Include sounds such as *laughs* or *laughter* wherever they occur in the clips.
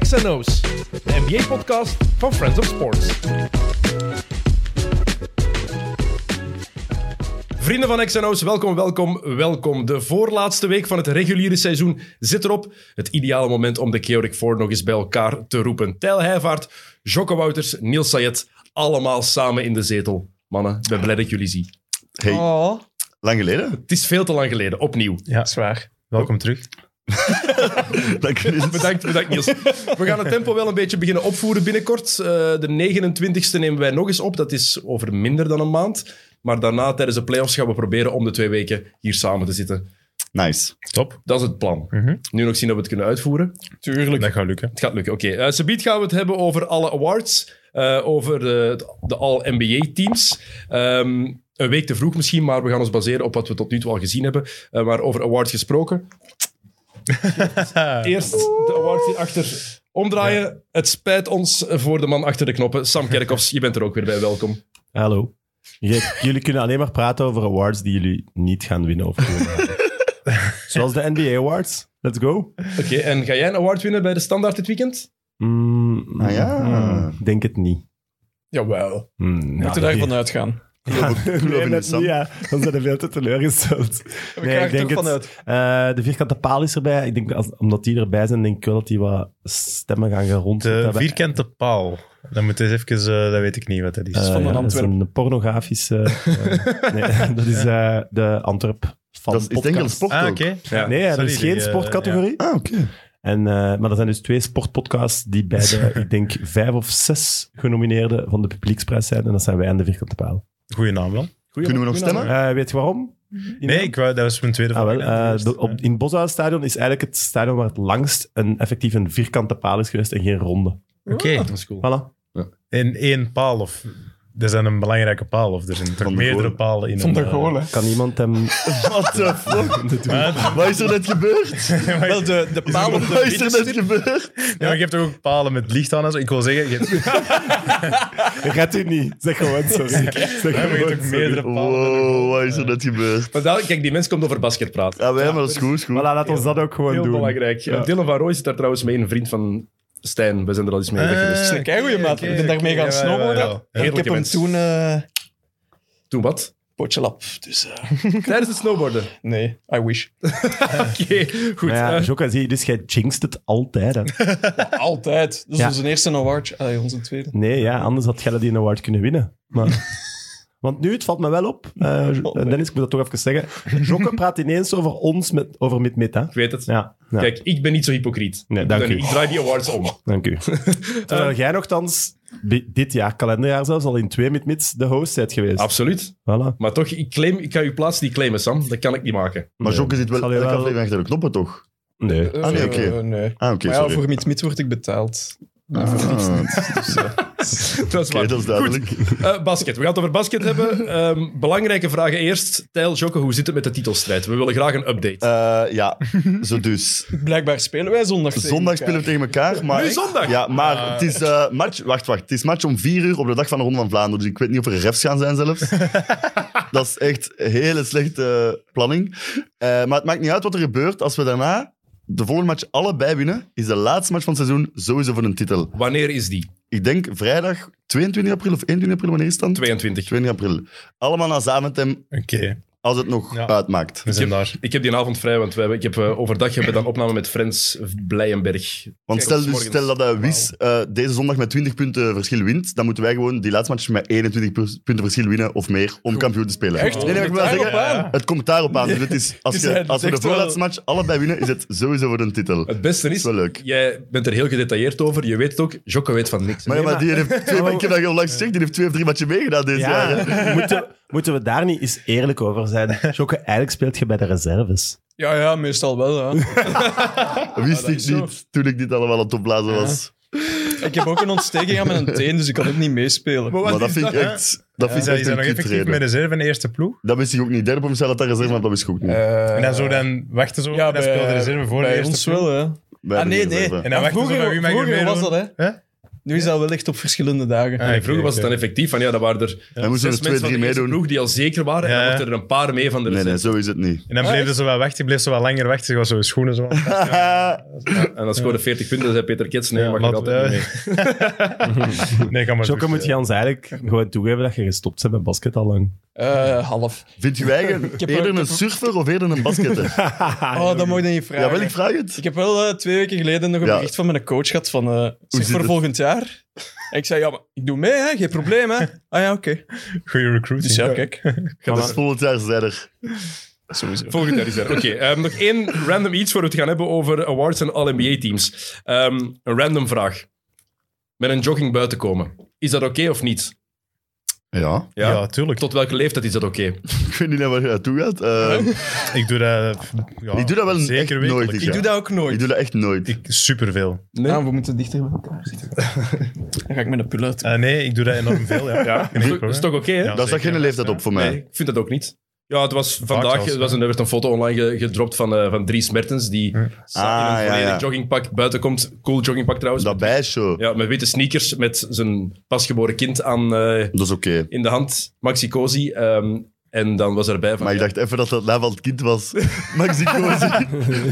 XNO's, de NBA-podcast van Friends of Sports. Vrienden van XNO's, welkom, welkom, welkom. De voorlaatste week van het reguliere seizoen zit erop. Het ideale moment om de Chaotic Four nog eens bij elkaar te roepen. Tijl Heijvaart, Jocke Wouters, Niels Sayed, allemaal samen in de zetel. Mannen, ik ben blij dat ik jullie zie. Hey, Oh, lang geleden. *laughs* Het is veel te lang geleden, opnieuw. Ja, zwaar. Welkom terug. Dank je. Bedankt, bedankt Niels. We gaan het tempo wel een beetje beginnen opvoeren binnenkort. Eh, de 29e nemen wij nog eens op. Dat is over minder dan een maand. Maar daarna, tijdens de playoffs, gaan we proberen om de twee weken hier samen te zitten. Nice. Top. Dat is het plan. Mhm. Nu nog zien dat we het kunnen uitvoeren. tuurlijk. Dat gaat lukken. Het gaat lukken, oké. Eh Sabiet gaan we het hebben over alle awards, eh, over de, de All-NBA-teams. Ehm, een week te vroeg misschien, maar we gaan ons baseren op wat we tot nu toe al gezien hebben. Eh, maar over awards gesproken. Eerst de awards hier achter omdraaien. Het spijt ons voor de man achter de knoppen. Sam Kerkhoffs, je bent er ook weer bij, welkom. Hallo. Je- jullie kunnen alleen maar praten over awards die jullie niet gaan winnen. Of gewonnen hebben. Zoals de NBA Awards. Let's go. Oké, en ga jij een award winnen bij de Standaard dit weekend? Mm, Ah, ja. mm, denk het niet. Jawel. Mm, Moet je ja, nee. daarvan uitgaan. Ja, geloof *laughs* nee, in net Sam. niet, ja. Dan zijn er veel te teleurgesteld. Nee, ik denk het. Eh, de vierkante paal is erbij. Ik denk, als, omdat die erbij zijn, denk ik wel dat die wat stemmen gaan gerond De hebben. vierkante paal. Dan moet eens even, eh, dat weet ik niet wat dat is. Eh, van een ja, dat is Antwerp. een pornografische... eh, nee, *laughs* dat is eh, de Antwerp van Dat is, ik denk een podcast. sport ah, ook. oké. Ja. Nee, er Sorry, is die, geen eh, sportcategorie. Ah, oké. En, eh, maar er zijn dus twee sportpodcasts die bij de, ik denk, vijf of zes genomineerden van de publieksprijs zijn. En dat zijn wij en de Vierkante Paal. ja. Goeie naam wel. Kunnen we nog stemmen? Eh, weet je waarom? Nee, ik wou, dat was mijn tweede Ah, wel, vraag. eh, de- op, in het Boshuisstadion is eigenlijk het stadion waar het langst een, effectief een vierkante paal is geweest en geen ronde. Oké. Dat is cool. Voilà. In één paal of... Er zijn een belangrijke paal of er zijn toch Van de meerdere Golen. palen in Van een... de eh, *laughs* golen. Kan iemand hem... *laughs* What the fuck? Maar- *laughs* Wat is er net gebeurd? Wel, de, de paal op Wat is de er net gebeurd? Ja, maar je hebt toch ook palen met licht aan en zo? Ik wil zeggen, je hebt, *laughs* ja, Redt u niet. Zeg gewoon sorry. Zeg maar je gewoon hebt ook meerdere palen. Wow, wat is er net gebeurd? Maar daar- kijk, die mensen komt over basket praten. Ja, wij, maar dat is goed, is goed. Voilà, laat ons dat ook gewoon Heel doen. belangrijk. Eh, Ja. Dylan van Rooij zit daar trouwens mee, een vriend van Stijn. We zijn er al eens mee weg Eh, geweest. is een keigoeie maat. Ik ben oké, daarmee gaan oké, jawel, snowboarden. jawel. Ik heb Heerlijke hem mens. toen eh Toen wat? potje lap. Dus eh, *laughs* Tijdens het snowboarden. nee, I wish. *laughs* Oké, goed. Maar ja, eh, Jokka, zie je, dus jij jinxt het altijd. hè. Altijd. Dat is Ja. onze eerste award. Allee, onze tweede. Nee, ja, anders had Gelle die een award kunnen winnen. *laughs* Maar... Want nu, het valt me wel op. *laughs* eh, Jo- Dennis, ik moet dat toch even zeggen. Jokke praat ineens over ons, met, over met met, hè? ik weet het. Ja, ja, Kijk, ik ben niet zo hypocriet. Nee, Ik dank ben- u. Ik draai die awards om. dank *laughs* u. Terwijl jij nogthans bi- dit jaar, kalenderjaar zelfs, al in twee met mits de host bent geweest. Absoluut. Voilà. Maar toch, ik, claim, ik kan uw plaats niet claimen, Sam. Dat kan ik niet maken. *laughs* Maar Nee. Jokke zit wel Zal je elke wel- aflevering achter de knoppen, toch? Nee. Eh, Ah, nee, oké. eh, nee. Ah, oké, maar ja, sorry. voor Miet Miet word ik betaald. Ah, Dat is Oké, waar. dat is duidelijk. Eh, basket. We gaan het over basket hebben. Ehm, belangrijke vragen eerst. Tijl, Jokke, hoe zit het met de titelstrijd? We willen graag een update. Eh, ja, zo dus. Blijkbaar spelen wij zondag. tegen Zondag spelen we elkaar. tegen elkaar. Maar Nu zondag? Ja, maar het is eh, match... Wacht, wacht. Het is match om vier uur op de dag van de Ronde van Vlaanderen. Dus ik weet niet of er refs gaan zijn *laughs* zelfs. dat is echt hele slechte planning. Eh, maar het maakt niet uit wat er gebeurt. Als we daarna de volgende match allebei winnen, is de laatste match van het seizoen sowieso voor een titel. Wanneer is die? Ik denk vrijdag 22 april of 21 april. Wanneer is het dan? 22. 22 april. Allemaal naar Zaventem, Oké, als het nog Ja. uitmaakt. we zijn daar. Ik heb die avond vrij, want wij, hebben- ik heb, eh, overdag hebben we dan opname met Frans Blijenberg. Want Kijk, stel, dat is dus, morgens. stel dat eh, Wis eh, deze zondag met 20 punten verschil wint, dan moeten wij gewoon die laatste match met 21 pu- punten verschil winnen of meer om kampioen te spelen. Echt? Nee, nee, maar ik wil Daarop zeggen, aan? het komt daarop aan. Dus het is, als, Dus je, hij als we de zegt wel- voorlaatste match allebei winnen, is het sowieso voor een titel. Dat Het beste is is, wel leuk. jij bent er heel gedetailleerd over. Je weet het ook. Jokke weet van niks. Maar, ja, maar die heeft twee, ik heb dat heel lang gezegd, die heeft twee of drie matchen meegedaan deze jaar. hè. Ja, moeten, moeten we daar niet eens eerlijk over zijn? Jokke, eigenlijk speelt je bij de reserves. Ja, ja, meestal wel. *laughs* Ja. Wist dat ik is zo. niet toen ik dit allemaal aan het opblazen was. ik heb ook een ontsteking aan mijn teen, dus ik kan ook niet meespelen. Maar dat vind ik echt, dat Is vind ik dat, echt is dat nog een effectief met kutreden. reserve in de eerste ploeg? Dat wist ik ook niet. Derde op mezelf dat dat reserve, want dat wist ik ook niet. en dan zo dan wachten ze op Eh, ja, en dan speelt de reserve voor de bij eerste ons ploeg. wel, hè. Wij Ah, hebben nee, geen nee. reserve. En dan wachten ze vroeger op wie mag er vroeger meer was doen. dat, hè. Hè? Nu is dat wel echt op verschillende dagen. Ah, En vroeger was het dan effectief van ja, dat waren er Dan moesten er zes twee, mensen van drie de eerste meedoen. ploeg die al zeker waren. En Ja. dan mochten er een paar mee van de Nee, rest. nee, zo is het niet. En dan bleef ze wel weg, die bleef ze wel langer weg. Ze was zo schoenen *laughs* zo. aan- En dan scoorde 40 punten, dan zei Peter Kets, nee, Ja, mag je laat- altijd niet mee. eh, Nee, kan maar Jocke goed. moet Jans eigenlijk gewoon toegeven dat je gestopt bent met basket al lang. Eh, half. Vind je eigen heb eerder ook- een surfer of eerder een basketter? Ah, Oh, dat moet je niet vragen. ja, wel, ik vraag het. Ik heb wel eh, twee weken geleden nog een Ja. bericht van mijn coach gehad van eh zeg zit voor het? volgend jaar. En ik zei, ja, maar ik doe mee, hè, geen *laughs* probleem. Hè. Ah ja, oké. Goeie recruiting. Dus ja, kijk. Ga Voilà. dus volgend jaar zijder. Volgend jaar is er. Oké, ehm, nog één random iets voor we het gaan hebben over awards en All-NBA-teams. Ehm, een random vraag. Met een jogging buiten komen. Is dat oké of niet? Ja, Ja. Ja, tuurlijk. Tot welke leeftijd is dat oké? ik weet niet naar waar je naartoe gaat. Eh, Ik doe dat... ja, Ik doe dat wel echt zeker nooit, wekelijks. ik Ik doe dat ook nooit. ik doe dat echt nooit. Ik, superveel. Nee? Ah, we moeten dichter bij elkaar zitten. Dan ga ik met een pull uit. Eh, nee, ik doe dat enorm *laughs* veel, Ja, ja. Geen enkel dat is probleem. toch oké, hè? Ja. Daar zat zeker. geen leeftijd op voor mij. Nee, ik vind dat ook niet. Ja, het was vandaag, zelfs, er, was een, er werd een foto online ge- gedropt van, eh, van Dries Mertens, die sa- in Ah, een ja, volledig ja. joggingpak buiten komt. Cool joggingpak trouwens. Dat bijshow. Ja, met witte sneakers, met zijn pasgeboren kind aan, eh, Dat is oké. in de hand, Maxi Cosi. ehm, en dan was erbij van... Maar ik ja, dacht even dat dat naam van het kind was. Maxi Cosi.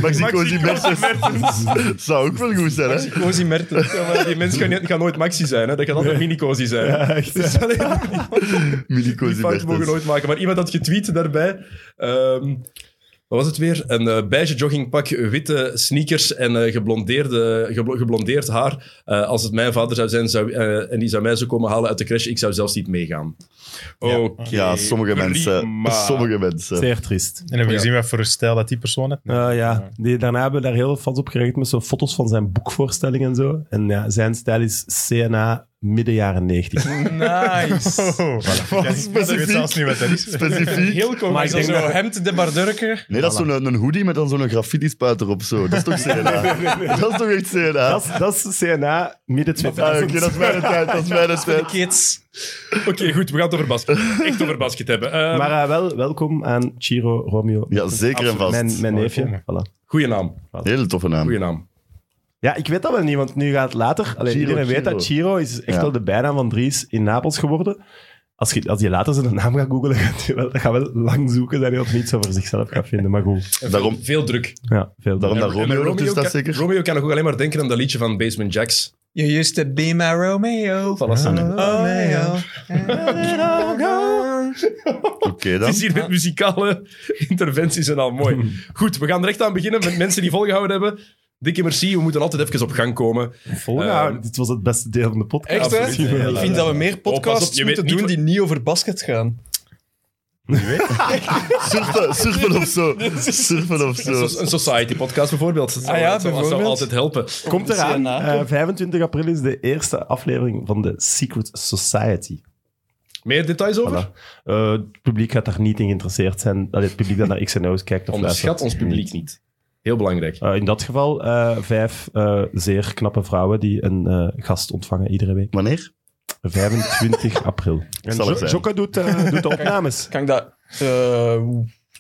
Maxi Cosi Mertens. *laughs* Zou ook wel goed zijn, hè? Cozy Mertens. Ja, maar die mensen gaan, niet- gaan nooit Maxi zijn, hè. dat gaat altijd mini-Cosi zijn. Dus alleen, Mini die Cosi fout mogen we Mertens. nooit maken. Maar iemand had getweet daarbij. ehm, wat was het weer? Een eh beige joggingpak, witte sneakers en eh, geblondeerde, geblo- geblondeerd haar. Eh, als het mijn vader zou zijn zou, eh, en die zou mij zo komen halen uit de crash, ik zou zelfs niet meegaan. Oké. Ja, sommige mensen. prima. Sommige mensen. Zeer triest. En hebben we gezien wat voor een stijl dat die persoon heeft? Eh, ja, die, daarna hebben we daar heel veel fans op gerecht met zo'n foto's van zijn boekvoorstelling en zo. En ja, zijn stijl is CNA midden jaren 90. *laughs* Nice. Oh, specifiek. Ik weet zelfs niet wat dat is. Specifiek. Heel komisch. Maar ik denk Zo- zo hemd de bardurken. Nee, dat is zo'n een hoodie met dan zo'n graffiti-spuiter op zo. Dat is *laughs* toch CNA? Dat is toch echt CNA? *laughs* dat, is, dat is CNA midden Ah, Oké, 2000. dat is mijn tijd. *laughs* Dat is mijn tijd. Kids. Oké, goed, we gaan het over *laughs* basket. Echt over basket hebben. Eh, Maar eh, wel, welkom aan Ciro Romeo. Ja, zeker en Mijn, vast. mijn Mooi neefje. komen. Voilà. Goeie naam. Hele toffe naam. Goeie naam. Ja, ik weet dat wel niet, want nu gaat het later. Allee, Ciro, iedereen weet Ciro. dat Ciro is echt Ja. wel de bijnaam van Dries in Napels geworden. Als je, als je later zijn naam gaat googlen, *laughs* gaat je wel, gaat wel lang zoeken dat hij het niet zo voor zichzelf gaat vinden. Maar goed, En Daarom- veel- Veel druk. ja, veel Daarom dat En- en Romeo er tussen kan, staat, zeker. Romeo kan nog ook alleen maar denken aan dat liedje van Basement Jacks. You used to be my Romeo. Oh, Romeo. Oké dan. *laughs* Ah. Het is hier met muzikale interventies en al mooi. Goed, we gaan direct aan beginnen met mensen die volgehouden hebben. Dikke merci, we moeten altijd even op gang komen. volgehouden. Dit was het beste deel van de podcast. Echt, hè? Misschien wel. Ik vind dat we meer Oh, pas op, podcasts je weet moeten niet doen wat- die niet over basket gaan. Surfen, surfen of *laughs* zo. Surfen of zo. Een so- een society podcast bijvoorbeeld. Dat zou, Ah ja, dat zou- dat zou bijvoorbeeld. altijd helpen. Komt eraan. CNA. Eh, 25 april is de eerste aflevering van de Secret Society. Meer details Voilà. over? Eh, het publiek gaat daar niet in geïnteresseerd zijn. Allee, het publiek dat naar X&O's kijkt *laughs* of Onderschat luistert. ons publiek niet. Heel belangrijk. Eh, in dat geval eh, vijf eh, zeer knappe vrouwen die een eh, gast ontvangen iedere week. Wanneer? 25 april. En Zal er Jo- zijn. Jocke doet, eh, doet de opnames. Kan ik dat... eh,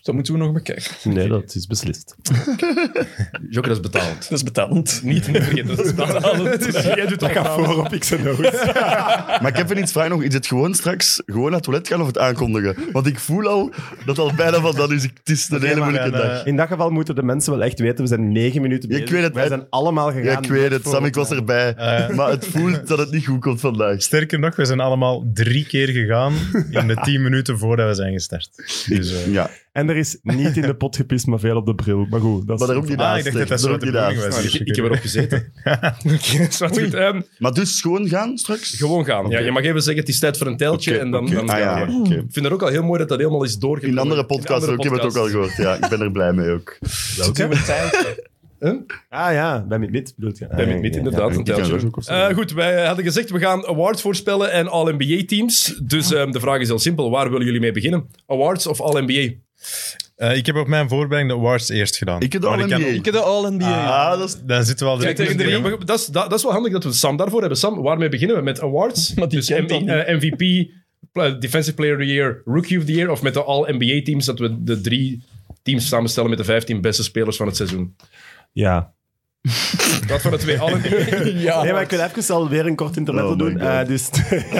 dat moeten we nog bekijken. Nee, dat is beslist. Joker, dat is betaald. Dat is betalend. Niet niet vergeten, *laughs* dat is betaald. *laughs* Dus jij doet dat voor op X&O's. Maar ik heb even iets vragen nog. Is het gewoon straks gewoon naar het toilet gaan of het aankondigen? Want ik voel al dat al bijna van dat is. Het is een hele maar moeilijke een, dag. eh, In dat geval moeten de mensen wel echt weten, we zijn negen minuten Ik bezig. weet het, Wij hè. zijn allemaal gegaan. Ja, ik weet het. voor Sam, ik was erbij. Eh. Maar het voelt dat het niet goed komt vandaag. Sterker nog, we zijn allemaal drie keer *laughs* gegaan in de tien minuten voordat we zijn gestart. Dus, eh, Ja, En er is niet in de pot gepist, maar veel op de bril. Maar goed, dat is... maar daar ook niet ah, naast. ik dacht dat dat daar zo ook de niet bedoeling naast. was. Ik, ik heb erop gezeten. *laughs* Oké, zwart goed. Ehm, Maar dus gewoon gaan straks? gewoon gaan. Ja, je mag even zeggen, het is tijd voor een teltje. Oké, en dan, oké. dan Ah, ja, gaan we. oké. Ik vind het ook al heel mooi dat dat helemaal is doorgegaan. In andere podcasts ook. Ik heb het ook al gehoord. Ja, ik ben er blij mee ook. Ah ja, bij Mid-Mid bedoelt je. Ah, Ben ik niet, inderdaad. een die kan teltje. er ook op Eh, goed, wij hadden gezegd, we gaan awards voorspellen en All-NBA-teams. Dus ehm, de vraag is heel simpel, waar willen jullie mee beginnen? Awards of All-NBA? eh, ik heb op mijn voorbereiding de awards eerst gedaan. Ik heb de Maar kan- All-NBA. Ik heb de All-NBA. Ah, dat is... Dan zitten we al direct Tegen in de- het begin. we- dat, is, dat, dat is wel handig dat we Sam daarvoor hebben. Sam, waarmee beginnen we? Met *laughs* awards? Maar die dus kent dat M- eh, MVP, pla- Defensive Player of the Year, Rookie of the Year? Of met de All-NBA-teams, dat we de drie teams samenstellen met de 15 beste spelers van het seizoen? Ja. Wat voor de twee allen. *laughs* Ja. Nee, maar ik wil even al weer een kort intermezzo Oh my doen. God. Eh, dus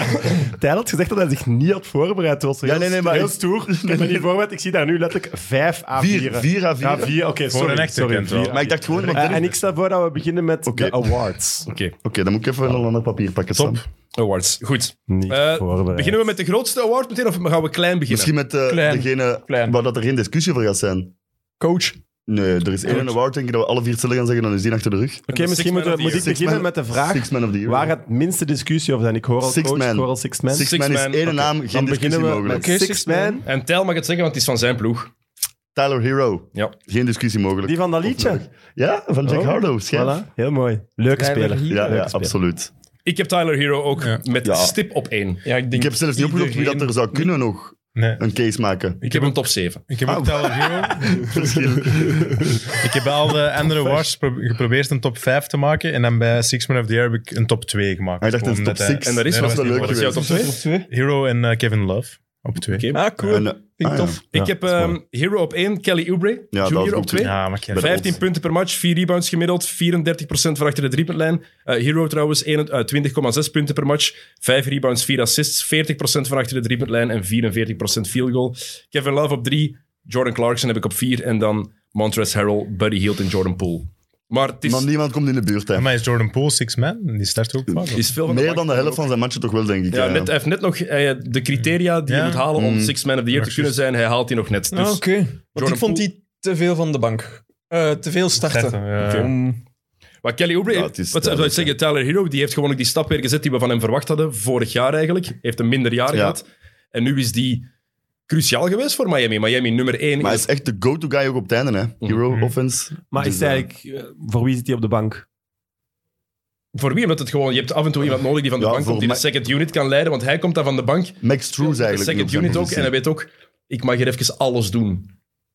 *laughs* Tijl had gezegd dat hij zich niet had voorbereid. Het was heel, Ja, *laughs* nee, nee, maar heel ik- stoer. Ik heb me niet voorbereid. Ik zie daar nu letterlijk vijf A4'en. Vier, vier à vier. Ja, vier. Voor Oké, sorry. een echte sorry, kent vier. wel. Maar ik dacht gewoon... want Eh, dit- en ik stel voor dat we beginnen met Oké. de awards. Oké, Oké, dan moet ik even een ander papier pakken, Sam. Top. awards. Goed. Niet Eh, voorbereid. beginnen we met de grootste award meteen of gaan we klein beginnen? Misschien met eh, Klein. degene Klein. waar dat er geen discussie over gaat zijn. Coach. Nee, er is één Goed. award, denk ik, dat we alle vier zullen gaan zeggen, dan is die achter de rug. Oké, de Six misschien moeten Man we- of moet the ik Year. beginnen met de Six vraag Man of the Year. waar het minste discussie over zijn. Ik hoor al Six coach, Man. ik hoor al Six Man. Six, Six Man is Man. één Oké. naam, geen Dan discussie beginnen we mogelijk. met Oké, Six Six Man. En Tijl mag het zeggen, want het is van zijn ploeg. Tyler Hero, Ja. geen discussie mogelijk. Die van dat liedje. Ja, van Jack Oh, Harlow, scherp. Voilà. Heel mooi. Leuke Tyler speler. Ja, Hero. ja, Leuke speler. absoluut. Ik heb Tyler Hero ook Ja. met Ja. stip op één. Ik, Ja, ik, denk Ik heb zelfs niet opgezocht wie dat iedereen- er zou kunnen nog Nee. een *laughs* case maken. heb hem top 7. Ik heb ook Tyler Hero. ik heb bij al de andere awards pro- geprobeerd een top 5 te maken. En dan bij Six Man of the Year heb ik een top 2 gemaakt. Ah, ik dacht Gewoon een top omdat hij- six. En daar is Nee, wat dat wel was leuk Dat is jouw top geweest. 2. Hero en eh, Kevin Love op 2. Oké. Ah, cool. En, eh, Vind ik ah, tof. ja. Ik heb ehm, Hero op 1, Kelly Oubre. dat was junior ook op 2. goed. Ja, maar Kevin. 15 Ons. punten per match, 4 rebounds gemiddeld, 34% van achter de driepuntlijn. Eh, Hero trouwens 1 eh, 20,6 punten per match, 5 rebounds, 4 assists, 40% van achter de driepuntlijn en 44% field goal. Kevin Love op 3, Jordan Clarkson heb ik op 4 en dan Montrezl Harrell, Buddy Hield en Jordan Poole. Maar het is, Maar niemand komt in de buurt, hè. Maar is Jordan Poole Six Man? Die start ook vaak. het is veel van Meer macht dan de helft ook. van zijn matchen toch wel, denk ik. Ja, ja. net, hij heeft net nog eh, de criteria die Ja. je moet halen om Mm. Six Man of the Year te Ja, kunnen juist. zijn, hij haalt die nog net. Dus Ah, Oké. Want Jordan ik vond die te veel van de bank. Eh, te veel starten. Starten, ja. Oké. Om- Maar Kelly Oubre, Ja, wat het is zou ik duidelijk, zeggen, Tyler Hero, die heeft gewoon ook die stap weer gezet die we van hem verwacht hadden, vorig jaar eigenlijk. Heeft een minder jaar Ja. gehad. En nu is die cruciaal geweest voor Miami. Miami nummer 1. Maar hij is echt de go-to guy ook op het einde, hè. Hero, Mhm. offense. Maar Dus, is eh, eigenlijk, eh, voor wie zit hij op de bank? Voor wie? Omdat het gewoon, je hebt af en toe iemand nodig die van de Ja, bank voor komt, die de Ma- second unit kan leiden, want hij komt daar van de bank. Max Struz De eigenlijk. nu op second zijn unit ook. En positie. hij weet ook, ik mag hier even alles doen.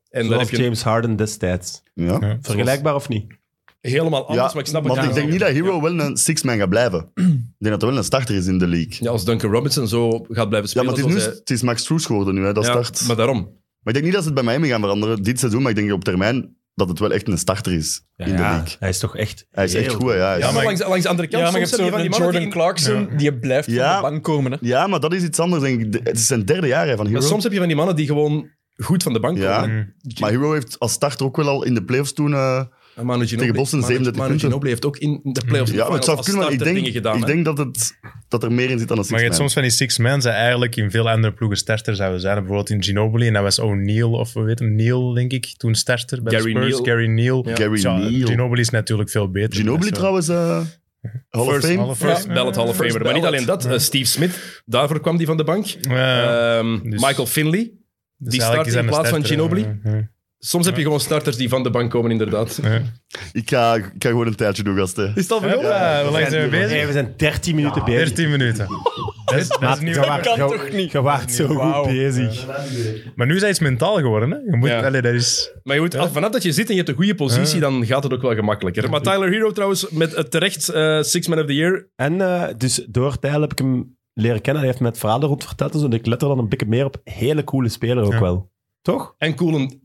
En dan heb Zoals je James Harden destijds. Ja. Ja. Vergelijkbaar of niet? helemaal anders, maar ik snap het want ik wel. denk niet dat Hero wel een six-man gaat *clears throat* blijven. ik denk dat hij wel een starter is in de league. Ja, Ja, als Duncan Robinson zo gaat blijven spelen. maar het is, nu, zoals hij- het is Max Struz geworden nu, hè, dat Ja, start. maar Maar... daarom. ik denk niet dat ze het bij Miami gaan veranderen dit seizoen, maar ik denk op termijn dat het wel echt een starter is in de league. hij is toch echt Hij is echt goed, hè, ja. hij is- Ja, maar maar langs, langs de andere kant Ja, maar je soms hebt heb je zo'n van die mannen Jordan die in- Clarkson, die blijft Ja. van de bank komen. Hè. Ja, maar dat is iets anders, denk ik. De- Het is zijn derde jaar hè, van Hero. Maar Maar, soms heb je van die mannen die gewoon goed van de bank Ja. komen. Hero heeft als starter ook wel al in de playoffs toen... eh, En Manu Ginobili, Tegen Boston Manu- 37 Manu punten. Ginobili heeft ook in de playoffs ja, maar het zou kunnen, maar ik denk, dingen gedaan. ik hè. denk dat, het, dat er meer in zit dan een Maar six-man. je hebt soms van die Six Men zijn eigenlijk in veel andere ploegen starter zouden zijn. Bijvoorbeeld in Ginobili en dat was O'Neal of we weten hem, Neal denk ik, toen starter bij de Gary Spurs. Neal. Gary Neal. Ja. Gary Ja, Neal. Ginobili is natuurlijk veel beter. Ginobili Zo. trouwens, eh Hall of First Fame. Hall of First Fame. ballot Hall of First Famer. Maar niet ballot. alleen dat. eh, Steve Smith, daarvoor kwam die van de bank. Ja, Ehm, dus- Michael Finley. dus die eigenlijk start is hij in een plaats van starter, hè. Ginobili. Ja, Soms heb je gewoon starters die van de bank komen, inderdaad. ja, ja. Ik ga, ik ga gewoon een tijdje doen, gasten. Is dat Hoppa, hoe lang zijn we bezig? we zijn 13 minuten bezig. 13 minuten. Dat is, dat is Maar niet je waart- kan je- toch niet? Je waart zo Wauw. goed bezig. Maar nu is hij iets mentaal geworden. Hè? Je moet, Ja. allee, dat is, Maar je moet, al- vanaf dat je zit en je hebt een goede positie, dan gaat het ook wel gemakkelijker. Maar Tyler Hero trouwens, met eh, terecht eh, Six Man of the Year. En eh, dus door Tijl heb ik hem leren kennen. Hij heeft me het verhaal rond verteld. Dus ik let er dan een beetje meer op. Hele coole speler ook Ja. wel. Toch? En Koelen.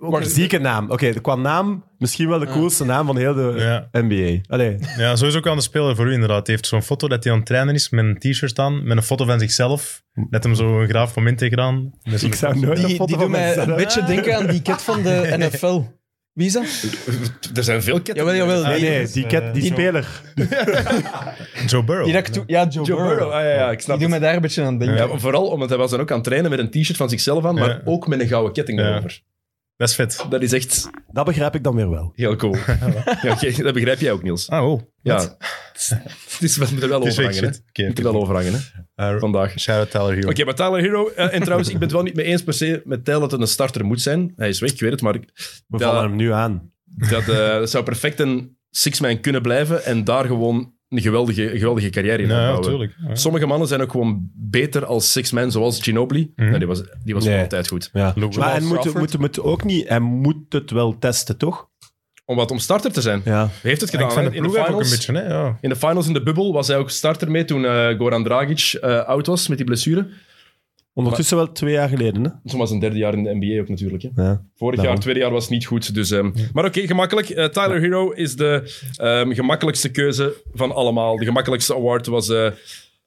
Maar zieke naam. Oké, qua naam misschien wel de Ah. coolste naam van heel de Ja. NBA. Allee, ja, sowieso ook aan de speler voor u inderdaad. Hij heeft zo'n foto dat hij aan het trainen is met een t-shirt aan, met een foto van zichzelf. Net hem zo een graaf moment tegenaan. Met zo'n- ik zou nooit Ah. een Die, foto die van doen mij mezelf- een beetje denken aan die cat van de NFL. Wie is dat? *laughs* Er zijn veel ketten. Jawel, jawel. Nee, Die, Ah, nee, die, cat, die Zo. speler. Joe Burrow. die dat ik toe- ja, Joe, Joe Burrow. Burrow. Ah, ja, ja, ik snap Die doet het. mij daar een beetje aan denken. Ja, maar vooral omdat hij was dan ook aan het trainen met een t-shirt van zichzelf aan, maar Ja. ook met een gouden ketting Ja. erover. Dat is vet. Dat is echt Dat begrijp ik dan weer wel. heel *laughs* cool. ja, oké, dat begrijp jij ook, Niels. Ah, oh. Ja. *laughs* Het is, we moeten er wel Het is fake overhangen. hè. shit. We Oké, moeten er wel overhangen, hè, eh, vandaag. Shout-out Tyler Hero. Oké, maar Tyler Hero... eh, en trouwens, ik ben het wel niet mee eens per se met Tyler dat het een starter moet zijn. Hij is weg, ik weet het, maar ik- We Ja. vallen hem nu aan. dat, eh, dat zou perfect een six-man kunnen blijven en daar gewoon een geweldige, geweldige carrière in Nou, ja, opbouwen. natuurlijk. Ja. Sommige mannen zijn ook gewoon beter als six-man, zoals Ginobili. Mhm. Nou, die was, die was Nee. altijd goed. Ja. Logan Maar hij moet, Crawford. moet, moet ook niet, hij moet het wel testen, toch? Om wat om starter te zijn. Ja. Hij heeft het gedaan Hangt van hè, de in de ploeg af ook een finals. beetje, hè? Ja. In de finals in de bubbel was hij ook starter mee toen eh, Goran Dragic eh, oud was met die blessure. Ondertussen wel twee jaar geleden, hè? Zomaar zijn derde jaar in de NBA ook natuurlijk. Hè. Ja. Vorig Daarom. jaar, tweede jaar was het niet goed. Dus, ehm, Maar oké, gemakkelijk. Eh, Tyler Hero is de ehm, gemakkelijkste keuze van allemaal. De gemakkelijkste award was eh,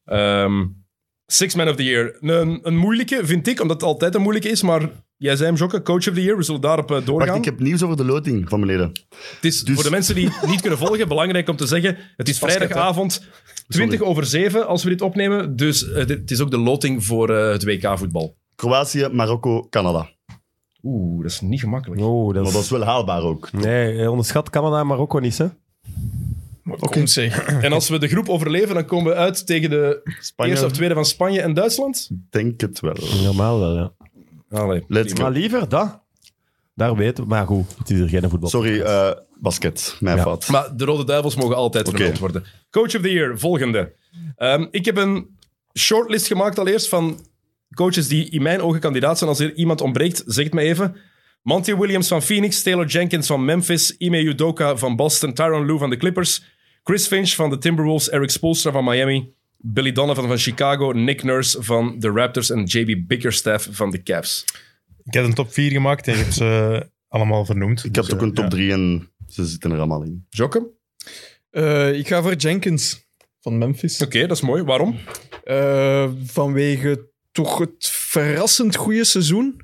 ehm, Six Man of the Year. Een, een moeilijke, vind ik, omdat het altijd een moeilijke is. Maar jij zei hem, Jokke, Coach of the Year. We zullen daarop eh, doorgaan. Wacht, ik heb nieuws over de loting van beneden. Het is Dus- voor de mensen die niet kunnen volgen, belangrijk om te zeggen: het is vrijdagavond, 20 over 7 als we dit opnemen. Dus eh, dit- het is ook de loting voor eh, het WK-voetbal. Kroatië, Marokko, Canada. Oeh, dat is niet gemakkelijk. Oh, dat Maar is... dat is wel haalbaar ook. Nee, eh, onderschat Canada en Marokko niet, hè? Oké. zeg. En als we de groep overleven, dan komen we uit tegen de Spanje, eerste of tweede van Spanje en Duitsland. denk het wel. Normaal wel, ja. Allee. Let's go. Maar liever dat. Daar weten we. Maar goed, het is er geen voetbal. Sorry, eh, basket. Mijn Ja. fout. Maar de Rode Duivels mogen altijd Oké. vermeld worden. Coach of the Year, volgende. Ehm, ik heb een shortlist gemaakt allereerst van coaches die in mijn ogen kandidaat zijn. Als er iemand ontbreekt, zeg het mij even. Monty Williams van Phoenix, Taylor Jenkins van Memphis, Ime Udoka van Boston, Tyron Lue van de Clippers, Chris Finch van de Timberwolves, Eric Spoelstra van Miami, Billy Donovan van Chicago, Nick Nurse van de Raptors en JB Bickerstaff van de Cavs. Ik heb een top 4 gemaakt en je hebt ze eh, allemaal vernoemd. Dus, Ik heb ook een top 3 en ze zitten er allemaal in. Jokke? Oké, Eh, ik ga voor Jenkins van Memphis. dat is mooi. Waarom? Eh, vanwege toch het verrassend goede seizoen.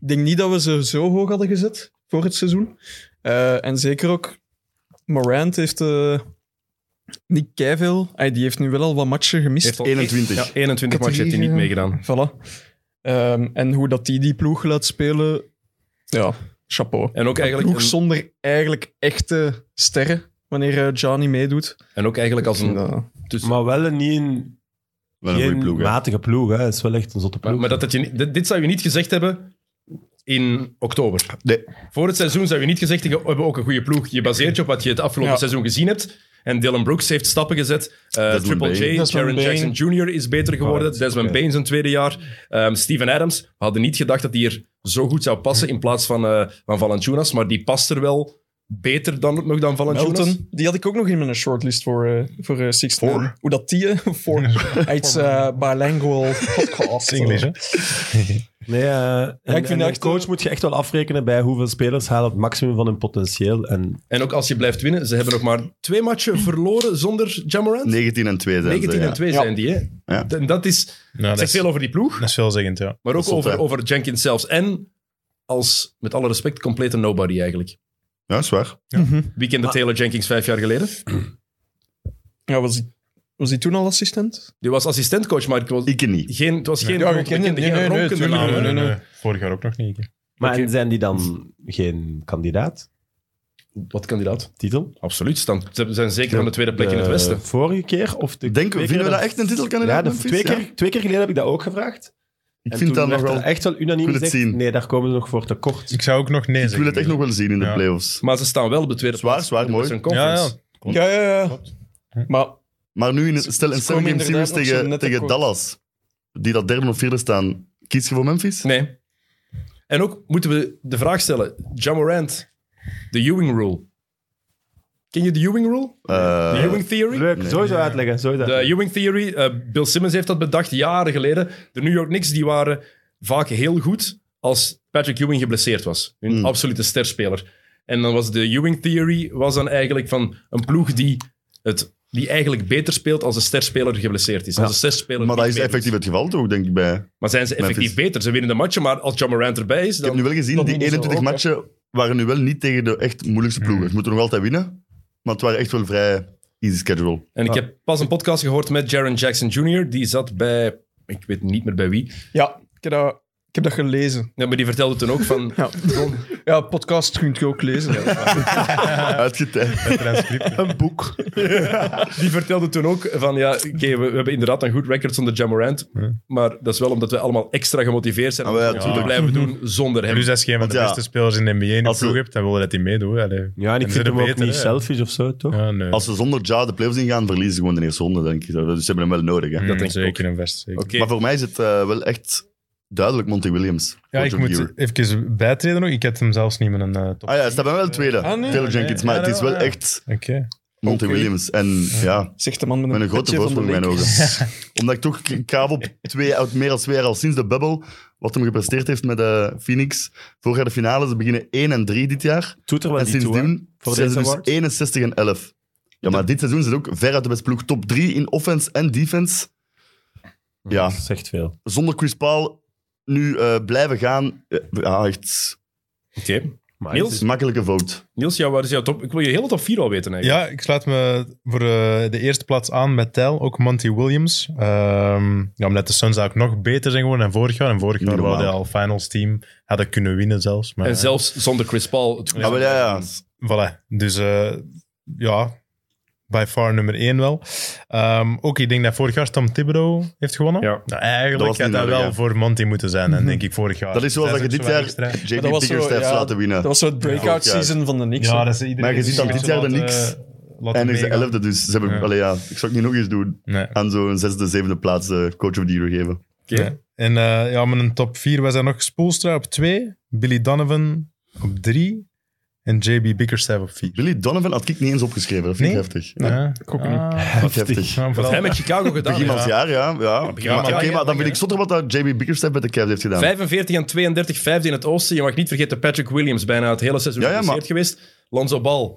Ik denk niet dat we ze zo hoog hadden gezet voor het seizoen. Eh, en zeker ook Morant heeft eh, niet keiveel. Hij die heeft nu wel al wat matchen gemist. Heeft al 21. Ja, 21 match heeft hij niet Categorie, meegedaan. Voilà. Ehm, en hoe dat die die ploeg laat spelen, ja, chapeau. En ook eigenlijk Ploeg een- zonder eigenlijk echte sterren, wanneer eh, Gianni meedoet. En ook eigenlijk als een. Ja. tussen- Maar wel een, niet een, Wel een geen goede ploeg, hè. matige ploeg, hè? Het is wel echt een zotte Maar, ploeg. maar dat het je, niet- dit, dit zou je niet gezegd hebben in oktober. Nee. Voor het seizoen zou je niet gezegd hebben: we hebben ook een goede ploeg. Je baseert je op wat je het afgelopen Ja. seizoen gezien hebt. En Dylan Brooks heeft stappen gezet. Eh, Desmond Triple Bane. J, Desmond Jaron Bane. Jackson Jr. is beter geworden. Alright, Desmond oké. Bain zijn tweede jaar. Ehm, Steven Adams. We hadden niet gedacht dat hij er zo goed zou passen in plaats van, eh van Valanciunas. Maar die past er wel beter dan, nog dan Valanciunas. Melton, die had ik ook nog in mijn shortlist voor, eh voor eh, Six Voor? Man. Hoe dat die, *laughs* eh, *laughs* voor. Uit eh bilingual podcast. Engels, hè? Nee, eh, en- ik vind en dat een echt- coach moet je echt wel afrekenen bij hoeveel spelers halen het maximum van hun potentieel. En En ook als je blijft winnen, ze hebben nog maar twee matchen verloren zonder Jamorant. 19 en 2 zijn 19 ze, en 2 Ja. zijn die, hè? Ja. En dat is, Ja, eh, nou, dat, zegt is, veel over die ploeg, dat is veelzeggend, ja. maar ook is zot, over, hè. over Jenkins zelfs. En als, met alle respect, complete nobody eigenlijk. Ja, is waar. Mhm. Wie kende Ah. Taylor Jenkins vijf jaar geleden? Ja, was die, was die toen al assistent? Die was assistentcoach, maar het was Ik niet. geen, het was geen, Ja, je we kende- kenden nee, geen nee, nee, ronkende tuurlijk. namen, hè. nee, nee. Ah, Vorig jaar ook nog niet. maar Oké. en zijn die dan geen kandidaat? Wat kandidaat? Titel? Eh, Absoluut. Staan, ze zijn zeker aan de tweede plek in het De Westen. Vorige keer? Of de Ik denk, twee vinden we keer dat echt een titelkandidaat? Ja, de, Memphis? twee, Ja. keer, twee keer geleden heb ik dat ook gevraagd. Ik En vind toen dat nog werd wel... er echt wel unaniem Ik wil het gezegd. zien. Nee, daar komen ze nog voor tekort. Ik zou ook nog nee Ik wil het echt nog wel zien in de Ja. playoffs. Maar ze staan wel op de tweede Zwaar, plaats. zwaar, in de mooi. Western Ja, Conference. ja. Ja, ja, ja. Maar Maar nu, in het, stel een ze seven game komen series inderdaad nog zo tegen, net tegen tekort. Dallas, die dat derde of vierde staan. Kies je voor Memphis? Nee. En ook moeten we de vraag stellen: Jamorant, de Ewing Rule. Ken je de Ewing Rule? Eh, De Ewing Theory? Leuk, sowieso uitleggen. Sowieso De uitleggen. Ewing Theory, eh, Bill Simmons heeft dat bedacht jaren geleden. De New York Knicks die waren vaak heel goed als Patrick Ewing geblesseerd was. Hun Hmm. absolute sterspeler. En dan was de Ewing Theory was dan eigenlijk van een ploeg die, het, die eigenlijk beter speelt als de sterspeler geblesseerd is. Als de sterspeler maar dat niet is meedoet. effectief het geval toch, denk ik. Bij. Ik Maar zijn ze effectief Memphis. beter? Ze winnen de matchen, maar als John Morant erbij is, heb dan... nu wel gezien, dat die doen ze 21 ook, hè. matchen waren nu wel niet tegen de echt moeilijkste ploegen. Ze moeten nog altijd winnen, maar het waren echt wel vrij easy schedule. En ik Ah. heb pas een podcast gehoord met Jaron Jackson Jr. Die zat bij, ik weet niet meer bij wie, ja, ik heb dat, ik heb dat gelezen. Ja, maar die vertelde toen ook *laughs* van... Ja, ja podcast kunt je ook lezen. Uitgetijd. *laughs* transcript. Een boek. Die vertelde toen ook van, ja, oké, we, we hebben inderdaad een goed record zonder Jamorant, maar dat is wel omdat we allemaal extra gemotiveerd zijn om Ah, wel, ja, het goed te tuurlijk. blijven doen zonder hem. Plus, als je een van de Want ja, beste spelers in de NBA in de als ze- ploeg hebt, dan wil je dat hij meedoet. Allee. Ja, en ik En ze vind hem zijn ook beter, niet hè. selfish of zo, toch? Ja, nee. Als ze zonder Ja de playoffs ingaan, verliezen ze gewoon de eerste ronde, denk ik. Dus ze hebben hem wel nodig. Hè. Mm, dat denk ik zeker een vest. zeker. Oké, Maar voor mij is het eh, wel echt duidelijk Monty Williams. Ja, ik Coach of the moet year. even bijtreden nog. Ik had hem zelfs niet met een eh, top. Ah ja, hij staat bij mij wel tweede. Ah, nee. Taylor Jenkins, nee. maar Ah, het is dat wel wel, ja. echt... Oké. Monty Oké. Williams. En ja, *laughs* Zegt de man met een, met een grote petje van de voorsprong in mijn ogen. linker. Omdat ik toch k- kabel op twee, uit meer dan twee jaar al sinds de bubbel, wat hem gepresteerd heeft met eh, Phoenix. Vorig jaar de finale, ze beginnen 1 en 3 dit jaar. Doet er wel en niet toe, hè. sindsdien Voor zijn deze ze dus award. 61 en 11. Ja, maar dit seizoen zit ook ver uit de beste ploeg. Top 3 in offense en defense. Ja, Dat zegt veel. zonder Chris Paul nu eh, blijven gaan. eh, ja, echt Oké. Maar Niels? het is- makkelijke vote. Niels, ja, waar is jouw top? Ik wil je hele top 4 al weten eigenlijk. Ja, ik sluit me voor eh, de eerste plaats aan met Tel, ook Monty Williams. Ehm, ja, omdat de Suns eigenlijk nog beter zijn geworden dan vorig jaar. En vorig jaar Normaal. waren al finals team, hadden kunnen winnen zelfs. Maar, eh, En zelfs zonder Chris Paul. Het Ja, maar Ah, ja, ja. Voilà. Dus eh, ja, by far nummer één wel. Ehm, ook, ik denk dat vorig jaar Tom Thibodeau heeft gewonnen. Ja. Nou, Dat eigenlijk was had niet dat nodig, wel ja. voor Monty moeten zijn, en denk ik vorig jaar. Dat is zoals dat je Zij dit zijn jaar ook zo wat extra. JB Maar dat was Pickers zo, heeft ja, laten winnen. Dat was zo het breakout Ja. season van de Knicks. Ja, hè. dat is iedereen Maar je ziet is dat zo dit jaar de laten- eh, Knicks laten En is de meegaan. 11e, dus ze hebben, Ja. Allee, ja, ik zou het niet nog eens doen. Nee. Aan zo'n zesde, zevende plaats eh, coach of the year geven. Ja. En eh, ja, met een top 4 was er nog Spoelstra op 2, Billy Donovan op 3 en JB Bickerstaff op 4. Billy Donovan had ik niet eens opgeschreven. Dat vind ik Nee? heftig. Ja, Ah, ik ook Heftig. Ja, Wat vooral- hij met Chicago gedaan Begin van heeft. het jaar, ja. ja. begin Maar van het Oké, jaar, maar dan ja. vind ik zotter wat dat JB Bickerstaff met de Cavs heeft gedaan. 45 en 32, vijfde in het oosten. Je mag niet vergeten, Patrick Williams bijna het hele seizoen Ja, ja, maar- geblesseerd geweest. Lonzo Ball, Hij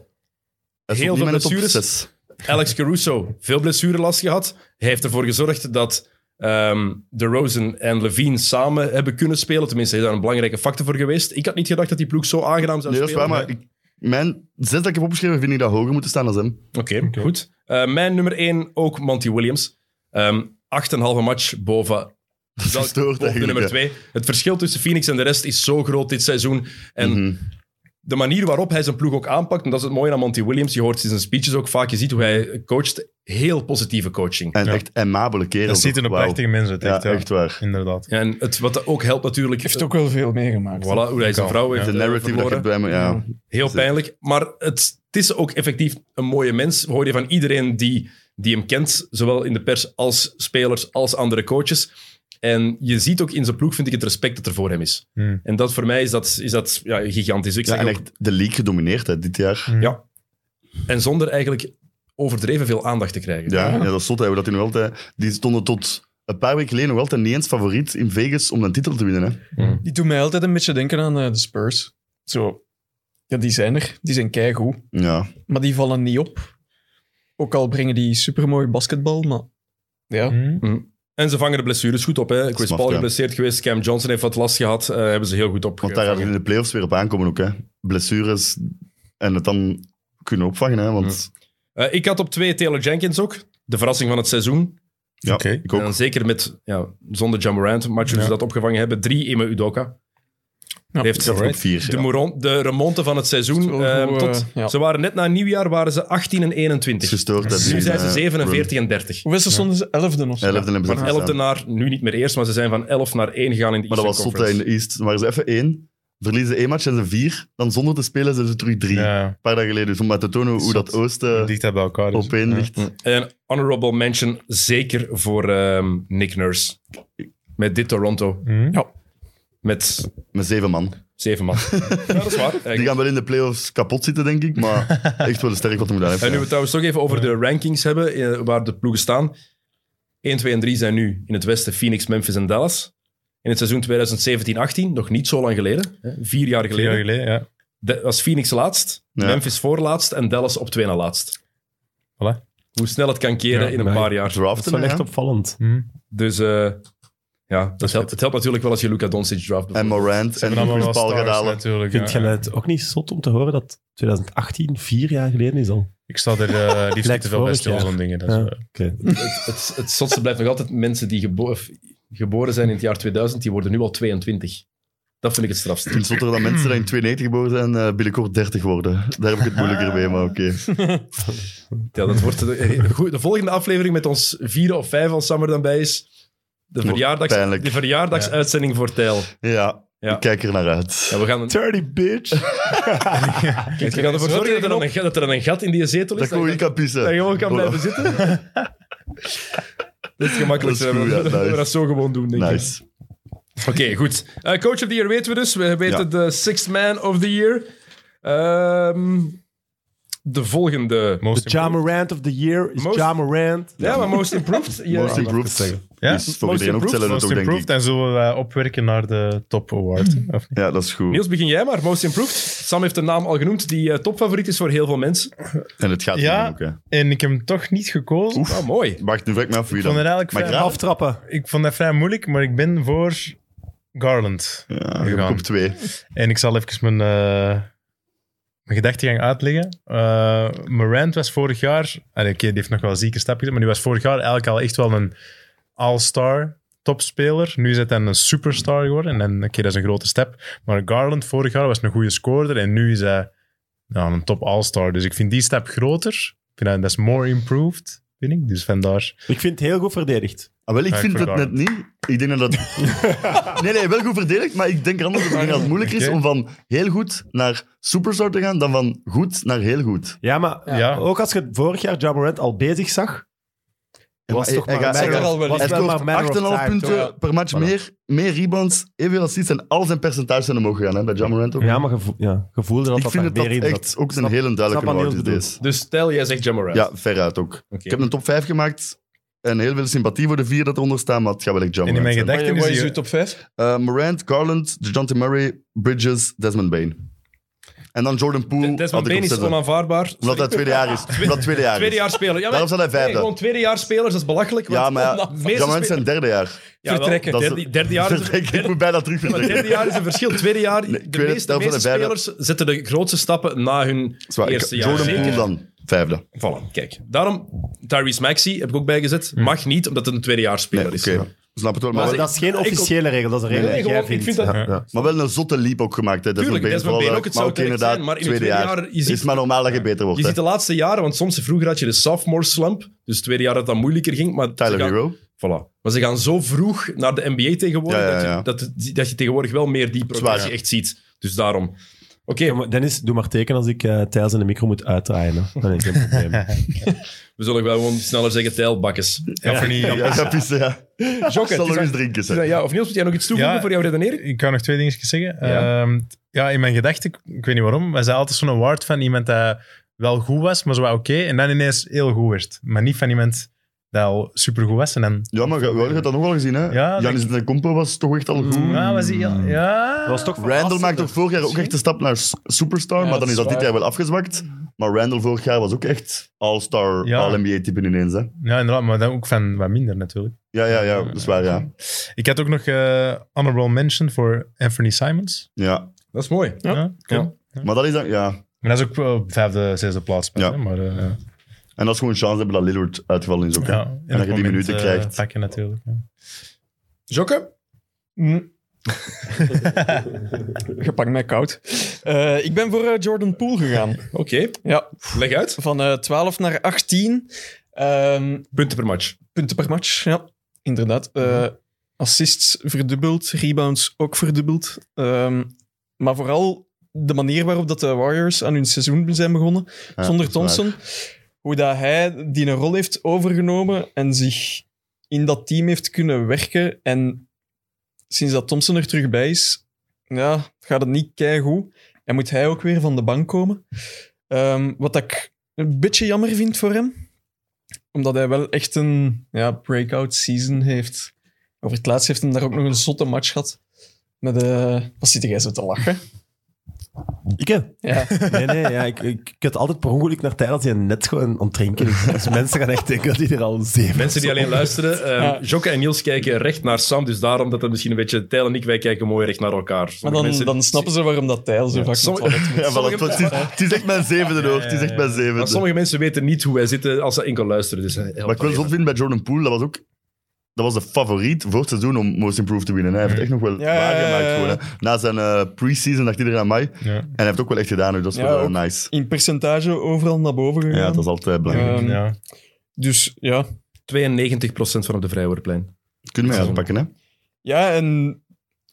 stond heel niet veel met de top blessures. zes. Alex Caruso, veel blessurelast gehad. Hij heeft ervoor gezorgd dat ehm De Rosen en Levine samen hebben kunnen spelen. Tenminste, hij is daar een belangrijke factor voor geweest. Ik had niet gedacht dat die ploeg zo aangenaam zou Nee, dat is spelen. waar, maar ik- mijn zes dat ik heb opgeschreven vind ik dat hoger moeten staan dan hem. Oké, goed. Eh, mijn nummer 1, ook Monty Williams. Ehm 8,5 match boven, Dat is wel- gestoord boven de eigenlijk. nummer hè. 2. Het verschil tussen Phoenix en de rest is zo groot dit seizoen. En Mhm. de manier waarop hij zijn ploeg ook aanpakt, en dat is het mooie aan Monty Williams, je hoort in zijn speeches ook vaak, je ziet hoe hij coacht, heel positieve coaching. En echt amabele kerel. Dat ziet toch? er een Wauw. prachtige mens uit, Ja, echt, ja. echt waar. Inderdaad. En het, wat ook helpt natuurlijk, eh, Heeft ook wel veel meegemaakt. voilà, hoe hij zijn vrouw heeft De eh, narrative dat verloren. je bij me... Ja. Heel Zeker. pijnlijk. Maar het, het is ook effectief een mooie mens. We hoorden van iedereen die, die hem kent, zowel in de pers als spelers als andere coaches. En je ziet ook in zijn ploeg, vind ik, het respect dat er voor hem is. Hmm. En dat voor mij is dat, is dat ja, Mm. gigantisch. Ik Ja, zeg en ook- echt de league gedomineerd hè, dit jaar. en zonder eigenlijk overdreven veel aandacht te krijgen. Ja, ja, dat is zot. hè, hoe Dat die, nog altijd, die stonden tot een paar weken geleden nog altijd niet eens favoriet in Vegas om een titel te winnen. Hè. Die doen mij altijd een beetje denken aan eh, de Spurs. Zo. Ja, die zijn er. Die zijn keigoed. Ja. Maar die vallen niet op. Ook al brengen die supermooi basketbal, maar... Ja. Hm? En ze vangen de blessures goed op. Hè. Chris Smart, Paul ja. geblesseerd geweest, Cam Johnson heeft wat last gehad. eh, hebben ze heel goed op. Want daar gaat het in de playoffs weer op aankomen ook. Hè. Blessures en het dan kunnen opvangen. Hè, want Eh, ik had op twee Taylor Jenkins ook. De verrassing van het seizoen. ja, Oké. ik ook. En dan zeker met, ja, zonder John Morant, maar hoe ze Ja. dat opgevangen hebben. Drie Ime Udoka. Ja, heeft Ik had er ook vier. de, ja. moeron- de remonte van het Het seizoen. is wel ehm, goed, tot, eh, ja. Ze waren net na nieuwjaar waren ze 18 en Het is 21. gestoord. dat nu die, zijn ze eh, 47 en 30. Hoeveel stonden ze? Elfden of zo? run. Elfde hebben ze Van 11 afgestaan. naar, nu niet meer eerst, maar ze zijn van 11 naar 1 gegaan in de Maar dat was Eastern zot hè, in de Conference. East. Dan waren ze even één. Verliezen één match en ze vier. Dan zonder te spelen zijn ze terug drie. Ja, Een paar dagen geleden. Dus om maar te tonen hoe Zot. dat Oosten dicht bij elkaar. is. eh, op één Ja. ligt. Hm. En honorable mention zeker voor ehm, Nick Nurse. Met dit Toronto. Hm? Met Met zeven man. zeven *laughs* man. Ja, dat is waar. eigenlijk. Die gaan wel in de playoffs kapot zitten, denk ik. Maar echt wel sterk wat hem gedaan heeft. En nu we ja. het trouwens toch even over de rankings hebben, eh, waar de ploegen staan. 1, 2 en 3 zijn nu in het westen Phoenix, Memphis en Dallas. In het seizoen 2017-18, nog niet zo lang geleden, hè, vier jaar Vier jaar geleden, geleden, ja. Dat was Phoenix laatst, Ja. Memphis voorlaatst en Dallas op twee na laatst. Voilà. Hoe snel het kan keren Ja, in een maar- paar jaar. Dat Draften, is wel hè, echt ja. opvallend. Hm. Dus eh, ja, dat helpt, het helpt natuurlijk wel als je Luka Doncic draft. En Morant Ze en hebben allemaal Chris wel Paul stars gaan halen. natuurlijk. Vind ja. jij het ook niet zot om te horen dat 2018 vier jaar geleden is al? Ik sta er eh liefst niet te veel bij vorig stil, jaar. zo'n dingen. Dat is, Ja. eh, Oké. het, het, het zotste blijft nog altijd mensen die gebo- of geboren zijn in het jaar 2000, die worden nu al 22. Dat vind ik het strafste. Het is zotter dat mensen die in 92 geboren zijn eh, binnenkort 30 worden. Daar heb ik het moeilijker mee, maar oké. Ja, dat wordt de, goed, de volgende aflevering met ons vieren of vijf als Sam er dan bij is. De, Wordt verjaardags, pijnlijk. de verjaardagsuitzending voor Tijl. Ja, Ja. ik kijk er naar uit. Ja, we *laughs* gaan, Dirty bitch. kijk, we gaan ervoor zorgen dat er, dan een, gat- dat er dan een gat in die zetel Dat is. ik gewoon je niet kan pissen. dat je gewoon kan Voilà. blijven zitten. Dat is gemakkelijk. Dat is goed, ja, we nice. dat zo gewoon doen, denk ik. Nice. Oké, goed. Eh, coach of the Year weten we dus. We weten Ja. de Sixth Man of the Year. Ehm, de volgende. Most De Ja Morant of the Year is Most- Ja Morant. Ja, maar Most Improved. Ja. Most dat kan ik improved. Ja, Is voor most iedereen ook improved, tellen Most ook, denk ik. improved en zullen we eh, opwerken naar de top award. Of niet? Ja, dat is goed. Niels, begin jij maar. Most Improved. Sam heeft de naam al genoemd die eh, topfavoriet is voor heel veel mensen. En het gaat Ja. winnen ook, hè. En ik heb hem toch niet gekozen. Oh, mooi. Wacht, nu vraag ik me af wie Ik vond dan... het eigenlijk Maar vrij, Graaf- Aftrappen. ik vond dat vrij moeilijk, maar ik ben voor Garland. Ja, ik heb Gaan. op twee. En ik zal even mijn, eh, mijn gedachtegang uitleggen. Eh, Morant was vorig jaar... allee, Oké, die heeft nog wel een zieke stap gezet, maar die was vorig jaar eigenlijk al echt wel een all-star topspeler. Nu is het dan een superstar geworden. En dan, oké, dat is een grote stap. Maar Garland vorig jaar was een goede scorer en nu is hij nou, een top all-star. Dus ik vind die stap groter. Ik vind dat, dat is more improved, vind ik. Dus vandaar... Ik vind het heel goed verdedigd. Ah, wel, ik Ja, ik vind vind het net Garland. niet. Ik denk dat dat... *laughs* nee, nee, wel goed verdedigd, maar ik denk er anders dat het inderdaad moeilijk is Oké. om van heel goed naar superstar te gaan dan van goed naar heel goed. Ja, maar Ja. Oh, ook als je vorig jaar Ja Morant al bezig zag, Ja, was maar toch hij- maar hij gaat- een matter hij of- gaat- was Hij wel maar een matter of scoort 8,5 time, punten toch? Ja. per match meer, meer rebounds, evenveel assists en al zijn percentages zijn omhoog gegaan, hè, bij Ja Morant ook. Ja, maar gevo ja, gevoelde dat ik dat vind er het dat meer in echt zat. ook een Snap- hele duidelijke snap wat award is Niels deze. Dus stel, jij zegt Jammerant. Ja, veruit ook. Ik heb een top 5 gemaakt en heel veel sympathie voor de vier dat eronder staan, maar het gaat wel echt Ja En in mijn Morant zijn. Wat gedachten is is uw die... top 5? Eh, Morant, Garland, DeJounte Murray, Bridges, Desmond Bain. En dan Jordan Poole. De- had Desmond ik op Bain is zetten. onaanvaarbaar. Omdat dat tweede *laughs* jaar is. Omdat het tweede jaar Tweede is. jaar speler. Ja, maar- Daarom staat hij nee, vijfde. gewoon tweede jaar spelers, dat is belachelijk. Ja, want- maar ja, de meeste Ja, maar het spe- zijn derde jaar. Jawel, *laughs* vertrekken. Dat *laughs* is- Derde, derde jaar is een- Ik, ik moet bijna terug Ja, maar derde vertrekken. jaar is een verschil. Tweede jaar, Nee, ik de weet het, meeste, dat is meeste wel een spelers zetten de grootste stappen na hun Zwaar, ik- eerste jaar. Jordan Zeker. Poole dan, vijfde. Voilà, kijk. Daarom, Tyrese Maxey heb ik ook bijgezet. Mag niet, omdat het een tweedejaarsspeler Hm. Nee, oké. is. Snap het wel. Maar, Maar Maar wel, dat is geen ik- officiële regel, dat is een regel Nee, die jij gewoon, ik vindt. vind dat- Ja, ja. maar wel een zotte leap ook gemaakt. Hè. Desmond Tuurlijk, Bain Desmond vooral Bain uit, ook, het maar zou ook terecht inderdaad zijn, maar in het tweede tweede jaar. jaar, je ziet- is maar normaal dat je beter wordt. Je hè. ziet de laatste jaren, want soms vroeger had je de sophomore slump. Dus het tweede jaar dat dat moeilijker ging. Maar ze Tyler gaan, Hero. Voilà. Maar ze gaan zo vroeg naar de NBA tegenwoordig, Ja, ja, ja. Dat, je, dat, dat je tegenwoordig wel meer die progressie echt ziet. Dus daarom. Oké, Ja, maar Dennis, doe maar teken als ik eh Thijs in de micro moet uitdraaien. hè. Dan heb ik geen probleem. we zullen wel gewoon sneller zeggen, tijlbakkes. Ja, voor niet- Ja, *laughs* ja, ja, pissen, ja. Ik Jokke, zal nog het is eens drinken. zeg. aan- Eh, ja, of Niels, moet jij nog iets toevoegen Ja. voor jouw redenering? Ik kan nog twee dingetjes zeggen. Ja. Ja, ja in mijn gedachten, ik- ik weet niet waarom, was hij altijd zo'n award van iemand dat wel goed was, maar zo wat oké, en dan ineens heel goed werd. Maar niet van iemand dat al supergoed was en dan... Ja, maar we hebben dat nog wel gezien. hè? Ja, Janis de Kompo was toch echt al goed. Ja, was hij... heel- Ja... Dat was toch Randall verrassend, maakt toch hè? vorig jaar ook echt de stap naar s- superstar, Ja, maar dan dat is is dat dit waar. jaar wel afgezwakt. Maar Randall vorig jaar was ook echt all-star, Ja. all-NBA-type ineens. Hè? Ja, inderdaad, maar dan ook van wat minder natuurlijk. Ja, ja, ja, dat is waar, ja. Ik had ook nog eh, honorable mention voor Anthony Simons. ja. Dat is mooi. Ja, cool. ja. Maar dat is dan, ja. Maar dat is ook wel vijfde, zesde plaats. pas, Ja. hè, Maar, eh, En dat is gewoon een chance hebben dat Lillard uitgevallen is ook. hè. ja, en in dat dat je die moment, minuten eh, krijgt. Pakken natuurlijk. ja. Jokke? Je pakt mij koud. Eh, ik ben voor eh, Jordan Poole gegaan. Oké, Ja, leg uit. van eh, 12 naar 18. Ehm, Punten per match. punten per match, ja. Inderdaad. Eh, assists verdubbeld, rebounds ook verdubbeld. Ehm, maar vooral de manier waarop dat de Warriors aan hun seizoen zijn begonnen, Ja, zonder dat is waar. Thompson. Hoe dat hij die een rol heeft overgenomen en zich in dat team heeft kunnen werken. En sinds dat Thompson er terug bij is, ja, gaat het niet keigoed. En moet hij ook weer van de bank komen. Ehm, wat dat ik een beetje jammer vind voor hem omdat hij wel echt een ja, breakout season heeft. Over het laatst heeft hij daar ook nog een zotte match gehad. Met de... Wat zit jij zo te *laughs* lachen? Ik, hè? Ja, Nee, nee, ja, ik, ik, ik had altijd per ongeluk naar Thijs als hij net gewoon onttrinken is. Dus mensen gaan echt denken dat hij er al zeven Mensen die alleen luisteren, *laughs* ehm, Ja. Jokke en Niels kijken recht naar Sam, dus daarom dat het misschien een beetje... Tijl en ik, wij kijken mooi recht naar elkaar. maar Sommige dan, mensen- dan snappen ze waarom dat Tijl zo vaak Sommige- op het *laughs* toilet Ja, Sommige- voilà, het, is, het is echt mijn zevende hoor. Het is echt mijn Maar zevende. sommige mensen weten niet hoe wij zitten als ze enkel luisteren. Dus Wat ik wel zot vind bij Jordan Poole, dat was ook... Dat was de favoriet voor het seizoen om Most Improved te winnen. Hij heeft echt nog wel Ja, ja, ja, ja. waargemaakt. gewoon, hè. Na zijn eh, pre-season dacht iedereen aan mij. En Ja. hij heeft ook wel echt gedaan. Dus dat is Ja, wel eh, ook. nice. moet. In percentage overal naar boven gegaan. Ja, dat is altijd belangrijk. Ehm, ja. Dus ja. 92% van op de vrijwoordplein. Kunnen we Ja. uitpakken, hè? Ja, en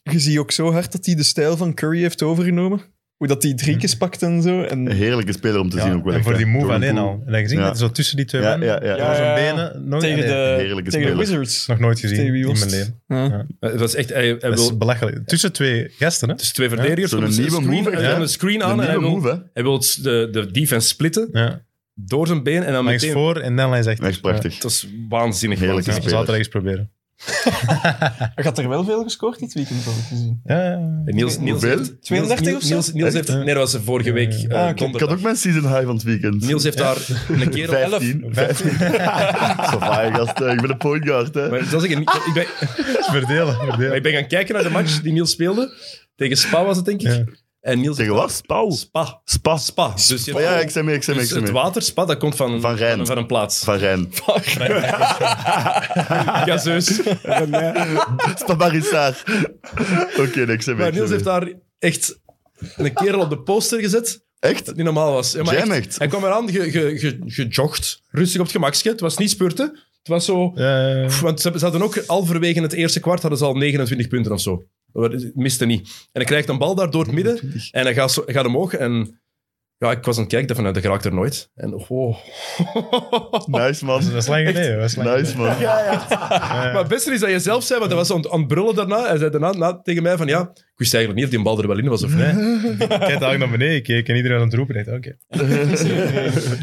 je ziet ook zo hard dat hij de stijl van Curry heeft overgenomen. Hoe dat die drie Hm. keer pakt en zo. En Een heerlijke speler om te zien ook wel. en echt, voor hè. die move aan Jordan in Poole. al. En dan gezien Ja. dat hij zo tussen die twee Ja, mannen, ja, ja. door zijn Ja, ja. benen, nog, tegen, nee, de, heerlijke tegen de speler. is Wizards. nog nooit gezien tegen in wie was mijn het? leven. Ja. Ja. Eh, Het was echt, hij, hij Dat is wil belachelijk. Tussen twee gasten, hè? dus twee verdedigers. Zo'n komt nieuwe screen, move, hij ja. kan een screen aan Een en hij nieuwe wil, move, hè? hij wil het- de, de defense splitten Ja. door zijn been en dan Langs meteen... voor en dan langs achter. Echt prachtig. Het is waanzinnig. Heerlijk. Ja, waanzinnig. we zouden het ergens proberen. Hij had er wel veel gescoord dit weekend, heb ik gezien. Ja, ja. En Niels, Niels, Hoeveel? heeft- 32 Niels- of zo? Niels, Niels heeft... Echt? Nee, dat was vorige week eh, Ah, oké. Ik had donderdag. ook mijn season high van het weekend. Niels heeft *laughs* daar een keer op 11. 15. 15. *laughs* Zo vaai, gast. Ik ben een point guard, hè. Maar dat is ik, ik, ben, *laughs* Verdelen, maar *laughs* verdelen. ik ben gaan kijken naar de match die Niels speelde. Tegen Spa was het, denk ik. Ja. En Niels Tegen wat? Spauw. Spa. Spa. Oh Spa. Dus, je- Ja, ja, ik zei mee, ik zei mee, dus ik zei het mee. waterspad, dat komt van, Van Rijn. Van, een plaats. Van Rijn. *laughs* Gazeus. Spabarissar. Oké, nee, ik zei mee. Maar ik zei Niels heeft mee. daar echt een kerel op de poster gezet. Echt? Dat niet normaal was. Ja, maar Jam echt, echt. Hij kwam eraan, ge, ge, ge- gejogd. Rustig op het gemakje. Het was niet spurten. Het was zo... Ja, Pff, Want ze, ze hadden ook halverwege het eerste kwart hadden ze al 29 punten of zo. Dat Miste niet. En hij krijgt een bal daar door het midden en hij gaat, zo, hij gaat omhoog. En ja, ik was aan het kijken nou, vanuit de karakter nooit. En oh. Nice, man. Dat is lang geleden. dat is lang Nice, geleden. man. Maar het beste is dat je zelf zei, want hij was aan, het- aan het brullen daarna. Hij zei daarna na- tegen mij van ja, ik wist eigenlijk niet of die bal er wel in was of niet. Nee. Ik heb eigenlijk naar beneden gekeken en iedereen aan het roepen. Ik dacht, Oké.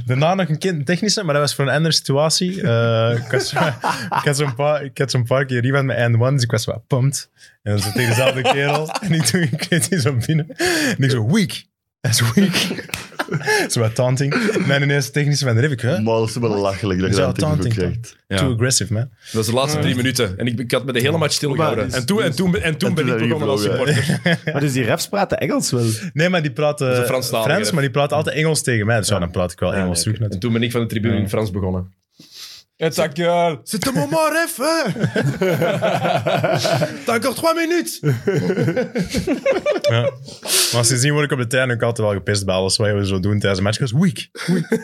*laughs* Daarna nog een kind, een technische, maar dat was voor een andere situatie. Eh, ik, was, *laughs* ik had zo'n paar, ik had zo'n paar keer iemand met and one, dus ik was wat pumped. En dan zat tegen dezelfde kerel. *laughs* En ik doe ik weet niet zo binnen. En ik zo, weak. Dat is weak. *laughs* Zo wat taunting. En dan ineens de technische van de ref. Ik, huh? Maar dat is wel belachelijk dat je Is dat dat tegen goed taunting, krijgt. Ja. Too aggressive, man. Dat was de laatste drie minuten. En ik, ik had me de hele match stilgehouden. is- En toen, en toen, en toen dus- toen ben ik heb je begonnen als gevlogen, supporter. Maar dus die refs praten Engels wel. Nee, maar die praten een Franstalige Frans, ref. maar die praten altijd Engels tegen mij. Dus ja, dan praat ik wel Engels terug. En natuurlijk. toen ben ik van de tribune in Frans begonnen. Het is girl. C'est un moment, ref! T'as encore trois minutes! Ja. Maar sindsdien word ik op de trein ook altijd wel gepest bij alles wat we zo doen tijdens een match. Ik was weak. Dat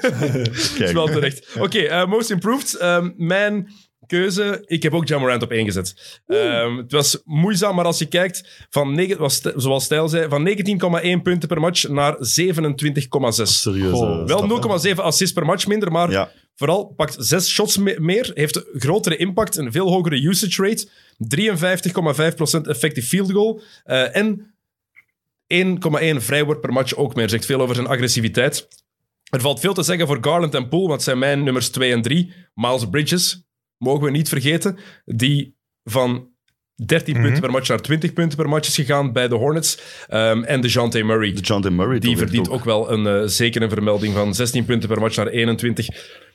Kijk. is wel terecht. Oké, eh, Most Improved. Ehm, mijn keuze, ik heb ook John Morant op één gezet. Ehm, het was moeizaam, maar als je kijkt, van negen, was, zoals Stijl zei, van 19,1 punten per match naar 27,6. Serieus. Goh, eh, Wel stap, hè. 0,7 assists per match minder, maar Ja. vooral pakt zes shots me- meer, heeft een grotere impact, een veel hogere usage rate, 53,5% effective field goal eh, en 1,1 vrijwoord per match ook meer. Zegt veel over zijn agressiviteit. Er valt veel te zeggen voor Garland en Poole, want zijn mijn nummers 2 en 3. Miles Bridges, mogen we niet vergeten, die van 13 punten per match naar 20 punten per match is gegaan bij de Hornets. Ehm, en de Jante Murray. De John Murray. Die toch echt verdient ook, wel een eh, zekere vermelding van 16 punten per match naar 21.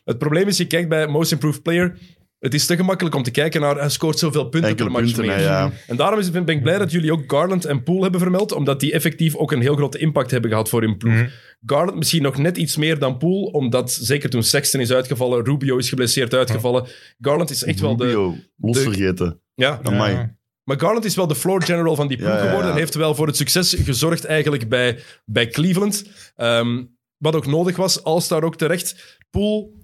Het probleem is, je kijkt bij Most Improved Player. Het is te gemakkelijk om te kijken naar hij scoort zoveel punten Enkele per match punten, meer. hè, ja. En daarom is, ben ik blij dat jullie ook Garland en Poole hebben vermeld, omdat die effectief ook een heel grote impact hebben gehad voor hun ploeg. Garland misschien nog net iets meer dan Poole, omdat zeker toen Sexton is uitgevallen, Rubio is geblesseerd uitgevallen. Garland is echt wel de... Rubio, los de- vergeten. Ja, Amai. Ja. maar Garland is wel de floor general van die ploeg Ja, ja, ja. geworden. En heeft wel voor het succes gezorgd eigenlijk bij, bij Cleveland. Ehm, wat ook nodig was, All-Star ook terecht. Poole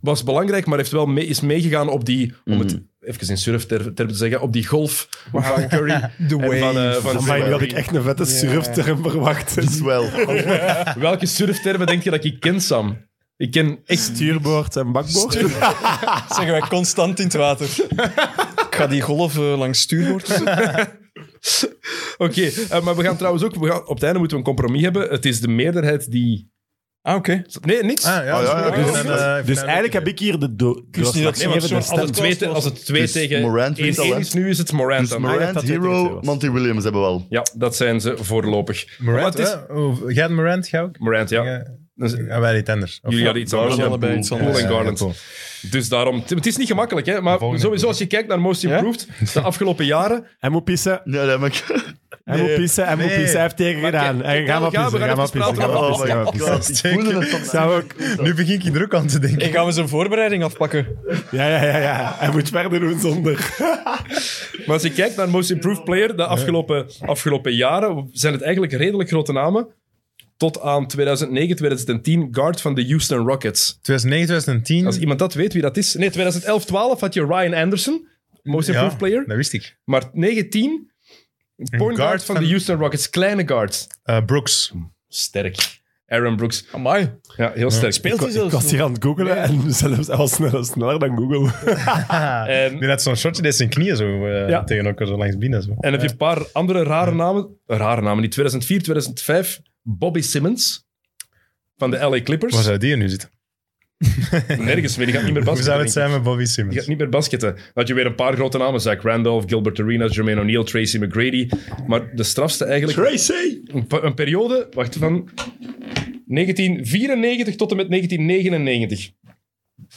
was belangrijk, maar heeft wel mee, is meegegaan op die... Om het Mhm. even in surf ter, ter te zeggen, op die golf van Curry. The en van, eh, wave. van Amai, nu Curry. had ik echt een vette surfterm *laughs* verwacht. Wel. Welke surftermen denk je dat ik ken, Sam? Ik ken echt... Stuurboord en bakboord. Dus Zeggen wij constant in het water. *laughs* Ik ga die golf eh, langs stuurboord. zetten. *laughs* Oké, eh, maar we gaan trouwens ook... We gaan, op het einde moeten we een compromis hebben. Het is de meerderheid die... Ah, oké. Nee, niks. Ah, ja, Oh, ja, dat is ja, ook ja. een, eh, Dus finale eigenlijk heb idee. ik hier de do- dat doorslag ze Nee, gegeven. Daar maar want als staan het twee, te- als het twee Dus tegen Morant wint al, 1-1 hè? Dus is, nu is het Morant dan. Ah, ja, Morant, dat weet ik Hero, zelfs. Monty Williams hebben we al. Ja, dat zijn ze voorlopig. Maar Morant, wat is- hè? Oh, Jij hebt Morant, jij ook? Morant, ja. Ja. Ah, Dat is- Ja, wij niet anders. Of- Dus- Jullie hadden iets anders. Garland ja. allebei iets Poole anders. en Ja, Garland. ja, cool. Dus daarom... Het is niet gemakkelijk, hè. Maar Volgende. sowieso, als je kijkt naar Most Improved, de afgelopen *laughs* jaren... Hij moet pissen. Ja, dat heb ik. Hij moet pissen. Hij moet Nee. pissen. Hij heeft tegen gedaan. kijk, Hij kijk, gaat maar we gaan- pissen. we Ga gaan maar even pissen. Ga praten maar over Oh pissen. my Ga maar god. pissen. Ik voelde het vandaag. Zou ook... Nu begin ik hier druk aan te denken. En gaan we zijn voorbereiding afpakken? Ja, ja, ja, ja. Hij moet verder doen zonder. Maar als je kijkt naar Most Improved Player de afgelopen, afgelopen jaren, zijn het eigenlijk redelijk grote namen. Tot aan 2009, 2010, guard van de Houston Rockets. 2009, 2010. Hm. Als iemand dat weet, wie dat is. Nee, 2011, 12 had je Ryan Anderson, Most Ja, Improved Player. Dat wist ik. Maar 19 Point guard guard van de van- Houston Rockets. Kleine guards. Eh, Brooks. Hm. *laughs* Sterk. Aaron Brooks. Amai. Ja, heel sterk. Ik, Speelt wa- hij ik was zelfs? hier aan het googelen en zelfs, hij was sneller, sneller dan Google. En- die had zo'n shotje, deed zijn knieën zo eh, Eh, Ja. tegen elkaar zo langs binnen. Zo. En heb je een paar andere rare namen. Rare namen, die 2004, 2005. Bobby Simmons. Van de LA Waar Clippers. zou die hier nu zitten? Nergens meer. Die gaat niet meer basketten. *laughs* Hoe zou het denk ik. zijn met Bobby Die gaat Simmons? niet meer basketten. Dan had je weer een paar grote namen. Zach Randolph, Gilbert Arenas, Jermaine O'Neal, Tracy McGrady. Maar de strafste eigenlijk... Tracy! Een, pe- een periode, wacht, van 1994 tot en met 1999.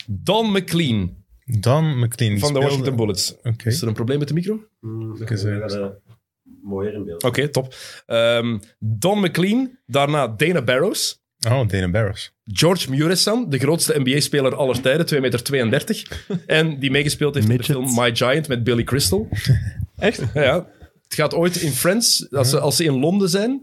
Don McLean Dan McLean. van de die speelde- Washington Bullets. Oké. Is er een probleem met de micro? Oké, Mm, Mooier in beeld. top. Ehm, Don McLean, daarna Dana Barrows. Oh, Dana Barrows. George Muresan, de grootste NBA-speler aller tijden, 2,32 meter. En die meegespeeld heeft in de Midget. film My Giant met Billy Crystal. Echt? Ja, ja. Het gaat ooit in Friends, als ze, als ze in Londen zijn.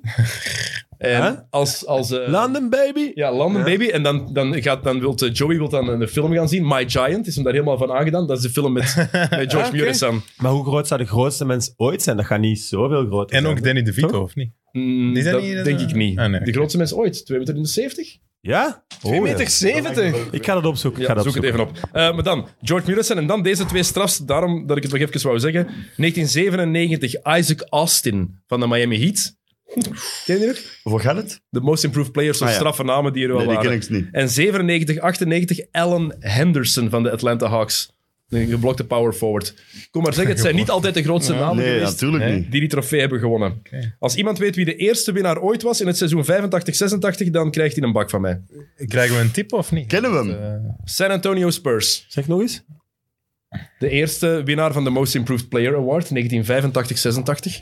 En Huh? als, als, eh, London, baby! Ja, London Baby. En dan, dan, gaat, dan wilt, eh, Joey wil dan een film gaan zien. My Giant is hem daar helemaal van aangedaan. Dat is de film met, met George Ah, oké. Muresan. Maar hoe groot zou de grootste mens ooit zijn? Dat gaat niet zoveel groot zijn. En ook Danny DeVito, of niet? Mm, Is dat dat niet, eh, denk ik niet. ah, nee. De grootste mens ooit. 2,70 meter. Ja? 2,70 Oh, ja. meter. 70. Ik ga dat opzoeken. Ik Ja, ga dat zoek het opzoeken. even op. Eh, maar dan, George Muresan en dan deze twee strafs. Daarom dat ik het nog even wou zeggen. 1997, Isaac Austin van de Miami Heat. Ken je die nog? Voor gaat het? De most improved players, zo'n Ah, ja. straffe namen die er wel Nee, die waren. ken ik niet. En 97, 98, Allen Henderson van de Atlanta Hawks. Een geblokte power forward. Kom maar zeggen, het zijn niet altijd de grootste namen Nee, geweest natuurlijk Nee. niet. die die trofee hebben gewonnen. Als iemand weet wie de eerste winnaar ooit was in het seizoen 85-86, dan krijgt hij een bak van mij. Krijgen we een tip of niet? Kennen we hem? Eh, San Antonio Spurs. Zeg nog eens. De eerste winnaar van de Most Improved Player Award, 1985-86.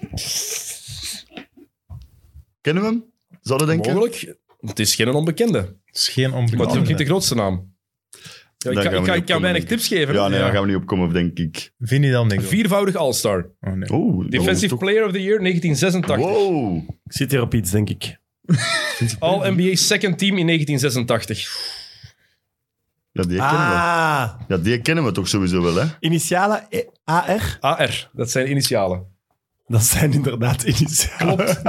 Kennen we hem? Zouden we denken? Mogelijk. Het is geen onbekende. het is geen Maar het is ook niet de onbekende. grootste naam. Ja, ik Daar kan, gaan we ik kan, niet ik kan op weinig komen, tips geven. Ja, hè? nee, daar gaan we niet op komen, denk ik. Vind je dan niks? Viervoudig All-Star. Oh, nee. Oeh, dat Defensive wordt Player of the Year, 1986. toch- oh. Wow. Ik zit hier op iets, denk ik. All-NBA second team in 1986. Ja, die kennen we. Ah, Ja, die kennen we toch sowieso wel, hè? initialen E- AR. AR, dat zijn initialen. Dat zijn inderdaad *laughs* initialen. Klopt.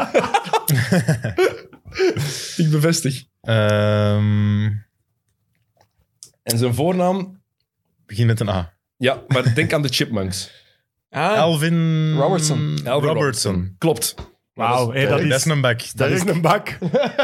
Ik bevestig. Ehm, En zijn voornaam? begin met een A. Ja, maar denk aan de Chipmunks. Ah, Alvin... Robertson. Alvin Robertson. Klopt. Wauw, hé, dat, Dat is, is een bak. dat is een bak.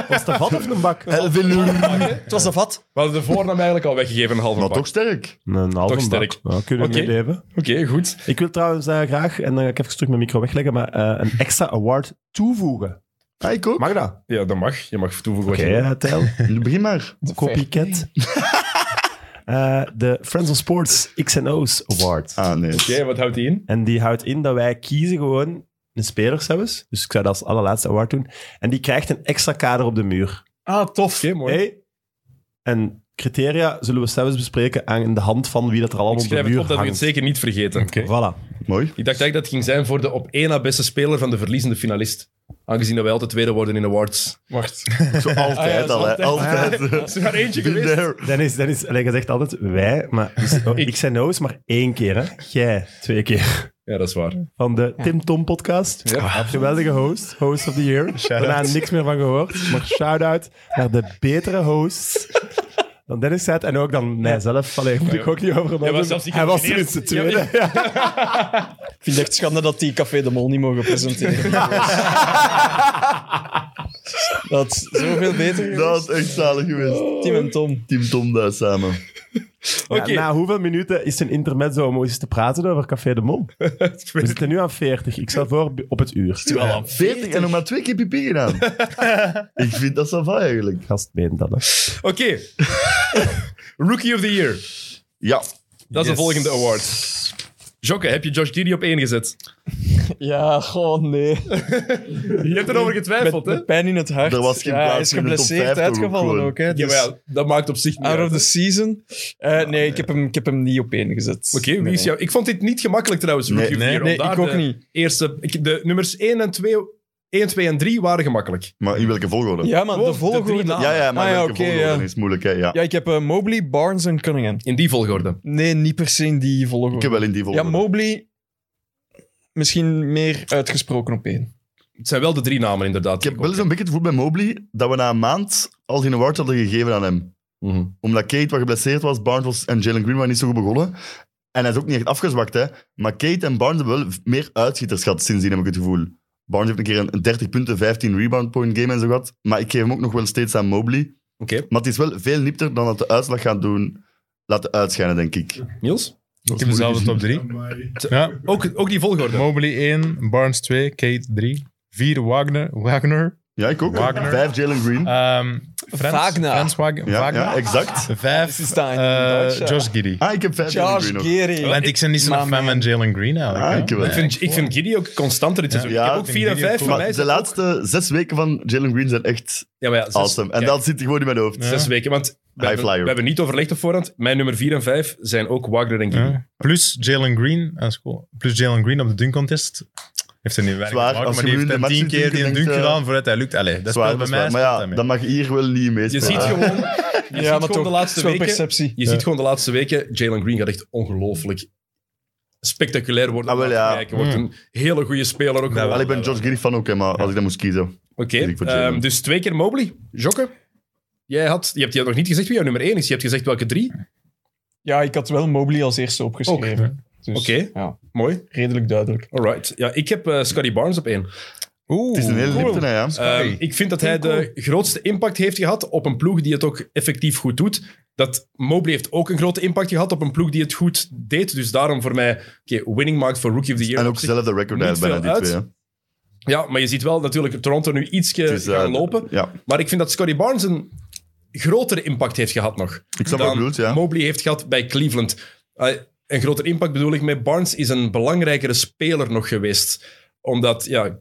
Was dat vat of een bak? Elvin Lund. het was een vat. We hadden de voornaam eigenlijk al weggegeven, een halve Nou, pak. toch sterk. Een halve Toch sterk. bak. Nou, kunnen we Oké. meeleven. Oké, goed. Ik wil trouwens eh, graag, en dan ga ik even terug mijn micro wegleggen, maar eh, een extra award toevoegen. Ah, ik ook. Mag dat? Ja, dat mag. Je mag toevoegen wat Oké, je wil. eh, *laughs* Tijl. Begin maar. *laughs* Copycat. Eh, de Friends of Sports X&O's Award. Ah, nee. Oké, wat houdt die in? En die houdt in dat wij kiezen gewoon een speler zelfs. Dus ik zou dat als allerlaatste award doen. En die krijgt een extra kader op de muur. Ah, tof. Oké, mooi. Hey. En criteria zullen we zelfs bespreken aan de hand van wie dat er ik allemaal op de schrijf het muur op dat we het hangt. zeker niet vergeten. Voilà. Mooi. Ik dacht eigenlijk dat het ging zijn voor de op één na beste speler van de verliezende finalist. Aangezien dat wij altijd tweede worden in awards. Wacht. *laughs* Zo altijd Ah, ja, al, hè. dat is Altijd. eh, Er is er maar eentje Been geweest. there. Dennis, Dennis allee, je zegt altijd wij, *laughs* maar dus, oh, ik zei no's maar één keer. Hè. Jij twee keer. Ja, dat is waar. Van de Tim Tom podcast. Ja. Geweldige host, host of the year. Daarna niks meer van gehoord. Maar shout-out naar de betere host. Dan Dennis zei het, en ook dan mijzelf. Allee, moet ik ook niet over Jij was doen. zelfs niet Hij was genomineerd. tenminste de tweede. Ja, Ik vind het echt schande dat die Café de Mol niet mogen *laughs* presenteren. dat is zoveel beter. Dat is echt zalig geweest. Tim en Tom. Team Tom daar samen. Oké, na hoeveel minuten is een intermezzo om eens te praten over Café de *laughs* Mol? ik We weet het. zitten nu aan 40. Ik stel voor op het uur. 40 en nog maar twee keer pipi *laughs* gedaan. ik vind dat sava eigenlijk. Gast meent dat. hè. Oké. *laughs* Rookie of the Year. Ja, Dat is de Yes. volgende award. Jokke, heb je Josh Giddy op één gezet? Ja, goh, nee. Je hebt erover getwijfeld, hè? Met, met pijn in het hart. Er was geen ja, hij plaats is in de top vijf geblesseerd toch ook uitgevallen gewoon. ook. Hè, Ja, dus maar ja, dat maakt op zich niet out uit. of the season. Eh, nee, ik, heb hem, ik heb hem niet op één gezet. Oké, wie is jou? Ik vond dit niet gemakkelijk trouwens, Rookie Nee, of the Year. om Nee, daar ik ook de niet. Eerste, ik- de nummers 1 en 2, 1, 2 en 3 waren gemakkelijk. maar in welke volgorde? Ja, maar Gewoon de Oh, de volgorde. drie namen. ja, ja maar Ah, ja, welke oké, volgorde ja. is moeilijk, hè? Ja. Ja, ik heb eh, Mobley, Barnes en Cunningham. In die volgorde. Nee, niet per se in die volgorde. Ik heb wel in die Ja, volgorde. Mobley. misschien meer uitgesproken op één. Het zijn wel de drie namen, inderdaad. Ik heb wel eens een beetje het gevoel bij Mobley dat we na een maand al die award hadden gegeven aan hem. Mhm. Omdat Kate wat geblesseerd was, Barnes was, en Jalen Green waren niet zo goed begonnen. En hij is ook niet echt afgezwakt, hè. Maar Kate en Barnes hebben wel meer uitschieters gehad sindsdien, heb ik het gevoel. Barnes heeft een keer een een 30 punten, 15 rebound point game en zo gehad. Maar ik geef hem ook nog wel steeds aan Mobley. Oké, Maar het is wel veel nipter dan dat de uitslag gaat doen, laten uitschijnen, denk ik. Niels? Ik heb dezelfde top Oh 3. Ja. Ook, ook die volgorde. Mobley 1, Barnes 2, Kate 3. 4 Wagner. Wagner. Ja, ik ook. Wagner. Vijf Jalen Green. Ehm Frans, Wagner. Frans Wagner. ja, Wagner. ja, exact. 5 Is dat in Duits, ja? Josh Giddy. Ah, ik heb vijf Jalen Green ook. Gary. Want ik ben niet zo'n Maar fan van Jalen Green eigenlijk. Ah, hè. ik wel. Nee. Ik vind, ik vind Giddy ook constanter dit seizoen. Ja, ik heb ook ik 4 en vind 5 Giddy ook voor mij. Maar is de dat ook- laatste zes weken van Jalen Green zijn echt Ja, maar ja, zes- awesome. En ja, dat zit gewoon in mijn hoofd. Ja. zes weken. Want we High hebben, flyer. we hebben niet overlegd op voorhand. Mijn nummer 4 en 5 zijn ook Wagner en Giddy. Ja. Plus Jalen Green, ah, dat is cool. Plus Jalen Green op de dunk contest. Heeft er niet weinig Zwaar, te maken, als maar je die nu heeft in dan de tien match ziet keer die een dunken, dunk denkt, eh, gedaan vooruit hij lukt. Allee, dat Zwaar, speelt dat bij is mij. waar. Maar speelt ja, dat mee. dat mag hier wel niet mee Je spelen. ziet *laughs* gewoon, je ziet gewoon de laatste zo'n weken... perceptie. Je ziet gewoon de laatste weken, Jalen Green gaat echt ongelooflijk spectaculair worden. Ah, wel, om naar te ja. kijken. Mm. Wordt een hele goede speler ook. Wel, gewoon. ik ben George Giddy fan ook, hè, maar als ik dat moest kiezen. Oké, Ik voor ehm, Jalen. dus twee keer Mobley. Jokke, jij had, je hebt je had nog niet gezegd wie jouw nummer 1 is. Je hebt gezegd welke drie. Ja, ik had wel Mobley als eerste opgeschreven. Dus, Oké. ja, Mooi. redelijk duidelijk. Alright. Ja, ik heb eh, Scotty Barnes op één. Het is een hele cool. lipte, hè, ja. Ehm, ik vind dat hij de grootste impact heeft gehad op een ploeg die het ook effectief goed doet. Dat Mobley heeft ook een grote impact gehad op een ploeg die het goed deed. Dus daarom voor mij, oké, winning markt voor Rookie of the Year. En op ook zich- zelf de record niet uit bijna veel die uit. twee. hè. Ja, maar je ziet wel natuurlijk Toronto nu iets Het is, eh, gaan lopen. Ja, Maar ik vind dat Scotty Barnes een grotere impact heeft gehad nog. ik snap wat je dan bedoelt, ja. Mobley heeft gehad bij Cleveland. Eh, een groter impact bedoel ik met Barnes is een belangrijkere speler nog geweest. Omdat ja,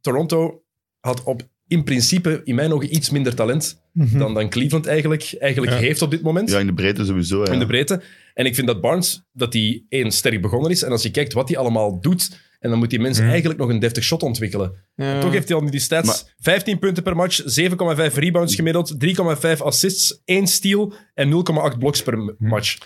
Toronto had op, in principe in mijn ogen iets minder talent dan, dan Cleveland eigenlijk, eigenlijk Ja. heeft op dit moment. Ja, in de breedte sowieso, ja. In de breedte. En ik vind dat Barnes, dat hij één sterk begonnen is. En als je kijkt wat hij allemaal doet, en dan moet die mensen eigenlijk nog een deftig shot ontwikkelen. Ja. Toch heeft hij al die stats. Maar- 15 punten per match, 7,5 rebounds gemiddeld, 3,5 assists, 1 steal en 0,8 bloks per m- match.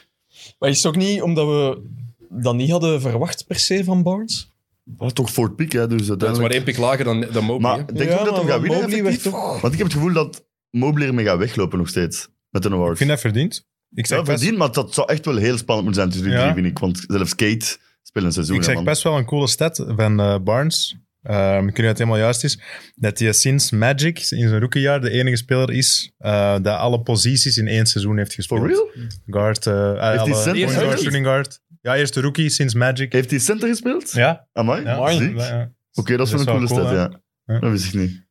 Maar is het ook niet omdat we dat niet hadden verwacht per se van Barnes? Wat toch voor het piek, hè, dus Dat is maar uiteindelijk. één pik lager dan, dan Mobley. hè. Maar denk je Ja, ook dat maar hem gaat winnen, Mobley werd effectief? toch- Want ik heb het gevoel dat Mobley ermee gaat weglopen nog steeds, met een award. Ik vind dat verdiend. Ik zeg Ja, best- verdien, maar dat zou echt wel heel spannend moeten zijn tussen die Ja. drie, vind ik. Want zelfs Kate speelt een seizoen, Ik hè, zeg man. best wel een coole stat van eh, Barnes. Ehm, ik weet niet of het helemaal juist is. Dat hij sinds Magic in zijn rookiejaar de enige speler is eh, dat alle posities in één seizoen heeft gespeeld. For real? Guard, eh alle, die center point guard, gespeeld? shooting guard. Ja, eerste rookie sinds Magic. Heeft hij center gespeeld? Ja, Amai, ja. ziek. Ja, Oké, ja. dat is wel een coole cool, stad, hè? ja. Ja. Dat wist ik niet.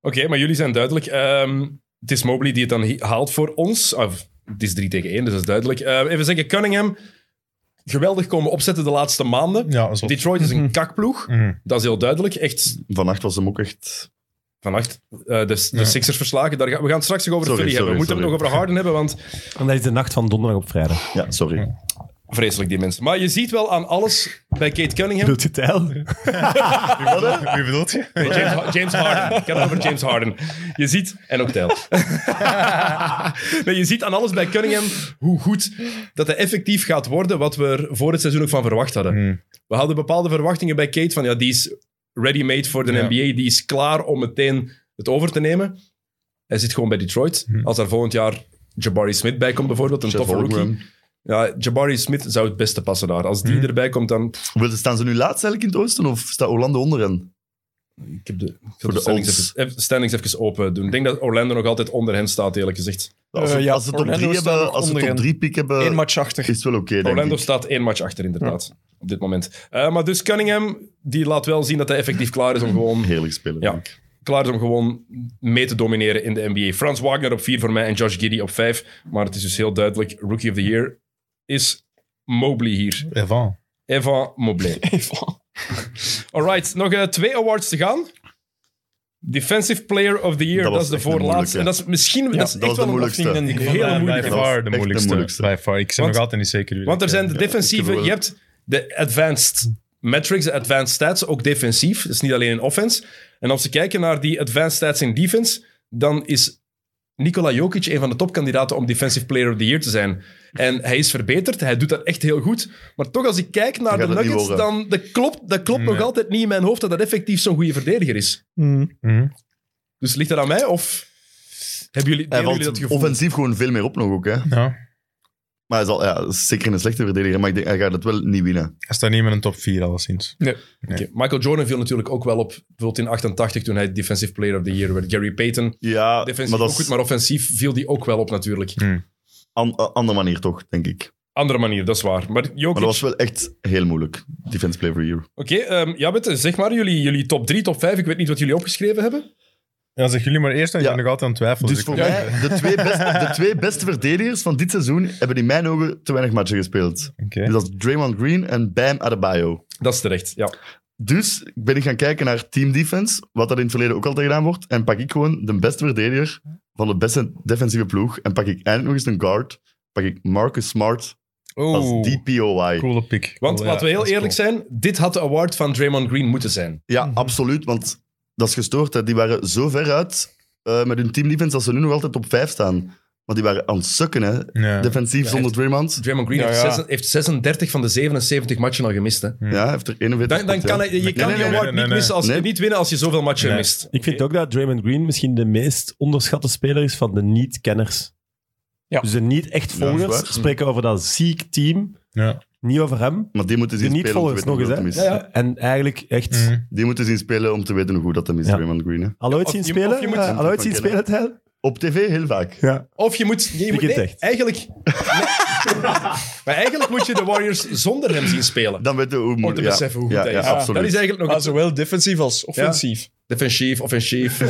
Oké, maar jullie zijn duidelijk. Ehm, het is Mobley die het dan hi- haalt voor ons. Of, het is 3 tegen 1, dus dat is duidelijk. Ehm, even zeggen, Cunningham, geweldig komen opzetten de laatste maanden. Ja, zo. Detroit is een kakploeg, Mhm. dat is heel duidelijk. Echt Vannacht was hem ook echt... vannacht eh, de, de Ja. Sixers verslagen. Daar gaan, we gaan het straks nog over Sorry, Philly hebben. We sorry, moeten het nog sorry. over Harden hebben, want En dat is de nacht van donderdag op vrijdag. Ja, sorry. Vreselijk, die mensen. Maar je ziet wel aan alles bij Kate Cunningham. Wilt *laughs* je tijl? Wie bedoelt je? Nee, James, Ha- James Harden. Ik had het over James Harden. Je ziet, en ook *laughs* Tijl. nee, je ziet aan alles bij Cunningham hoe goed dat hij effectief gaat worden wat we er voor het seizoen ook van verwacht hadden. Hmm. We hadden bepaalde verwachtingen bij Kate van ja, die is ready-made voor de Ja. NBA, die is klaar om meteen het over te nemen. Hij zit gewoon bij Detroit. Hmm. Als daar volgend jaar Jabari Smith bij komt bijvoorbeeld, een Jeff toffe rookie. Holmgren. Ja, Jabari Smith zou het beste passen daar. Als Hmm. die erbij komt, dan... Wil- Staan ze nu laatst eigenlijk in het oosten of staat Hollande onder hen? Ik heb de, ik zal Voor de de standings, odds. even, even- standings even open doen. Ik denk dat Orlando nog altijd onder hen staat, eerlijk gezegd. Als ze, Eh, ja, als ze top Orlando drie staat hebben, nog als ze onder top hen. drie piek hebben, Eén match is achter. het wel oké, denk Orlando ik. staat één match achter, inderdaad, op dit moment. Eh, maar dus Cunningham, die laat wel zien dat hij effectief klaar is om gewoon, Heerlijk spelen, Ja. denk ik. klaar is om gewoon mee te domineren in de NBA. Frans Wagner op vier voor mij en Josh Giddy op vijf. Maar het is dus heel duidelijk, Rookie of the Year is Mobley hier. Evan. Evan Mobley. *laughs* Even. Alright, nog eh, twee awards te gaan. Defensive Player of the Year, dat, Dat was is de echt een voorlaatste. moeilijke. En dat is misschien dat is dat echt was de wel een moeilijkste. opvinding en Ik vond een hele dat moeilijke. Eh, By vraag. far de de moeilijkste. moeilijkste. By far. Ik ben Want- nog altijd niet zeker. wie Want er dat zijn is. de ik defensieve, heb wel- je hebt de advanced metrics, de advanced stats, ook defensief. Dat is niet alleen in offense. En als we kijken naar die advanced stats in defense, dan is Nikola Jokic een van de topkandidaten om Defensive Player of the Year te zijn. En hij is verbeterd. Hij doet dat echt heel goed. Maar toch, als ik kijk naar Ik ga de dat niet Nuggets, horen. dan dat klopt dat klopt nog Nee. altijd niet in mijn hoofd dat dat effectief zo'n goede verdediger is. Mhm. Dus ligt dat aan mij of hebben jullie, Hij delen jullie dat valt gevoel? offensief gewoon veel meer op nog ook. Hè. Ja. Maar hij zal, ja, dat is zeker een slechte verdediger, maar ik denk, hij gaat het wel niet winnen. Hij staat niet met een top 4 alleszins. Oké, Michael Jordan viel natuurlijk ook wel op, bijvoorbeeld in 88 toen hij Defensive Player of the Year werd. Gary Payton, Ja, defensief maar dat ook goed, is maar offensief viel die ook wel op natuurlijk. een andere manier toch, denk ik. Andere manier, dat is waar. Maar Jokic, Maar dat was wel echt heel moeilijk, Defense Player of the Year. oké, ehm, Jabet, zeg maar jullie, jullie top 3, top 5, ik weet niet wat jullie opgeschreven hebben. Ja, zeg jullie maar eerst, want Ja. ik ben nog altijd aan het twijfelen. Dus ik- voor mij, de twee, best, de twee beste verdedigers van dit seizoen hebben in mijn ogen te weinig matchen gespeeld. Oké. Dus dat is Draymond Green en Bam Adebayo. Dat is terecht, ja. Dus ben ik gaan kijken naar team defense, wat dat in het verleden ook altijd gedaan wordt. En pak ik gewoon de beste verdediger van de beste defensieve ploeg. En pak ik eindelijk nog eens een guard. Pak ik Marcus Smart als DPOY. Coole pick. Want Oh, Cool, ja, laten we heel dat is eerlijk cool. zijn, dit had de award van Draymond Green moeten zijn. Ja, absoluut. Want dat is gestoord. Hè. Die waren zo ver uit eh, met hun team defense dat ze nu nog altijd op vijf staan. Want die waren aan het sukken, hè. Ja. Defensief zonder Draymond. Draymond Green Ja, heeft, ja. zes- heeft 36 van de 77 matchen al gemist. Hè. Hm. Ja, hij heeft er 41. Dan, dan gepakt, kan ja. hij- je kan nee, die nee, award nee, niet, nee. missen als, Nee. niet winnen als je zoveel matchen Nee. mist. Ik vind ook dat Draymond Green misschien de meest onderschatte speler is van de niet-kenners. Ja. Dus de niet-echt Ja, dat is volgers waar. spreken over dat ziek team, Ja. niet over hem. Maar die moeten De zien spelen om te niet-volgers weten nog hoe eens, dat hè. hem is. Ja, ja. En eigenlijk echt... Mhm. Die moeten zien spelen om te weten hoe goed dat hem is, Ja. Draymond Green. hè. Al ooit Mm. Of zien je- spelen? of je moet- Ja, al ooit zien spelen, Tijl? Op tv heel vaak. Ja. Of je moet... Je moet Begint nee, echt. eigenlijk... *laughs* Nee. maar eigenlijk moet je de Warriors zonder hem zien spelen. Dan weten we hoe Om te moeilijk... ja. beseffen hoe goed ja, hij ja, is. absoluut. Dat is eigenlijk nog Maar het Ah, zowel defensief als offensief. defensief, *laughs* offensief.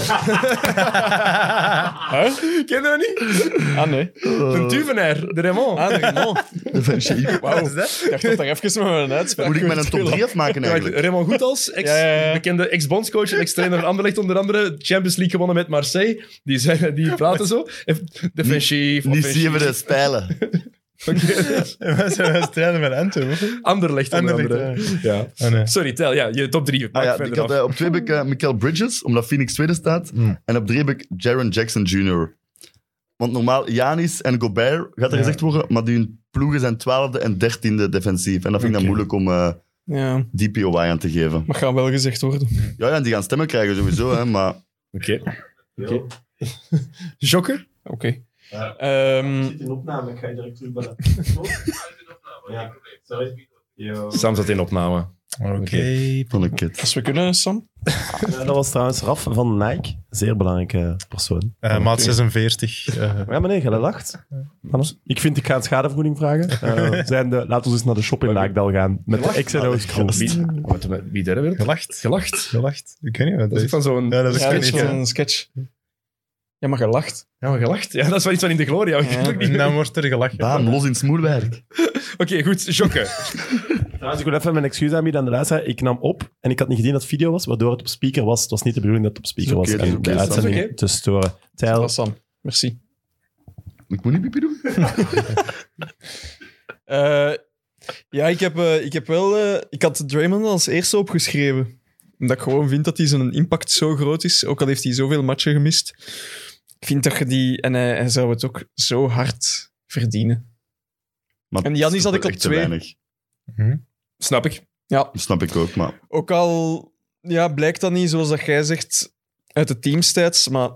Ken je dat Ah, niet? Ah, nee. De Duvenair, de Raymond. Ah, nee, man. *laughs* Defensief. Wauw. Ik dacht dat daar even met een uitspraak Moet ik over met een top spelen. 3 afmaken Ja, eigenlijk? Raymond Goethals, ex, Ja, ja, ja. bekende ex-bondscoach en ex-trainer van Anderlecht onder andere. Champions League gewonnen met Marseille. Die, zeggen, die praten zo. Defensief, Niet offensief. zien we *laughs* de spijlen. Oké. *laughs* We zijn wel strijden met Antwerpen. hoor. Anderlecht onder Anderlecht, andere. Ja. Oh, nee. Sorry, tel. Ja, je top drie. Ah Maak ja, verder ik had, af. eh, op twee heb ik eh, Michael Bridges, omdat Phoenix tweede staat. Hm. En op drie heb ik Jaron Jackson Jr. Want normaal, Janis en Gobert gaat er gezegd worden, maar die ploegen zijn twaalfde en dertiende defensief. En dat vind ik dan moeilijk om eh Ja, DPOY aan te geven. mag gaan wel gezegd worden. Ja, ja, en die gaan stemmen krijgen sowieso, hè, maar Oké. Oké. Jokke? Oké. Ehm, in opname, ik ga je direct *laughs* terugbellen. Ja, sorry. Sam zat in opname. Oké. Eh, van een kid. als we kunnen, Sam. dat was trouwens Raf van Nike, zeer belangrijke persoon. Eh, maat 46. eh, Ja, meneer, jij lacht. Anna? Ik vind, ik ga een schadevergoeding *laughs* vragen. Eh, zijn de, laten we eens naar de shop in Naakdal gaan. Met de X&O's crew. Wie, wat, wie derde werd? gelacht. Gelacht. Gelacht. Ik weet niet wat Dat is dat ook is. van zo'n... Ja, dat is Ja, ook dat is niet. wel hè. een sketch. Ja, maar *laughs* gelacht. Ja, maar gelacht. Ja, dat is wel iets van in de gloria. Ik weet ook niet. En dan wordt er gelachen. Bam, los in het smoelwerk. Oké, goed. Jokke. *laughs* Trouwens, dus ik wil even mijn excuus aanbieden aan de luisteraar. Ik nam op en ik had niet gezien dat het video was, waardoor het op speaker was. Het was niet de bedoeling dat het op speaker Is oké, is was. En oké, de is uitzending oké. te storen. Tijl, Dat Sam. Merci. Ik moet niet pipi doen. Eh, ja, ik heb, eh, ik heb wel... eh, ik had Draymond als eerste opgeschreven. Omdat ik gewoon vind dat hij zijn impact zo groot is. Ook al heeft hij zoveel matchen gemist. Ik vind dat je die... En hij, hij zou het ook zo hard verdienen. Maar En Janis dat is had ik op echt te twee. weinig. Snap ik. Ja, Dat snap ik ook, maar ook al ja, blijkt dat niet, zoals dat jij zegt, uit de teamstats. Maar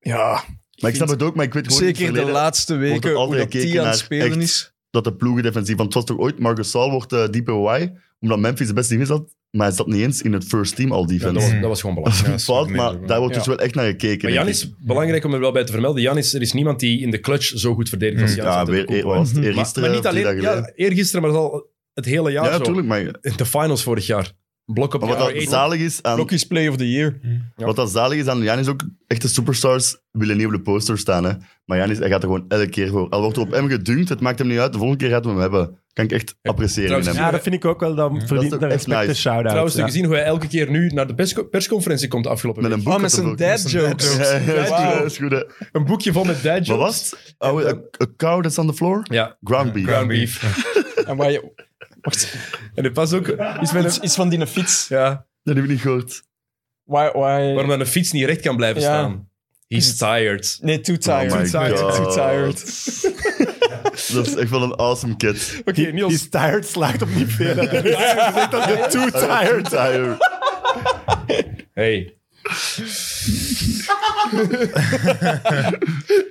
ja, Maar ik vind snap het ook, maar ik weet gewoon in zeker het de verleden laatste wordt er weken hoe altijd dat die gekeken aan het naar spelen echt is. dat de ploegen defensief... Want het was toch ooit, Marcus Saul wordt eh DPOY, omdat Memphis de beste team is had, maar hij zat niet eens in het first team al Ja, dat, defense. was, dat was gewoon belangrijk. *laughs* Ja, dat is fout, nee, maar dat wel. daar wordt Ja. dus wel echt naar gekeken. Maar denk ik. Janis, belangrijk om er wel bij te vermelden. Janis, er is niemand die in de clutch zo goed verdedigt als Janis. Hmm. Ja, weer, Antetokounmpo. eer, was het Mhm. Maar, eergisteren, maar niet of drie alleen dagen ja, eergisteren, maar dat is al het hele jaar geleden? Ja, zo. natuurlijk. Maar, In De finals vorig jaar. Blok op maar wat, ja, dat zalig is aan, Rockies Play of the Year. ja. wat dat zalig is aan Janis ook, echte superstars willen niet op de poster staan. Hè. Maar Janis, hij gaat er gewoon elke keer voor. Al wordt er op hem gedunkt, het maakt hem niet uit. De volgende keer gaat hij hem hebben. Kan ik echt appreciëren in trouwens, hem. ja, dat vind ik ook wel. Dan verdient ook een echt respect nice. een shout-out. Trouwens, heb ja. je gezien hoe hij elke keer nu naar de persco- persconferentie komt de afgelopen Met week? een boek. Ah, met dat er zijn ook- dad jokes. Ja, ja, dat is goed, Wauw. dat is goed, hè. Een boekje vol met dad Maar jokes. was oh, a, a cow that's on the floor? Ja, Ground beef. ground beef. *laughs* En waar je... Wacht, En er pas ook iets met iets, een... iets van die fiets. Ja, Dat heb ik niet gehoord. Waar, waar... waarom dan een fiets niet recht kan blijven Ja. staan. He's tired. Nee, too tired. Oh my too tired. God. Too tired. Dat is echt wel een awesome kid. Oké, Niels. He's tired slaagt op niet *laughs* veel. hè. Dus ik denk dat de too Tired, tired. tired. Hey. *laughs*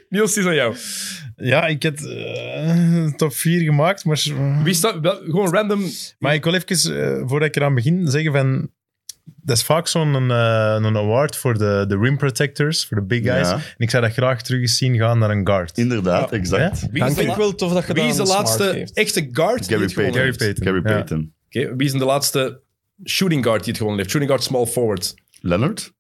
Niels, die is aan jou. Ja, ik heb eh, top 4 gemaakt, maar, Wie staat, wel- gewoon random. maar ik wil even, eh, voordat ik eraan begin, zeggen van... Dat is vaak zo'n eh, een award voor de, de rim protectors, voor de big guys. Ja. En ik zou dat graag terug eens zien gaan naar een guard. Inderdaad, exact. Ja? Wie is, de, vind Dus ik wel tof dat je wie dat is de aan Smart laatste geeft. echte guard die Gary het gewonnen Payton. heeft? Payton. Gary Ja. Payton. Oké, wie is de laatste shooting guard die het gewonnen heeft? Shooting guard, small forward. Leonard?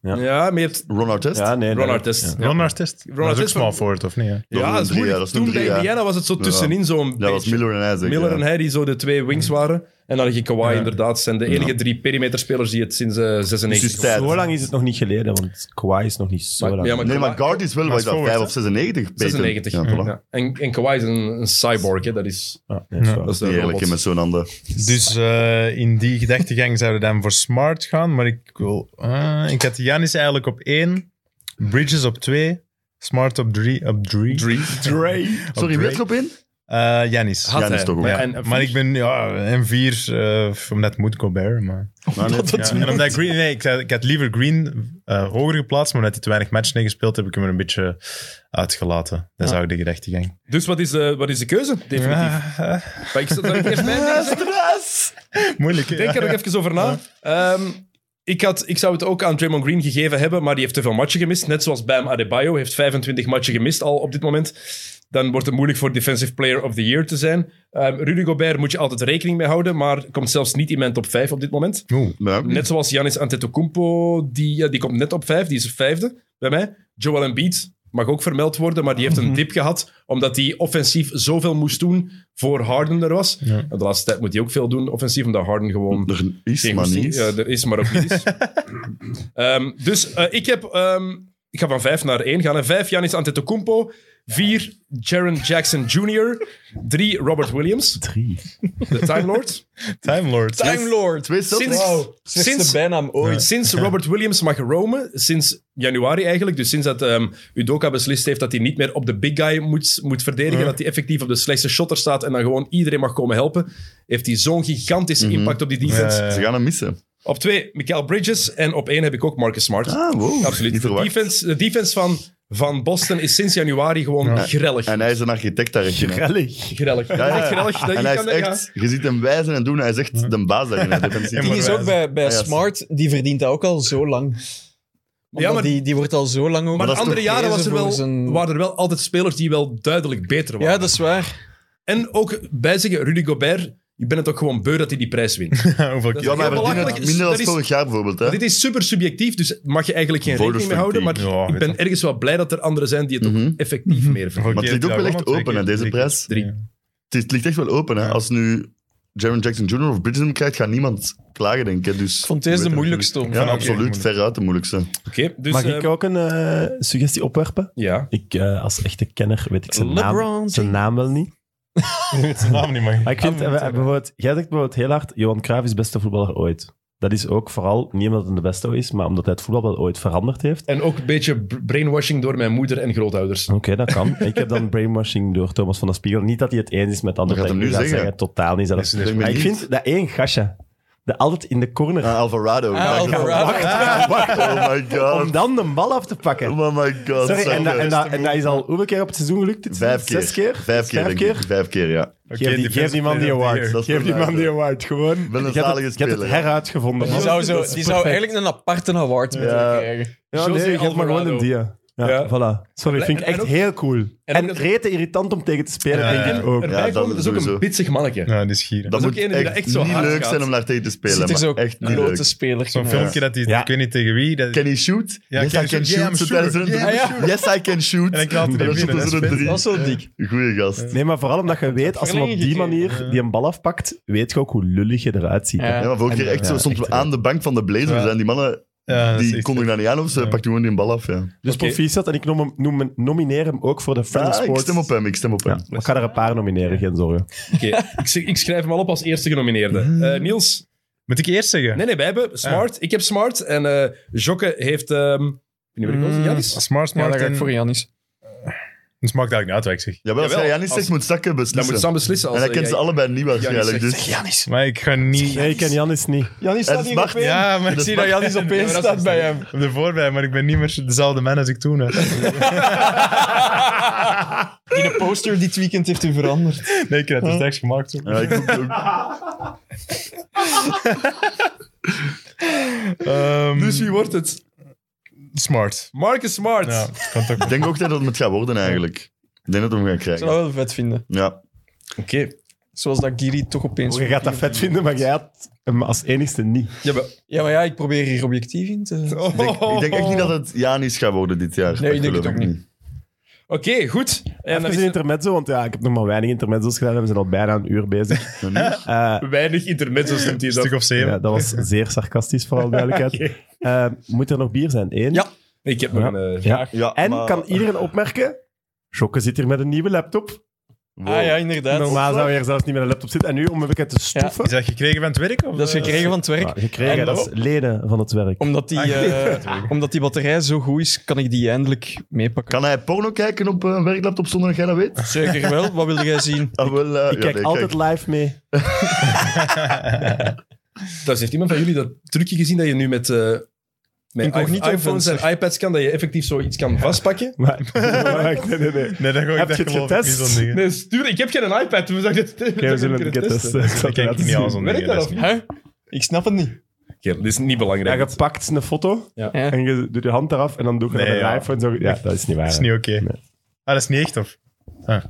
Ja, Ja. maar je hebt Ron Artest? Ja, nee. Ron nee. Artest. Ja, Ron Artest. Maar dat is ook Artest small van- forward, of niet? hè? Dat was dat een is drie moeilijk. jaar, dat is nog Toen drie bij jaar. Indiana was het zo tussenin zo'n Ja, dat was beetje. Miller en Isaac. Miller ja. en hij die zo de twee wings waren. En dan had je Kawhi Ja. inderdaad. zijn de enige drie perimeterspelers die het sinds eh, 96 Dus tijd. Zo lang is het nog niet geleden, want Kawhi is nog niet zo lang. Ja, maar Nee, maar Kawhi- Guard is wel, wat is dat, forward, 5 hè? of 96? Payton. 96. Ja, voilà. Ja. En, en Kawhi is een, een cyborg, hè. dat is... Ja, nee, dat is waar. Dat is de Niet eerlijk robot. hè, met zo'n handen. Dus eh, in die gedachtegang zouden we dan voor Smart gaan, maar ik wil... eh, ik had Janis eigenlijk op 1, Bridges op 2, Smart op 3. Op drie. Dre. Sorry, wie Drake. is erop *laughs* in? Eh, Janis. Had Ja, dat is hij. toch ook. Ja, Ja, en- maar ik ben ja, M4, eh omdat het moet Colbert. Maar. Maar nee, Ja, en omdat Green, nee, ik, had- ik had liever Green eh, hoger geplaatst, maar omdat hij te weinig matchen heeft gespeeld, heb ik hem er een beetje uitgelaten. Dat is ook de gedachtegang. Dus wat is, de, wat is de keuze? Definitief. Ah, Maar ik zat daar *laughs* eerst bij. Nee, moeilijk. hè? Denk er nog even over na. Ehm, ik, had, ik zou het ook aan Draymond Green gegeven hebben, maar die heeft te veel matchen gemist. Net zoals Bam Adebayo heeft 25 matchen gemist al op dit moment. Dan wordt het moeilijk voor Defensive Player of the Year te zijn. Ehm Rudy Gobert moet je altijd rekening mee houden, maar komt zelfs niet in mijn top 5 op dit moment. Oeh, maar- Net zoals Giannis Antetokounmpo, die, ja, die komt net op 5, die is vijfde bij mij. Joel Embiid mag ook vermeld worden, maar die heeft een dip gehad, omdat hij offensief zoveel moest doen voor Harden er was. Ja. De laatste tijd moet hij ook veel doen offensief, omdat Harden gewoon... Er is Geen maar goesting. niet. Ja, er is maar ook niet. eens. Ehm, dus eh, ik heb... ehm, ik ga van vijf naar één gaan. En vijf, Janis Antetokounmpo. Vier, Jaron Jackson Jr. Drie, Robert Williams. Drie. De Time Lord. Time Lord. Time Lord. Twee Celtics? Sinds- Wow, Sinds- sinds de bijnaam ooit. Sinds Robert Williams mag roamen, sinds januari eigenlijk, dus sinds dat ehm, Udoka beslist heeft dat hij niet meer op de big guy moet, moet verdedigen, dat hij effectief op de slechtste shotter staat en dan gewoon iedereen mag komen helpen, heeft hij zo'n gigantische impact op die defense. *laughs* Ja, ja, ja. Ze gaan hem missen. Op twee, Michael Bridges. En op één heb ik ook Marcus Smart. Ah, wow. Absoluut. Niet De verwacht. defense, de defense van, van Boston is sinds januari gewoon grellig. En hij is een architect daar. echt in, hè. Gellig. grellig. Ja, ja. Echt grellig. Dat- En je hij is kan dat- ja. echt, je ziet hem wijzen en doen, hij is echt de baas daarin. hè, defensief. Ja, Die maar is wij- ook bij, bij Ah, ja, Smart, die verdient dat ook al zo lang. Ja, maar- maar, die, die wordt al zo lang ook Maar de dat is andere toch jaren was er gelezen wel, voor zijn- waren er wel altijd spelers die wel duidelijk beter waren. Ja, dat is waar. En ook bijzeggen, Rudy Gobert, je bent het ook gewoon beu dat hij die prijs wint. *laughs* Hoeveel Dat Ja, maar hij Heel verdient belachelijk het is- minder dat dan is- vorig jaar bijvoorbeeld. Hè? Dit is super subjectief, dus mag je eigenlijk geen Voters rekening mee houden. Maar fatigue. Ja, ik weet ben dat. ergens wel blij dat er anderen zijn die het ook Mhm. effectief meer verdienen. Maar het ligt ook wel echt open, hè, deze prijs. Drie. *laughs* Het is- het ligt echt wel open. Hè? Als nu Jaron Jackson Jr. of Bridges hem krijgt, gaat niemand klagen, denk ik. hè. Dus Ik vond deze Weet de het moeilijkste. om- natuurlijk. Ja, Ja, oké, absoluut. moeilijk. Veruit de moeilijkste. Oké, dus... Mag eh, ik ook een eh, suggestie opwerpen? Ja. Ik, eh, als echte kenner weet ik zijn LeBron naam, James. zijn naam wel niet. naam niet, man. Maar ik vind, eh, eh, bijvoorbeeld, jij zegt bijvoorbeeld heel hard, Johan Cruijff is beste voetballer ooit. Dat is ook vooral, niet omdat het de beste is, maar omdat hij het voetbal wel ooit veranderd heeft. En ook een beetje b- brainwashing door mijn moeder en grootouders. Oké, dat kan. Ik heb dan brainwashing door Thomas van der Spiegel. Niet dat hij het eens is met anderen. gaat dat hem ik nu ga zeggen. Totaal niet zelfs. Is- is- Ik Maar ben ik niet- vind dat één gastje, dat altijd in de corner Ah, Alvarado. Ah, Ja, ik- Alvarado. Oh my god. om dan de bal af te pakken. Oh my god. Sorry, en, dat- Sander. en, dat- en dat is al hoeveel keer op het seizoen gelukt? Dit Vijf seizoen? keer. Zes keer? Vijf keer, Vijf denk ik. keer? Vijf keer, ja. Geef die, geef die man die award. Dat is Geef die wel man die award, gewoon. Wel een Ik heb het- zalige Ik heb het speler, hè. heruitgevonden. Die zou, zo, Dat is die zou perfect. eigenlijk een aparte award moeten Ja. krijgen. Ja, José nee, je hebt maar Alvarado. gewoon een dia. Ja, Ja. voilà. Sorry, vind ik En- en echt ook- heel cool. En, dat- rete irritant om tegen te spelen, Ja, ja, denk ik ook. Erbij Ja, dat komen, dat is ook sowieso. een pitsig mannetje. *laughs* Ja, die is gieren. Dat is ook moet een die echt, dat echt zo niet hard leuk gaat. zijn om daar tegen te spelen. Zit er maar zo echt niet leuk. grote speler Zo'n in. filmpje dat die, Ja. ik weet niet tegen wie. Dat, Can he shoot? Ja, yes, can I he can shoot? Yeah, shoot. I'm Zo tijdens een sure. interview. Yes, I can shoot. En ik laat hem En dan binnen, shotten ze hè, er spelen. drie. Dat is wel dik. Goeie gast. Nee, maar vooral omdat je weet, als je hem op die manier die een bal afpakt, weet je ook hoe lullig je eruit ziet. Ja. Ja, maar vorige En- keer echt ja, zo stonden we echt, ja. aan de bank van de Blazers Ja. en die mannen Ja, dat is die echt- konden daar niet aan of ze pakten gewoon die bal af. Ja. Dus Oké. proficiat, en ik noem hem, noem hem- nomineer hem ook voor de Friends Ja, Ah, ik Sports. stem op hem, ik stem op Ja, hem. maar ik ga er een paar nomineren, geen zorgen. Oké, ik, sch- ik schrijf hem al op als eerste genomineerde. Eh, Niels, Moet ik eerst zeggen? nee, nee, wij hebben Smart. Ik heb Smart en Mm, eh Jokke heeft... ehm ik weet niet waar ik was. Janis? Smart, Ja, smart. dat ga ik en- voor Janis. Dus maakt eigenlijk niet uit wat ik zeg. Jawel, als Jawel, jij Janis als- zegt, moet zakken Dan beslissen. moet Sam beslissen. Als en hij eh, kent ze jij- allebei niet Janis waarschijnlijk. zegt, Dus. zeg Janis. Maar ik ga niet... Nee, ik ken Janis niet. Janis Het staat is hier Bart. opeens. Ja, maar ik Dat zie mag- dat Janis *laughs* Janis opeens Ja, maar dat staat is- bij hem. op de voorbij, maar ik ben niet meer dezelfde man als ik toen. Hè. In de poster dit weekend heeft u veranderd. Nee, ik heb het straks gemaakt. Ja, ik moet- Ehm, Dus wie wordt het? Smart. Marcus Smart. Ja, ik kan het ook ik denk ook dat het het gaat worden eigenlijk. Ik denk dat we hem gaan Ik zou dat krijgen. wel vet vinden. Oh, Ja. Oké. Zoals dat Giri toch opeens... Dus Je gaat dat vet vinden, maar jij had hem als enigste niet. Ja, maar- Ja, maar ja, ik probeer hier objectief in te... Ik denk, ik denk echt niet dat het Janis gaat worden dit jaar. Nee, ik denk geloof het ook ik niet. Oké, goed. En En dan is een is intermezzo, want ja, ik heb nog maar weinig intermezzo's gedaan. en We zijn al bijna een uur *laughs* bezig. Een uur? Eh, weinig intermezzo's neemt hij Een stuk dat. of zeven. ja, dat was zeer sarcastisch, voor alle duidelijkheid. Eh, moet er nog bier zijn? Eén. Ja. Ik heb nog Ja. een eh, Ja. vraag. Ja, En maar- kan iedereen opmerken... Jokke zit hier met een nieuwe laptop. Wow. Ah ja, inderdaad. Normaal zou hij er zelfs niet met een laptop zitten. En nu, om een beetje te Nou, stoffen... Is dat gekregen van het werk? Of, Dat is gekregen van het werk. Ja, gekregen, En- dat is lenen van het werk. Omdat die, Ah, ja. eh, omdat die batterij zo goed is, kan ik die eindelijk meepakken. Kan hij porno kijken op een werklaptop zonder dat jij dat weet? Zeker wel. Wat wil jij zien? Ah, wel, eh, Ik ja, kijk nee, altijd live mee. Dus heeft iemand van jullie dat trucje gezien dat je nu met, eh met Incognito i- iPhones en iPads kan, dat je effectief zoiets kan vastpakken? Maar, wacht, nee, nee, nee. Oké, Nee, dat gooi ik Heb dat je het geloof ik niet getest? zo'n dingen. Nee, stuur, ik heb geen iPad. We zullen dit we *laughs* zullen het een keer testen. Ik Dat zal het kijk ik laten niet zien. aan zo'n Werkt dingen. eh, dat Dat of is- niet? Huh? Ik snap het niet. Kerel, dit is niet Ja, belangrijk. je pakt een foto Ja. en je doet je hand eraf en dan doe je Nee, dat met ja. een iPhone. Zo. Ja, dat is niet waar. dat is niet oké. Nee. Ah, dat is niet echt, of? Ah.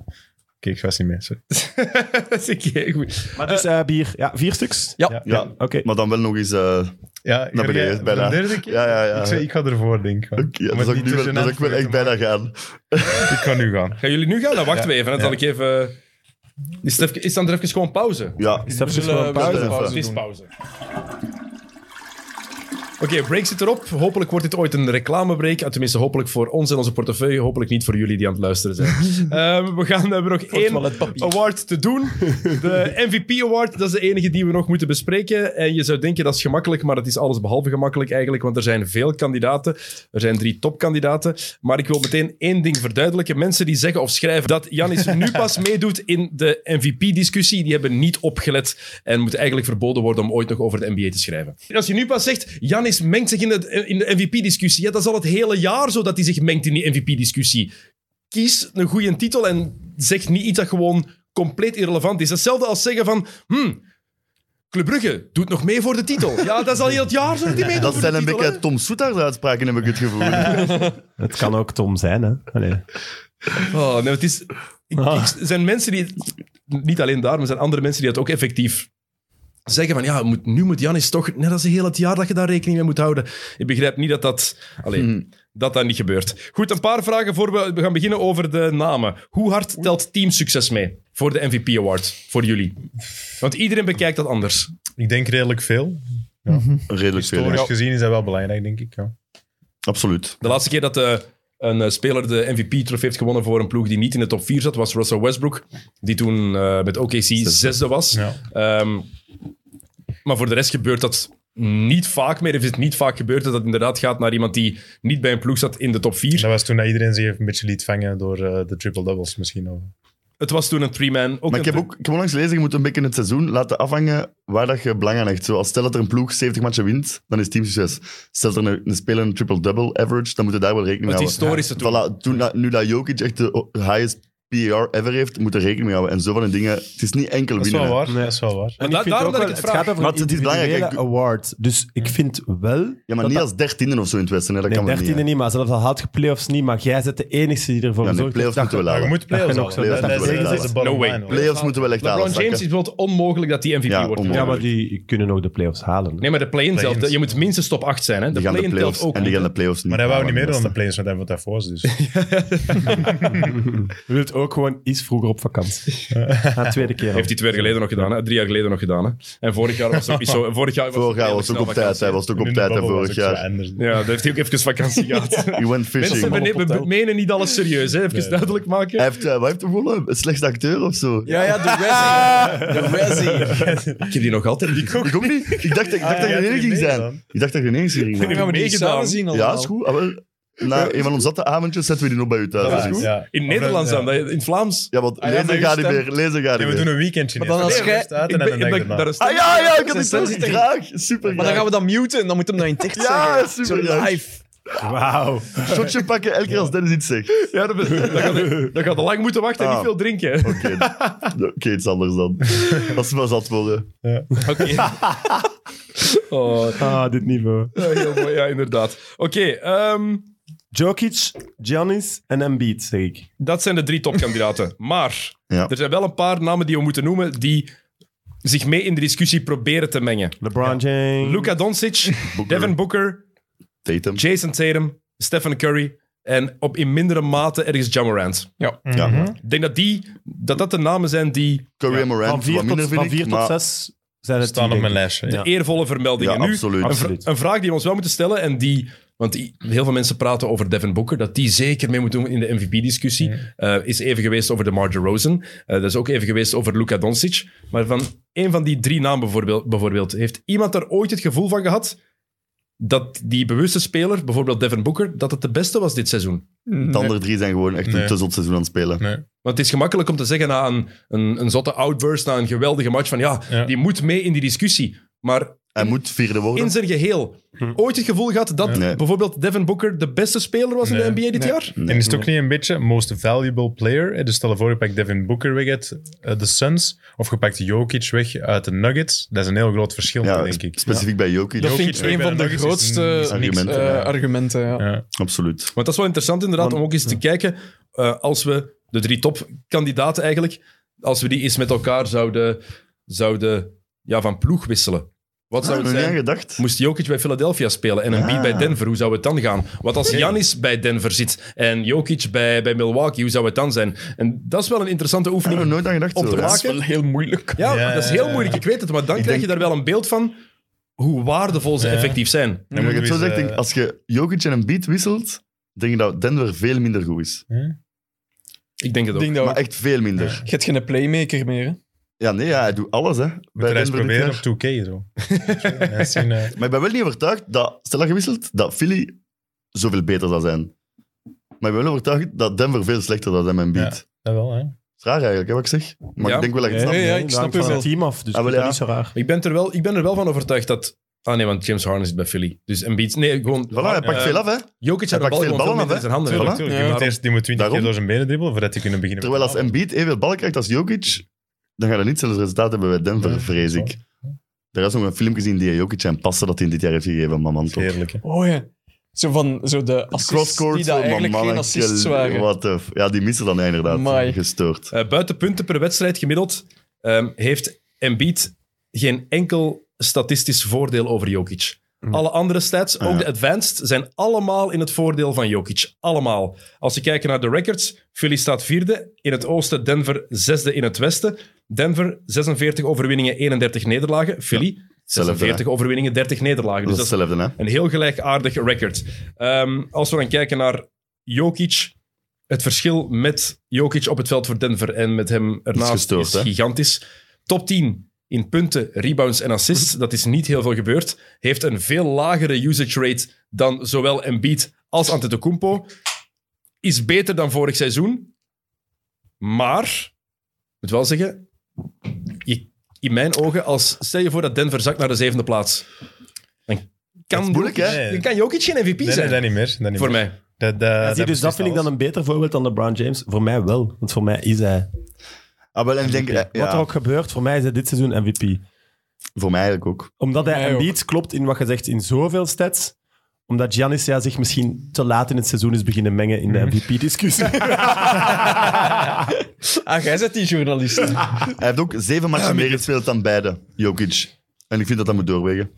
Oké, ik was niet mee, sorry. *laughs* dat is oké, goed. Maar dus eh, bier. Ja, vier stuks? Ja. Ja. Ja, Oké. maar dan wel nog eens... eh, Ja, ik Naar ga- beneden, voor bijna. De derde keer? Ja, ja, ja. Ik, zei, ik ga ervoor, denk ik. man. ja, Om dat het zou ik niet nu wel- te dat gênant zou ik wel voor je echt te bijna gaan. maken. Ik ga nu gaan. Gaan jullie nu gaan? Dan wachten we even. hè. Dan zal ik even... Is, het even, is dan er even gewoon pauze? Eh, Ja, Stap dus gewoon een pauze. zullen- pauze Het is pauze. Oké, break zit erop. Hopelijk wordt dit ooit een reclamebreak. Ah, Tenminste, hopelijk voor ons en onze portefeuille. Hopelijk niet voor jullie die aan het luisteren zijn. Ehm, we gaan we hebben nog één toiletpapier. award te doen. De MVP Award, dat is de enige die we nog moeten bespreken. En je zou denken dat is gemakkelijk, maar het is alles behalve gemakkelijk eigenlijk. Want er zijn veel kandidaten. Er zijn drie topkandidaten. Maar ik wil meteen één ding verduidelijken. Mensen die zeggen of schrijven dat Janis nu pas meedoet in de MVP-discussie, die hebben niet opgelet en moet eigenlijk verboden worden om ooit nog over de NBA te schrijven. Als je nu pas zegt, Janis mengt zich in de, in de MVP-discussie, ja, dat is al het hele jaar zo dat hij zich mengt in die MVP-discussie. Kies een goede titel en zeg niet iets dat gewoon compleet irrelevant is. Hetzelfde als zeggen van, hmm, Club Brugge doet nog mee voor de titel. Ja, dat is al heel het jaar zo dat hij meedoet *laughs* dat voor zijn de een titel, hè. beetje Tom Soetars uitspraken, heb ik het gevoel. Het kan ook Tom zijn, hè? Allee. Oh, nee, het is... ik- Ah. ik- er zijn mensen die... Niet alleen daar, maar er zijn andere mensen die dat ook effectief zeggen van ja, moet, nu moet Janis toch... Net als heel het jaar dat je daar rekening mee moet houden. Ik begrijp niet dat dat... Allee, dat dat niet gebeurt. Goed, een paar vragen voor we, we gaan beginnen over de namen. Hoe hard telt teamsucces mee voor de MVP Award? Voor jullie. Want iedereen bekijkt dat anders. Ik denk redelijk veel. Redelijk veel, Historisch ja. gezien is dat wel belangrijk, denk ik. Ja. Absoluut. De laatste keer dat eh, een eh, speler de MVP-trofee heeft gewonnen voor een ploeg die niet in de top 4 zat, was Russell Westbrook, die toen eh, met OKC zesde was. Ja. Ehm, maar voor de rest gebeurt dat niet vaak meer. Heeft het niet vaak gebeurd dat het inderdaad gaat naar iemand die niet bij een ploeg zat in de top 4. Dat was toen dat iedereen zich even een beetje liet vangen door eh, de triple-doubles misschien. Of. Het was toen een three-man. Ook Maar een ik heb ook ik heb onlangs gelezen, je moet een beetje het seizoen laten afhangen waar dat je belang aan hecht. Zo, als stel dat er een ploeg 70 matchen wint, dan is team succes. Stel dat er een, een speler een triple-double average, dan moet je daar wel rekening mee Het houden. historische toen. Voilà, toen dat- nu dat Jokic echt de highest PAR ever heeft, moet er rekening mee houden. En zo van die dingen. Het is niet enkel Dat is winnen. wel waar. Nee. Dat is wel waar. da- vind daarom ook dat wel- ik het het gaat vraag. over Maar een het is belangrijk, individuele ik- award. Dus ik vind wel... Ja, maar niet als dertiende of zo in het Westen. Hè. Dat Nee, kan wel niet. 13e hè. niet, maar zelfs al haalt je playoffs niet, maar jij bent de enige die ervoor Ja, nee, zorgt. playoffs dat moeten we je- Maar je laten. moet playoffs Dat al. is Dat, dat, nog dat, zo. is- dat is de bottom No way. line. hoor. Playoffs moeten wel echt LeBron aanzakken. James is bijvoorbeeld onmogelijk dat die MVP Ja, wordt. onmogelijk. Ja, maar die kunnen ook de playoffs halen. Nee, maar de play-in Play-in. zelf. Je moet minstens top 8 zijn. Hè? De Die gaan de play-in telt playoffs ook. en die niet. gaan de playoffs niet. Maar hij wou niet halen, meer dan dat de playoffs, want hij moet daarvoor. Dus. Je wilt ook gewoon iets vroeger op vakantie. Na de tweede keer. al. Heeft hij twee jaar geleden nog gedaan, hè? drie jaar geleden nog gedaan. Hè? En vorig jaar was het ook *laughs* niet zo. Vorig jaar was het Vorig jaar redelijk was het snel ook op tijd. vakantie. Hij was het ook *laughs* Nu op de tijd hè, bubble was vorig ook zo jaar. anders. Ja, daar heeft hij ook even vakantie *laughs* gehad. He went Mensen, we, fishing. ne- we menen niet alles serieus, hè? even duidelijk maken. Hij heeft, eh, wat heeft hem gewonnen? Een slechtste acteur of zo? Ja, ja, de *laughs* Razzie. De Razzie. Ik heb die nog altijd niet Ik ook niet. Ik dacht, dat- ik dacht dat jij je hebt de enige ging die zijn. meegedaan. Ik dacht dat je de enige ging zijn. gaan we die meegedaan. samen zien Ja, allemaal. is goed. Ah, wel. na een van onze zatte avondjes zetten we die nog bij u thuis. Dat is Dus- goed. Ja. In Nederlands Ja. dan, dat- in Vlaams. Ja, want Ah, ja, lezen maar gaat uw niet meer. stem- Lezen gaat Nee, niet we doen meer. een weekendje. Maar dan eerst. als Nee, we jij- rusten uit en dan een dag ik, erna. daar is Ah ja, ja, ik heb Zijn het wel stem zit erin. graag. Super Maar dan gaan we dat muten en dan moeten we hem dan in ticht Ja, zeggen. super, Zo ja. live. Wauw. een shotje pakken elke keer als Dennis iets zegt. Ja, dat, *laughs* dat, gaat, dat gaat lang moeten wachten en Ah. niet veel drinken. *laughs* Oké, oké, iets anders dan. Als ze maar zat worden. Oh, Ah, dit niveau. ja, heel mooi. Ja, inderdaad. Oké, ehm, Jokic, Giannis en Embiid, zeg ik. dat zijn de drie topkandidaten. Maar Ja. er zijn wel een paar namen die we moeten noemen die zich mee in de discussie proberen te mengen. LeBron Hmm. James. Luka Doncic, Booker, *laughs* Devin Booker, Tatum. Jason Tatum, Stephen Curry en op in mindere mate ergens Ja Morant. Mhm. Ja. Ik denk dat die, dat, dat de namen zijn die Curry en Van Morant, wat 4 minder tot, vind van ik. vier tot maar- 6 zijn het Staan die, op denk mijn ik. lijstje. Ja. eervolle vermeldingen. Ja, nu, absoluut. Een, vra- Absoluut. een vraag die we ons wel moeten stellen, en die, want i- heel veel mensen praten over Devin Booker, dat die zeker mee moet doen in de MVP-discussie. Eh, is even geweest over de Marge Rosen. Eh, dat is ook even geweest over Luka Doncic. Maar van een van die drie namen bijvoorbeeld, bijvoorbeeld, heeft iemand er ooit het gevoel van gehad dat die bewuste speler, bijvoorbeeld Devin Booker, dat het de beste was dit seizoen? De andere drie zijn gewoon echt Nee. een te zot seizoen aan het spelen. Nee. Want het is gemakkelijk om te zeggen na een, een, een zotte outburst, na een geweldige match, van ja, Ja. die moet mee in die discussie. Maar Hij moet vierde worden. in zijn geheel Hm. ooit het gevoel gehad dat Nee. bijvoorbeeld Devin Booker de beste speler was Nee. in de NBA dit jaar? En is het ook niet een beetje most valuable player? Eh, Dus stel je voor, je pakt Devin Booker weg uit eh, de Suns. Of je pakt Jokic weg uit de Nuggets. Dat is een heel groot verschil, Ja, denk ik. specifiek bij Jokic. Dat vind Jokic ik weg een bij van de Nuggets is grootste niks. argumenten, Eh, ja. argumenten, ja. Ja. Absoluut. Want dat is wel interessant inderdaad om ook eens te kijken eh, als we de drie topkandidaten eigenlijk, als we die eens met elkaar zouden, zouden ja, van ploeg wisselen. Wat Zou zou het ik nog Ah, niet aan zijn? gedacht? Moest Jokic bij Philadelphia spelen en een Ah. bij Denver, hoe zou het dan gaan? Wat als Janis bij Denver zit en Jokic bij, bij Milwaukee, hoe zou het dan zijn? En dat is wel een interessante Ik heb oefening er nooit aan gedacht. om te zo, ja. maken. Wel heel moeilijk. Ja, Ja, dat is ja, heel ja. moeilijk, ik weet het. Maar dan krijg je denk- daar wel een beeld van hoe waardevol ze Ja. effectief zijn. En als je het zo Moeten we zegt, eens, denk, eh, als je Jokic en een beat wisselt, denk ik dat Denver veel minder goed is. Ik denk het Ik ook. denk dat Maar ook. echt veel minder. Je hebt geen playmaker meer. Hè? Ja, nee, ja, hij doet alles hè, Moet bij er eens Denver dit proberen op jaar. 2K. Zo. *laughs* Ja, dat zien, eh, Maar ik ben wel niet overtuigd dat, stel dat je wisselt, dat Philly zoveel beter zou zijn. Maar ik ben wel overtuigd dat Denver veel slechter zou zijn met een beat. Het dat wel, hè. is raar eigenlijk, hè, wat ik zeg. Maar Ja. ik denk wel dat je het Ja, snapt. ja, Nee, ik dat snap hangt je van wel. het team af, dus Ah, wel, dat is ja. niet zo raar. Ik, ben er wel, ik ben er wel van overtuigd dat... Ah nee, want James Harden zit bij Philly. Dus Embiid... Nee, gewoon... Voilà, hij pakt Eh, veel af, hè. Jokic had de bal Hij pakt gewoon veel veel ballen minder af, in zijn handen. Tuurlijk, Voilà. tuurlijk. Ja. Je moet eerst, die moet 20 Daarom. keer door zijn benen dribbelen voordat hij kunnen beginnen. met Terwijl als voetballen. Embiid evenveel ballen krijgt als Jokic, dan gaat hij niet zelfs resultaat hebben bij Denver, Ja, vrees dat is ik. Er is nog een film gezien die hij Jokic aan passen dat hij dit jaar heeft gegeven, Mamanto. Heerlijk, hè. Oh ja. Zo van zo de assists Crosscourt, die daar eigenlijk geen assists waren. What the f- ja, die missen dan inderdaad. Amai. Dus Gestoord. Eh, buiten punten per wedstrijd gemiddeld ehm, heeft Embiid geen enkel statistisch voordeel over Jokic. Alle andere stats, ook Mhm. Ah, ja. de advanced, zijn allemaal in het voordeel van Jokic. Allemaal. Als je kijkt naar de records, Philly staat vierde in het oosten, Denver zesde in het westen. Denver 46 overwinningen, 31 nederlagen. Philly hetzelfde, 46 overwinningen, 30 nederlagen. dat Dus is dat is hetzelfde, hè? een heel gelijkaardig record. Ehm, als we dan kijken naar Jokic, het verschil met Jokic op het veld voor Denver en met hem ernaast is, gestoord, hè? gigantisch. Top 10 in punten, rebounds en Mhm. assists, dat is niet heel veel gebeurd. Heeft een veel lagere usage rate dan zowel Embiid als Antetokounmpo. Is beter dan vorig seizoen, maar, ik moet wel zeggen, je- in mijn ogen, als, stel je voor dat Denver zakt naar de zevende plaats, dan Dat kan, is moeilijk, hè? Jokic- dan kan Jokic geen MVP Nee, nee, zijn, dat niet meer. Dat niet voor meer. mij. Dat, dat, Ja, zie, dus dat vind ik dan een beter voorbeeld dan LeBron James. Voor mij wel, want voor mij is hij. Ah, wel, en ik denk, eh, ja, Wat er ook gebeurt, voor mij is hij dit seizoen MVP. voor mij eigenlijk ook. Omdat hij Mij ook. Embiid klopt in wat je zegt in zoveel stats. Omdat Giannis ja, zich misschien te laat in het seizoen is beginnen mengen in de MVP-discussie. Ah, jij bent die journalist. Hij heeft ook zeven matchen meer gespeeld dan beide, Jokic. En ik vind dat dat moet doorwegen.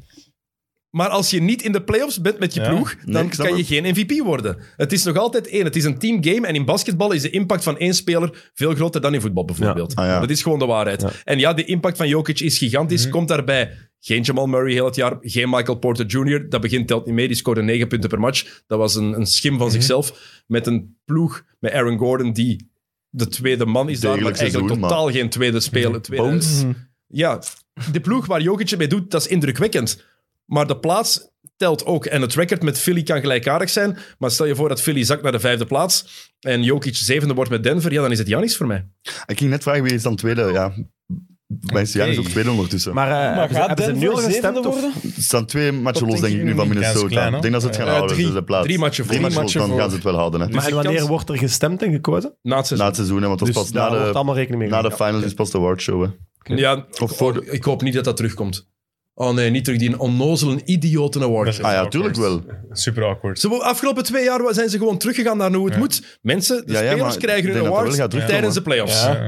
Maar als je niet in de playoffs bent met je Ja. ploeg, Nee, dan ik snap kan je het. geen MVP worden. Het is nog altijd één. Het is een teamgame. En in basketbal is de impact van één speler veel groter dan in voetbal, bijvoorbeeld. Ja. Ah, ja. Mhm. Dat is gewoon de waarheid. Ja. En ja, de impact van Jokic is gigantisch. Komt daarbij geen Jamal Murray heel het jaar, geen Michael Porter Jr. Dat begint telt niet mee. Die scoorde 9 punten per match. Dat was een, een schim van Mhm. zichzelf. Met een ploeg, met Aaron Gordon, die de tweede man is daar, maar Degelijk eigenlijk seizoen, Mhm. totaal geen tweede speler. Tweede, Mhm. Bones. ja, de ploeg waar Jokic het mee doet, dat is indrukwekkend. Maar de plaats telt ook. En het record met Philly kan gelijkaardig zijn. Maar stel je voor dat Philly zakt naar de vijfde plaats en Jokic zevende wordt met Denver, ja, dan is het Janis voor mij. Ik ging net vragen wie is dan tweede. Ja, mensen Jan is ook tweede ondertussen. Maar Maar, eh, hebben ze- hebben ze nul gestemd of- er staan twee matchen Dat los, denk denk ik ik nu, van niet. Ja, dat is Minnesota. klein, hè? ik denk dat ze het gaan Eh, houden, drie- dus de plaats. drie matchen Drie voor. matchen los, Matchen dan voor. gaan ze het wel houden. Hè. Dus Maar en de wanneer kans- wordt er gestemd en gekozen? Na het na seizoen. het seizoen, hè, want dat Dus is pas na daar wordt de, allemaal rekening mee na de gehouden. finals, is pas de awardshow. hè. Ja, oh, Of voor ik hoop niet dat dat terugkomt. Oh nee, niet terug die onnozelen idioten award. Dat is Ah ja, awkward. tuurlijk wel. Super awkward. Ze, wo- afgelopen twee jaar zijn ze gewoon teruggegaan naar hoe het Ja. moet. Mensen, de Ja, ja, maar spelers ik krijgen denk hun dat dat awards wel gaat terugkomen. tijdens de playoffs. Ja.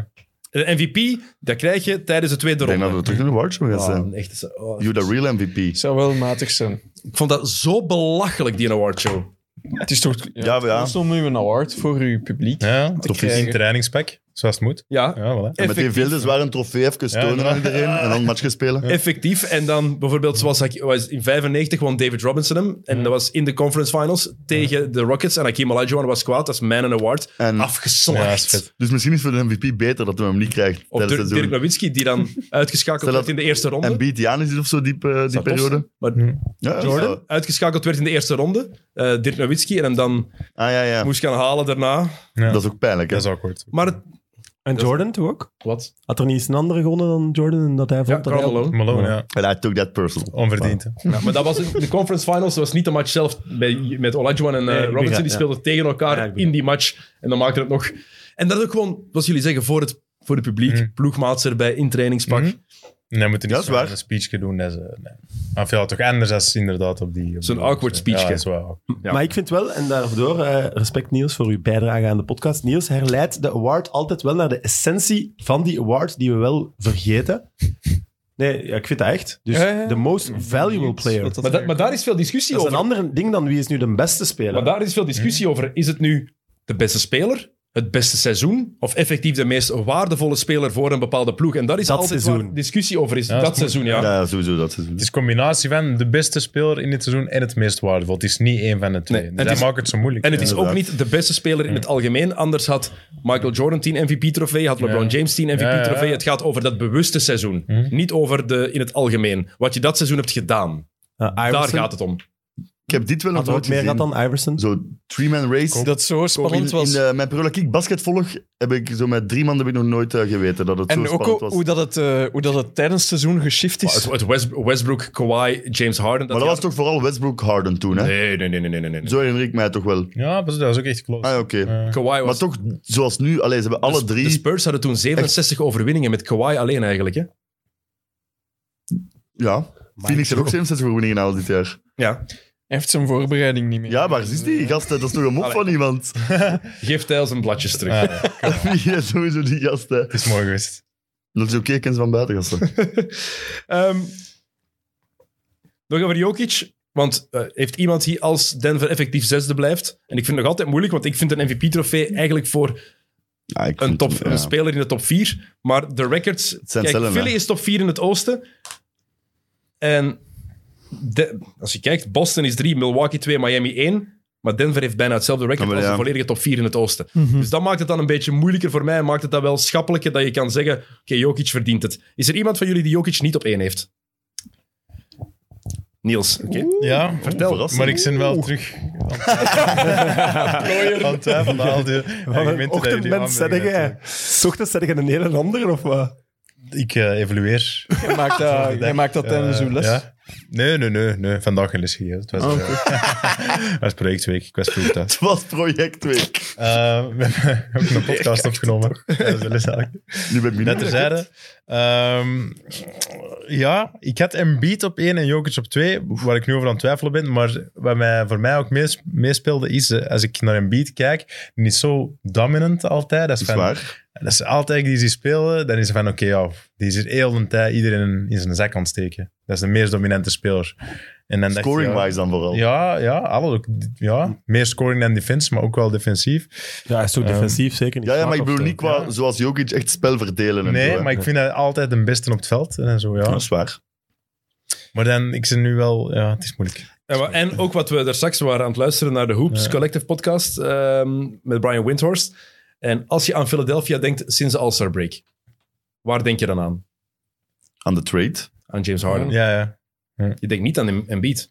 Ja. De MVP, dat krijg je tijdens de tweede Ik denk dat eh, ronde. we terug in de awardshow gaan zijn. Ah, echt, oh, You the real MVP. zou wel matig zijn. ik vond dat zo belachelijk, die awardshow. Het is toch... Ja, maar ja. Het is toch nu een award voor uw publiek. Ja, Tof in is. een trainingspak, zoals het moet. Ja, Ja, voilà. En meteen effectief. veel dus waar een trofee even tonen aan iedereen en dan een matchje spelen. effectief. En dan bijvoorbeeld, zoals Hak- was in 95 won David Robinson hem. En dat was in de conference finals tegen de Rockets. En Hakim Olajuwon was kwaad. Dat is Man an Award. En- Ja, Afgeslacht. is vet. Dus misschien is het voor de MVP beter dat hij hem niet krijgt Of tijdens Dirk het Dirk seizoen. Nowitzki, die dan *laughs* uitgeschakeld Stel werd dat- in de eerste ronde. En beat Janis of zo die, eh, die Zou tof periode. zijn. Maar Ja, Jordan ja. uitgeschakeld werd in de eerste ronde. Eh Dirk Nowitzki. En hem dan Ah ja, ja. moest gaan halen daarna. Ja. Dat is ook pijnlijk. Hè? Dat is awkward. Maar het... En Jordan toch ook? Wat? Had er niet eens een andere gewonnen dan Jordan en dat hij Ja, vond dat Karl hij... Malone. Malone, ja. And I took that personal. Onverdiend. hè. Ja, maar dat was in de conference finals. Dat was niet de match zelf bij, met Olajuwon en eh, ik Robinson. begrijp, die ja. speelden tegen elkaar Ja, ik begrijp. in die match. En dan maakte het nog... En dat is ook gewoon, zoals jullie zeggen, voor het, voor het publiek. Mm. Mhm. Ploegmaats erbij, in trainingspak. Mhm. En dan moet je Ja, niet is zo'n waar. een speechje doen. Dat is, eh, nee. Of ja, toch anders als inderdaad op die... op Zo'n die- awkward speechje. Ja, dat is wel awkward. Ja. Maar ik vind wel, en daardoor eh, respect Niels voor uw bijdrage aan de podcast. Niels herleidt de award altijd wel naar de essentie van die award die we wel vergeten. Nee, ja, ik vind dat echt. Dus Ja, ja, ja. de most valuable player. Dat, Maar, dat- maar daar is veel discussie is een over. ander ding dan wie is nu de beste Maar speler. daar is veel Mm. discussie over. Is het nu de beste speler, het beste seizoen, of effectief de meest waardevolle speler voor een bepaalde ploeg? En daar is Dat altijd seizoen. waar discussie over is. dat dat is seizoen, ja. Ja, sowieso dat seizoen. Het is een combinatie van de beste speler in dit seizoen en het meest waardevol. Het is niet één van de twee. Nee, en Dus het dat is- maakt het zo moeilijk. En het Ja. is ook niet de beste speler in het algemeen. Anders had Michael Jordan 10 MVP-trofee, had LeBron Ja. James 10 Ja, ja, MVP-trofee. ja. Het gaat over dat bewuste seizoen. Mhm. Hm. Niet over de, in het algemeen. Wat je dat seizoen hebt gedaan. Ja, Daar Ah, Iverson. gaat het om. Ik heb dit wel nog Had er nooit ook meer gehad gezien. dan Iverson. Zo three-man race. Dat zo In, in spannend was. eh, mijn Pro League basket volg heb ik zo met drie man heb ik nog nooit eh, geweten dat het en zo ook spannend hoe- was. hoe dat, het, eh, hoe dat het tijdens het seizoen geshift Maar is. Het, het West- Westbrook, Kawhi, James Harden. maar dat was toch vooral Westbrook Harden toen, hè? Nee, nee, nee, nee, nee. nee, nee. Zo herinner ik mij toch wel. Ja, dat is- dat is ook echt close. Ah, ja, oké. Eh, Kawhi maar was... dus toch, zoals nu, allee, ze hebben alle de- drie... De Spurs hadden toen 67 overwinningen met Kawhi alleen eigenlijk. Hè? ja, Phoenix heeft ook 67 overwinningen gehaald dit jaar. Ja. Hij heeft zijn voorbereiding niet meer. Ja, maar is die gast, dat is toch een mop van *laughs* iemand. Geef Tijl zijn bladjes terug. ah, ja. Wie is sowieso die gast, hè. Ah. Het is mooi geweest. Dat is oké, ik ken ze van buiten, gasten. Ehm, nog over Jokic. Want eh, heeft iemand hier als Denver effectief zesde blijft? En ik vind het nog altijd moeilijk, want ik vind een MVP-trofee eigenlijk voor Ja, ik een, vind- top, ja. een speler in de top 4. Maar de records... zijn Kijk, cellen, Philly hè. is top 4 in het oosten. En de- als je kijkt, Boston is 3, Milwaukee 2, Miami 1. Maar Denver heeft bijna hetzelfde record Ja, maar als de ja. volledige top 4 in het oosten. Dus dat maakt het dan een beetje moeilijker voor mij. en Maakt het dan wel schappelijker dat je kan zeggen, oké, Jokic verdient het. Is er iemand van jullie die Jokic niet op 1 heeft? Niels, oké. Ja, Vertel. maar ik ben wel terug. Want wij van al die argumenten dat jullie Ochtendmens zeg aanbrengen. jij. S Ochtends zeg jij een hele andere, of wat? Ik eh, evalueer. Hij *laughs* maakt dat, hij maakt dat tijdens Eh, uw les. ja. Nee, nee, nee, nee. Vandaag geen les gegeven. Het was, eh, *laughs* het was projectweek. Ik was vroeg thuis. Het was projectweek. Eh, we hebben ook een podcast opgenomen. tijdens de les eigenlijk. Nu ben ik *laughs* Dat minder. terzijde. Ehm ja, ik had Embiid op 1 en Jokic op 2, waar ik nu over aan het twijfelen ben. Maar wat mij, voor mij ook mees- meespeelde is, eh, als ik naar Embiid kijk, niet zo dominant altijd. Dat is, Dat is van, waar. dat is altijd die ze spelen, dan is het van oké, ja, die is er heel de tijd iedereen in zijn zak aan het steken. Dat is de meest dominante speler. En dan dacht je, ja, Scoring-wise dan vooral. Ja, ja, alle, ja, meer scoring dan defense, maar ook wel defensief. Ja, hij is zo defensief, zeker niet. Ja, ja, maar ik Zwak of bedoel zo. niet qua Ja. zoals Jokic echt spel verdelen. En Nee, zo, hè. maar ik vind dat altijd de beste op het veld. En zo, Ja, ja. dat is waar. Maar dan, ik zit nu wel... Ja, het is moeilijk. En, wa- en ook wat we daar straks waren aan het luisteren naar de Hoops Ja. Collective podcast ehm, met Brian Windhorst. En als je aan Philadelphia denkt sinds de All-Star break, waar denk je dan aan? Aan de trade. Aan James Harden. Ja, ja. Ja. Je denkt niet aan Em- Embiid.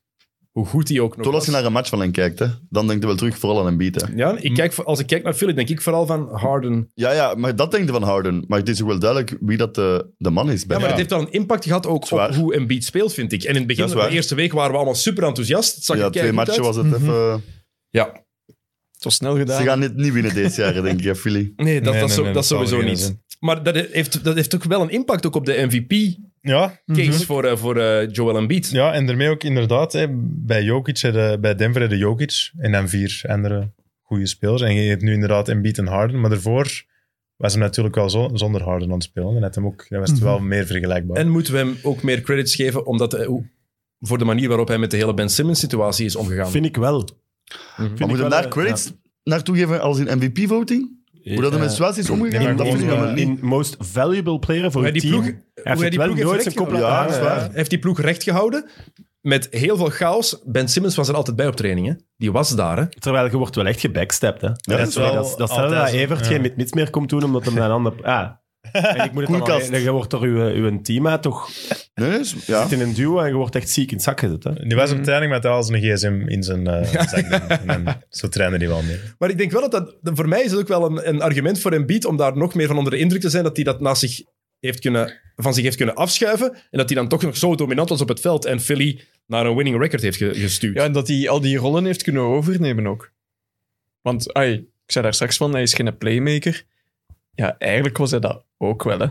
Hoe goed hij ook nog Tot als was. je naar een match van hen kijkt, hè, dan denk je wel terug vooral aan een beat. Hè. Ja, ik kijk, als ik kijk naar Philly, denk ik vooral van Harden. Ja, ja, maar dat denk je van Harden. Maar het is ook wel duidelijk wie dat de, de man is. Bij Ja, maar het hem. heeft dan een impact gehad ook op waar. hoe Embiid speelt, vind ik. En in het begin Dat is van de waar. eerste week waren we allemaal super enthousiast. Het zag ja, er twee keigoed matchen uit. was het even... Ja, Het was snel Ze gedaan. gaan dit niet winnen deze jaren, denk ik, hè, Philly. nee, dat, Nee, dat, nee, zo- nee, dat dat sowieso zal geen niet. zin. Maar dat heeft, dat heeft ook wel een impact ook op de MVP-case Ja, voor, eh, voor eh, Joel Embiid. Ja, en daarmee ook inderdaad, hè, bij, Jokic, hadden- bij Denver hadden Jokic en dan vier andere goede spelers. En je hebt nu inderdaad Embiid en Harden, maar daarvoor was hem natuurlijk wel zo- zonder Harden aan het spelen. En had hem ook, dan was het wel meer vergelijkbaar. Mhm. En moeten we hem ook meer credits geven omdat, eh, hoe- voor de manier waarop hij met de hele Ben Simmons-situatie is omgegaan. Vind ik wel. Maar moet je daar credits naartoe geven als in MVP-voting? Hoe dat er met Swaz is omgegaan? nee, maar dat gewoon, vind ik helemaal eh, niet. in most valuable player voor Hoe het hij die team. ploeg, hoe Hij heeft hij het die wel ploeg heeft nooit zijn kop laten rechtgehouden. Ja, dat is hangen, waar. hè. Hij heeft die ploeg recht gehouden met heel veel chaos. Ben Simmons was er altijd bij op training. Hè? Die was daar. Hè? Terwijl je wordt wel echt gebackstapt. Hè. dat, dat is is wel, wel dat, is- dat is altijd hetzelfde dat zo. Evert Ja. geen mits meer komt doen, omdat hem een ander... Ah. *laughs* En ik moet het dan wel- Koelkast. je wordt door uw, uw teammaat toch Nee, nee, is- ja. zit in een duo en je wordt echt ziek in het zak gezet. Hè. Die was op Mhm. training met al zijn gsm in zijn eh, zak. doen. En dan- zo trainde hij wel mee. Maar ik denk wel dat dat... dat- Voor mij is het ook wel een, een argument voor Embiid om daar nog meer van onder de indruk te zijn dat hij dat naast zich heeft kunnen, van zich heeft kunnen afschuiven. En dat hij dan toch nog zo dominant was op het veld en Philly naar een winning record heeft ge- gestuurd. Ja, en dat hij al die rollen heeft kunnen overnemen ook. Want, ai, ik zei daar straks van, hij is geen playmaker. Ja, eigenlijk was hij dat ook wel, hè.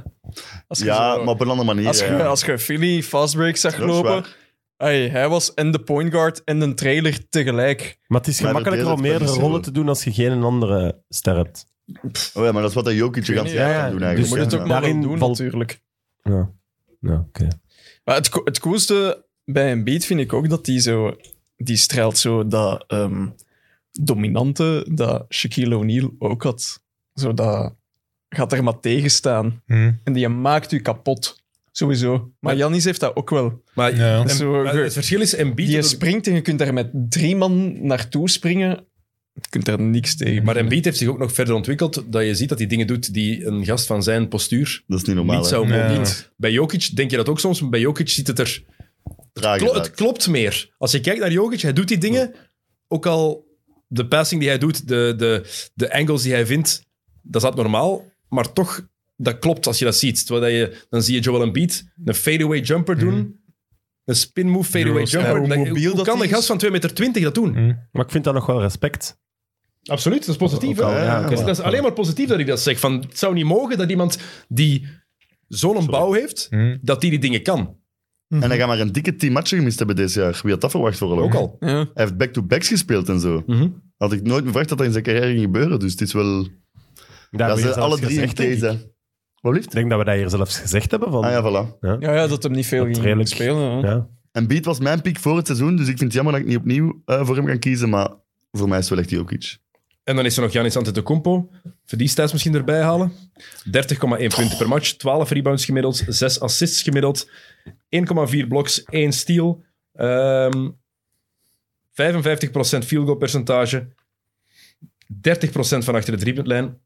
Als je ja, zo- maar op een andere manier. Als je, ja. Oh als je Philly fastbreak zag Dat is waar. lopen, ai, hij was en de point guard en de trailer tegelijk. Maar het is Maar gemakkelijker dat om deed het meerdere wel niet rollen te doen als je geen een andere ster hebt. Oh ja, maar dat is wat dat Jokic de Ik weet ganse niet, jaar ja, kan doen ja. Je Dus eigenlijk. moet het hè. ook Ja. maar Daarin wel doen, valt- natuurlijk. Ja, ja oké. Maar het, ko- het coolste bij een beat vind ik ook dat die zo... Die straalt zo dat ehm, dominante dat Shaquille O'Neal ook had. Zo dat... Gaat er maar tegen staan. Mhm. En die maakt u kapot. Sowieso. Maar Janis heeft dat ook wel. Maar, Ja. en- Zo, maar ge- het verschil is Embiid... Die had ook- springt en je kunt daar met drie man naartoe springen. Je kunt daar niks tegen. Maar Embiid heeft zich ook nog verder ontwikkeld dat je ziet dat hij dingen doet die een gast van zijn postuur Dat is niet normaal. niet hè. zou mogen Nee. doen. Bij Jokic denk je dat ook soms, maar bij Jokic ziet het er... Traag Klo- inderdaad. het klopt meer. Als je kijkt naar Jokic, hij doet die dingen, ook al de passing die hij doet, de, de, de angles die hij vindt, dat is abnormaal, maar toch, dat klopt als je dat ziet. Terwijl dat je, dan zie je Joel Embiid een fadeaway jumper doen, een spin move fadeaway Euro step. jumper. Mhm. Hoe Dan- mobiel hoe dat kan die een is. gast van 2,20 meter dat doen? Maar ik vind dat nog wel respect. Absoluut, dat is positief. Ook al, hè? ja, Dus voilà. dat is alleen maar positief dat ik dat zeg. Van, het zou niet mogen dat iemand die zo'n bouw heeft, Mhm. dat die die dingen kan. En hij gaat maar een dikke tien matchen gemist hebben deze jaar. Wie had dat verwacht voor Ook al. Ja. Hij heeft back-to-backs gespeeld en zo. Mhm. Had ik nooit verwacht dat dat in zijn carrière ging gebeuren. Dus het is wel... Daar dat hebben we zijn hier zelfs alle drie in gezegd, denk ik. deze. Wat lief? Ik denk dat we dat hier zelfs gezegd hebben. Van, Ah ja, voilà. Ja, ja, dat hem niet veel Dat ging redelijk- spelen. hè. Ja. En Beat was mijn pick voor het seizoen, dus ik vind het jammer dat ik niet opnieuw eh, voor hem kan kiezen, maar voor mij is het wel echt Jokic. En dan is er nog Janis Antetokounmpo. Verdienstijds misschien erbij halen. 30,1 punten per match. 12 rebounds gemiddeld. 6 assists gemiddeld. 1,4 bloks. 1 steal. Ehm 55% field goal percentage. 30% van achter de driepuntlijn.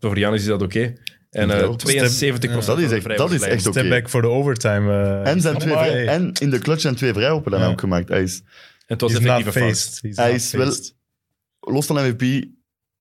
Voor Janis is dat oké. En eh, Ja, 72% dat is echt, dat is echt oké. Step back voor de overtime. eh, En, zijn twee Amai. vrij- en in de clutch zijn twee vrijhoppen dan Ja. ook gemaakt. Hij is, Het He's was not effectief een fout. faced. He's hij not is wel, faced. los van MVP,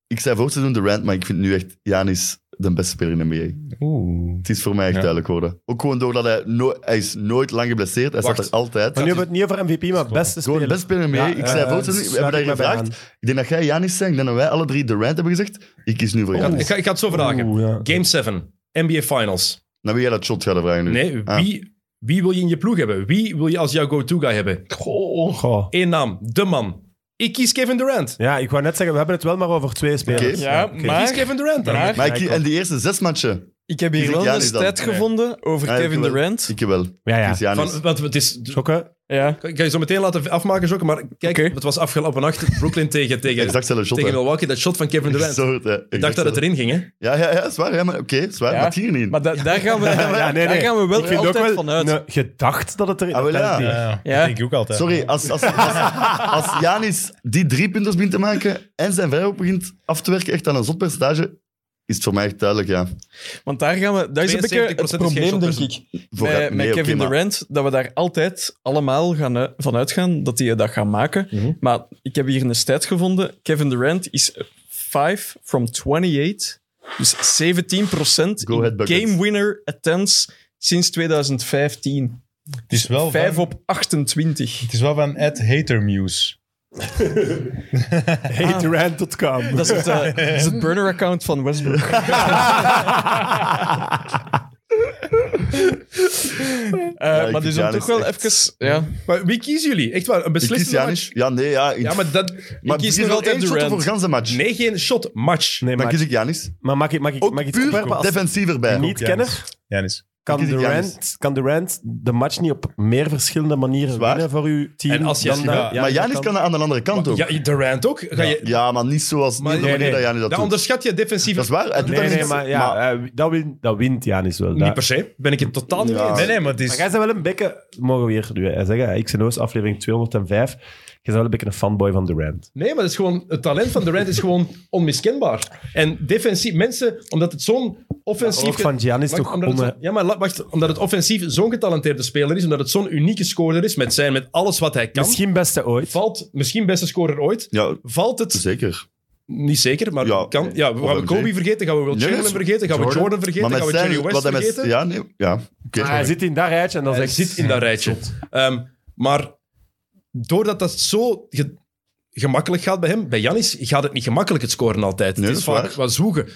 ik zei voor het seizoen de Rand, maar ik vind nu echt Janis de beste speler in de NBA. Oeh. Het is voor mij echt Ja. duidelijk geworden. Ook gewoon doordat hij, no- hij is nooit lang geblesseerd, hij Wacht. staat er altijd. Maar nu hebben we het niet over MVP, maar beste Gewoon de speler. beste speler in de NBA. Ja, ik zei eh, voor het seizoen, we hebben daar sluit ik me bij gevraagd. Ik denk dat jij Janis zei, ik denk dat wij alle drie de Rand hebben gezegd. Ik kies Oh. nu voor Ja, ik, Janis. ga, ik ga het zo vragen. Oeh, ja. Game 7. NBA Finals. Nou, wie jij dat shot gaat vragen nu? Nee, Ah. wie, wie wil je in je ploeg hebben? Wie wil je als jouw go-to guy hebben? Goh. Goh. Eén naam, de man. Ik kies Kevin Durant. Ja, ik wou net zeggen, we hebben het wel maar over twee spelers. Oké. Ja, oké. Ik maar, kies Kevin Durant. dan. maar Maar ik, Ja, kie- ik en die eerste zes matchen, ik heb hier Kies ik wel een Giannis dan? stat Nee. gevonden over Ja, ik Kevin wel. Durant. ik wel. Dus Ja, ja. Kies Giannis. Van, want het is... Schokken. Ja. Ik ga je zo meteen laten afmaken, Jokke, maar kijk, Oké. het was afgelopen *laughs* nacht Brooklyn tegen, tegen, exact zelfde shot. tegen hè. Milwaukee, dat shot van Kevin Durant. Zo, hè. Ik dacht Exact dat het zelfde. erin ging, hè? Ja, ja, ja, zwaar. Ja, maar oké, zwaar. Ja. Maar het hier niet. Maar da- daar, gaan we, Ja, Ah, nee, daar nee. gaan we ik wel vind altijd ook wel Nou, van uit. een gedacht dat het er Ah, wel, ja. dat het- Ja, Ja. dat denk ik ook altijd. Sorry, als, als, als, als Janis die drie punters begint te maken en zijn vrijhoop begint af te werken, echt aan een zot percentage, is het voor mij echt duidelijk, ja. Want daar gaan we... Dat is een beetje 72% is het geen probleem, denk shotpercent. ik. Voor met, nee, met oké, Kevin maar- Durant, dat we daar altijd allemaal gaan, eh, van uitgaan dat die dat gaan maken. Mhm. Maar ik heb hier een stat gevonden. Kevin Durant is 5 from 28. Dus 17 Go ahead, Buckets. game winner attempts sinds 2015. Het is wel 5 van, op 28. het is wel van Ed Hatermuse. Haterand.com. Dat is het, eh, dat is het burner-account van Westbrook. Eh, ik maar vind die zijn Giannis toch wel echt- even... Ja. Maar wie kiezen jullie? Echt waar, een Ik kies beslissende Janis. match? Ja, nee, ja. ik- Ja, maar maar dat... die kies is nog wel altijd één shot Durant. voor ganse match. Nee, geen shot, match. Nee, Dan maar, kies ik Janis. maar mag ik, mag ik, Ook mag ik iets puur opwerpen als defensief erbij. niet Ja, kenner? dus- Janis. Kan kies ik Durant, Giannis. kan Durant de match niet op meer verschillende manieren waar. winnen voor uw team? En als je- dan ja, dat- maar Janis dat kan dat aan de andere kant ook. Ja, Durant ook? Ga je, Ja, maar niet zoals niet Maar- op de Nee, manier nee. dat Janis dat dat doet. onderschat je defensief Dat is waar. Hij doet Nee, dat nee, niet. maar ja, eh, dat, win, dat wint Janis wel. niet Dat- per se. Ben ik het totaal niet Ja. eens. Nee, nee, maar het Maar is... jij bent wel een bekke, mogen we hier nu eh, zeggen, X en O's aflevering 205. Jij bent wel een beetje een fanboy van Durant. Nee, maar dat is gewoon, het talent van Durant is gewoon onmiskenbaar. En defensief, mensen, omdat het zo'n offensief... Ook van Giannis Wacht, toch eh, omdat het onder... zo- ja, maar la- wacht, omdat het offensief zo'n getalenteerde speler is, omdat het zo'n unieke scorer is met zijn, met alles wat hij kan, Misschien beste ooit. valt, misschien beste scorer ooit, Ja, valt het, zeker. niet zeker, maar Ja. kan, ja, gaan we MJ. Kobe vergeten, gaan we Will Yes. Chamberlain vergeten, gaan we Jordan. Jordan vergeten, gaan we Jerry West hij met- vergeten. Ja, nee. Ja, oké. Ah, hij zit in dat rijtje en dan Hij zegt... zit in dat rijtje. Ehm, maar doordat dat zo ge- gemakkelijk gaat bij hem, bij Janis gaat het niet gemakkelijk het scoren altijd. Nee, het is dat is vaak waar. wat zoeken.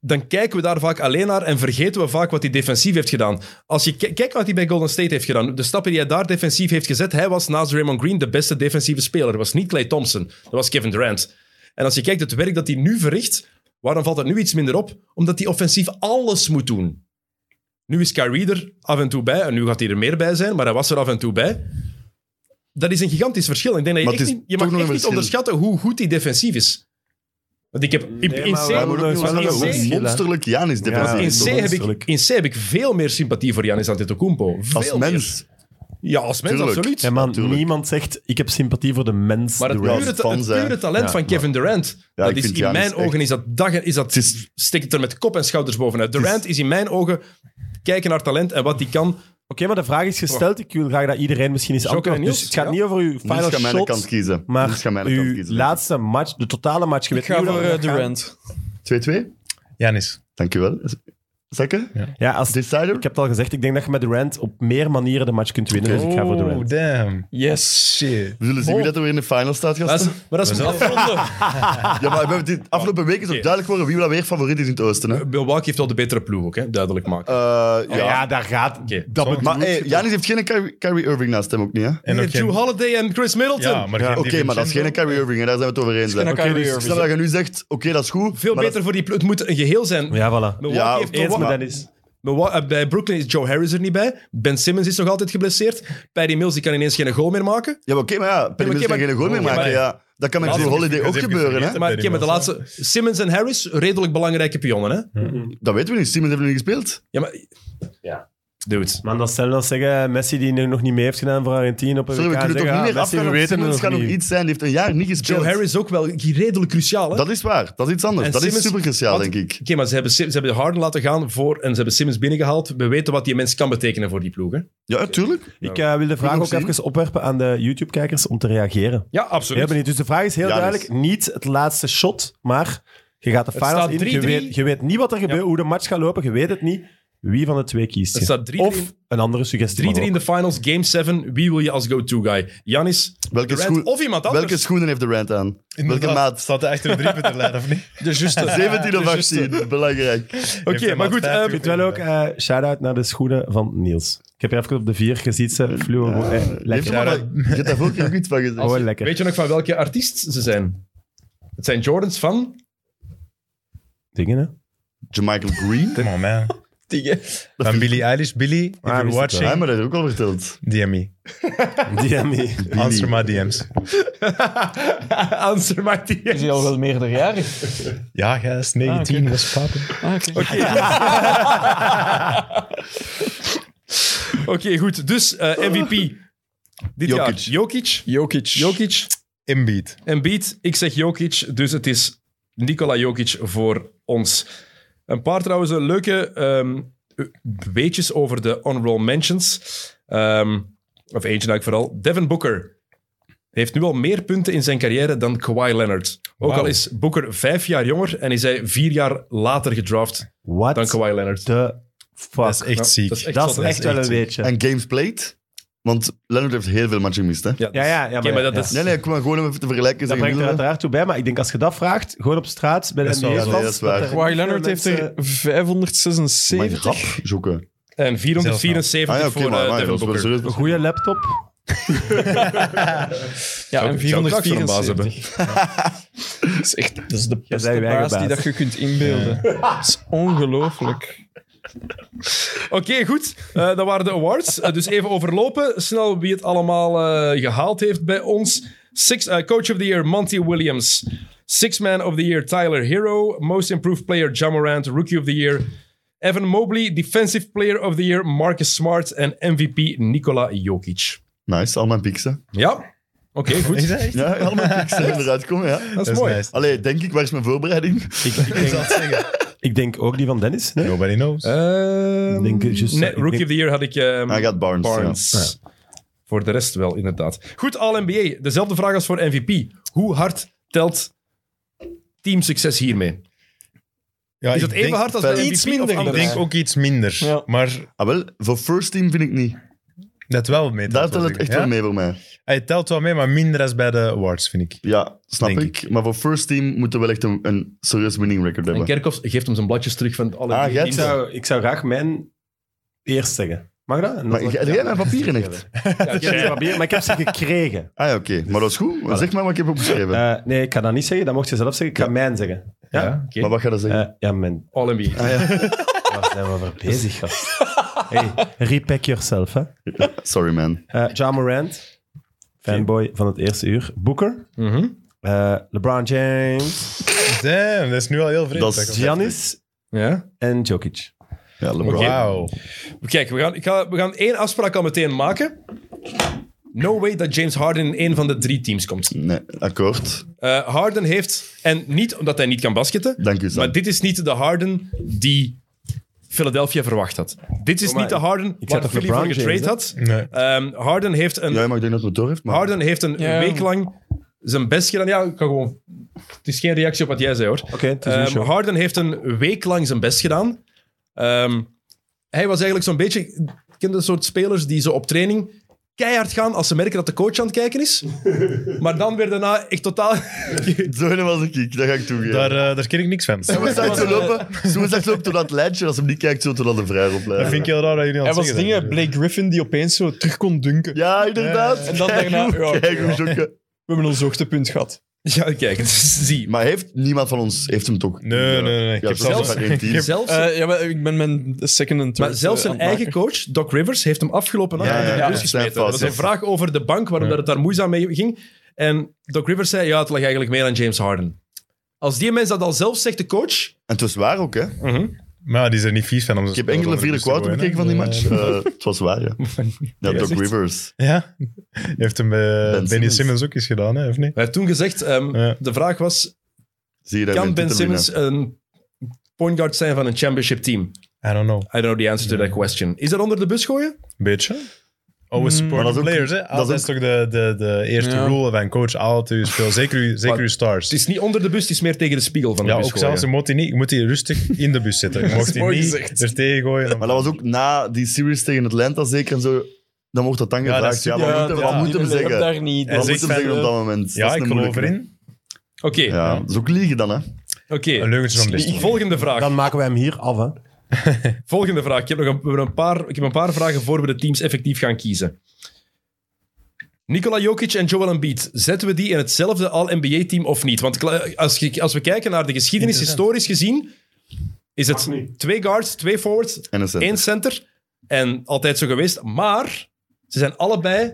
Dan kijken we daar vaak alleen naar en vergeten we vaak wat hij defensief heeft gedaan. Als je ki- kijkt wat hij bij Golden State heeft gedaan, de stappen die hij daar defensief heeft gezet, hij was naast Raymond Green de beste defensieve speler. Dat was niet Clay Thompson, dat was Kevin Durant. En als je kijkt het werk dat hij nu verricht, waarom valt dat nu iets minder op? Omdat hij offensief alles moet doen. Nu is Kyrie er af en toe bij, en nu gaat hij er meer bij zijn, maar hij was er af en toe bij. Dat is een gigantisch verschil. Ik denk dat je, Maar echt het is niet, je toch mag nog echt een niet verschil. onderschatten hoe goed hij defensief is. Want ik heb in, in maar C- wij Hij want moet ook Maar niet dat ontkennen is wel een hoe verschil, hè. monsterlijk Janis defensief Ja. in, is. C wel heb ik, menselijk. in C heb ik veel meer sympathie voor Janis Antetokounmpo. Veel Als meer. mens. Ja, als mens, Tuurlijk. absoluut. Ja, man, Natuurlijk. niemand zegt, ik heb sympathie voor de mens. Maar het Durant. pure, ta- fan het zijn. pure talent Ja, van Kevin Durant, Ja, dat ik is vind in Giannis mijn echt- ogen is dat dag en- is dat is- steekt het er met kop en schouders bovenuit. Durant is in mijn ogen kijken naar talent en wat hij kan. Oké, maar de vraag is Oh. gesteld. Ik wil graag dat iedereen misschien eens Jokke en antwoordt. Dus Niels, het gaat ja. niet over uw Niels final gaat mijn kant shot, kiezen. Niels maar gaat mijn kant uw kiezen. laatste match, de totale match. Je Ik weet ga niet hoe voor dat eh, gaat gaan. Durant. 2-2? Janis. Dankjewel. Zekke? Ja, als, ik Decider? heb het al gezegd, ik denk dat je met Durant op meer manieren de match kunt winnen. Dus ik ga voor Oh, Durant. damn. Yes. Shit. We zullen zien wie dat er weer in de final staat, *laughs* Dat is- gasten. maar dat is afronden. Ja, maar we hebben dit afgelopen week is ook Oké. duidelijk geworden wie wel weer favoriet is in het oosten. Hè? Milwaukee heeft wel de betere ploeg ook, hè? duidelijk maken. Eh, Ja, ja. daar gaat... Oké. Dat bedoel Maar ik. hey, Janis heeft geen Kyrie, Kyrie Irving naast hem ook niet, hè? En Nee, ook geen- Drew Holiday en Chris Middleton. Ja, maar geen Oké, maar dat is DiVincenzo. geen Kyrie Irving, hè? daar zijn we het over eens. hè. Geen Oké, Kyrie dus Irving. Stel dat je nu zegt, oké, dat is goed. Veel maar beter voor die ploeg. Het moet een geheel zijn. Ja, voilà. Milwaukee Ja, heeft Eens Milwa- met Dennis. Milwa- eh, bij Brooklyn is Joe Harris er niet bij. Ben Simmons is nog altijd geblesseerd. Paddy Mills die kan ineens geen goal meer maken. Dat, ja, maar oké, maar ja, Penny Mills oké, kan maar- geen goal meer oké, maken. maar- Ja. Dat kan met Laatste Drew Holiday even ook vergeten, gebeuren, hè? vergeten. Maar Paddy oké, maar de Mills, laatste... Simmons en Harris, redelijk belangrijke pionnen. Hè? Dat weten we niet. Simmons heeft nog niet gespeeld. Ja, maar... Ja. Dude. Man, dat stellen dan zeggen, Messi die nu nog niet mee heeft gedaan voor Argentinië op een Sorry, we WK, kunnen toch zeggen, niet ah, meer Messi, we afgaan op weten het Simmons nog gaat nog niet. iets zijn. Die heeft een jaar niet Joe gespeeld. Harris ook wel redelijk cruciaal. Hè? Dat is waar. Dat is iets anders. En dat is Simmons- super cruciaal, want- denk ik. Oké, maar ze hebben, Sim- ze hebben Harden laten gaan voor en ze hebben Simmons binnengehaald. We weten wat die mens kan betekenen voor die ploeg. Hè? Ja, tuurlijk. Ik eh, wil de vraag nog ook zien? even opwerpen aan de YouTube-kijkers om te reageren. Ja, Heel absoluut. benieuwd. Dus de vraag is heel Janis. duidelijk. Niet het laatste shot, maar je gaat de staat finals in. Je 3-3. weet, je weet niet wat er gebeurt, hoe de match gaat lopen. Je weet het niet. Wie van de twee kiest je? Het staat 3-3. Of een andere suggestie. 3-3 maar in ook. de finals, game 7. Wie wil je als go-to guy? Janis, Welke Durant schoen- of iemand anders? Welke schoenen heeft de Rand aan? Inderdaad, Welke *laughs* maat? Staat hij achter de driepunterlijn, of niet? De *laughs* juiste. 17 of De juiste. 18, belangrijk. Oké, Heeft hij maar maat goed. 50 ehm, Ik vind wel ook eh shout-out naar de schoenen van Niels. Ik heb je even op de vier gezien. Ze fluo. eh, Leef lekker. maar, Daar- je hebt daar vorige keer ook iets van gezegd. *laughs* Oh, wel lekker. weet je nog van welke artiest ze zijn? Het zijn Jordans van... *laughs* *laughs* Dingen, hè? Jermichael Green? *laughs* Come on, man. Die, Van Billie Eilish. Billie, if Ah, you're wist het watching, Ja, maar dat heb ik ook al verteld. DM me. DME. Answer my DM's. Answer my Is DM. hij al wel meerderjarig? Ja, gast, 19 Ah, oké. was papa. Ah, oké. Oké, goed. Dus eh, MVP dit Jokic. jaar. Jokic. Jokic. Jokic. Embiid. En Beat, ik zeg Jokic, dus het is Nikola Jokic voor ons. Een paar trouwens eh, leuke ehm, weetjes over de honorable mentions. Ehm, of eentje nou ik vooral. Devin Booker heeft nu al meer punten in zijn carrière dan Kawhi Leonard. Ook Wauw. al is Booker vijf jaar jonger en is hij vier jaar later gedraft What dan Kawhi Leonard. the fuck? Dat is echt ziek. dat is echt Dat zot, is hè? echt wel een echt ziek. beetje. En games played? Want Leonard heeft heel veel matchen gemist, hè? Ja, Ja, ja, ja. Oké, maar dat ja. is- Nee, nee, kom maar gewoon om even te vergelijken. Dat zijn brengt er gemiddelde. uiteraard toe bij, maar ik denk als je dat vraagt, gewoon op straat bij de Dat is wel NBA. zo. fans, Ja, dat is waar. er Kawhi niet Leonard veel heeft er mensen- eh, Mijn 576. grap zoeken. En Ah 474 ja, oké, voor eh, maar, maar Devin dat is wel Booker. serieus. Een goede laptop. Ja, en Zou ik- zou ik straks voor een baas 474. Dat is echt dat is de beste bent je eigen baas die baas. dat je kunt inbeelden. Dat is ongelooflijk. Oké, goed. Eh, dat waren de awards. Eh, dus even overlopen. Snel wie het allemaal eh, gehaald heeft bij ons. Six, eh, Coach of the Year, Monty Williams. Six Man of the Year, Tyler Hero. Most Improved Player, Ja Morant. Rookie of the Year, Evan Mobley. Defensive Player of the Year, Marcus Smart. En MVP, Nikola Jokic. Nice, al mijn picks, hè? Ja, oké, goed. dat echt? Ja, al mijn picks *laughs* hè, eruit komen, ja. Dat is Dat is mooi. nice. Allee, denk ik, waar is mijn voorbereiding? Ik, *laughs* ik, denk, ik denk ook die van Dennis. Nee? Nobody knows. Ehm, denk, eh, just- nee, ik Rookie denk- Ah, of the Year had ik... ehm, Ah, Hij gaat Barnes. Barnes. Voor de rest wel, inderdaad. Goed, All-NBA. Dezelfde vraag als voor MVP. Hoe hard telt teamsucces hiermee? Is Ja, ik dat even denk- hard als bij MVP? Iets of minder, Ik anders? denk ook iets minder. Ja. Maar Ja. Ah, wel, voor first team vind ik niet. dat wel mee. Daar telt, telt wil het echt ik wel zeggen. mee voor mij. Ja? Hij telt wel mee, maar minder als bij de awards, vind ik. Ja, snap Denk ik. Maar voor first team moeten we wel echt een, een serieus winning record En hebben. Kerkhoff geeft hem zijn bladjes terug van alle Ah, drie jij Ik teams. zou, ik zou graag mijn eerst zeggen. Mag dat? En Maar dan- jij jij hebt mijn *laughs* papieren echt. Ik heb ze geprobeerd, maar ik heb ze gekregen. Ah ja, oké. Maar dat is goed. Zeg maar wat ik heb opgeschreven. Eh, nee, ik ga dat niet zeggen. Dat mocht je zelf zeggen. Ik ga mijn zeggen. Ja? Ja. Oké. Maar wat ga je dan zeggen? Eh, ja, mijn. All-NBA. Waar zijn we voor bezig, gast? Hey, repack yourself, hè. Sorry, man. Eh ja Morant, fanboy van het eerste uur. Booker. Mhm. eh, LeBron James. Damn, dat is nu al heel vreemd. Dat is- eigenlijk. Giannis Ja. en Jokic. Ja, LeBron. Wauw. Kijk, we gaan, ik ga, we gaan één afspraak al meteen maken. No way dat James Harden in één van de drie teams komt. Nee, akkoord. Eh, Harden heeft, en niet omdat hij niet kan basketten, Dank u, Sam. maar dit is niet de Harden die Philadelphia verwacht had. Dit is Oh, maar niet de Harden ik zei waar toch Philly voor LeBron getrade had. James, Nee. Ehm, Harden heeft een, Ja, maar ik denk dat het door heeft. Maar... Harden heeft een Ja. week lang zijn best gedaan. Ja, ik kan gewoon... Het is geen reactie op wat jij zei, hoor. Oké, het is een Ehm, show. Harden heeft een week lang zijn best gedaan. Ehm, hij was eigenlijk zo'n beetje... Ik ken dat soort spelers die zo op training keihard gaan als ze merken dat de coach aan het kijken *laughs* is. maar dan weer daarna echt totaal... *laughs* Zo was ik, ik, dat ga ik toegeven. Daar, eh, daar ken ik niks van. Soms zegt ze lopen, soms zegt ze lopen tot aan het lijntje. Als hij niet kijkt, zo tot aan de vrij *laughs* Dat vind ik heel raar dat jullie aan Hij het was zeggen dingen, zijn. Blake Griffin, die opeens zo terug kon dunken. Ja, inderdaad. En dan daarna- ja, oké, Kijk hoe ja. jokken. We hebben ons hoogtepunt gehad. Ja, kijk, *laughs* zie. Maar heeft niemand van ons heeft hem toch... Nee, nee, nee. Ik Ja, heb zelfs zelfs- maar één team. Ehm, Zelfs, Eh, ja, maar ik ben mijn second en third maar zelfs eh, zijn aan het eigen coach, Doc Rivers, heeft hem afgelopen nacht Ja, uit de ja, bus ja. gesmeten. Zijn Dat was een fout, ja. vraag over de bank, waarom dat het daar moeizaam mee ging. En Doc Rivers zei, ja, het lag eigenlijk meer aan James Harden. Als die mens dat al zelf zegt, de coach... En het was waar ook, hè. Maar ja, die is er niet vies van. Om Ik heb enkele vierde quarter bekeken dus, van die match. *laughs* Eh, het was waar, ja. Ja, Doc echt. Rivers. Ja. *laughs* Heeft hem bij Benny Simmons. Simmons. ook eens gedaan, hè, of niet? Hij heeft toen gezegd, ehm, Ja. de vraag was, Zie je daar kan mijn Ben titel winnen? Simmons een point guard zijn van een championship team? I don't know. I don't know the answer to that question. Is dat onder de bus gooien? Beetje. Always Maar support dat the is ook- players, hè. dat Dat is is, toch de, de, de eerste Hmm. Ja. rule van coach. Altijd uw speel. Zeker uw, zeker Maar uw stars. Het is niet onder de bus, het is meer tegen de spiegel van de Ja, bus ook zelfs. Je moet die, niet, je moet die rustig in de bus *laughs* zetten. Je mocht die mooi niet gezegd. er tegen gooien. Maar dat was ook na die series tegen Atlanta zeker en zo. Dan wordt dat dan dat gevraagd. is- Ja, maken. wat moeten we- wat ja, moeten we die zeggen? hebben Wat Daar niet. Hij moeten zegt we van, zeggen op dat moment? Ja, Dat is ik een geloof moeilijke. erin. Oké, Ja, dat is ook liegen dan, hè. oké. Een leugentje van best. Volgende vraag. Dan maken we hem hier af, hè. Volgende vraag. Ik heb nog een, we hebben een paar, ik heb een paar vragen voor we de teams effectief gaan kiezen. Nikola Jokic en Joel Embiid, zetten we die in hetzelfde All-NBA-team of niet? Want kla- als, je- als we kijken naar de geschiedenis, historisch gezien, is het twee guards, twee forwards, En een cent. één center. En altijd zo geweest. Maar ze zijn allebei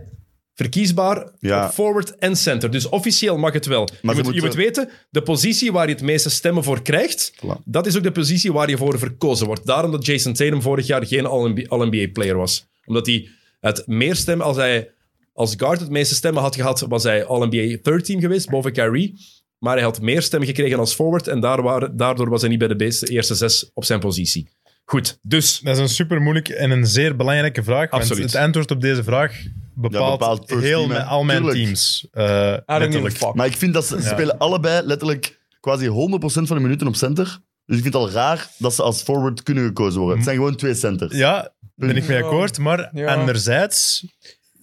verkiesbaar Ja. op forward en center. Dus officieel mag het wel. Maar je, ze moet, je moet moeten- weten, de positie waar je het meeste stemmen voor krijgt, Voilà. dat is ook de positie waar je voor verkozen wordt. Daarom dat Jason Tatum vorig jaar geen All-NBA All-NBA-player was. Omdat hij het meer stemmen, als hij als guard het meeste stemmen had gehad, was hij All-NBA third team geweest, boven Kyrie. Maar hij had meer stemmen gekregen als forward. En daar waren- daardoor was hij niet bij de beste- eerste zes op zijn positie. Goed, dus Dat is een super moeilijke en een zeer belangrijke vraag. Absoluut. Want het antwoord op deze vraag bepaalt, Ja, bepaalt per heel team, hè. mijn- al mijn Tuurlijk. teams. Eh I don't give a letterlijk. fuck. Maar ik vind dat ze, ze Ja. spelen allebei letterlijk quasi 100% van de minuten op center. Dus ik vind het al raar dat ze als forward kunnen gekozen worden. Het zijn gewoon twee centers. Ja, ben ik mee Ja. akkoord. Maar Ja. anderzijds,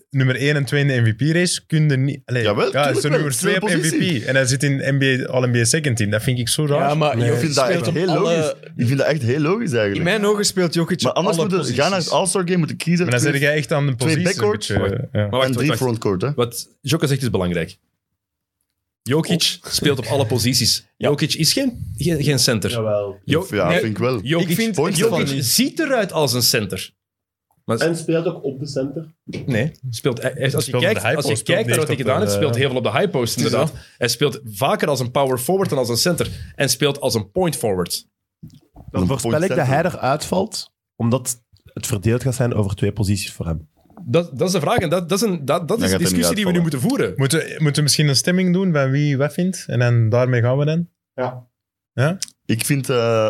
nummer 1 en 2 in de MVP-race kunnen niet... Allee, Jawel, ja, hij is tuurlijk er wel. nummer Het is een 2 op positie. MVP. En hij zit in NBA, All-NBA Second Team. Dat vind ik zo raar. Ja, maar Nee. Ik Jokic vind dat speelt echt op heel alle- logisch. Ik vind dat echt heel logisch In eigenlijk. mijn ogen speelt Jokic Maar op anders alle moeten posities. ga naar het All-Star Game moeten kiezen. maar dan Twee- zit jij echt aan de twee positie. Een backcourts. beetje, ja. Maar wacht, en wacht, drie wacht. frontcourt, hè. Wat Jokka zegt is belangrijk. Jokic speelt op alle posities. Jokic is geen, geen, geen center. Jawel. Jo- Ja, Nee, vind ik wel. Jokic, ik vind Point ik Jokic van niet. ziet eruit als een center. Maar En speelt ook op de center. nee, speelt, hij- hij- als je Speelt op de kijkt, high als je kijkt post, speelt naar wat hij niet gedaan op heeft, de- speelt hij heel veel op de high post inderdaad. Hij speelt vaker als een power forward dan als een center. En speelt als een point forward. Een Dan voorspel point ik dat hij center. eruit valt, omdat het verdeeld gaat zijn over twee posities voor *laughs* hem. Dat, dat is de vraag en dat, dat is, een, dat, dat gaat is hij de niet discussie die we nu moeten voeren. Moeten, we- moeten we misschien een stemming doen van wie wat vindt? En dan daarmee gaan we dan. Ja. Ja? Ik vind eh,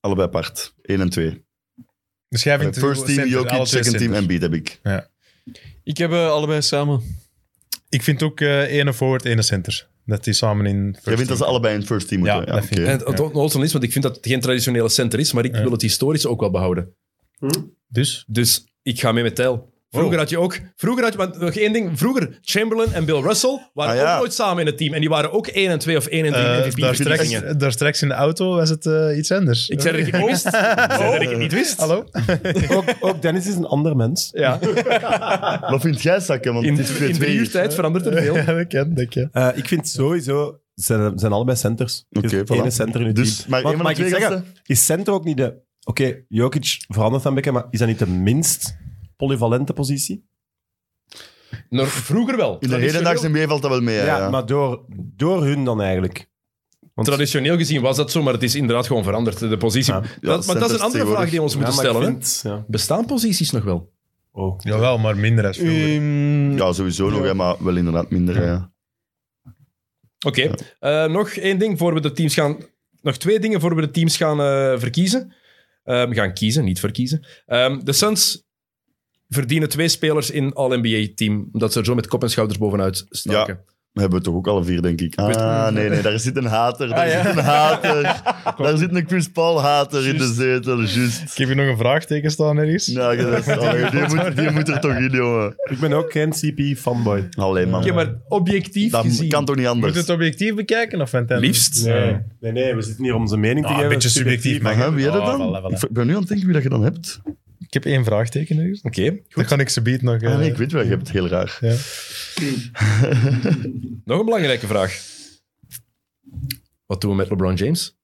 allebei apart. 1 en 2. Dus jij vindt... First team center, alle Jokic, twee second team Embiid centers. heb ik. Ik heb eh, allebei samen. Ik vind ook eh ene forward, ene center. Dat die samen in... first Jij vindt dat ze team- allebei in het first team Ja, moeten? Ja, dat vind oké. ik. En het het ontstaan is, want ik vind dat het geen traditionele center is, maar ik wil het historische ook wel behouden. Dus? Dus ik ga mee met Tel. Vroeger had je ook... Vroeger had je... Want nog één ding. Vroeger, Chamberlain en Bill Russell waren Ah, ja. ook nooit samen in het team. En die waren ook 1 en 2 of 1 en 3 Eh, daar, straks, MVP-verkiezingen. daar straks in de auto was het eh, iets anders. Ik zei dat ik het wist. Ik zei dat ik het niet wist. Hallo? *laughs* Ook, ook Dennis is een ander mens. Ja, Wat vind jij, Sakke? Want In, het is in 2-2 drie uur hier. tijd verandert er veel. dat ken dat ken. Eh, ik vind sowieso, ze zijn allebei centers. Er is Oké, voilà. ene center in het Dus, team. maar Want, een van de mag ik twee zeggen, gasten? Is center ook niet de... Oké, Jokic verandert dan bekken, maar is dat niet de minst polyvalente positie? Maar vroeger wel. In de hedendaagse NBA valt dat wel mee. Ja, ja. maar door, door hun dan eigenlijk. Want, Traditioneel gezien was dat zo, maar het is inderdaad gewoon veranderd, de positie. Ja. dat, maar dat is centers een andere vraag die we ons Ja, moeten maar ik stellen. hè. vind- ja. Bestaan posities nog wel? Oh. Jawel, maar minder als vroeger. Ehm, Ja, sowieso nog, hè, maar wel inderdaad minder. hè, Ja. Oké. Eh, nog één ding voor we de teams gaan... Nog twee dingen voor we de teams gaan eh, verkiezen. Ehm, gaan kiezen, niet verkiezen. Ehm, de Suns verdienen twee spelers in All-NBA-team. Omdat ze er zo met kop en schouders bovenuit staken. We hebben we toch ook alle vier, denk ik. Ah, nee, nee, daar zit een hater. Daar ja. zit een hater. daar zit een Chris Paul-hater in de zetel, juist. Ik heb hier nog een vraagteken staan ergens. Nou, dat is- allee, die, moet, die moet er toch in, jongen. Ik ben ook geen CP-fanboy. Allee, man. Oké, maar objectief dat gezien... kan toch niet Moet anders? je het objectief bekijken of vindt hij- Liefst. nee, nee, we zitten hier om onze mening Ah, te geven. een beetje subjectief, Maar maar... hè, wie heb je Ah, dat dan? voilà, voilà. Ik ben nu aan het denken wie dat je dan hebt. Ik heb één vraagteken ergens. Oké. Dat kan ik ze biedt nog... eh, Ah, nee, ik weet wel, je hebt het heel raar. ja. Nog een belangrijke vraag. Wat doen we met LeBron James?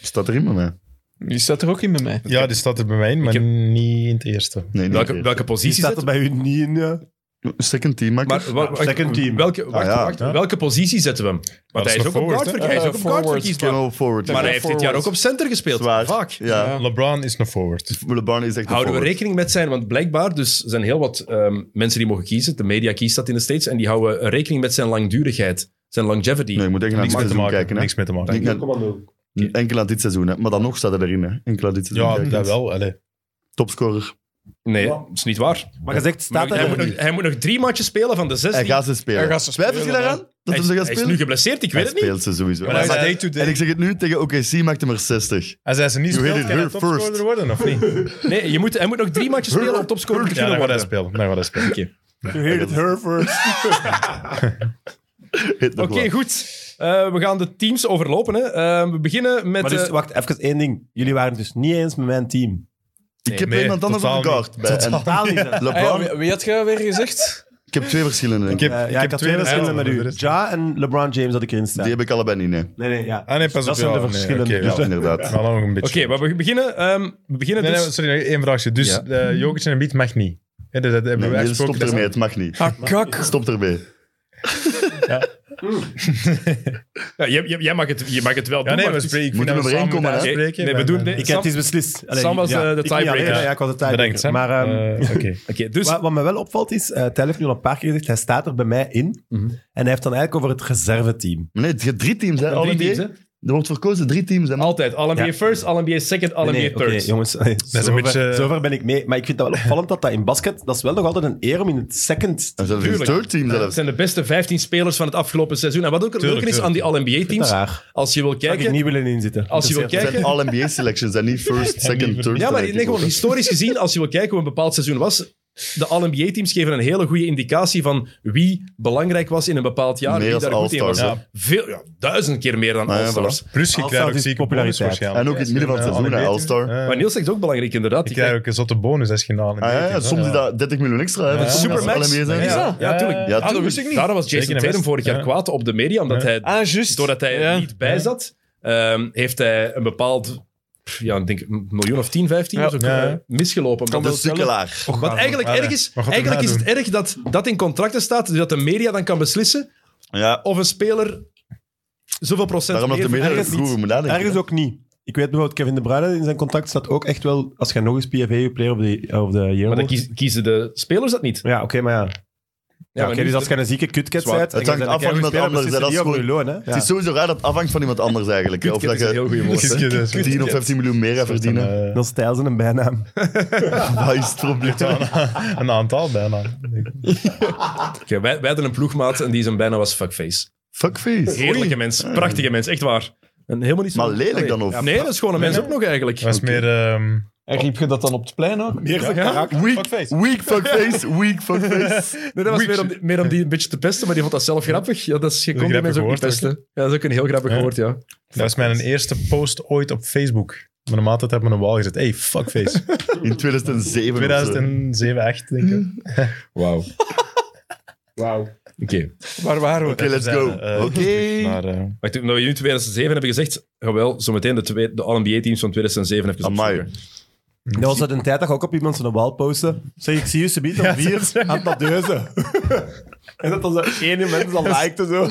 Staat er in bij mij? Die staat er ook in bij mij. ja, die staat er bij mij in, maar Ik heb- niet in het eerste. Nee, niet Welke, echt. welke Die positie staat er zetten bij u niet in. eh? ja. Second team, makker. maar, wa- wa- Second team. Welke, wacht, Ah, ja. wacht, welke positie zetten we hem? Want hij is is ook nog op forward, guard hè? verkie- hij is Eh, ook op guard forward. verkiesbaar. Channel forward. Maar hij ja. heeft dit jaar ook op center gespeeld. Zwaar. Vaak. Ja. Ja. LeBron is nog forward. LeBron is echt een Houden we forward. rekening met zijn, want blijkbaar dus er zijn heel wat ehm, mensen die mogen kiezen. De media kiest dat in de States. En die houden rekening met zijn langdurigheid, zijn longevity. Nee, je moet echt naar dit Niks mee te seizoen maken. kijken. Hè. Niks mee te maken. Niet naar- enkel aan dit seizoen, hè. maar dan nog staat hij erin. Hè. Enkel aan dit seizoen. Ja, kijken. dat wel. allee. Topscorer. Nee, dat is niet waar. Maar je zegt, staat Maar hij, er moet nog, niet. hij moet nog drie matches spelen van de zes. Hij die- gaat ze spelen. Hij gaat ze Twijfelt je spelen, daaraan? Dat hij hem is, ze gaat hij is spelen? nu geblesseerd, ik weet Hij het niet. speelt ze sowieso. Maar hij Maar- is- en ik zeg het nu, tegen OKC maakt hem er 60. Als hij ze niet You speelt, hit it kan hij here topscorer first. worden, of *laughs* niet? Nee, je moet, hij moet nog drie matches spelen om topscorer te Ja, kunnen dan gaat hij worden. spelen. Dan gaat hij spelen. Oké, You heard it here first. Hit nog Oké, wel. goed. Eh, we gaan de teams overlopen. Hè. Eh, we beginnen met... *laughs* Maar dus, eh, wacht, even één ding. Jullie waren het dus niet eens met mijn team. Ik heb nee, iemand anders totaal op de kaart. niet. bij. En Totaal *laughs* niet. zelfs. Ah ja, LeBron, wie, wie had jij weer gezegd? ik heb twee verschillende. denk Ik ik. heb, Eh, ik ja, heb twee verschillen met u. Ja. Ja en LeBron James had ik erin staan. Die heb ik allebei niet, nee. Nee, nee, ja. Ah nee, pas dat op. zijn ja, de nee, verschillen. Dus oké, Ja, ja. inderdaad. Maar dan nog een beetje. Oké, maar we beginnen, ehm, we beginnen Nee, dus... nee, sorry, nog één vraagje. Dus Ja. eh, Jokic en Embiid mag niet. Hè, dus dat, dat hebben Nee, we nee, uitgesproken. stop ermee, het mag niet. Ah, kak. Stop ermee. Ja, jij, jij- jij mag het, je mag het wel Ja, doen, nee, maar we het is- spreken. Moeten we overeenkomen, hè? Nee, we doen- nee, Oké, ik- Ik, Sam- het is beslist. Allee, Sam was, ja, eh, de ik niet alleen, tiebreaker. Ja, ja, ik was de bedankt, tiebreaker. Sam. Maar ehm, Eh, *laughs* Oké. Oké, dus Wat, wat me wel opvalt is, eh Tel heeft nu al een paar keer gezegd, hij staat er bij mij in. Mhm. En hij heeft dan eigenlijk over het reserveteam. Maar nee, je hebt drie teams, hè? drie Alle teams, drie. hè? Er wordt verkozen drie teams. Hè? man. Altijd. All-NBA Ja. first, All-NBA second, All-NBA Nee, nee, third. oké, jongens, *laughs* allee, een zover, beetje- zover ben ik mee. Maar ik vind dat wel opvallend dat dat in basket, dat is wel nog altijd een eer om in het second En zelfs een Tuurlijk. third team Het zelfs. zijn de beste 15 spelers van het afgelopen seizoen. En wat ook Tuurlijk, leuk is aan die te All-NBA-teams, raar. als je wil Zou ik kijken... niet willen inzitten. Als je wil Interesseert Het kijken... zijn alle NBA-selections en niet first, second, third. Ja, maar selecties nee, gewoon ook, hè. historisch gezien, als je wil kijken hoe een bepaald seizoen was, de All-NBA-teams geven een hele goede indicatie van wie belangrijk was in een bepaald jaar, Meer wie als daar goed in was. All-Stars, hè? Veel, ja, duizend keer meer dan Ah, ja, All-Stars. Plus, je All-Star krijgt ook is zieke populariteit. bonus waarschijnlijk. En ook in het midden van het Ja, seizoen, hè, All-NBA. All-Star. Ja. Maar Niels zegt ook belangrijk, inderdaad. Die Je krijgt krijgen- ook een zotte bonus als je na een Ah, ja, ja, soms is dat. dat 30 miljoen extra. Hè, Ja. voor sommige Supermax. LNBA's zijn. Ja, Ja. ja, Ja, tuurlijk. ja, ja. Ah, dat wist ik niet. Daarom was Jason Zeker in de Tatum West. vorig jaar Ja. kwaad op de media, omdat Ja. hij Ah, juist. doordat hij Ja. er niet bij zat, ehm, heeft hij een bepaald, pff, ja, ik denk een miljoen of 10, 15 Ja. is ook, Ja. eh, misgelopen. De Omdat- sukkelaar. Wat eigenlijk Allee, erg is, maar dus- gaat eigenlijk is erna het erg dat dat in contracten staat, zodat de media dan kan beslissen Ja, of een speler zoveel procent daarom dat de meer media ergens goed iets- over moet nadenken. Ergens ook niet. Ik weet bijvoorbeeld, Kevin De Bruyne in zijn contract staat ook echt wel, als je nog eens PFA player of the, of the year Maar dan wordt. kies- kiezen de spelers dat niet. Ja, oké, maar ja. Ja, ja maar oké, nu- dus als je een zieke kutcat Zwaar. bent... Het hangt af van iemand anders, hè, dat is gewoon... gewoon- Loon, hè. Het is sowieso raar dat het afhangt van iemand anders eigenlijk. hè. Of Kutcat dat is een heel je *laughs* goede woord. hè. Kutcat. 10 of 15 miljoen meer gaat verdienen. Een, Ja. Dat is Stijl zijn een bijnaam. *laughs* Dat is het probleem. eh, *laughs* een aantal *laughs* bijna. Oké, wij, wij hadden een ploegmaat en die zijn bijna was fuckface. Fuckface. Heerlijke mens, prachtige mens, echt waar. En helemaal niet zo... Maar lelijk dan of? Ja, Nee, dat is gewoon een mens ook nog eigenlijk. Dat was meer... ehm, En riep je dat dan op het plein ook? Ja, ja. Weak weak fuckface, weak fuckface. Nee, dat was meer om, meer om die een beetje te pesten, maar die vond dat zelf grappig. Ja, dat is, je Dat is kon die een mensen ook niet grappig woord, pesten. Ja, dat is ook een heel grappig Ja. woord, ja. Dat was mijn eerste post ooit op Facebook. Mijn maat had op mijn wal gezet. Hey, *laughs* fuckface. In 2007. of zo. 2007, 8 denk ik. Wauw. Wauw. Oké. Waar waren we? Oké, let's go. Eh, Oké. Maar eh, Maar toen we nu 2007 hebben gezegd, jawel, zometeen de, twee- de All-NBA-teams van 2007 even Amai. opzoeken. Dat was uit een tijd dat je ook op iemand zijn wal posten. Zeg, ik zie je ze om vier aan dat deuzen. *laughs* en dat dan zo één mens *laughs* dan likte zo.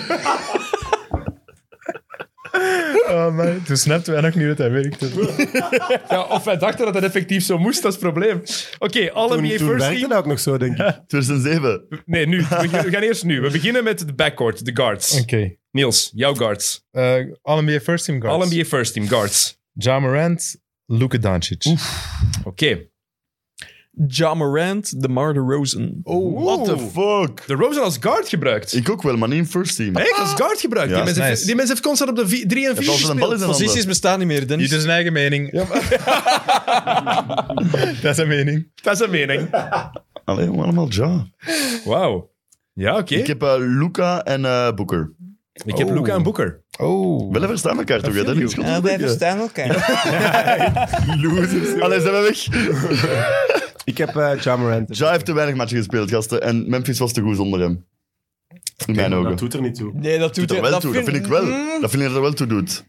oh man, toen snapten wij nog niet dat *laughs* hij werkte. Ja, of wij dachten dat dat effectief zo moest, dat is het probleem. Oké, Toen, All-NBA First toen werkte Team. dat ook nog zo, denk ik. 2007. Nee, nu. We gaan- we gaan eerst nu. We beginnen met de backcourt, de guards. Oké. Niels, jouw guards. Eh All-NBA First Team guards. All-NBA First Team, guards. Ja Morant, Luka Doncic. Oké. Ja Morant, DeMar DeRozan. Oh, What the fuck? De Rosen als guard gebruikt. Ik ook wel, maar niet in first team. Echt? Als guard gebruikt. Ja, die, mensen nice. heeft, die mensen heeft constant op de 3 en 4 Heeft altijd gespeeld. een bal in zijn handen. Posities bestaan niet meer, Dennis. Ieder zijn eigen mening. *laughs* dat is zijn mening. Dat is een mening. Allee, jongen, allemaal ja. Wauw. Ja, oké. Ik heb eh, Luca en eh Booker. Ik heb Luca en Boeker. Oh. Wel even staan elkaar toch, hè? Dat is goed. wij verstaan elkaar. Losers. Allee, zijn we weg. *laughs* Ik heb eh Ja Morant. Ja heeft te weinig matchen gespeeld, gasten. En Memphis was te goed zonder hem. In mijn ogen. dat Doet doet er niet toe. *laughs* Nee, dat doet er hij- wel toe, dat Hmm? vind ik wel. Mm. Dat vind ik er wel toe doet.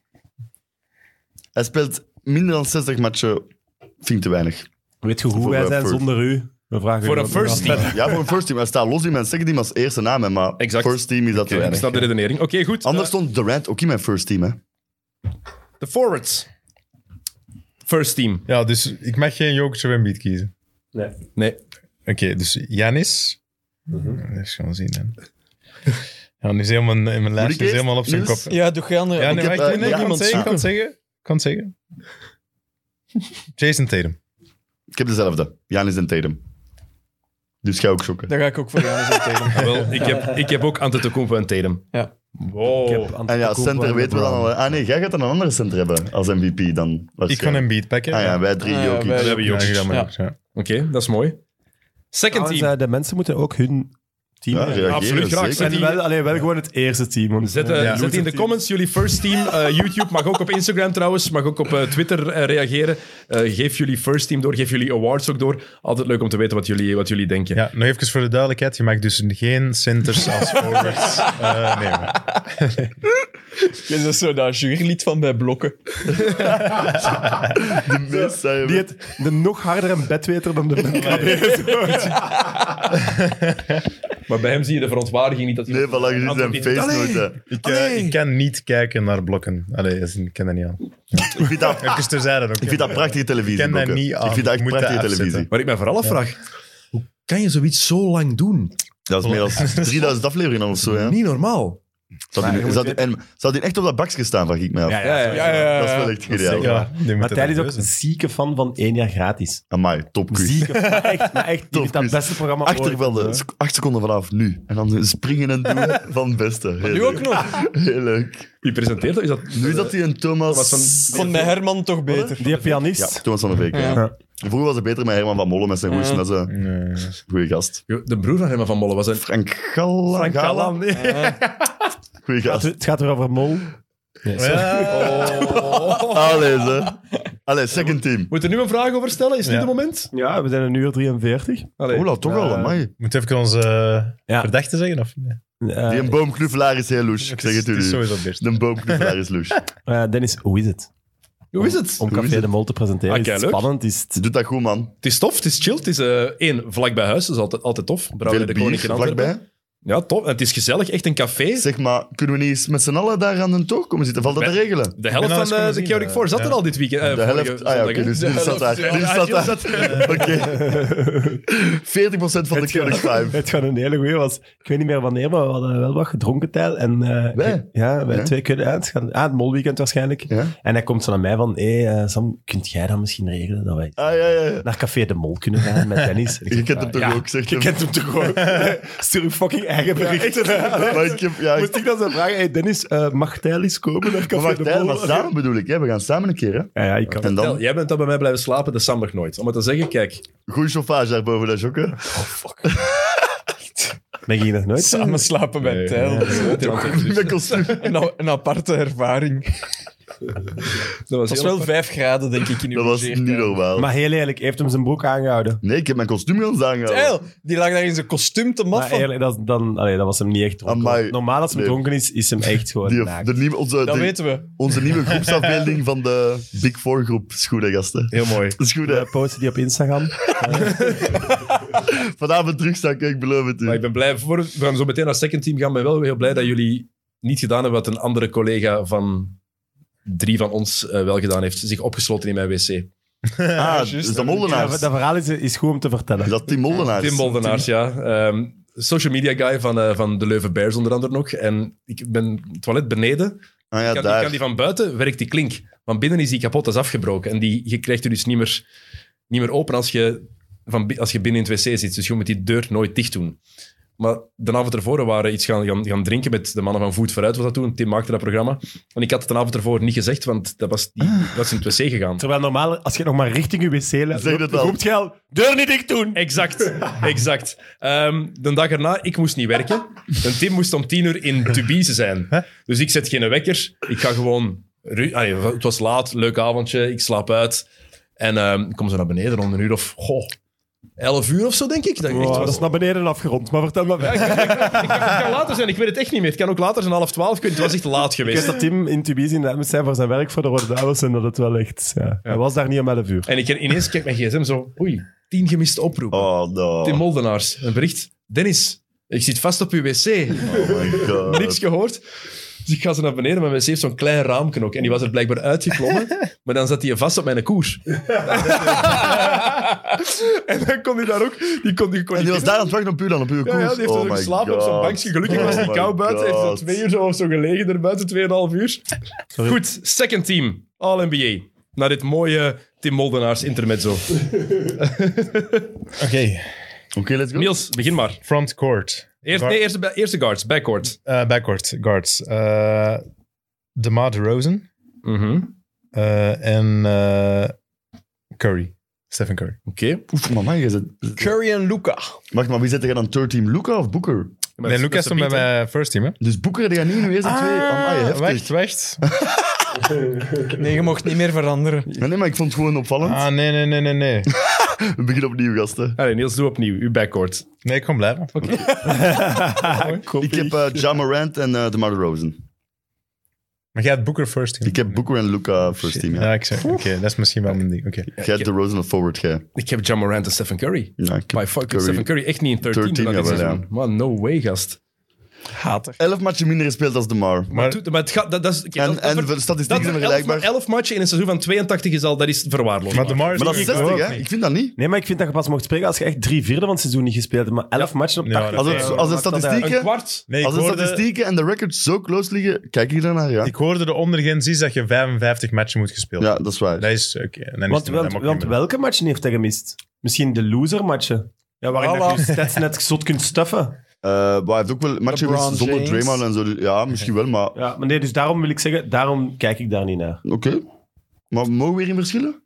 Hij speelt minder dan 60 matchen. Vind ik te weinig. Weet je hoe Voor wij een zijn first. zonder u? We vragen Voor u een ook first nog team. af. Ja, voor een first team. Hij staat los in mijn second team als eerste naam, hè, maar Exact. first team is dat te Ik weinig. snap de redenering. Oké, goed. Anders Eh, stond Durant ook in mijn first team, hè. de forwards. First team. Ja, dus ik mag geen Jokic of Embiid kiezen. Nee. Oké, dus Janis. Mhm. Dat is gewoon zien. Dan. Ja, nu is helemaal in mijn Moet ik lijst is eerst, helemaal op zijn kop. Niels? Ja, doe jij andere. Ja, Ik nee, heb, wacht, nee, eh, nee, ik ja, kan het zeggen, ik kan het zeggen. Ik kan het zeggen. Jason Tatum. Ik heb dezelfde. Janis en Tatum. Dus ga ook shocken. Daar ga ik ook voor Janis en Tatum. Wel, ik heb, ik heb ook Antetokounmpo en Tatum. Ja. Wow. Ik heb En ja, Antetokounmpo center en weten we dan LeBron. al. Ah nee, jij gaat dan een andere center hebben als MVP dan. Ik kan waarschijnlijk. Embiid pakken. Ah ja, wij drie Ah ja, Jokic. wij- We hebben Jokic. Ja, Oké, gedaan met Ja. Jokic, ja. dat is mooi. Second Trouwens, team. eh, de mensen moeten ook hun team... Ja, hebben. reageren, Absoluut, graag. zeker. Zet en die- wel, alleen wel gewoon het eerste team. want- Zet, eh, Ja. zet in de comments jullie first team. eh, YouTube mag ook op Instagram trouwens. Mag ook op eh, Twitter eh, reageren. Eh, geef jullie first team door. Geef jullie awards ook door. Altijd leuk om te weten wat jullie, wat jullie denken. Ja, nog even voor de duidelijkheid. Je mag dus geen *laughs* centers als forwards eh, nemen. Is dat zo dat jurylid van bij Blokken? De meest saaie- Die het de nog harder in bed weten dan de Maar bij hem zie je de verontwaardiging niet dat hij... Nee, van lang gezien zijn Anthony- face nooit. hè. Ik, eh, ik kan niet kijken naar blokken. Allee, als in, ik ken dat niet aan. Ik vind dat, Even terzijde ook. Ah. ik vind dat prachtige televisie. ken dat Bokke. niet aan. Ik vind dat echt Moet dat prachtige afzetten. televisie. Waar ik mij vooral afvraag, hoe kan je zoiets zo lang doen? Dat is meer dan 3000 afleveringen of zo. Ja. Niet normaal. Zou Maar je die, moet zou die- weten- en zou die echt op dat bakje staan, vraag ik mij af. ja, ja, ja. Dat is wel echt geniaal. zeker. Ja. Ja, die Maar moeten Thijs is dat ook een doen. zieke fan van één jaar gratis. Amai, topquiz. Zieke *laughs* fan. Maar echt, maar echt die Top heeft dat quiz. beste programma ooit. Achtervelden, sec- acht seconden vanaf, nu. En dan springen en doen van het beste. Heel Nu leuk. ook nog. Heel leuk. Wie presenteert dat? Is dat Nu dat hij een Thomas... Thomas van- Ik vond mijn Herman toch beter. Die Ja, pianist. Thomas van de Beek. ja. Ja. Vroeger was het beter met Herman van Molle met zijn hoesten. Ja. Dat is een Nee. goede gast. De broer van Herman van Molle was een... Frank Gala. Gala. nee. Goeie Het gast. *laughs* het gaat weer over Mol. Nee, sorry. Allee, ze. Allee, second team. Moet er nu een vraag over stellen? Is dit Ja. het moment? Ja, we zijn een uur 43. Allee. Ola, toch wel, amai. Moet even onze eh, Ja. verdachte zeggen? Of? Nee. Eh, Die een boomknuffelaar is heel loes. Ik Het zeg is- het Dus het u. is sowieso best. De boomknuffelaar is loes. eh, Dennis, hoe is het? Hoe is het? Om Hoe is Café het? de Mol te presenteren. Ah, is het keileuk. spannend? Is het... Doet dat goed, man. Het is tof, het is chill. Het is eh, één, vlak bij huis. Dat is altijd, altijd tof. Brouwerij Veel de Koning in bier Antwerpen. vlakbij. Ja, tof. En het is gezellig. Echt een café. Zeg maar, kunnen we niet eens met z'n allen daar aan de toog komen zitten? Valt dat te Bij- regelen? De Ik helft ben al van eens de, komen de zien, Chaotic eh, Four zat er al dit weekend. eh, De vorige helft. Ah ja, zondag, oké, hè. dus die De zat daar. helft, Die ja. zat Ja, daar. *laughs* Oké. 40% van de Chaotic Five. Het gewoon een hele goeie was. Ik weet niet meer wanneer, maar we hadden wel wat gedronken tijl. En, eh, Wij? Ja, wij Ja. twee kunnen uit. gaan- Ah, het molweekend waarschijnlijk. Ja? En hij komt zo naar mij van, hé hey, eh, Sam, kunt jij dan misschien regelen dat wij Ah, ja, ja. ja. naar Café de Mol kunnen gaan met *laughs* Dennis? En ik Je zeg, kent "Ah, hem toch ja, ook, zegt Je hem. kent hem toch ook? *laughs* Stuur je fucking eigen berichten. *laughs* Maar ik heb... Ja, Moest ik- ik dan zo vragen, hey Dennis, eh, mag Tijl eens komen naar Maar Café wacht, de hè, Mol? maar samen bedoel ik. Hè. We gaan samen een keer, hè. Ja, ja, ik kan. En Tel, dan, jij bent dan bij mij blijven slapen, de Sam nog nooit. Om het te zeggen, kijk. goede chauffage daar boven dat *laughs* jokken. Ben je hier nog nooit? Samen slapen bij Nee. Tijl. Dat is Dat Met kostuum. Een, a- een aparte ervaring. was Het was heel wel apart. vijf graden, denk ik, in uw Dat was zeer- niet normaal. Maar heel eerlijk, hij heeft hem zijn broek aangehouden. Nee, ik heb mijn kostuum gaan aangehouden. Tijl, die lag daar in zijn kostuum te Maar maffen. eerlijk, dat, dan, allee, dat was hem niet echt dronken. Amai. Normaal als hij Nee. dronken is, is hem echt gewoon Die- naakt. de nieuwe, onze, Dat de- weten we. onze nieuwe groepsafbeelding van de Big Four groep. is goed, hè, gasten. Heel mooi. Dat is goed, hè. We posten Eh, die op *laughs* Instagram. Vanavond terugzakken, ik beloof het Maar ik u. ben blij, voor, we gaan zo meteen naar het second team gaan, maar wel heel blij dat jullie niet gedaan hebben wat een andere collega van drie van ons eh, wel gedaan heeft. Zich opgesloten in mijn wc. Ah, is dat Ja, Moldenaars? dat verhaal is, is goed om te vertellen. Is dat Tim Moldenaars? Tim Boldenaars, ja. Ehm, social media guy van, eh, van de Leuven Bears onder andere nog. En ik ben toilet beneden. Ah Ik ja, kan, ik daar. kan die van buiten, werkt die klink. Van binnen is die kapot, dat is afgebroken. En die, je krijgt er dus niet meer, niet meer open als je, van, bi- als je binnen in het wc zit. Dus je moet die deur nooit dicht doen. Maar de avond ervoor we waren iets gaan, gaan, gaan drinken met de mannen van Voet Vooruit, was dat toen. Tim maakte dat programma. En ik had het de avond ervoor niet gezegd, want dat was, die, dat is in het wc gegaan. Terwijl normaal, als je nog maar richting je wc loopt, Zeg dat al. roept je al, deur niet dicht doen! Exact, exact. Ehm, de dag erna, ik moest niet werken. En Tim moest om tien uur in Tubize zijn. Dus ik zet geen wekker. Ik ga gewoon... ru- Allee, het was laat, leuk avondje, ik slaap uit. En ehm, ik kom zo naar beneden rond een uur of... Goh, elf uur of zo, denk ik. Dat ik echt Wow, dat was- is naar beneden afgerond, maar vertel maar verder. Het kan later zijn, ik weet het echt niet meer. Het kan ook later zijn, half twaalf. Ik weet, het het was echt laat Ik geweest. weet dat Tim in Tubize inderdaad moet zijn voor zijn werk voor de Rode Duivels en dat het wel echt... Ja. Hij was daar niet om 11 uur. En ik ineens kijk mijn gsm zo... Oei, tien gemiste oproepen. Oh, no. Tim Moldenaars, een bericht. Dennis, ik zit vast op uw wc. Oh my *laughs* god. niks gehoord. Dus ik ga ze naar beneden, maar mijn wc heeft zo'n klein raamknok En die was er blijkbaar *laughs* uitgeklommen. maar dan zat hij vast op mijn koers. *laughs* en dan kon hij daar ook... Die kon, die kon En niet- die was daar aan het wachten op u dan, op uw koers. ja, ja, die heeft oh zo my geslapen op zo'n God. bankje. Gelukkig was Oh het niet my koud buiten. Hij heeft God. zo twee uur zo, of zo gelegen erbuiten, tweeënhalf uur. Goed, second team. All-NBA. Naar dit mooie Tim Moldenaars intermezzo. Oké, Oké, let's go. Niels, begin maar. front court. Eerst, nee, eerste, ba- eerste guards, backcourt. Eh, backcourt, guards. Eh DeMar DeRozan Mhm. eh, en eh, Curry. Stephen Curry. Oké. Oef, mama, je zit... Curry en Luca. Wacht, maar wie zit er dan third team? Luca of Booker? Nee, Lucas stond bij mijn first team, hè? Dus Booker, die gaat niet in de eerste twee. oh, Amai, heftig. Ah, wacht, wacht. Nee, je mocht niet meer veranderen. Nee, nee, maar ik vond het gewoon opvallend. Ah, nee, nee, nee, nee, nee. We beginnen opnieuw, gasten. Allee, Niels, doe opnieuw. Uw backcourt. Nee, ik kom blijven. Ik heb eh Ja Morant en eh DeMar DeRozan. Maar jij hebt Booker first team. Ik heb Booker en Luca first team. Ja, Ja. ik zeg, oké, dat is misschien wel mijn ding. Oké. Jij hebt de Rosen of forward, jij. Ik heb John Morant en Stephen Curry. Ja, ik By heb fucking Curry. Stephen Curry. Echt niet in 13 13 13 dit jawel, seizoen. ja. Man, no way, gast. Hater. Elf matchen minder gespeeld als de Mar. Maar, Maar- doet- maar het gaat... Dat, dat is, kijk, En, dat, dat en ver- de statistieken dat zijn elf- vergelijkbaar. elf matchen in een seizoen van 82 is al... Dat is verwaarloosd. Maar de Mars Maar dat is 60, hè? Ik vind dat niet. Nee, maar ik vind dat je pas mocht spreken als je echt drie vierde van het seizoen niet gespeeld hebt. Maar elf matchen op Ja, 80. dat- Als, dagen, het, hoor, als de maakt dat uit. Een statistieken, kwart. Nee, ik als de hoorde- statistieken en de records zo close liggen, kijk ik daarnaar, ja. Ik hoorde de ondergrens is dat je 55 matchen moet gespeeld. Ja, dat is waar. Dat is oké. en dan is Want, het- wel- dan mag want je- welke matchen heeft hij gemist? Misschien de loser matchen. Ja, waarin dat je je stats net zot kunt stuffen. Eh, maar hij heeft ook wel matchen LeBron gemist zonder James. Draymond en zo. dus- Ja, misschien wel, maar Ja, maar nee, dus daarom wil ik zeggen, daarom kijk ik daar niet naar. oké. Maar mogen we weer in verschillen?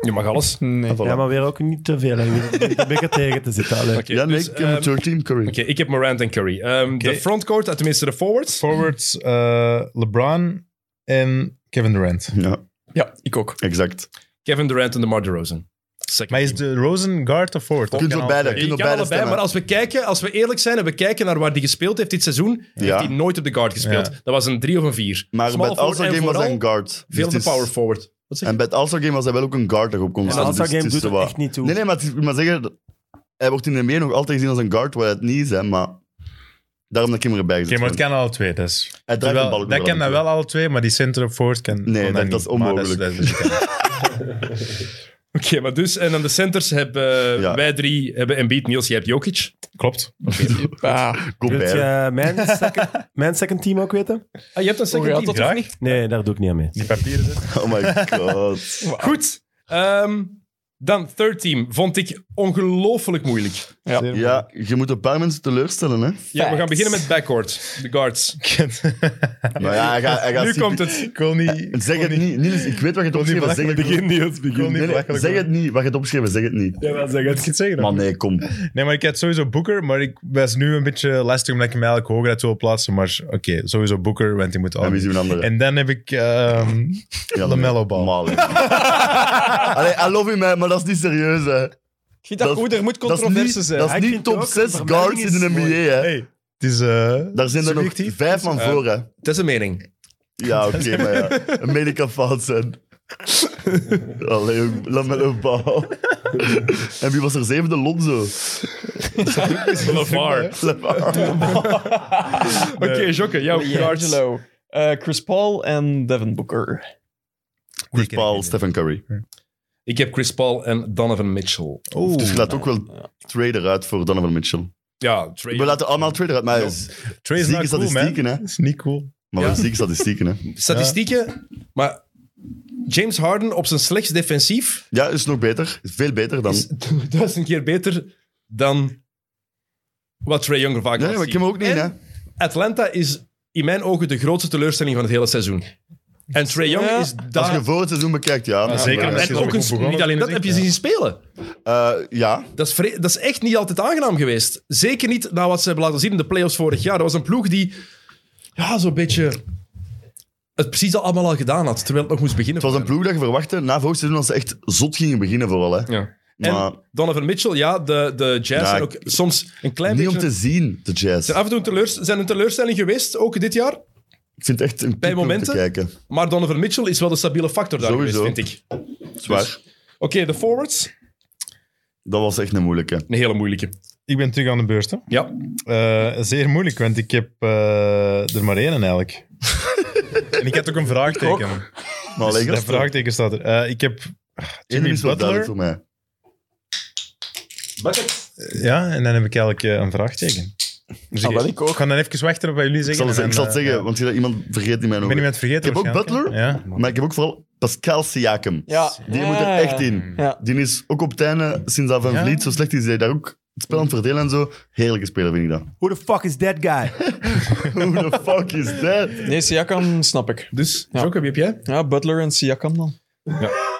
Je mag alles. Nee. Ah, Voilà. Ja, maar weer ook niet te veel. hè. Ik ben- Ik ben er tegen te zitten. allee. Oké, ja, nee, dus, ik ehm, heb een 13 Curry. Oké, ik heb Morant en Curry. Ehm, Oké. De frontcourt, eh, tenminste de forwards. Forwards, eh, LeBron en Kevin Durant. *laughs* Ja, Ja, ik ook. exact. Kevin Durant en DeMar DeRozan. Second Maar is team. de Rosen guard of forward? Je kunt Kan op al- beide, je Je kunt op kan beide allebei, maar stemmen. als we, kijken, als we eerlijk zijn en we kijken naar waar hij gespeeld heeft dit seizoen, Ja. heeft hij nooit op de guard gespeeld. Ja. Dat was een 3 of een 4. Maar bij het All-Star Game was hij een guard. Dus Veel het op de is- power forward. Wat zeg je? En bij het All-Star Game was hij wel ook een guard daarop kon Ja, staan. All-Star dus het Game is doet zo er wat- echt niet toe. Nee, nee, maar het is- ik moet maar zeggen, dat- hij wordt in de NBA nog altijd gezien als een guard, waar het niet is, hè, maar daarom dat ik hem erbij gezet Oké, maar het heb. kan alle twee. Dat, is, Hij draait Wel, de bal ook dat nog kan dat wel alle twee, maar die center op forward kan Nee, kan dat- niet. dat is Maar onmogelijk. *laughs* dat is- dat is- Oké, maar dus, en dan de centers hebben eh, Ja. wij drie, hebben Embiid, Niels, jij hebt Jokic. Klopt. Ah, Gobert. Wilt je eh, mijn second, mijn second team ook weten? Ah, je hebt een second Oh, ja, team. dat- Graag. Nee, daar doe ik niet aan mee. Die papieren zitten. Oh my *laughs* god. Goed. Ehm, dan third team, vond ik ongelooflijk moeilijk. Ja, je moet een paar mensen teleurstellen, hè. Ja, we gaan Facts. beginnen met backcourt, de guards. Maar ja, hij gaat... Hij gaat Nu CP komt het. Ik wil niet... Zeg het niet. Niels, ik weet wat je hebt opgeschreven. Zeg het niet. Begin, Niels, wil begin. niet Nee, nee, belachelijk zeg het niet. Wat je hebt opgeschreven, zeg het niet. Jawel, zeg worden. Ik het. ga het zeggen. Maar nee, kom. Nee, maar ik had sowieso Booker, maar ik was nu een beetje lastig omdat ik hem eigenlijk hoger had willen plaatsen. Maar oké, sowieso Booker, want die moet al. En wie is uw andere? En dan heb ik ehm *laughs* Ja, LaMelo Ball. Normaal, hè. Allee, I love you, man, maar dat is niet serieus, hè. ik vind dat, Dat- goed, er moet Dat is controverse niet, zijn. dat is Ik niet vind top ook, 6 vermelding guards in de is NBA, mooi. hè. hey, het is... eh Daar zijn er nog subjectief. vijf man eh, voor, hè. Dat is een *laughs* mening. Ja, oké, maar ja. Een meen ik kan fout zijn. Allee, LaMelo Ball. en wie was er zevende? Lonzo. LeVar. Oké, Jokke, jouw guards. D'Angelo, eh, Chris Paul en Devin Booker. Chris Dus Paul, Stephen Curry. Ik heb Chris Paul en Donovan Mitchell. Dus je laat ook wel trader uit voor Donovan Mitchell. Ja, Trey. We laten allemaal trader uit, maar hij is Trey is Zieke not cool, man. statistieken, hè. Dat is niet cool. Maar Ja. wel zieke statistieken, hè. Statistieken, maar James Harden op zijn slechts defensief Ja, is nog beter. Is veel beter dan... is *laughs* duizend keer beter dan wat Trey Young vaak Nee, laat maar ik zien. heb hem ook niet, En hè. Atlanta is in mijn ogen de grootste teleurstelling van het hele seizoen. En Trey Young Ja. is Als daar... je voor het seizoen bekijkt, ja. Ja, zeker. Ja, omdat En ze zo ook goed een- begonnen niet alleen dat, zijn, heb je ja. zien spelen. Eh, ja. Dat is, vre- dat is echt niet altijd aangenaam geweest. Zeker niet na wat ze hebben laten zien in de playoffs vorig jaar. Dat was een ploeg die ja, zo'n beetje het precies al allemaal al gedaan had, terwijl het nog moest beginnen. Het was een ploeg dat je verwachtte na vorig seizoen dat ze echt zot gingen beginnen vooral. Hè. Ja. Maar En Donovan Mitchell, ja, de, de Jazz Ja, zijn ook ik- soms een klein niet om beetje... te zien, de Jazz. zijn af en toe een teleurs, zijn een teleurstelling geweest, ook dit jaar. Ik vind het echt een ploeg om te momenten? kijken. Dus- Maar Donovan Mitchell is wel de stabiele factor daar Sowieso. geweest, vind ik. Oké, Zwaar. de forwards. Dat was echt een moeilijke. Een hele moeilijke. Ik ben terug aan de beurt, hè. Ja. Eh, zeer moeilijk, want ik heb eh, er maar één *laughs* eigenlijk. en ik had ook een vraagteken. Maar alleen dat gast, vraagteken staat er. Eh, ik heb één dus Jimmy is wel duidelijk Butler. voor mij. Ja, en dan heb ik eigenlijk eh, een vraagteken. Dus Ah, wel, ik ook. ga dan even wachten op wat jullie Ik zeggen. zal, en het- ik zal dan, het eh, zeggen, ja. want je hebt iemand vergeet in mijn Ik ben ogen. iemand vergeten. Ik heb ook waarschijnlijk, hè. Ja. Maar ik heb ook vooral Pascal Siakam. Ja. Die Ja. moet er echt in. Ja. Die is ook op het einde, sinds dat Van Ja. Vliet zo slecht is, hij daar ook het spel aan het verdelen en zo. Heerlijke speler vind ik dat. Who the fuck is that guy? Who the fuck is that? Nee, Siakam snap ik. Dus, Ja. Jokke, wie heb jij? Ja, Butler en Siakam dan.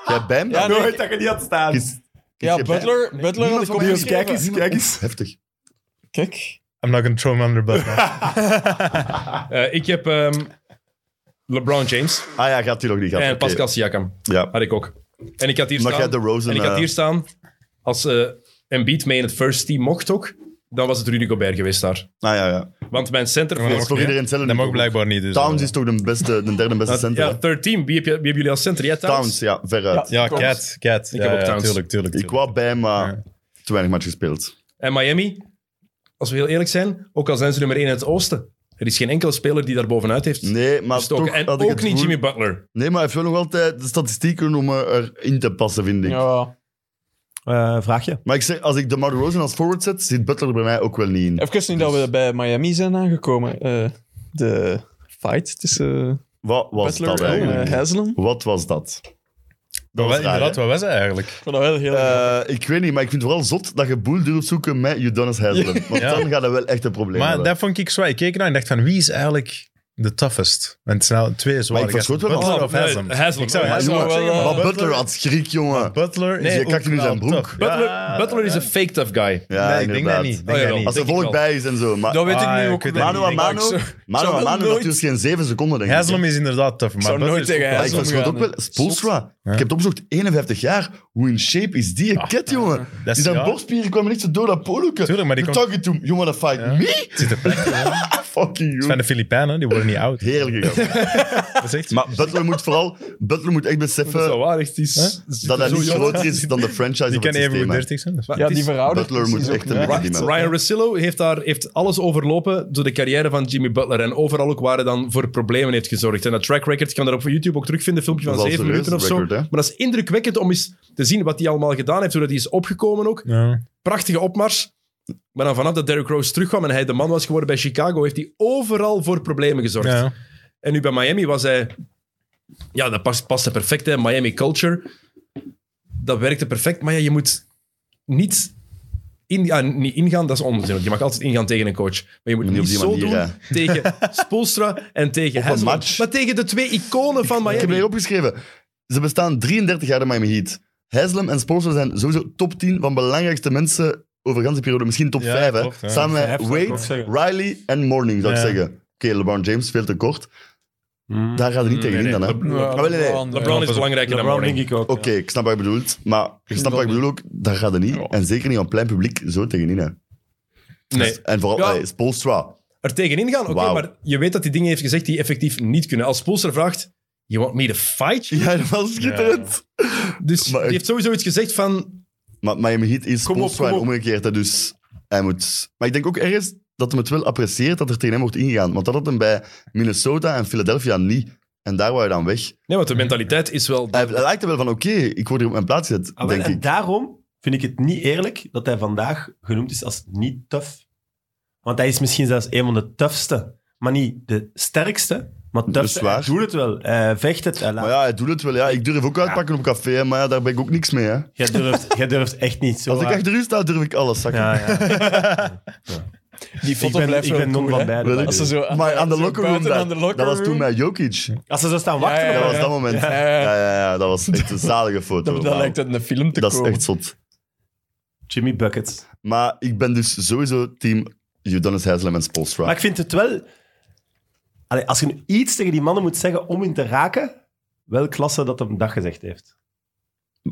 Jij bij hem? Ja, nee. Nooit dat je niet had staan. Is- Ja, je bij- Butler, Butler had Niemand ik van mij opgeschreven. is- Kijk eens, kijk eens. Heftig. Kijk. I'm not gonna throw him under the bus. *laughs* man. Eh, ik heb ehm, LeBron James Ah ja, gaat hij nog niet. Gaat, en oké. Pascal Siakam. Ja. Had ik ook. En ik had hier Omdat jij staan... eh, de Rosen... en ik had hier staan... Als eh Embiid mee in het first team mocht ook, dan was het Rudy Gobert geweest daar. Ah ja, ja. Want mijn center... Ja, Dat maar voor- is voor iedereen hetzelfde. Dat mag blijkbaar niet. Dus, Towns is toch de, beste, de derde beste center? Ja, 13. Wie, heb je, wie hebben jullie als center? Jij Towns? Towns, ja, veruit. Ja, Towns. Cat. Ik Cat. ja, heb ook ja, Towns. Tuurlijk, tuurlijk. Ik wou bij, maar Ja. te weinig match gespeeld. En Miami, als we heel eerlijk zijn, ook al zijn ze nummer 1 in het oosten, er is geen enkele speler die daar bovenuit heeft. Nee, maar gestoken. toch en had ik ook het niet gevoel- Jimmy Butler. Nee, maar hij heeft wel nog altijd de statistieken om eh, erin te passen, vind ik. Ja. Eh, vraagje. Maar ik zeg, als ik de DeMar Rosen als forward zet, zit Butler er bij mij ook wel niet in. Even niet dat we bij Miami zijn aangekomen. Eh, de fight tussen eh, Wat was Butler dat en eh, eigenlijk? Haslam. Ik Wat was dat? Maar was wel, raar, inderdaad, hè? wat was dat eigenlijk? vond dat wel heel erg. Eh, ik weet niet, maar ik vind het vooral zot dat je boel durft zoeken met Udonis Haslam. *laughs* Want Ja. dan gaat dat wel echt een probleem Maar worden. dat vond ik zwaar. Ik keek naar en dacht van, wie is eigenlijk de toughest? En het zijn nou twee zware Maar ik verschoot gasten. wel Butler Oh, of nee, Haslam? Haslam. Ik zou eh, Maar Haslam jongen, ook zeggen, wel, maar maar Butler had schrik, jongen. Butler Nee, is je kakt nu ook zijn wel broek. tough. Butler, Ja. Butler is een fake tough guy. Ja, nee, ik denk inderdaad. dat niet. Ik Oh, Denk dat jawel. niet. Als er Denk ik volk wel. bij is en zo. Maar Dat weet ik Ah, nu ik ook weet niet. het mano a niet. maar ik mano, zou- mano, zou a mano, nooit- dat duurt geen zeven seconden, denk ik. Haslam is inderdaad tough. Maar zou Butler nooit is tegen ook wel- Ja, ik Haslam verschoot ook gaan, wel. hè. Spoelstra. Ik heb het opgezocht. 51 jaar. Hoe in shape is die ket, jongen? dat is- Die zijn Ah, ja. borstspieren kwamen niet zo door dat poloeke. Tuurlijk, maar die You kon- talking to me? You wanna fight me? Ah, Het zit er perfect. Het *laughs* Fucking zijn you. de Filipijnen, die worden niet oud. Heerlijk. gast. Dat is echt... maar Butler moet vooral... Butler moet echt Dat Eh, is wel beseffen waar, echt. Die is- dat hij zo niet jong. groter is dan de franchise Die of het kan even systeem. goed hè. 30 zijn. dat is- Maar Ja, het is- die verhouding. Butler moet is ook echt een niet beetje echt. die man. Ryan Rossillo heeft, daar, heeft alles overlopen door de carrière van Jimmy Butler. En overal ook waar hij dan voor problemen heeft gezorgd. En dat track record je kan daar op YouTube ook terugvinden. Een filmpje Dat van is al 7 minuten of serieus zo. record, hè? Maar dat is indrukwekkend om eens te zien wat hij allemaal gedaan heeft. Hoe dat hij is opgekomen ook. Ja. Prachtige opmars. Maar dan vanaf dat Derrick Rose terugkwam en hij de man was geworden bij Chicago, heeft hij overal voor problemen gezorgd. Ja. En nu bij Miami was hij... Ja, dat past, paste perfect, hè. Miami culture. Dat werkte perfect, maar ja, je moet niet, in, ah, niet ingaan. Dat is onzin, want je mag altijd ingaan tegen een coach. Maar je moet Niet niet op die zo manier, doen *laughs* tegen Spoelstra en tegen Op een Haslam. match. Maar tegen de twee iconen van Ik heb het Miami. hier opgeschreven. Ze bestaan 33 jaar de Miami Heat. Haslam en Spoelstra zijn sowieso top 10 van belangrijkste mensen over de hele periode. Misschien top Ja, 5, hè. klopt, ja. Samen Vijf, met zou ik ook Wade, zeggen. Riley en Morning, zou ik Ja. zeggen. Oké, LeBron James, veel te kort. Hmm. Daar gaat er niet Nee, tegen in nee, dan, hè. Le- Oké, Ja, Ah, wel, nee, nee. LeBron, ja. LeBron is Ja, belangrijker dan LeBron Morning. denk ik ook. ja. ik snap wat je bedoelt. Maar je snapt wat ik bedoel ook, daar gaat er niet. En zeker niet op plein publiek zo tegenin, hè. Nee. En vooral, eh, Ja. hey, Spoelstra. Er tegenin gaan, oké, Wauw. maar je weet dat hij dingen heeft gezegd die effectief niet kunnen. Als Spoelstra vraagt, you want me to fight? you?" Ja, dat was schitterend. Dus Maar hij ik- heeft sowieso iets gezegd van, Maar Miami Heat is Kom op, Spoelstra kom en op. omgekeerd, hè, dus hij moet... Maar ik denk ook ergens dat hem het wel apprecieert dat er tegen hem wordt ingegaan. Want dat had hem bij Minnesota en Philadelphia niet. En daar wou hij dan weg. Nee, want de mentaliteit is wel. Hij, hij lijkt er wel van, oké, ik word hier op mijn plaats gezet, Ah, wel, denk en ik. daarom vind ik het niet eerlijk dat hij vandaag genoemd is als niet tough. Want hij is misschien zelfs een van de toughste, maar niet de sterkste, maar is toughste. waar. Hij doet het wel. Hij vecht het. Hij laat- Maar ja, hij doet het wel. Ja. Ik durf ook uitpakken op café, hè, maar ja, daar ben ik ook niks mee. Hè. jij, durft, jij durft echt niet zo Als ik hard. Ah, achter u sta, durf ik alles, zakken. Ja, *laughs* ja. Die Ik foto ben, blijft ik wel ben non cool, van hè. beiden. Wil by ik- the Als ze way. zo, Maar aan de zo locker room, buiten daar, aan de locker dat was room. toen met Jokic. Als ze zo staan wachten, Ja, ja, Dat op was elkaar. dat moment. Ja, Ja, ja, ja. ja, ja, dat was echt een zalige foto. *laughs* Dat, dat wauw. lijkt uit een film te Dat is komen. echt zot. Jimmy Buckets. Maar ik ben dus sowieso team Udonis Haslam en Spolstra. Maar ik vind het wel... Allee, als je nu iets tegen die mannen moet zeggen om in te raken, wel klasse dat hem dat gezegd heeft.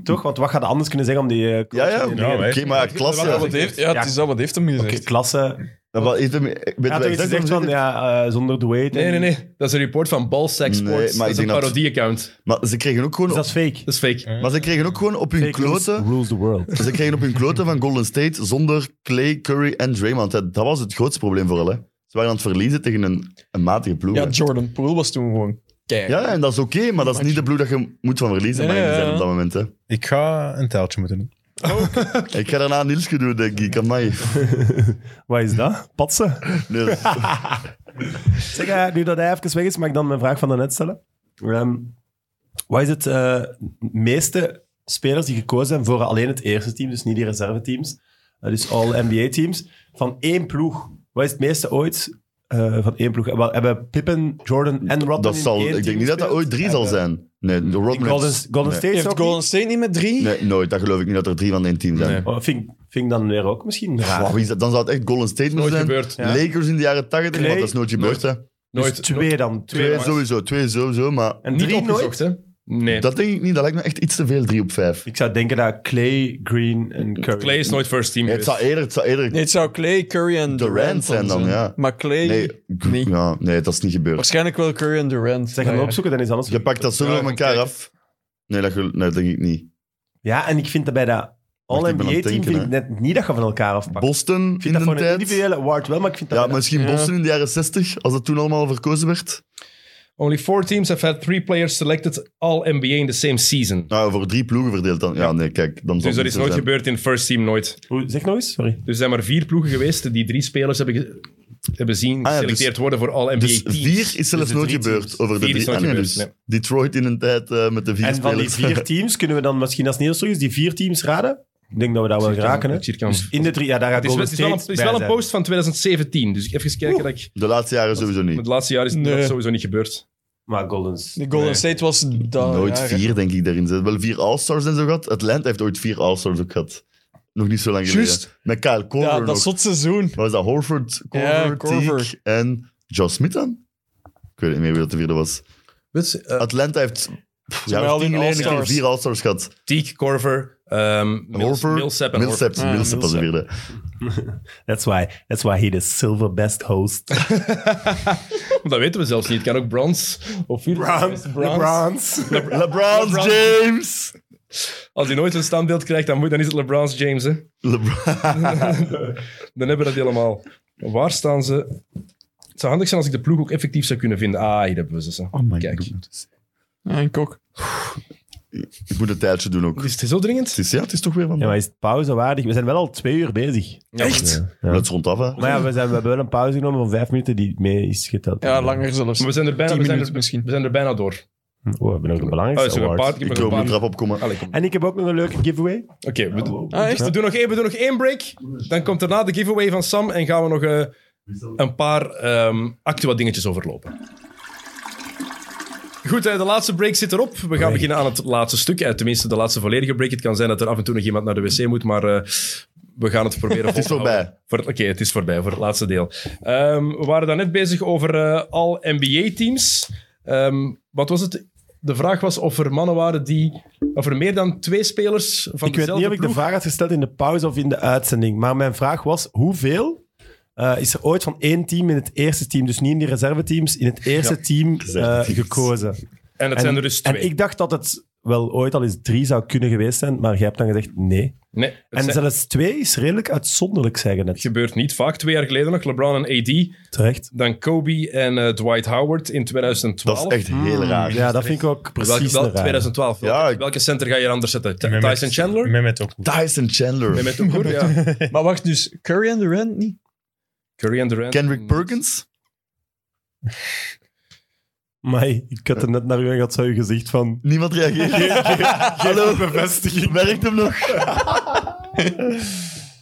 Toch? Want wat gaat hij anders kunnen zeggen om die... eh, Ja, ja. coach- Ja, Oké, weet- maar ja, klasse. Wat dat heeft, ja, het is dat wat heeft hem gezegd. Oké, klasse. Ja, maar heeft hem- weet je Ja, wat toch ik iets zeg? gezegd van, ja, eh, zonder Dwayne. Nee, nee, nee. Dat is een report van Ballsack Nee, Sports. dat is maar ik een denk dat- parodie-account. Maar ze kregen ook gewoon... Dus dat is fake. Dat is fake. Maar ze kregen ook gewoon op hun Fake rules- kloten... rules the *laughs* world. Ze kregen op hun kloten van Golden State zonder Clay, Curry en Draymond. hè. Dat was het grootste probleem voor hen. hè. Ze waren aan het verliezen tegen een, een matige ploeg. Ja, hè. Jordan Poole was toen gewoon kijk. Ja, en dat is oké, maar dat is niet de ploeg dat je moet van verliezen. Nee, maar ja, zijn ja. op dat moment. Hè. Ik ga een teltje moeten doen. Ik ga daarna Nielsje doen, denk ik. Amai. Wat is dat? Patsen? Nee, dat is- Zeg, eh, nu dat hij even weg is, mag ik dan mijn vraag van daarnet stellen? Ehm, wat is het eh, meeste spelers die gekozen zijn voor alleen het eerste team, dus niet die reserveteams, eh, dus all NBA-teams, van één ploeg? Wat is het meeste ooit eh, van één ploeg? Hebben- hebben Pippen, Jordan en Rodman dat in zal, één ik team denk niet dat dat gespeeld? ooit drie zal Hebben- zijn. Nee, de Rodman Golden, heeft- Golden nee. State Heeft ook niet? Golden State niet met drie? Nee, nooit. Dat geloof ik niet dat er drie van één team zijn. Nee. Oh, vind, ik- vind ik dan weer ook misschien raar. Wow, wie is dat? Dan zou het echt Golden State moeten Nooit zijn. gebeurd. Ja. Lakers in de jaren 80, maar Clay- dat is nooit gebeurd. Hè. Dus Nooit. twee dan. Twee. Twee sowieso, twee sowieso, maar En Niet drie nooit. opgezocht, hè? Nee. Dat denk ik niet. Dat lijkt me echt iets te veel, 3 op 5. Ik zou denken dat Clay, Green en Curry... Clay is nooit first team het zou geweest. eerder, het zou eerder Nee, het zou Clay, Curry en Durant, Durant zijn dan, ja. Maar Clay, Nee, niet. Ja, nee, dat is niet gebeurd. waarschijnlijk wel Curry en Durant. Zeg, gaan Maar ja. opzoeken, dan is anders. Je pakt dat zo Ja, van elkaar kijk. af. Nee, dat, gel- nee, dat denk ik niet. Ja, en ik vind dat bij dat Wacht, ik ben aan het All-NBA-team vind ik denken, net niet dat je van elkaar afpakt. Boston Ik in vind dat de voor een tijd. individuele award wel, maar ik vind dat... Ja, bij dat- misschien Boston in de jaren 60, als dat toen allemaal verkozen werd. Only four teams have had three players selected all NBA in the same season. Nou, voor drie ploegen verdeeld dan. Ja, nee, kijk. Dan zal Dus het dat niet is zo nooit zijn. gebeurd in first team, nooit. Oei, Zeg nog eens, sorry. Dus er zijn maar vier ploegen geweest die drie spelers hebben, ge- hebben zien Ah ja, geselecteerd worden voor all NBA Dus teams. vier is zelfs de nooit drie gebeurd teams. over de Vier drie. is nooit Ah, nee, gebeurd, dus nee. Detroit in een tijd eh, met de vier En van die spelers. vier teams kunnen we dan misschien als Niels terug is, die vier teams raden. Ik denk dat we daar wel geraken, hè. Circa- Dus in de drie... Ja, daar gaat Het is, wel- Golden het is wel een, State het is wel bij een zijn. post van 2017, dus even kijken dat ik... *laughs* de laatste jaren sowieso niet. Het laatste jaar is Nee. dat sowieso niet gebeurd. Maar Golden's... De Golden Nee. State was daar. Nooit ja, vier, denk ik, daarin. Ze hebben wel vier All-Stars en zo gehad. Atlanta heeft ooit vier All-Stars ook gehad. Nog niet zo lang geleden. Juist. Met Kyle Korver Ja, nog. dat zot seizoen. Wat was dat? Horford, Korver, Ja, Korver. Teague en Josh Smith dan? Ik weet niet meer wie dat de vierde was. Atlanta heeft... Pff, ja, al tien die geleden een keer All-Stars. vier All-Stars gehad. Teague, Corver, ehm Mils, Horford, Millsap en Millsap. Horford. Ah, Millsap was de Millsap. vierde. That's why, that's why he the silver best host. *laughs* Dat weten we zelfs niet. Het kan ook Bronze of vier. LeBron James! Als hij nooit een standbeeld krijgt, dan, moet, dan is het LeBron James. Hè? LeBron. Dan hebben we dat helemaal. Waar staan ze? Het zou handig zijn als ik de ploeg ook effectief zou kunnen vinden. Ah, hier hebben we ze. oh my Kijk. goodness. Ja, en Kok. *laughs* Ik moet een tijdje doen ook. Is het zo dringend? Het is, ja, het is toch weer van... Ja, maar is het pauzewaardig? We zijn wel al twee uur bezig. Echt? Ja. Dat is rondaf, hè. Maar ja, we, zijn, we hebben wel een pauze genomen van vijf minuten die mee is geteld. Ja, langer *laughs* zelfs. Maar we zijn er bijna, Tien we zijn er, minuten misschien. We zijn er bijna door. Oh, we hebben nog de belangrijkste Oh, sorry, award. een paar- Ik heb wil op de paar- trap opkomen. Allee, kom. En ik heb ook nog een leuke giveaway. Oké, we, doen- Ah, echt? we doen nog één, we doen nog één break. Dan komt daarna de giveaway van Sam en gaan we nog eh, een paar ehm actua dingetjes overlopen. Goed, eh, de laatste break zit erop. We gaan beginnen aan het laatste stuk. Eh, Tenminste, de laatste volledige break. Het kan zijn dat er af en toe nog iemand naar de wc moet, maar eh, we gaan het *laughs* proberen Het is voorbij. Oké, het is voorbij voor het laatste deel. Ehm, we waren daarnet bezig over eh, al NBA-teams. Ehm, wat was het? De vraag was of er mannen waren die... Of er meer dan twee spelers van Ik weet niet of ik de ploeg- vraag had gesteld in de pauze of in de uitzending. Maar mijn vraag was, hoeveel eh, is er ooit van één team in het eerste team, dus niet in die reserveteams, in het eerste team eh, Reserveteams. gekozen? En het zijn er dus twee. en ik dacht dat het wel ooit al eens drie zou kunnen geweest zijn, maar jij hebt dan gezegd nee. Nee, het En zijn- zelfs twee is redelijk uitzonderlijk, zeggen net. gebeurt niet vaak. Twee jaar geleden nog LeBron en AD, Terecht. dan Kobe en eh, Dwight Howard in 2012. Dat is echt heel raar. Ah, Ja, dat vind ik ook Welke, precies wel- een raar. 2012. Ja, Welke- ik- Welke center ga je anders zetten? T- Mehmet- Tyson Chandler? Mehmet ook. Tyson Chandler. Mehmet Okur, *laughs* ja. Maar wacht, dus Curry en Durant niet? Curry en Durant. Kendrick Perkins? Maar ik had er net naar u en had zo uw gezicht van... Niemand *laughs* reageert. Hallo. bevestiging. Werkt hem nog?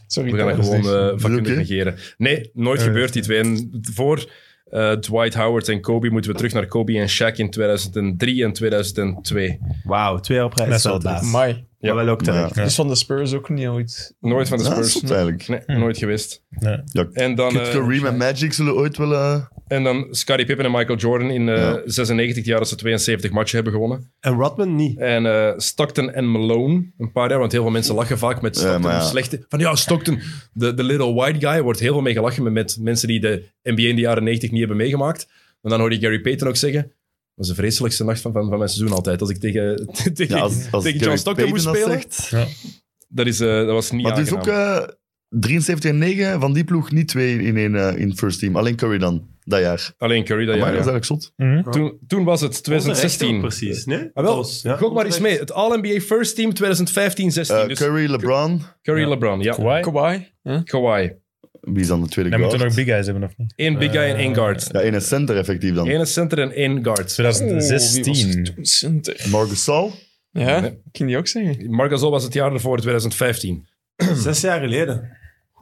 Sorry, We gaan dat Thijs. gewoon eh vakkundig Oké. negeren. Nee, nooit Eh. gebeurd die twee. En voor eh, Dwight Howard en Kobe moeten we terug naar Kobe en Shaq in 2003 en 2002. Wauw, twee jaar op rij Dat is is wel wel baas. Amai. Ja, wel ook terecht. Ja. Ja. Dus van de Spurs ook niet ooit. Nooit van de Ja, dat is Spurs. zot eigenlijk. Nee, nooit geweest. Nee. Ja, En dan, Kid eh, Kareem en Magic zullen ooit wel... eh, en dan Scottie Pippen en Michael Jordan in eh, Ja. 96, het jaar dat ze 72 matchen hebben gewonnen. En Rodman niet. En eh, Stockton en Malone, een paar jaar, want heel veel mensen lachen vaak met Stockton. maar ja. een Slechte, van ja, Stockton, de, de little white guy, wordt heel veel mee gelachen met, met mensen die de NBA in de jaren 90 niet hebben meegemaakt. En dan hoorde ik Gary Payton ook zeggen, dat was de vreselijkste nacht van, van, van mijn seizoen altijd. Als ik tegen, *laughs* tegen, Ja, als, als tegen Gary John Stockton moest Payton dat spelen, zegt. dat, is, eh, dat was niet Maar dus aangenaam. ook eh, 73 en 9 van die ploeg, niet twee in één eh, in first team. Alleen Curry dan, dat jaar. Alleen Curry dat maar jaar. dat ja. is eigenlijk zot. Toen, toen was het 2016. Precies, nee? Ah, wel, gok maar eens mee. Het All-NBA First Team 2015-16. Eh, dus Curry, Curry, LeBron. LeBron, ja. Oh, Kawhi? Kawhi? hè? Kawhi. Wie is dan de tweede Dan moeten we nog guard? big guys hebben, of niet? Eén big guy en één guard. Ja, één is center effectief dan. Eén center en één guard. Oh, wie was 2016. er toen center? Marcus Saul. Ja, ik ging die ook zeggen. Marc Gasol was het jaar ervoor, 2015. Zes jaar geleden.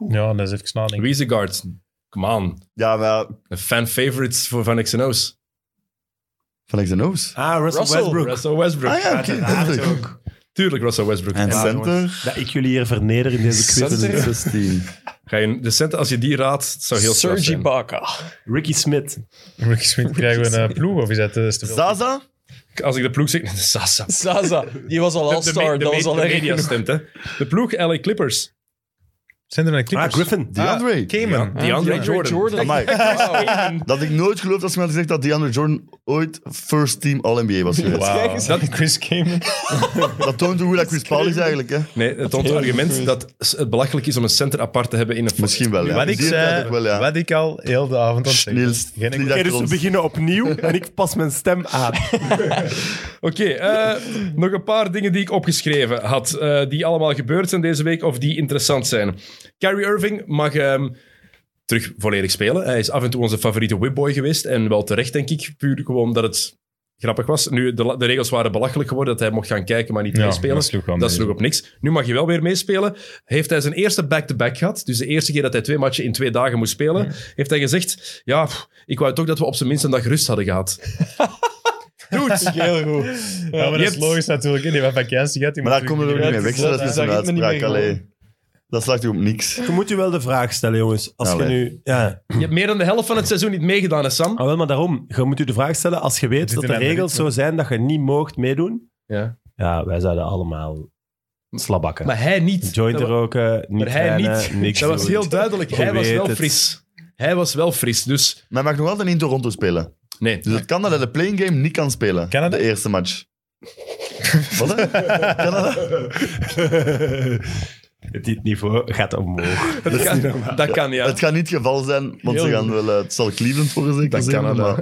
ja, dat is even nadenken. Wie is de guard? Come on. Ja, maar Een fan favorites voor van XNO's. van Xenos. Ah, Russell, Russell. Westbrook. Russell Westbrook. Ah ja, oké. Uiteraard ook. Tuurlijk, Russell Westbrook. En Ja, jongens. center. Dat ik jullie hier verneder in deze quiz. Center. 16. Ga je, de center, als je die raadt, het zou heel straf Sergi zijn. Baca. Ricky Ah, Smith. *laughs* Ricky Smith, krijgen we een eh, ploeg of is dat eh, is te veel? Zaza. als ik de ploeg zeg, de *laughs* Sasa. De- Zaza, die was al de me- all-star. de Dat me- was al de erg media genoeg. stemt, hè. De ploeg LA Clippers. Zijn er een Ah, Clippers? Griffin. Ah, DeAndre. Cayman. die andere DeAndre Jordan. Jordan. Amai. *laughs* Wauw. Dat ik nooit geloof dat ze mij hadden gezegd dat DeAndre Jordan ooit first team All-NBA was geweest. Wow. Dat- Chris Cayman. Dat toont hoe goed dat Chris Paul is eigenlijk. Hè. Nee, het toont het argument dat het belachelijk is om een center apart te hebben in een flat. Misschien wel, ja. Wat ik Die tijd zei, ook wel, ja. wat ik al heel de avond aan het zeggen Niels, was, geen- vlieg Oké, achter dus we ons. beginnen opnieuw en ik pas mijn stem *laughs* aan. Oké, eh, nog een paar dingen die ik opgeschreven had, eh, die allemaal gebeurd zijn deze week of die interessant zijn. Kyrie Irving mag ehm, terug volledig spelen. Hij is af en toe onze favoriete whipboy geweest en wel terecht, denk ik. Puur gewoon dat het grappig was. Nu, de, la- de regels waren belachelijk geworden dat hij mocht gaan kijken, maar niet Ja, meespelen. dat sloeg wel dat mee. sloeg op niks. Nu mag je wel weer meespelen. Heeft hij zijn eerste back-to-back gehad, dus de eerste keer dat hij twee matchen in twee dagen moest spelen, heeft hij gezegd, ja, pff, ik wou toch dat we op zijn minst een dag rust hadden *clears throat* gehad. Dude, Heel goed. Je Ja, maar dat is hebt- logisch natuurlijk. hè. Die hebben vakantie gehad. die Maar daar moeten komen we ook niet terug- mee weg. Dat is Ja, een daar gaat het niet uitspraak. mee allee. Dat slaat u op niks. Je moet je wel de vraag stellen, jongens. Als je Allee. nu... Ja, Je hebt meer dan de helft van het seizoen niet meegedaan, hè, Sam? ah, wel, maar daarom. Je moet je de vraag stellen als je weet Zit dat in de een regels ritme. zo zijn dat je niet moogt meedoen. Ja. Ja, wij zouden allemaal slabakken. Maar hij niet. Joint Dat wa- roken, niet maar hij trainen, niet. niks dat was doen. heel duidelijk. Hij Je was weet wel het. fris. Hij was wel fris, dus... Maar hij mag nog altijd in Toronto spelen. Nee. Dus het kan dat hij de playing game niet kan spelen. Canada? De eerste *laughs* match. Wat? hè? Canada? Dit niveau gaat omhoog. Dat kan, dat kan, ja. Het gaat niet het geval zijn, want ze gaan wel, eh, het zal Cleveland worden zeker Dat zijn, Canada.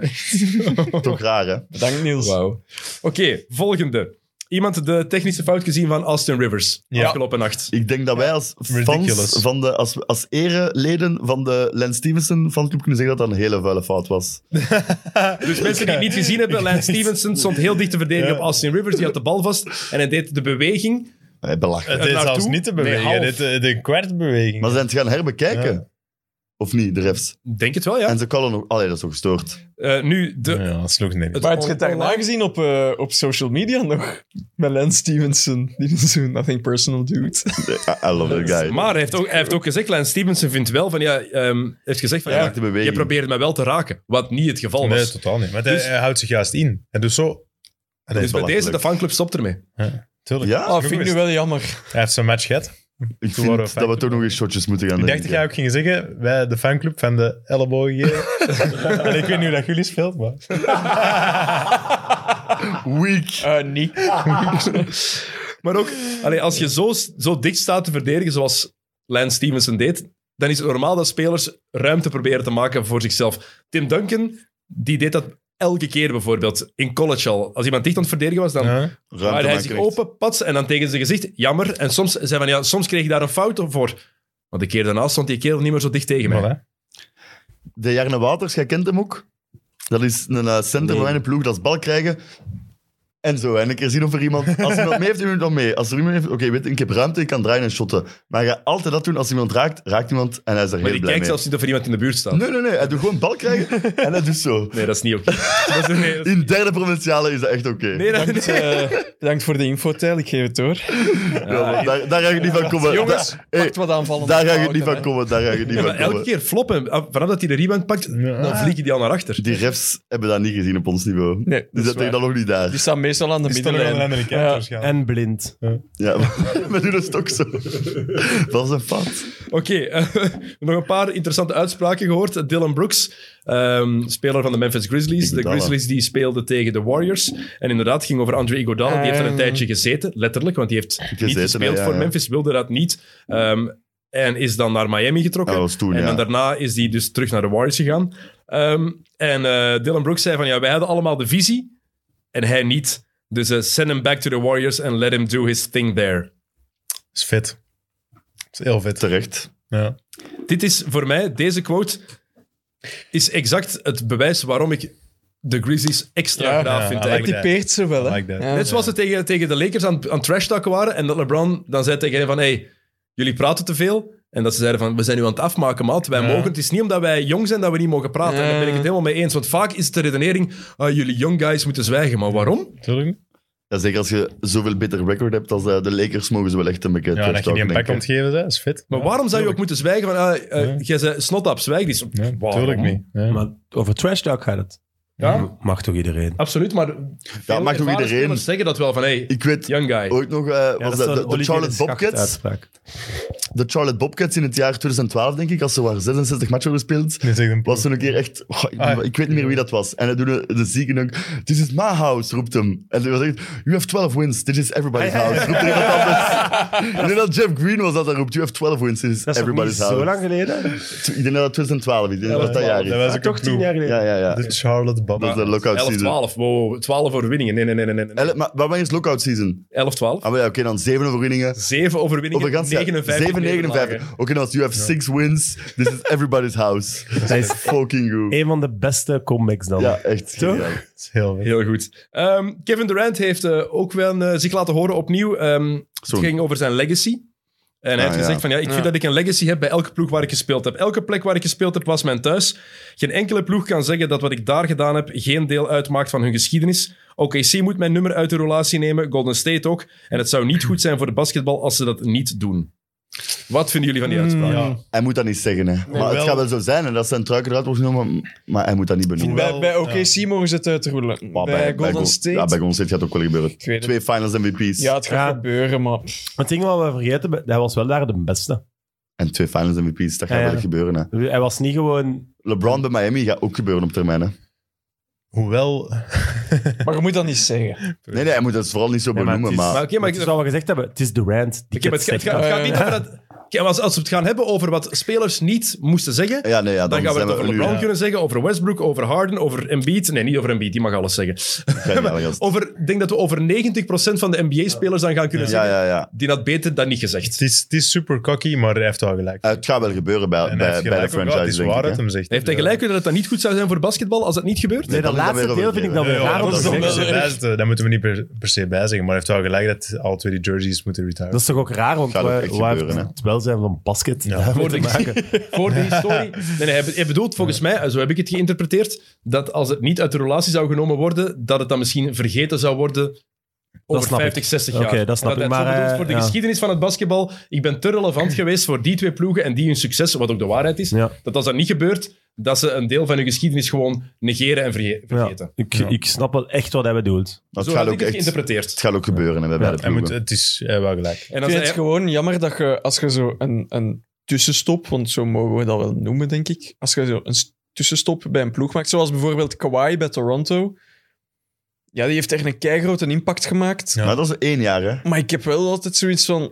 *laughs* maar toch raar hè. Dank Niels. Wauw. Oké, volgende. Iemand de technische fout gezien van Austin Rivers Ja. afgelopen nacht. Ik denk dat wij *laughs* als Ridiculous. fans van de, als, als ereleden van de Lance Stevenson fanclub kunnen zeggen dat dat een hele vuile fout was. Dus mensen die het niet gezien hebben, Lance Stevenson stond heel dicht te verdedigen op Austin Rivers. Die had de bal vast en hij deed de beweging. Hey, belachelijk. Het is zelfs naartoe? niet te Nee, half. bewegen. Dit, eh, de kwartbeweging. Maar ze zijn het gaan herbekijken. Of niet, de refs. Denk het wel, ja. En ze callen nog... Allee, dat is toch gestoord. Eh, nu, de... Ja, dat sloeg niet. Maar het je hebt daarna gezien op, eh, op social media nog. Met Lance Stevenson. Die *laughs* is zo'n nothing personal dude. I, I love that guy. Maar hij heeft, ook, hij heeft ook gezegd, Lance Stevenson vindt wel van, ja, ehm, heeft gezegd van, Hij ja, maakt de beweging. je probeert mij wel te raken. Wat niet het geval was. Nee, totaal niet. Maar hij, Dus- hij houdt zich juist in. Hij doet zo. Dus Dat is bij deze, de belachelijk. fanclub stopt ermee. Tuurlijk. Ja? Ah, vind ik nu wel jammer. Hij heeft zijn match gehad. Ik vind Toen waren we dat we vijf- toch nog eens shotjes moeten gaan Ik doen. dacht dat jij ook ging zeggen, wij de fanclub van de elleboog hier. en ik weet niet hoe dat jullie speelt, maar... Weak. Eh niet. Maar ook, allee, als je zo, zo dicht staat te verdedigen zoals Lance Stevenson deed, dan is het normaal dat spelers ruimte proberen te maken voor zichzelf. Tim Duncan, die deed dat elke keer bijvoorbeeld, in college al. Als iemand dicht aan het verdedigen was, dan Ja. Maar Ruimte hij maken zich recht. open, pats, en dan tegen zijn gezicht, jammer. En soms, zei van, ja, soms kreeg je daar een fout voor. Want de keer daarna stond die kerel niet meer zo dicht tegen mij. Voilà. De Jarne Waters, jij kent hem ook. Dat is een eh, center van mijn ploeg, dat is bal krijgen. En zo, en een keer zien of er *laughs* iemand... Als iemand mee heeft, doe je dan mee. Als er iemand heeft... Oké, weet je, ik heb ruimte, ik kan draaien en shotten. Maar ga altijd dat doen. Als iemand raakt, raakt iemand en hij is er Maar heel die blij kijkt mee. zelfs niet of er iemand in de buurt staat. Nee, nee, nee. Hij doet gewoon bal krijgen *laughs* en hij doet zo. Nee, dat is niet *laughs* oké. Dat is- nee, dat is- In derde provinciale is dat echt oké. nee, dat- Bedankt, nee. eh, bedankt voor de info, Tijl. Ik geef het door. Ja, maar daar, daar ga je niet van komen. Jongens, Daar- hey, pakt wat aanvallen. daar ga je niet van komen. Daar ga je niet Ja, van maar elke komen. keer floppen. Ah, Vanaf dat hij de rebound pakt, dan vliegen die al naar achter. Die refs hebben dat niet gezien op ons niveau. Nee, dat die is zetten waar. dan nog niet Die daar. staan meestal aan de Die stonden aan de middenlijn. andere kant Ja. waarschijnlijk. En blind. Ja, *laughs* maar- we doen het ook zo. Dat is een fout. Oké, eh, *laughs* nog een paar interessante uitspraken gehoord. Dylan Brooks, ehm, speler van de Memphis Grizzlies. De Iguodala. Grizzlies die speelden tegen de Warriors. En inderdaad, ging over Andre Iguodala. Die heeft er een Ah. tijdje gezeten, letterlijk. Want die heeft niet Gezeten, gespeeld ja, voor ja. Memphis, wilde dat niet. Ehm, en is dan naar Miami getrokken. Ja, dat was toen, en ja. dan daarna is hij dus terug naar de Warriors gegaan. Ehm, en eh, Dylan Brooks zei van, ja, wij hadden allemaal de visie. En hij niet. Dus eh, send him back to the Warriors and let him do his thing there. is vet. is heel vet. Terecht. Ja. Dit is voor mij, deze quote is exact het bewijs waarom ik de Grizzlies extra Ja, graaf ja, vind. I eigenlijk. like Die peert ze wel, hè. Like that. Ja. Net zoals ze tegen, tegen de Lakers aan, aan trash talken waren en dat LeBron dan zei tegen hen van hey, jullie praten te veel. En dat ze zeiden van, we zijn nu aan het afmaken, maat. Wij mogen, het is niet omdat wij jong zijn dat we niet mogen praten. En daar ben ik het helemaal mee eens. Want vaak is het de redenering, ah, jullie young guys moeten zwijgen. Maar waarom? Tuurlijk. Ja, zeker als je zoveel beter record hebt als eh, de Lakers, mogen ze wel echt een beetje Ja, dat je die een pak komt geven, dat is vet. Maar Ja, waarom zou je ook tuurlijk. moeten zwijgen van, ah, eh, jij zei snothap, zwijg. Die is, Ja, waarom? tuurlijk niet. Ja. Maar over trash talk gaat het. Ja, Mag toch iedereen? absoluut. Maar veel mag toch ervaren iedereen? spelers zeggen dat wel van, hey, Ik weet young guy. ooit nog, eh, was dat de, de Charlotte Bobcats, de Charlotte Bobcats in het jaar 2012, denk ik, als ze waren 66 matchen gespeeld, Nee, zeg een was er een keer echt... oh, ik, Ah, ja. ik weet niet meer wie dat was. En hij doet de, de zieke ook... This is my house, roept hem. En hij zegt... You have 12 wins, this is everybody's house. Roept iemand anders. *laughs* Ik denk dat Jeff Green was dat dat roept. You have 12 wins, this is Dat is toch niet everybody's house. zo lang geleden? Ik denk dat dat 2012 is. Ik denk dat dat dat jaar is. Dat was Ah, ook toch toch tien jaar geleden. Ja, ja, ja. De Charlotte Dat is Bobcats. de lockout 11-12, season. wow, wow, 12 overwinningen. Nee, nee, nee, nee. nee. Elf- Maar wanneer is lockout season? 11-12. Ah, maar ja, oké, dan zeven overwinningen. 7 overwinningen, Over gans 59 7, nederlagen. 59. Oké, dan als you have six wins, this is everybody's house. Dat is fucking goed. Een van de beste comebacks dan. Ja, echt. geniaal. Dat is heel Heel goed. Ehm, Kevin Durant heeft eh, ook wel eh, zich laten horen opnieuw. Ehm, het Sorry. ging over zijn legacy. En hij Ah, heeft gezegd van, ja. ja, ik vind Ja. dat ik een legacy heb bij elke ploeg waar ik gespeeld heb. Elke plek waar ik gespeeld heb was mijn thuis. Geen enkele ploeg kan zeggen dat wat ik daar gedaan heb geen deel uitmaakt van hun geschiedenis. OKC moet mijn nummer uit de relatie nemen, Golden State ook. En het zou niet goed zijn voor de basketbal als ze dat niet doen. Wat vinden jullie van Hmm. die uitspraak? Ja. Hij moet dat niet zeggen, hè. maar het wel. gaat wel zo zijn, en dat zijn truiken eruit wordt genomen, maar hij moet dat niet benoemen. Bij, Wel, bij OKC ja. mogen ze het uitroelen. Maar Bij, Golden Go- State... Ja, bij Golden State gaat ook wel gebeuren. weet het. Twee finals MVP's. Ja, het gaat Ja. gebeuren, maar... pff, Het ding wat we vergeten, hij was wel daar de beste. En twee finals MVP's, dat gaat Ja, ja. wel gebeuren, hè. Hij was niet gewoon... LeBron bij Miami gaat ook gebeuren op termijn, hè. Hoewel... *laughs* Maar je moet dat niet zeggen. Nee, nee, hij moet dat vooral niet zo Nee, maar het benoemen, is- maar... Maar oké, maar Maar ik- het is wat we gezegd hebben. Het is Durant. Die Ik heb het, het het, gaat, het gaat niet over dat... Kijk, Als, als we het gaan hebben over wat spelers niet moesten zeggen, Ja, nee, ja, dan, gaan we zijn het over nu- LeBron *laughs* Ja, kunnen zeggen, over Westbrook, over Harden, over Embiid. Nee, niet over Embiid, die mag alles *laughs* zeggen. geniale gast. Over, ik denk dat we over 90% van de NBA-spelers dan gaan *laughs* kunnen Ja, zeggen, ja, ja. die had beter dan niet Het gezegd. is, het is super cocky, maar hij heeft wel gelijk. Het gaat wel gebeuren bij, En hij bij, heeft bij de gelijk ook wel. Het is franchise, denk waar ik. dat hè. hem zegt. Heeft hij gelijk dat het niet goed zou zijn voor basketbal als dat niet gebeurt? Nee, dat dan laatste weer deel vind ik dan weer eh, Ja, raar om dat te is dan wel zeggen. de beste. Daar moeten we niet per, per se bij zeggen. Maar hij heeft wel gelijk dat al twee die jerseys moeten retiren. Dat is toch ook raar, want Gaat ook we- echt waar gebeuren, heeft het welzijn van basket daarmee Voor te de, maken? *laughs* voor de historie. Nee, nee, hij be- hij bedoelt volgens mij, eh, zo heb ik het geïnterpreteerd, dat als het niet uit de relatie zou genomen worden, dat het dan misschien vergeten zou worden over snap ik. 50, 60 jaar. Oké, dat snap hij ik, het zo maar, bedoelt eh, voor de ja. geschiedenis van het basketbal, ik ben te *clears throat* relevant geweest voor die twee ploegen en die hun succes, wat ook de waarheid is, Ja. dat als dat niet gebeurt, dat ze een deel van hun geschiedenis gewoon negeren en verge- vergeten. Ik, ik snap wel echt wat hij bedoelt. Maar Zo het gaat heb ik ook het echt... Het geïnterpreteerd. gaat ook gebeuren, hè, bij beide hij moet, ploegen. het is eh, wel gelijk. En Ik als vind het hij, gewoon jammer dat je, als je zo een, een tussenstop, want zo mogen we dat wel noemen, denk ik. Als je zo een s- tussenstop bij een ploeg maakt, zoals bijvoorbeeld Kawhi bij Toronto. Ja, die heeft echt een keigrote impact gemaakt. Ja. Maar dat is één jaar, hè. Maar ik heb wel altijd zoiets van...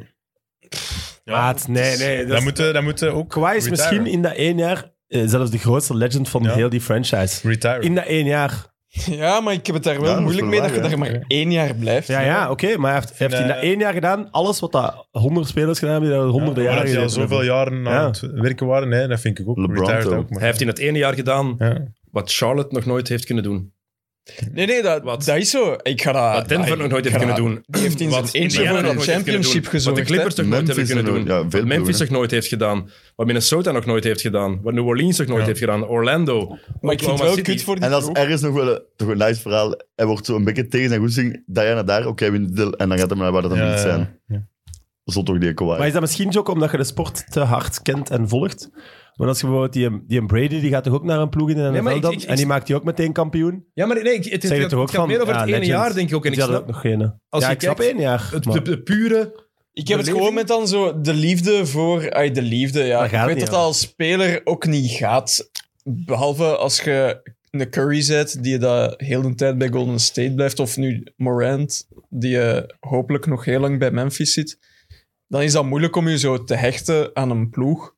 Maat, nee, nee. Dat Dat moeten dat moeten ook... Kawhi is retire. misschien in dat één jaar eh, zelfs de grootste legend van Ja. heel die franchise. Retire. In dat één jaar. Ja, maar ik heb het daar Ja, wel dat is moeilijk wel mee waar, dat je hè. daar maar één jaar blijft. Ja, ja, oké. maar hij heeft, heeft in dat eh, één jaar gedaan alles wat dat honderd spelers gedaan hebben, die dat honderden Maar jaren dat die al gedaan zoveel hebben. jaren Ja. aan het werken waren, nee, dat vind ik ook. LeBron Retired toch. ook. maar- hij heeft in het ene jaar gedaan Ja. wat Charlotte nog nooit heeft kunnen doen. Nee, nee, dat, Wat? dat is zo. Ik ga dat... Ah, Wat Denver dat- nog nooit ik heeft ga kunnen dat- doen. Die heeft in zijn Wat eentje Indiana voor nog nooit een heeft kunnen championship doen. gezorgd. Wat de Clippers hè. toch nooit Memphis hebben kunnen en- doen. ja, veel wat Memphis ploegen, toch nooit heeft gedaan. Wat Minnesota nog nooit heeft gedaan. Wat New Orleans nog nooit heeft gedaan. Orlando. Maar ik vind het Oklahoma wel City. kut voor die En dat is ploeg. ergens nog wel een, toch een nice verhaal. Hij wordt zo een beetje tegen zijn goesting, daar naar daar, oké, wint deel. En dan gaat hij naar waar dat hem Ja, niet ja, zijn. ja. Zo toch die Kawhi. Maar is dat misschien ook omdat je de sport te hard kent en volgt? Want als je bijvoorbeeld die, die Brady, die gaat toch ook naar een ploeg in de maar NFL ik- dan? ik- ik- en die maakt die ook meteen kampioen? Ja, maar nee, ik- het, is, Zeg je het, toch ook gaat van... meer over ja, het ene legends. jaar, denk ik ook. En ik Die hadden snap ook nog geen. hè. Als ja, je ik snap kijkt- één jaar. het, maar- de, de pure... Ik heb het Beleving? gewoon met dan zo de liefde voor... Ay, de liefde, ja. Daar Ik gaat het weet niet dat om. dat als speler ook niet gaat. Behalve als je een Curry zet die dat heel de tijd bij Golden State blijft. Of nu Morant, die eh, hopelijk nog heel lang bij Memphis zit. Dan is dat moeilijk om je zo te hechten aan een ploeg.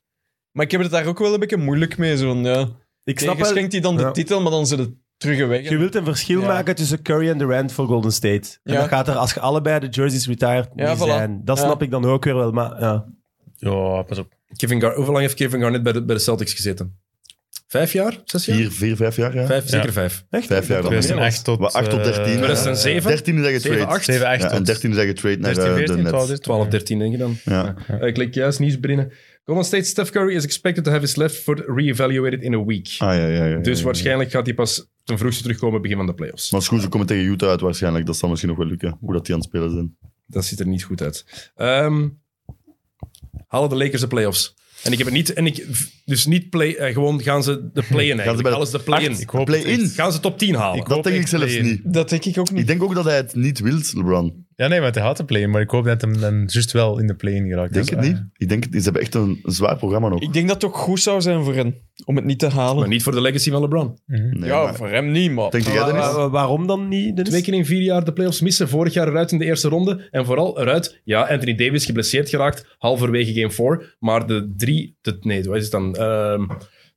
Maar ik heb het daar ook wel een beetje moeilijk mee. Zo'n, ja. ik Je snap wel, schenkt hij dan de Ja. titel, maar dan ze het terug weg. je wilt een verschil Ja. maken tussen Curry en Durant voor Golden State. En Ja. dat gaat er, als je allebei de jerseys retired Ja, niet voilà. zijn. Dat Ja. snap ik dan ook weer wel, maar ja. Ja, pas op. Kevin Gar Hoe lang heeft Kevin Garnett bij de, bij de Celtics gezeten? Vijf jaar? Zes jaar? Vier, vier, vijf jaar, ja. Vijf, Ja. zeker vijf. Echt? Vijf jaar dan. 2008 tot... Wat, acht tot eh, 13, hè? 2007. 13 is hij Zeven, getrade. acht. 7, 8 Ja, en 13 is hij getrade naar 13, eh, 14, de Nets. 12, 13. 12, 13 denk je dan. Ja. Ik klik juist, nieuws binnen. Golden State, Steph Curry is expected to have his left foot re-evaluated in a week. Ah, ja, ja, ja, ja, ja. Dus waarschijnlijk gaat hij pas ten vroegste terugkomen begin van de playoffs. Maar goed, ze komen tegen Utah uit waarschijnlijk. Dat zal misschien nog wel lukken, hoe dat die aan het spelen zijn. Dat ziet er niet goed uit. Ehm, halen de Lakers de playoffs? En ik heb het niet... En ik, dus niet play... eh, gewoon gaan ze de play-in Gaan ze eigenlijk. bij de Alles de play-in. Ik hoop het Play-in. echt. Gaan ze top 10 halen. Ik- Dat hoop denk ik echt zelfs play-in. niet. Dat denk ik ook niet. Ik denk ook dat hij het niet wil, LeBron. Ja, nee, want hij had de play maar ik hoop dat hem dan juist wel in de play geraakt Ik denk is. Ah, het niet. Ik denk, ze hebben echt een zwaar programma nog. Ik denk dat het ook goed zou zijn voor hen om het niet te halen. Maar niet voor de legacy van LeBron. Nee, ja, maar- voor hem niet, man. Denk jij, Dennis? Wa- wa- waarom dan niet, Dennis? Twee keer in vier jaar de playoffs missen. Vorig jaar eruit in de eerste ronde. En vooral eruit, ja, Anthony Davis geblesseerd geraakt. Halverwege game 4. Maar de drie, de, nee, wat is het dan? Ehm,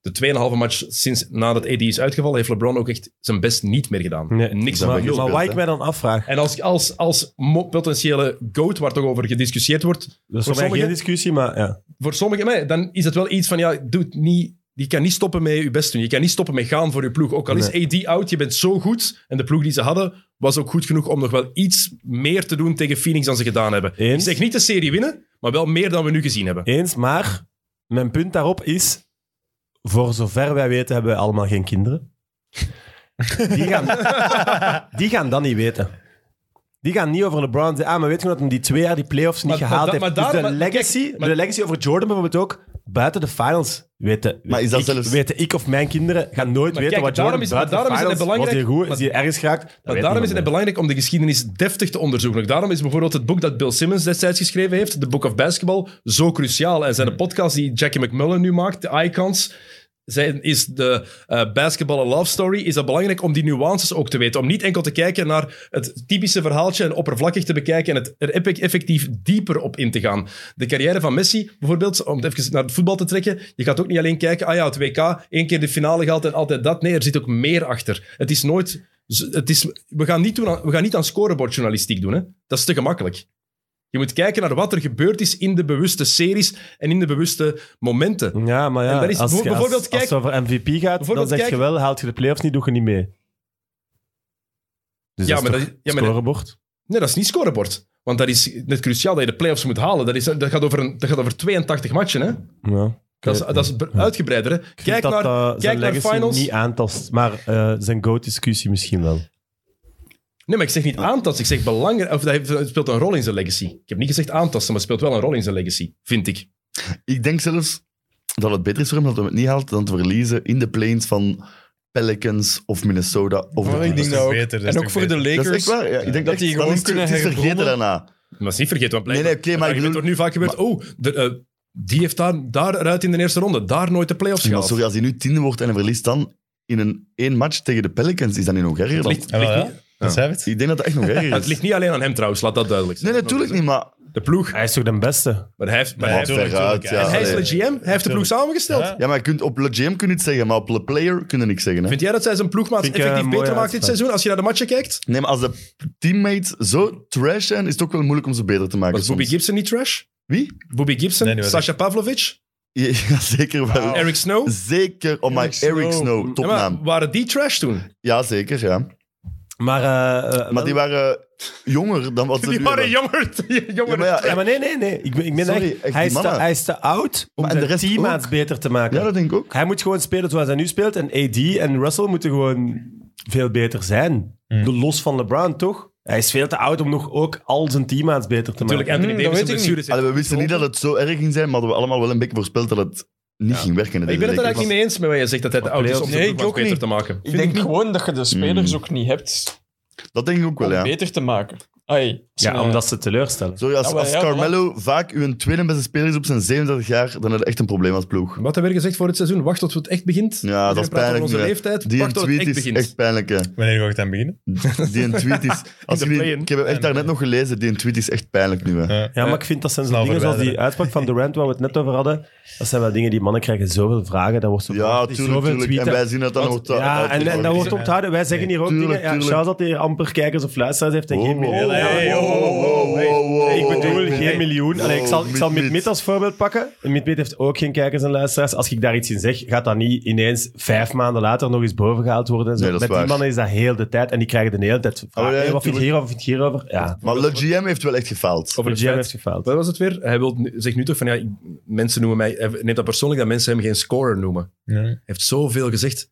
de tweeënhalve match sinds nadat AD is uitgevallen, heeft LeBron ook echt zijn best niet meer gedaan. Nee. Niks Dat aan ben ik nul. ook. Maar wat ik hè? mij dan afvraag, En als, als, als mo- potentiële GOAT, waar toch over gediscussieerd wordt, dat is Voor voor mij sommigen- geen discussie, maar ja. voor sommigen, mij, dan is het wel iets van, ja, doe het niet. Je kan niet stoppen met je best doen. Je kan niet stoppen met gaan voor je ploeg. Ook al is AD out, je bent zo goed. En de ploeg die ze hadden, was ook goed genoeg om nog wel iets meer te doen tegen Phoenix dan ze gedaan hebben. Eens. Ik zeg niet de serie winnen, maar wel meer dan we nu gezien hebben. Eens, maar mijn punt daarop is, voor zover wij weten hebben wij allemaal geen kinderen. Die *laughs* gaan, die gaan dat niet weten. Die gaan niet over LeBron zeggen, ah, maar weet je dat hij die twee jaar die playoffs niet Maar- maar da- gehaald heeft? maar dus daar- de, maar- legacy, kijk, maar- de legacy over Jordan bijvoorbeeld ook, buiten de finals, weten, Maar is dat ik, zelfs- weten ik of mijn kinderen gaan nooit Maar weten kijk, wat Jordan daarom is- buiten maar de daarom is finals, het was hij belangrijk- goed, is hij ergens geraakt? Dat Maar weet daarom is niemand het meer. belangrijk om de geschiedenis deftig te onderzoeken. Ook daarom is bijvoorbeeld het boek dat Bill Simmons destijds geschreven heeft, The Book of Basketball, zo cruciaal. En zijn Hmm. de podcast die Jackie McMullen nu maakt, de Icons, zijn, is de eh Basketball A Love Story, is dat belangrijk om die nuances ook te weten. Om niet enkel te kijken naar het typische verhaaltje en oppervlakkig te bekijken en het er epic- effectief dieper op in te gaan. De carrière van Messi, bijvoorbeeld, om het even naar het voetbal te trekken, je gaat ook niet alleen kijken, ah ja, het WK, één keer de finale gehaald en altijd dat. Nee, er zit ook meer achter. Het is nooit... z- Het is, we, gaan niet doen aan, we gaan niet aan scorebordjournalistiek doen, hè. Dat is te gemakkelijk. Je moet kijken naar wat er gebeurd is in de bewuste series en in de bewuste momenten. Ja, maar ja, En dat is als, je- als, bijvoorbeeld, als, kijk- het over MVP gaat, dan bijvoorbeeld, zeg je kijk- wel, haalt je de playoffs niet, doe je niet mee. Dus Ja, dat is maar toch dat- ja, maar dat- scorebord. Nee, dat is niet scorebord. Want dat is net cruciaal dat je de playoffs moet halen. Dat, is, dat, gaat, over een, dat gaat over 82 matchen. Hè? Ja. Ik Dat, is, weet het dat is be- uitgebreider. Hè? niet. Kijk, dat naar, dat kijk zijn naar legacy finals. niet aantast, maar eh, zijn go-discussie misschien wel. Nee, maar ik zeg niet aantasten. Ik zeg belangrijk. Of dat heeft- het speelt een rol in zijn legacy. Ik heb niet gezegd aantasten, maar het speelt wel een rol in zijn legacy. Vind ik. Ik denk zelfs dat het beter is voor hem dat hij het niet haalt dan te verliezen in de planes van Pelicans of Minnesota. Of Maar de ik denk Clippers. dat ook. beter, dat en is ook toch voor de dat Lakers. is echt waar. Ja, ik denk dat die dan gewoon is het- kunnen het is vergeten hergronden. daarna. Maar dat is niet vergeten. Want Nee, nee, oké, maar ik Het bedoel... wordt nu vaak gebeurd. Oh, de, eh, die heeft daar, daar eruit in de eerste ronde. Daar nooit de playoffs Maar gehaald. sorry, als hij nu tiende wordt en hij verliest dan in een één match tegen de Pelicans, is dat niet nog erger Het dan? ligt, Ja, ligt wel, ja. niet, Dat zei het. Ik denk dat dat echt nog *laughs* erger het is. ligt niet alleen aan hem trouwens, laat dat duidelijk zijn. Nee, natuurlijk niet, maar... De ploeg. Hij is toch de beste? Maar hij heeft, maar Ja, hij heeft- tuurlijk, veruit, tuurlijk, ja. en hij is de Allee. GM. Hij heeft de ploeg samengesteld. Ja. Ja, maar je kunt, op de GM kun je iets zeggen, maar op de player kun je niks zeggen. Hè? Vind jij dat zij zijn ploegmaat Vind ik, eh, effectief een beter mooie maakt dit uitspraak. seizoen als je naar de matchen kijkt? Nee, maar als de teammates zo trash zijn, is het ook wel moeilijk om ze beter te maken. Was Bobby soms. *laughs* Gibson niet trash? Wie? Bobby Gibson, Nee, die was Sasha Pavlovic, Ja, zeker wel. Eric Snow. Zeker. Oh my, Eric Snow. Eric Snow, Ja, maar topnaam. waren die trash toen? Ja, zeker, ja. Maar, eh, eh, Maar die wel- waren jonger dan wat *laughs* ze Die nu waren hebben. jonger. jonger. Ja, maar ja, Ja, maar nee, nee, nee. Ik, ben- ik ben Sorry, echt, echt, hij, die is te, mannen. hij is te oud om Maar en de de rest teammaats beter te maken. ja, dat denk ik ook. Hij moet gewoon spelen zoals hij nu speelt. En AD en Russell moeten gewoon veel beter zijn. De Los van LeBron, toch? Hij is veel te oud om nog ook al zijn teammaats beter te Natuurlijk, maken. Anthony Hmm, Davis dat en weet ik blessures. Allee, we wisten niet dat het zo erg ging zijn, maar hadden we allemaal wel een beetje voorspeld dat het niet ging werken. Ik ben het er eigenlijk niet mee eens met wat je zegt, dat hij de oud is om playoffs. de Nee, ploeg ik wat ook beter niet. te maken. Ik denk gewoon dat je de spelers Hmm. Mm. ook niet hebt Dat denk ik ook om wel, ja. beter te maken. Ai, als Ja, een- omdat ze teleurstellen. Sorry, als, Ja, maar als ja, voilà. Carmelo vaak uw tweede beste speler is op zijn 37 jaar, dan heb je echt een probleem als ploeg. Wat hebben we gezegd voor het seizoen? Wacht tot het echt begint. Ja, dat We praten is over pijnlijk. onze hè. leeftijd. Die Wacht tot het tweet echt is begint. echt pijnlijk, hè. Wanneer ga ik dan beginnen? Die een tweet *laughs* is... Als de je die- play-in. ik heb hem echt daarnet nog gelezen, die een tweet is echt pijnlijk nu, hè. Ja, maar ik vind dat zijn zo'n Snel dingen zoals die verwijderen. uitspraak van Durant, waar we het net over hadden. Dat zijn wel dingen die mannen krijgen zoveel vragen. Dat wordt zo Ja, tuurlijk, zoveel tuurlijk. En tweeten. wij zien dat dan Want- wordt... ja, en, en dat wordt Ja. onthouden. Wij zeggen hier ook Tuurlijk, dingen. Ja, tuurlijk. Charles dat hier amper kijkers of luisteraars heeft en geen miljoen. hey, oh, oh, oh, hey. Ik bedoel, geen miljoen. Allee, ik zal, ik zal Mid-Mid. Mid-Mid als voorbeeld pakken. Mid-Mid heeft ook geen kijkers en luisteraars. Als ik daar iets in zeg, gaat dat niet ineens vijf maanden later nog eens boven gehaald worden. En zo. Nee, dat is Met die waar. mannen is dat heel de tijd. En die krijgen de hele tijd vragen. Ah, ja, Hey, wat vind je tuurlijk. hierover, wat vind je hierover? Ja, Maar Le GM heeft wel echt gefaald. Over de het GM feit- heeft gefaald. Wat was het weer? Hij wil, nu- zegt nu toch van ja, ik- mensen noemen mij. Hij neemt dat persoonlijk dat mensen hem geen scorer noemen. Ja. Hij heeft zoveel gezegd.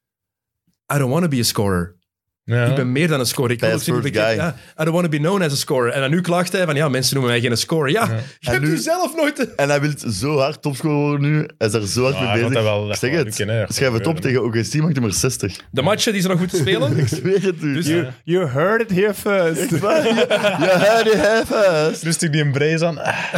I don't want to be a scorer. Ja. Ik ben meer dan een scorer. Ik wil Pass ook zien- first ik- guy. Ja, I don't want to be known as a scorer. En dan nu klaagt hij van, ja, mensen noemen mij geen scorer. Ja, je hebt nu- u zelf nooit... En hij wil zo hard topscorer worden nu. Hij is er zo hard Ah, mee hij bezig. gaat dat wel- dat ik zeg gaat het. lukken, hè. Dat Schrijf gaat het op gebeuren. tegen OKC, maakt hij maar 60. De matchen die ze nog moeten spelen. *laughs* Ik zweer het u. Dus- Ja. You heard it here first. Echt *laughs* waar? You heard it here first. Rustig die embrace aan. Ah,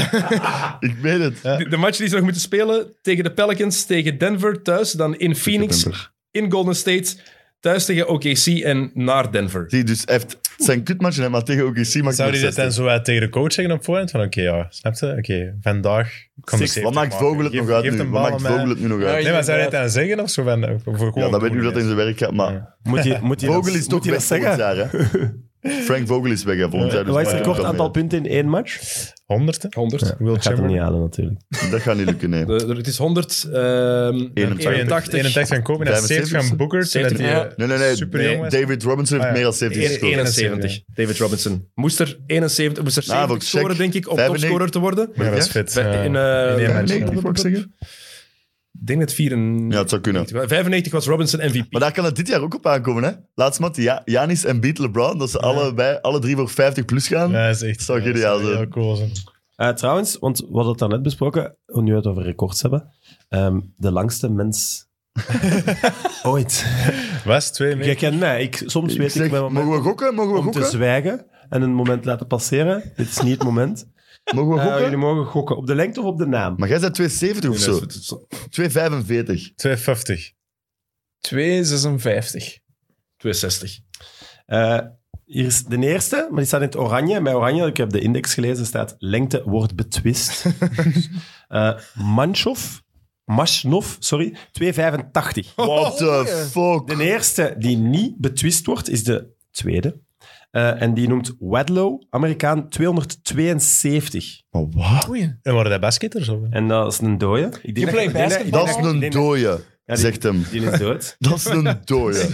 Ik meen het. De, de matchen die ze nog moeten spelen tegen de Pelicans, tegen Denver thuis, dan in Phoenix, Denver. in Golden State, thuis tegen OKC en naar Denver. Zie, dus hij heeft zijn kutmatchen, hè, maar tegen OKC maakt hij Zou maar die dit 60. dan zo uit tegen de coach zeggen op voorhand? Van oké, ja, snap je? Oké, vandaag kan de 70 Wat maakt maken. Vogel het Geef- nog uit geef nu? Wat een bal maakt aan mij. Vogel het nu nog uit? Ja, Nee, maar zou je het dan zeggen of zo? Van, eh, voor Ja, gewoon dan weet doen, nu dat hij hè? in zijn werk gaat, maar... *laughs* Moet je, moet je Vogel dat- is moet toch je dat weg volgend zeggen? jaar, hè? *laughs* Frank Vogel is weg, hè, volgend jaar. dus Wat is maakt het het record wel aantal uit. punten in één match? 100? hè? 100. Will Gaat hem Chamberlain. niet halen, natuurlijk. Dat gaat niet lukken, nee. De- de- het is 100, ehm 81, 81 van Kobe en 70 van Booker. zodat die, Ja. Nee, nee, nee. Super jong was. David Robinson heeft Ah, ja. meer dan 70 gescoord. 71. David Robinson. Moest er 71, moest er 70 check. scoren, denk ik, om 95. topscorer te worden. Ja, dat is vet. Bij- ja. in, eh, In één match, Nee, ja. ik wou ik zeggen. Ik denk dat 94... Ja, het zou kunnen. 95 was Robinson MVP. Maar daar kan het dit jaar ook op aankomen, hè? Laatst mat, ja, Janis en Beat LeBron, dat ze allebei, alle drie voor 50 plus gaan. Ja, dat is echt Zou ja, geniaal dat zou zijn. heel cool zijn. Eh, trouwens, want we hadden het daarnet besproken, nu we het over records hebben. ehm, de langste *laughs* mens ooit. Was twee Jij meter. kent mij. Ik, soms Ik weet zeg, ik mijn moment mogen we gokken? Mogen we om te gokken? zwijgen en een moment laten passeren. Dit is niet het moment. Mogen we Eh, jullie *laughs* gokken? mogen gokken op de lengte of op de naam. Maar jij bent 270 of zo? 245. 250. 256. 62. Eh, hier is de eerste, maar die staat in het oranje. Bij oranje, ik heb de index gelezen, staat lengte wordt *laughs* betwist. Eh Manchov, Mashnov, sorry, 285. What the fuck? De eerste die niet betwist wordt, is de tweede. Eh, en die noemt Wadlow, Amerikaan, 272. Maar wat? En waren dat basketters? Of? En dat is een dode. Ik denk You play ik denk ik Dat denk is een dooie, die- zegt hem. Die is dood. Dat is een dooie.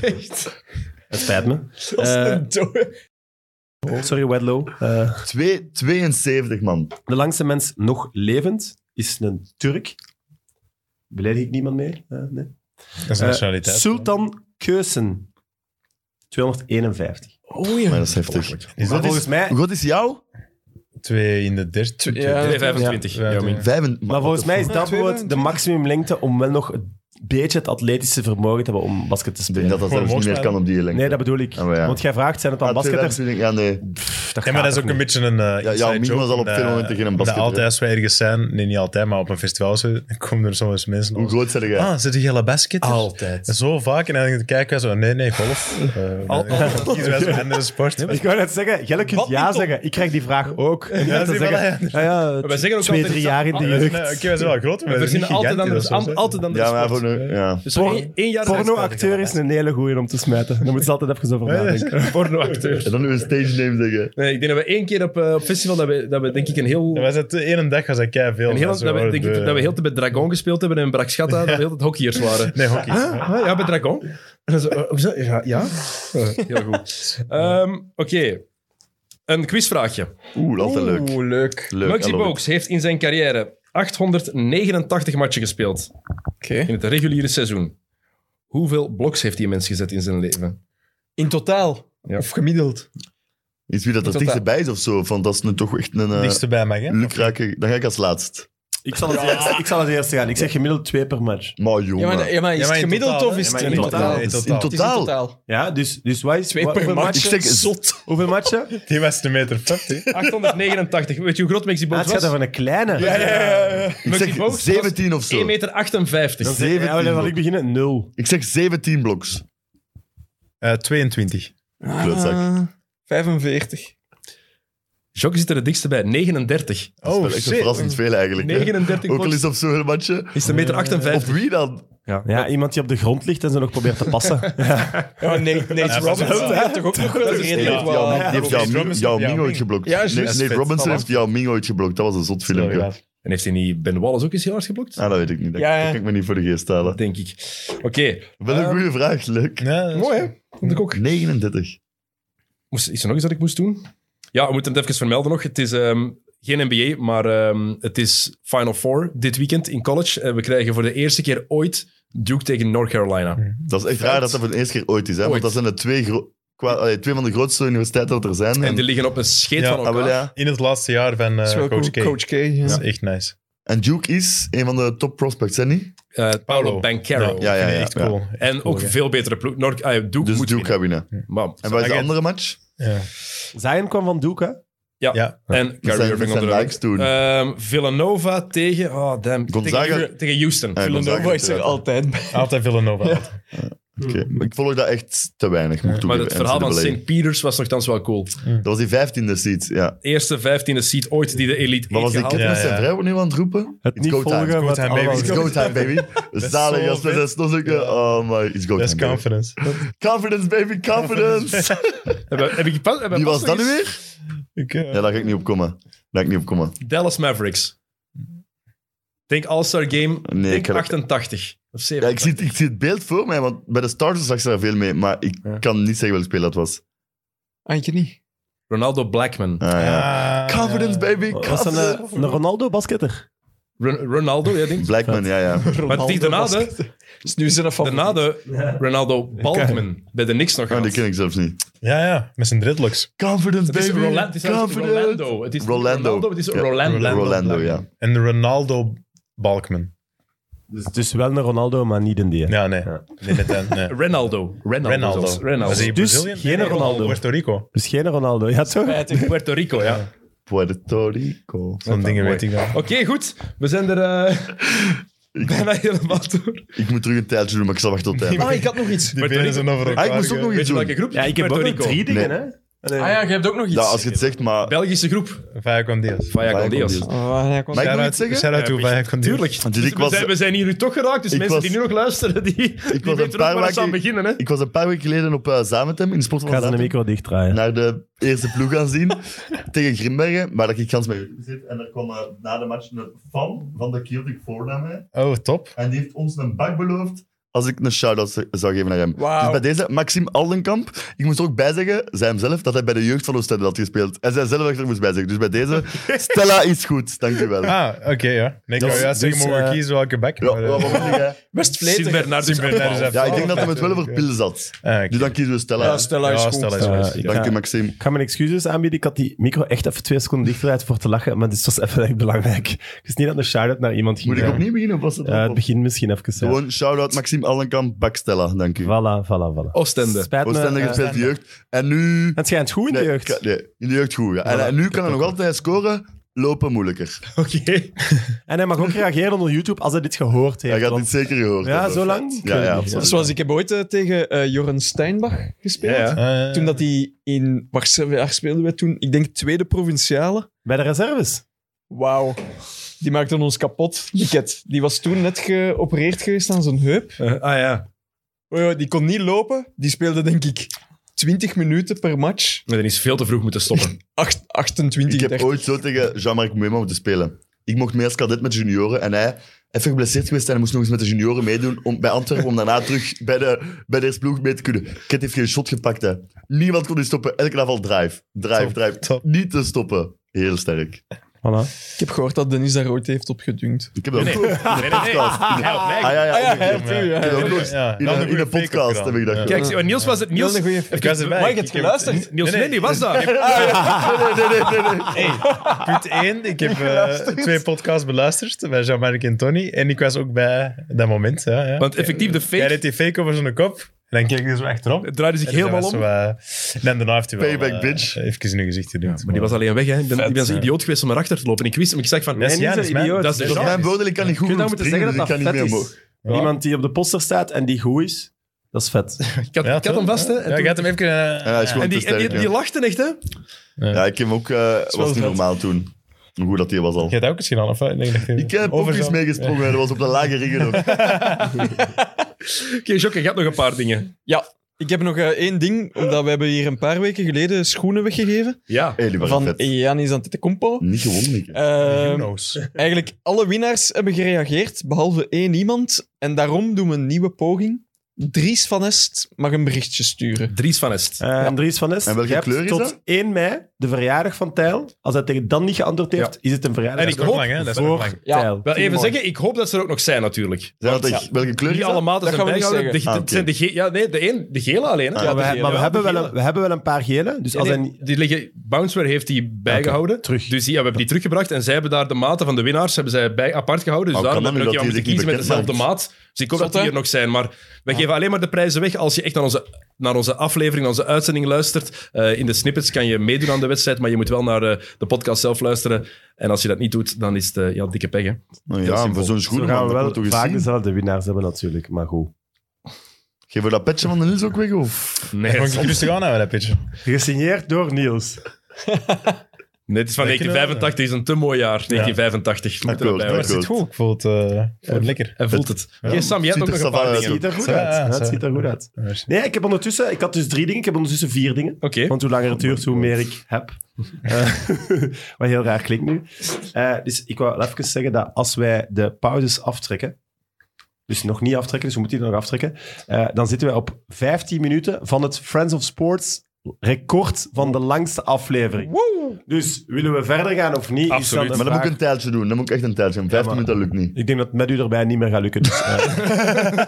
Het spijt me. Eh, sorry, Wadlow. Eh, 272, man. de langste mens nog levend is een Turk. Beledig ik niemand mee? Eh, nee. Dat is Eh, nationaliteit. Sultan Keusen. 251. Maar dat is heftig. Is dat Maar volgens is mij, Hoe groot is jou? twee in de dertig. Ja. 25. Ja, Ja, ja. min. Vijf en- maar volgens mij is fuck? dat Twee wel de maximumlengte om wel nog een beetje het atletische vermogen te hebben om basket te Ik denk spelen. dat dat Gewoon zelfs niet meer losgaan. kan op die lengte. Nee, dat bedoel ik. Ah, maar ja. Want jij vraagt, zijn het dan Ah, basketters? 225, Ja, nee. Pff, dat Ja, maar gaat dat is ook toch een niet. beetje een eh jouw inside meme joke, was al op dat- veel momenten geen dat basketter, altijd hè? als wij ergens zijn, nee niet altijd, maar op een festival zo, dan komen er soms mensen Hoe als, groot zijn jij? Ah, zit die hele basketter? Altijd. Zo vaak. En dan kijken wij zo, nee, nee, golf. Eh, Al- nee, *laughs* dan kiezen wij zo'n andere sport. Ik wou net zeggen, Jelle kunt Wat ja niet, Tom? zeggen. Ik krijg die vraag ook. En Ja, ja, zie je wel, zeggen, ja, ja, wij zeggen ook twee, altijd ah, drie iets jaar in aan- de Ja, we zijn, eh, jeugd. Oké, we zijn wel groot, We maar zijn verzinnen altijd aan de, aan- altijd aan de Ja, maar sport. voor nu. Ja. Dus Por- één, één jaar... Pornoacteur is een hele goeie om te smijten. Daar moeten ze altijd even over *laughs* nadenken. Pornoacteur. En dan nu een stage name zeggen. Nee, ik denk dat we één keer op, eh, op festival, dat we, dat we denk ik een heel... Ja, was dat de ene dag was dat kei veel. een heel dat, we, denk ik, dat we heel de tijd bij Dragon gespeeld hebben en in Brakschatta, dat we heel de tijd hockeyers waren. Nee, hockey. Ah, ja, bij Dragon. En dan zo, eh, hoezo? ja, ja. Eh, *laughs* heel goed. Ehm, Oké. Een quizvraagje. Oeh, altijd leuk. Oeh, leuk. leuk I Muggsy love it. Bogues heeft in zijn carrière 889 matchen gespeeld Oké. in het reguliere seizoen. Hoeveel bloks heeft die mens gezet in zijn leven? In totaal? Ja. Of gemiddeld? Is wie dat er Totaal. dichterbij is of zo? Van dat is nu toch echt een. eh Dichtste bij mij, hè? lukrake. Dan ga ik als laatst. Ik zal als eerste- Ik zal als eerste gaan. Ik zeg gemiddeld twee per match. Maar jongen. Ja, maar, ja, maar is Ja, maar het in gemiddeld totaal, of hè? is het Ja, in maar in totaal? Nee, Het Het is totaal. in is in totaal. totaal. Ja, dus, dus wat is... Twee wat- per hoeveel match. matchen? zeg- Zot. Hoeveel *laughs* matchen? Die was de meter 50. 889. Weet je hoe groot Muggsy Ah, het Bogues gaat was? over een kleine. Ik zeg 17 of zo. 1,58 meter. Dan zeg- ja, maar 17 dan wil ik beginnen. Nul. Ik zeg 17 bloks. Eh, 22. Klootzak. Ah, 45. Jokke zit er het dichtste bij. 39. Oh, dat is wel echt een verrassend veel eigenlijk. hè. 39 Ook al bloks. is op zo'n matje. Is de meter 58. Op wie dan? Ja. iemand die op de grond ligt en ze nog probeert te *laughs* passen. ja. Ja, maar Nate, Nate Ja, Robinson dat is- heeft toch ook nog wel Die heeft redelijk Yao Ming- wat... die heeft Robinson Yao heeft Ming- Yao Ming Yao ooit geblokt. Ja, juist. Nee, Dat is Nate vet. Robinson Voilà. heeft Yao Ming ooit geblokt. Dat was een zot filmpje. Ja, En heeft hij niet Ben Wallace ook eens heel hard geblokt? Ah, dat weet ik niet. Dat, Ja, ja. dat kan ik me niet voor de geest halen. Denk ik. Oké. Wel een goede vraag, leuk. dat is Mooi, goed. hè? Vond ik ook. 39. Moest, is er nog iets dat ik moest doen? Ja, we moeten het even vermelden nog. Het is ehm, geen NBA, maar ehm, het is Final Four dit weekend in college. En we krijgen voor de eerste keer ooit Duke tegen North Carolina. Mm. Dat is echt raar dat dat voor de eerste keer ooit is. Hè? Ooit. Want dat zijn de twee gro- qua, allee, twee van de grootste universiteiten dat er zijn. En En, die liggen op een scheet Ja, van ah, elkaar. wel, ja. In het laatste jaar van eh, Dat is wel Coach cool. K. Coach K. ja. Dat is echt nice. en Duke is een van de top prospects, hè niet? Eh, Paulo Bancaro. Ja, ja, Ja, ja, ja, echt ja. cool. En ook veel betere ploeg. Noord, ah, Duke Dus moet Duke winnen. gaat winnen. Bam. En wat is de Aga- andere match? Ah, Ja. Zion kwam van Duke, hè? Ja. En Kyrie Dat zijn, dat Irving zijn onderuit. likes toen. Ehm, Villanova tegen... Oh, damn. Gonzaga. Tegen, tegen Houston. Ja, Gonzaga Villanova is er uiteraard. altijd bij. Altijd Villanova. eh, Oké, maar Ik volg dat echt te weinig, moet ik Maar toegeven, het verhaal van NCAA. St. Peters was nogthans wel cool. Dat was die vijftiende seat, ja. Eerste vijftiende seat ooit die de Elite Wat was heeft gehaald. die kip met Ja, zijn ja. vrouw nu aan het roepen? Het It's niet go time. volgen. go wat time, baby. allemaal- It's go time, baby. Zalig, zo als we vet. dat nog zeggen. Oh my, it's go Dat is time, baby. confidence. Confidence, baby, confidence. Hebben- heb ik pas- hebben Wie pas was nog dat nu eens- weer? Ik, eh, Ja, daar ga ik niet op komen. Daar ga ik niet op komen. Dallas Mavericks. Denk All-Star Game. Nee, ik denk heb- 88. Of 7. Ja, ik, zie, het- ik zie het beeld voor mij, want bij de starters zag ze daar veel mee. Maar ik kan niet zeggen welk speel dat was. Eindje niet. Ronaldo Blackman. Ah, ja. Confidence, baby, Was dat confidence. een, een Ronaldo-basketter? Ron- Ronaldo, ja, denk ik. Blackman, ja, ja. Maar die daarna, was- de, is nu zijn daarna de Ronaldo Balkman. Bij de Knicks nog Oh, gehad. die ken ik zelfs niet. Ja, ja. Met zijn dreadlocks. Confidence, Het is, baby, Rola- het is eigenlijk confidence. Rolando. Het is niet Rolando. Ronaldo, het is Ja. Rolando. Rolando. Rolando, ja. En Ronaldo Balkman. Dus, dus wel een Ronaldo, maar niet een die. Ja, nee. Nee, net aan- *laughs* nee. Ronaldo. Ronaldo. Ronaldo. zelfs. Ronaldo. Was hij Dus Brazilian? geen Nee, Ronaldo. Puerto Rico. Dus geen Ronaldo, ja toch? Eh, Puerto Rico, ja. Puerto Rico. Zo'n dingen mooi. weet ik wel. Oké, goed. We zijn er eh, *laughs* bijna helemaal door. Ik moet terug een tijdje doen, maar ik zal wachten tot het einde. Ah, ik had nog iets. Die benen zijn over Ah, ik elkaar. moest ook nog Weet iets je doen. welke groep? Ja, ik heb ook Puerto nog Rico. drie dingen, Nee. hè? Ah ja, jij hebt ook nog iets. Ja, als je het zegt, maar... Belgische groep. Vaya con Dios. Vaya Vaya con con Dios. Dios. Ah, ja, ik was- Maar ik moet Shout-out- iets zeggen? Shout-out to Vaya con Dios. Tuurlijk. Want Dus ik we, was- zijn, we zijn hier nu toch geraakt, dus Ik mensen was- die nu nog luisteren, die, die een weten paar nog waar ze aan weken- beginnen. Hè? Ik was een paar weken geleden op eh Zaventem in de sport Ik ga van ze de Zaventem, micro dichtdraaien. naar de eerste ploeg gaan zien *laughs* tegen Grimbergen, maar dat ik gans met u zit. En er kwam eh, na de match een fan van de Celtic voor naar mij. Oh, top. En die heeft ons een bak beloofd als ik een shout-out z- zou geven naar hem. Wauw. Dus bij deze, Maxime Aldenkamp, ik moest er ook bij zeggen, zei hem zelf, dat hij bij de jeugd van Oostende had gespeeld. En zij zelf dat ik er moest bij zeggen. Dus bij deze, Stella is goed, dankjewel. Ja, Ah, oké, ja. Nee, ik Dus- wou juist zeggen, dus, mogen we eh, kiezen welke bak? ja, maar, eh, wat moet ik, hè? Best Sint vletig. Bernard is Bernard is afgehaald. ja, ik denk Oh, dat hij met wel over oké. pil zat. ah, oké. Dus dan kiezen we Stella. Ja, Stella is Ja, goed. Stella is Eh, goed. ik Dank ga- je, Maxime. Ik ga mijn excuses aanbieden. Ik had die micro echt even twee seconden dichtgedraaid voor te lachen, maar dit was even echt belangrijk. Het is niet dat een shout-out naar iemand ging. Moet ik Ja. opnieuw beginnen of was het Eh, het op? begin misschien even. ja. Gewoon shout-out Maxime Allenkamp, Bakstella, dank u. Voilà, voilà, voilà. Oostende. Spijt me. Oostende eh, gespeeld in de jeugd. En nu... het schijnt goed in de Nee, jeugd. ka- Nee, in de jeugd goed. ja. En, en nu kan hij nog altijd scoren, lopen moeilijker. Oké. En hij mag ook reageren onder YouTube als hij dit gehoord heeft. Hij gaat want- dit zeker gehoord ja, hebben. zo lang? Ik Ja, weet ja, het niet, absoluut. Zoals ik heb ooit eh, tegen eh Joren Steinbach gespeeld. Ja, ja. Eh, Toen dat hij in... Waar, spe- waar speelden wij toen? Ik denk tweede provinciale. Bij de reserves. Wauw. Die maakte ons kapot. Die cat. Die was toen net geopereerd geweest aan zijn heup. Eh, ah ja. Oh ja, die kon niet lopen. Die speelde denk ik 20 minuten per match. Maar dan is veel te vroeg moeten stoppen. Acht- 28, Ik heb 30. ooit zo tegen Jean-Marc Moema moeten spelen. Ik mocht mee als kadet met junioren en hij... Even geblesseerd geweest en hij moest nog eens met de junioren meedoen om, bij Antwerpen om daarna terug bij de, bij de eerste ploeg mee te kunnen. Ket heeft geen shot gepakt. Hè. Niemand kon die stoppen. Elke avond drive. Drive, Top, drive. top. Niet te stoppen. Heel sterk. Voilà. Ik heb gehoord dat Dennis daar ooit heeft op gedunkt. Ik heb dat Nee, ook nee. Nee, nee, nee. podcast. Hij had mij Ah, ja, ja, Ah ja, ik heb- hij heeft u, ja. ik heb ook nog eens- Ja, in dat een- is een in een goede fake-up podcast gedaan. heb ik dat Ja. gedaan. Kijk, zie- maar Niels was het. Niels, Heel een goeie- Even- Ik was erbij. Mag ik het Ik heb- geluisterd? Niels Nee, nee. Nelly was daar. "Ah, Punt 1, ik *laughs* heb eh, twee podcasts beluisterd bij Jean-Marc en Tony. En ik was ook bij dat moment. Ja, ja. Want effectief, de Jij fake deed die fake over zijn kop. En dan keek ik er zo achterop. En draaide zich dus hij helemaal was om. zo, eh, en daarna heeft hij wel... Payback, eh, bitch. Even in uw gezicht geduwd. Maar die was alleen weg. Hè. Ik ben, ik ben zo ja. idioot geweest om erachter te lopen. Ik wist hem. Ik zeg van... Dat is Nee, niet Jan, zo'n is mijn- idioot. dat is de Dat is genre. mijn voordeel, ik kan niet goed Je zou genoeg moeten springen, zeggen dus ik dat kan dat niet vet meer is. omhoog. Ja. *laughs* Iemand die op de poster staat en die goed is, dat is vet. Ik had, Ja, ik had hem toch? vast. Hè. En Ja, toen- ik had hem even... eh, hij is gewoon- en die, en die, sterk, ja. die lachten echt, hè? Ja, ik heb hem ook... eh, was niet vet. normaal toen. Hoe goed dat hij was al. Je hebt ook eens gedaan, of wat? Ik denk dat je- Ik heb ook over eens zo'n- meegesprongen, dat was op de lage ringer *laughs* ook. Oké, Jokke, je hebt nog een paar dingen. Ja, ik heb nog eh, één ding. Omdat we hebben hier een paar weken geleden schoenen weggegeven. Ja. Hey, die waren Van E- vet. Mm. Giannis Antetokounmpo. Niet gewonnen, ik. Who Eh knows? eigenlijk alle winnaars hebben gereageerd, behalve één iemand. En daarom doen we een nieuwe poging. Dries van Est mag een berichtje sturen. Dries van Est. Eh, Andries van Est, En welke je hebt kleur is tot dat? 1 mei, de verjaardag van Tijl. Als hij tegen dan niet geantwoord heeft, is het een verjaardag En Dat is ik nog hoop lang, hè? Dat is nog voor lang. Ja, Tijl. Wel even mooi. zeggen, ik hoop dat ze er ook nog zijn natuurlijk. Zijn dat de- welke kleur is Niet dat? allemaal, dat, Dat zijn gaan we niet bijgehouden. De, zeggen. het zijn de ge- ja, nee, de, een, de gele alleen. Hè? Ah, Ja, Maar, we, de he- gele. maar we, Ja, hebben de wel gele. een, we hebben wel een paar gele. Dus als Nee, hij nee, niet... die liggen, Bounceware heeft die bijgehouden. terug. Dus die, ja, we hebben die teruggebracht en zij hebben daar de maten van de winnaars hebben zij bij, apart gehouden. Dus Oh, daarom kan dat hebben we nu ook dat moeten die kiezen zich met niet dezelfde bekend maat. Dus ik hoop Zot, dat die hè? hier nog zijn. Maar wij geven alleen maar de prijzen weg. Als je echt naar onze, naar onze aflevering, naar onze uitzending luistert, eh, in de snippets kan je meedoen aan de wedstrijd, maar je moet wel naar eh, de podcast zelf luisteren. En als je dat niet doet, dan is het eh, ja, dikke pech. hè. Nou Heel ja, simpel. voor zo'n Zo schoenen, gaan man, we dat moet toch wel eens vaak zien. dezelfde winnaars hebben natuurlijk, maar goed. Geef we dat petje van de Niels ook weg, of? Nee, Gewoon rustig aan houden, dat pitje. Gesigneerd door Niels. *laughs* nee, het is van Dat kunnen we wel, 1985, is een te mooi jaar. 1985. Moet Akkoord, erbij horen. Maar het zit goed. Ik voel het, eh, ik voel het lekker. Hij voelt het. Ja. Oké, Sam, jij hebt ook Ziet nog er een paar savant dingen. uit. Ziet er goed Ja, uit. ja, hè? zo. Het ziet er goed uit. Nee, ik heb ondertussen... Ik had dus drie dingen. Ik heb ondertussen vier dingen. Oké. Want hoe langer het duurt, hoe meer ik heb. *laughs* Eh, *laughs* wat heel raar klinkt nu. Eh, dus ik wou even zeggen dat als wij de pauzes aftrekken, dus nog niet aftrekken, dus we moeten die nog aftrekken, eh, dan zitten wij op 15 minuten van het Friends of Sports record van de langste aflevering. Dus willen we verder gaan of niet? is dan Absoluut. de Maar dan moet ik vraag. een tijdje doen. Dan moet ik echt een tijdje doen. Vijftien maar- minuten, dat lukt *laughs* niet. Ik denk dat het met u erbij niet meer gaat lukken. *laughs* Dus, eh,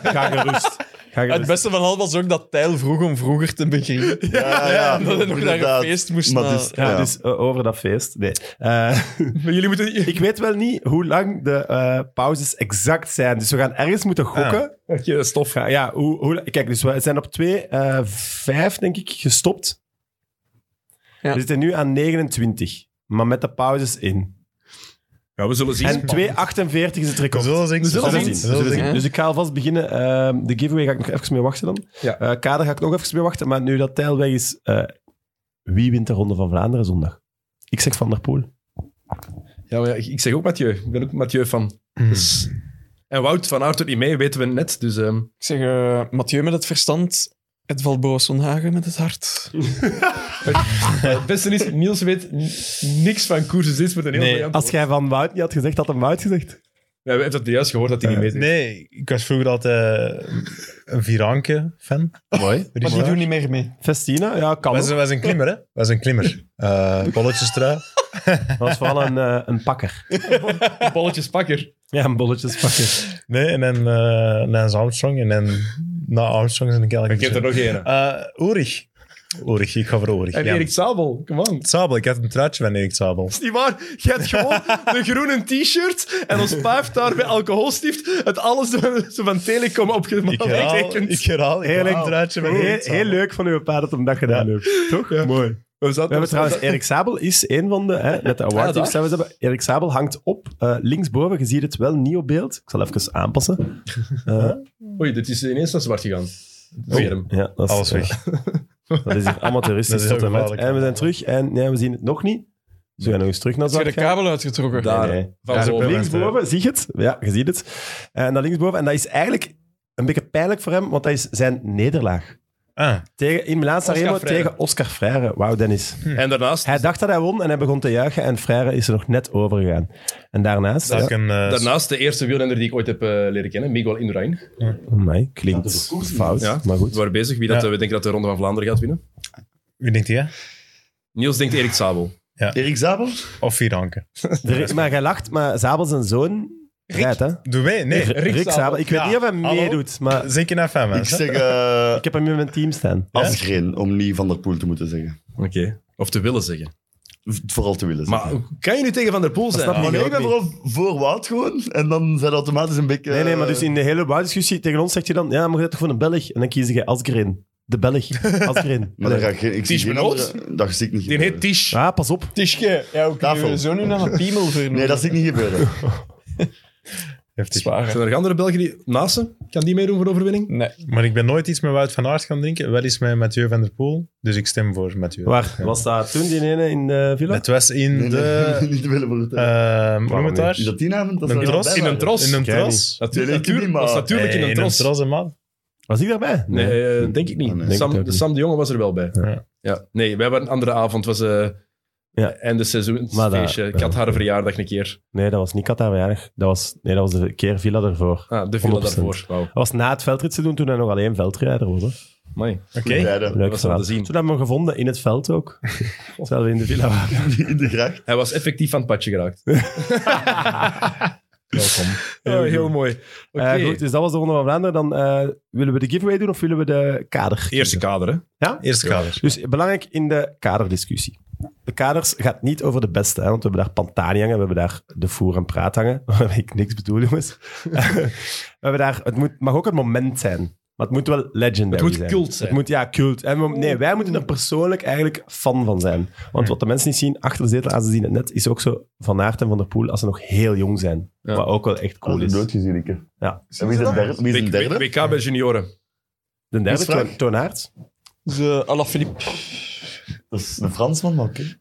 ga gerust. Ga gerust. Het beste van alles was ook dat Tijl vroeg om vroeger te beginnen. Ja, ja, dat hij nog naar een inderdaad. feest moest Maar naar- het is- Ja, Ja. Dus eh, over dat feest. Nee. Eh, *laughs* *laughs* Maar jullie moeten... Ik weet wel niet hoe lang de eh, pauzes exact zijn. Dus we gaan ergens moeten gokken. Oké, dat is tof. Ja, ja, hoe, hoe, kijk, dus we zijn op 2, eh 5 denk ik gestopt. Ja. We zitten nu aan 29, maar met de pauzes in. Ja, we zullen zien. En 2,48 is het We record. zullen zien. We zullen zien. We zullen zien. zien. Dus ik ga alvast beginnen. Ehm, de giveaway ga ik nog even mee wachten dan. Ja. Eh, kader ga ik nog even mee wachten. Maar nu dat Tijl weg is, eh, wie wint de Ronde van Vlaanderen zondag? Ik zeg Van der Poel. Ja, maar ja, ik- ik zeg ook Mathieu. Ik ben ook Mathieu van. En Wout van Aert doet niet mee, weten we net. Dus ehm, Ik zeg, eh, Mathieu met het verstand, het Boas van Hagen met het hart. het beste is, Niels weet n- niks van koersen. Dus dit wordt een heel Nee. briljant Als jij van Wout niet had gezegd, had hem Wout gezegd. Ja, we hebben dat juist gehoord dat hij niet meedoet. Nee, ik was vroeger altijd eh, een Viranke-fan. Mooi. Maar die doen niet meer mee. Festina? Ja, kan ook. was, was een klimmer, hè? Was een klimmer. Eh bolletjes trui. Dat was vooral een, eh, een pakker. Bolletjespakker. Ja, een bolletjespakker. Nee, en dan eh Lance Armstrong. En dan na Armstrong zijn ik Ik eigenlijk... heb er nog één. Eh, Ulrich. Ulrich, ik ga voor Ulrich. En ja. Erik Sabel, come on. Sabel, ik had een truitje van Erik Sabel. Niet waar, je hebt *laughs* gewoon een groene t-shirt en ons paaf daar bij alcoholstift het alles door- zo van Telecom Ik herhaal, opgetekend. ik herhaal, ik herhaal Heerlijk. een truitje van Heel, Erik Sabel. heel leuk van uw paard dat hem dat gedaan heeft. Toch? Mooi. We zaten We hebben trouwens, Erik Sabel is een van de, hè, met de Ja, award die daar. we zelfs hebben. Erik Sabel hangt op, eh, linksboven. Je ziet het wel niet op beeld. Ik zal even aanpassen. Oh, Eh, Oei, dit is ineens naar zwart gegaan. Oh. Verum. ja, dat is, Alles weg. eh, dat is hier amateuristisch. Dat is heel tot en, met. gevaarlijk. en we zijn terug en nee, we zien het nog niet. Dus we gaan nog eens terug naar Had je de zwart gaan. kabel uitgetrokken? Daar. Nee, nee. Van Ja, ze boven. hebben- Linksboven, zie je het? Ja, je ziet het. En dan linksboven. En dat is eigenlijk een beetje pijnlijk voor hem, want dat is zijn nederlaag. Ah, Tegen, in Milaan Sanremo Oscar Freire. Hm. tegen Oscar Freire. Wauw, Dennis. En daarnaast, Hij dacht dat hij won en hij begon te juichen en Freire is er nog net over gegaan. En daarnaast... dat Ja, ik een... eh, daarnaast de eerste wielrenner die ik ooit heb eh, leren kennen, Miguel Indurain. oh my, klinkt fout, Ja. maar We goed. waren bezig wie dat, Ja. eh, we denken dat de Ronde van Vlaanderen gaat winnen. Wie denkt hij? Niels denkt Erik Sabel. Erik Zabel? Of Viranke? Er- maar jij lacht, maar Zabel zijn zoon rijdt, hè? Doe mee? Nee. Rick, Zabel. Ik weet Ja, niet of hij hallo? meedoet, maar Zeker naar fan, Ik mensen. zeg eh ik heb hem in mijn team staan. Asgreen, om niet Van der Poel te moeten zeggen. Oké. Of te willen zeggen. V- Vooral te willen zeggen. Maar kan je nu tegen Van der Poel Ah, zijn? snap ik Maar nee, ook ik ben niet. vooral voor Wout gewoon. En dan zijn automatisch een beetje... Nee, nee, maar eh, dus in de hele Wout-discussie tegen ons zegt hij dan, ja, maar je bent toch van een Belg? En dan kies je Asgreen. De *laughs* Belg. Asgreen. Maar dan ga ik geen... Ik zie Ties geen Benoot? andere- Dat zie ik niet Die heet gebeuren. Tisch. Ah, pas op. Tischke, ja, hoe kunnen Tafel. we zo nu naar *laughs* een piemel vernoemen? Nee, dat zie ik niet gebeuren. Heeft hij. zwaar. hè? Zijn er nog andere Belgen die... Naasten? Kan die meedoen voor de overwinning? Nee. Maar ik ben nooit iets met Wout van Aert gaan drinken. Wel iets met Mathieu van der Poel. Dus ik stem voor Mathieu. Waar Ja. was dat toen, die ene in de villa? Het was in Nee, de... nee, *laughs* niet te willen vertellen. *laughs* ehm, hoe noem het daar? Is dat die avond? Dat Een we tros? erbij In een waren? tros? In een Kijk tros. Eh, Dat Die leek natuurlijk, niet, maar- was natuurlijk Hey, in een tros. hè, man. Was ik daarbij? Nee, eh, denk ik niet. Ah, nee. Sam, Denk ik ook Sam de Jonge was er wel bij. Ja. Ja. Nee, we hebben een andere avond. Was, eh, Ja. En de Maar dat- seizoensfeestje. Ik had haar verjaardag een keer. Nee, dat was niet Qatar verjaardag. Dat was, nee, dat was de keer Villa daarvoor. Ah, de villa 100%. daarvoor. Wauw. Dat was na het veldritseizoen toen hij nog alleen veldrijder was. Hè. Amai. Oké. Beide. Leuk was verhaal. wel te zien. Toen hebben we hem gevonden in het veld *laughs* ook. Terwijl we in de villa waren. *laughs* In de gracht. Hij was effectief aan het padje geraakt. Welkom. Heel, mooi. Oké. Eh, goed, dus dat was de Ronde van Vlaanderen. Dan eh, willen we de giveaway doen of willen we de kader? Eerste kader, hè? Eerste kader. Dus belangrijk in de kaderdiscussie. De kaders gaat niet over de beste, hè, want we hebben daar Pantani hangen, we hebben daar de voer en praat hangen, *laughs* waarmee ik niks bedoel, *laughs* jongens. *laughs* we hebben daar, het moet, mag ook het moment zijn, maar het moet wel legendary Het moet zijn. cult zijn. Het moet, ja, cult. En we- nee, wij moeten er persoonlijk eigenlijk fan van zijn. Want wat de mensen niet zien, achter de zetel, aan ze zien het net, is ook zo Van Aert en Van der Poel als ze nog heel jong zijn. Ja. Wat ook wel echt cool Cool is. is. Nooit gezien, ik heb. Ja. En wie is de derde? Wie is de derde? W- WK bij junioren. *laughs* De derde, Wie is Toon, vraag? Toon Aerts. Ze, Alaphilippe. Dat is een Fransman, maar oké.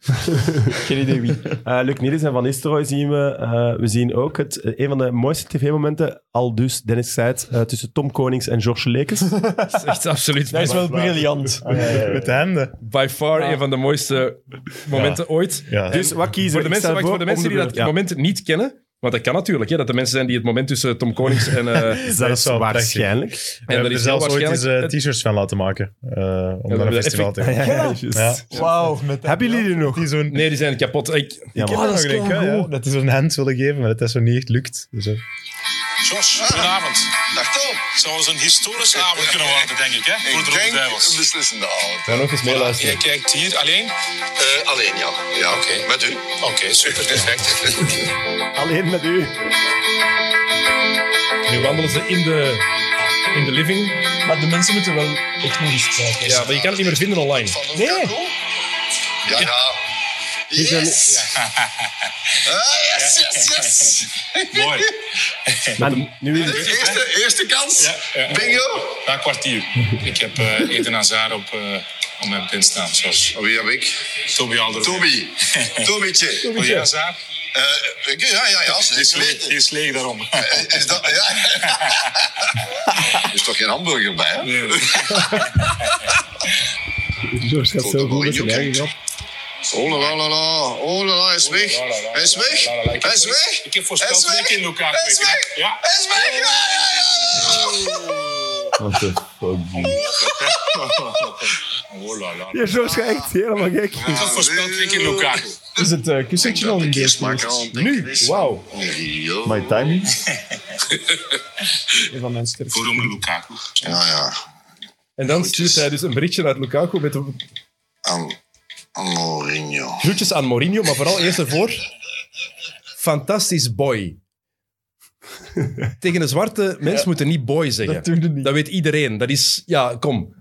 Geen *laughs* idee wie. Eh Luc Niels en Van Nistelrooy zien we. Eh, we zien ook het, eh, een van de mooiste tv-momenten, al dus Dennis zei het, eh, tussen Tom Konings en George Lekes. Dat is echt absoluut Dat is wel briljant. Ah, Met de handen. by far een van de mooiste momenten ooit. Ja. dus wat kiezen Voor we? de Ik mensen, stel wacht, voor de mensen om die dat beurt. Ja. moment niet kennen, want dat kan natuurlijk, hè, dat de mensen zijn die het moment tussen Tom Konings en... eh, *laughs* Dat Dat is is wel waarschijnlijk. We hebben er heel zelfs ooit eens eh, waarschijnlijk- t-shirts van laten maken. eh, om we naar een hebben festival te Ja, gaan. ja, *laughs* ja, juist. Ja. Wauw. Met dat- Hebben jullie die nog? *laughs* Die zo'n... Nee, die zijn kapot. Ik, Ja, Ik heb maar- er nog een, hè, ja. Dat is een hand willen geven, maar dat is zo niet echt lukt. Dus, eh, Jos, goedenavond. Ah. Dag Tom. Het zou eens een historische avond kunnen worden, denk ik, hè? Voor de Ik Rode denk Duivels. een beslissende avond. ga nog eens meeluisteren. Jij kijkt hier alleen? Eh, alleen ja. ja. Oké. Met u. Oké, super, perfect. Alleen met u. Nu wandelen ze in de, in de living. Maar de mensen moeten wel het nog eens kijken. Ja, maar je kan het niet meer vinden online. Van een kakko? Ja, ja. Yes. Ah, yes, yes, yes. *laughs* Mooi. Maar nu is het- De eerste, eerste kans. Ja, ja. Bingo. Na een kwartier. Ik heb eh Eden Hazard op, eh, op mijn pin staan, zoals Wie Oh, heb ik? Toby Alder. *laughs* Toby. Tobietje. Wil jij Hazard? Eh, ik- ja, ja, ja. Die Ze is ze leeg, weten. die is leeg daarom. Eh, Is dat... Ja. *laughs* Er is toch geen hamburger bij, hè? Nee, nee. Dat is zo goed met zijn eigen Oh la la la la, oh la la, hij is weg. Hij is weg. La, la, la. Ik heb Hij is voor- weg. Ik heb Hij is voorspeld twee weg. keer in elkaar Hij is kweken, hè. weg. Ja. Hij is weg. Ja, ja, What the fuck? Oh, la, la. Ja, Ah. George gaat echt helemaal gek. Ik heb voorspeld twee keer in elkaar. Is het eh, kussentje al in ja. beeld? Smaak al. Nu, wauw. My timing? Van mijn sterren. Voor Romelu Lukaku. Ja, ja. En dan stuurt hij dus een berichtje uit Lukaku met de Aan, aan Mourinho. groetjes aan Mourinho, maar vooral eerst ervoor. Fantastisch boy. Tegen een zwarte mens moet je niet boy zeggen. Dat doe je niet. Dat weet iedereen. Dat is, ja, kom.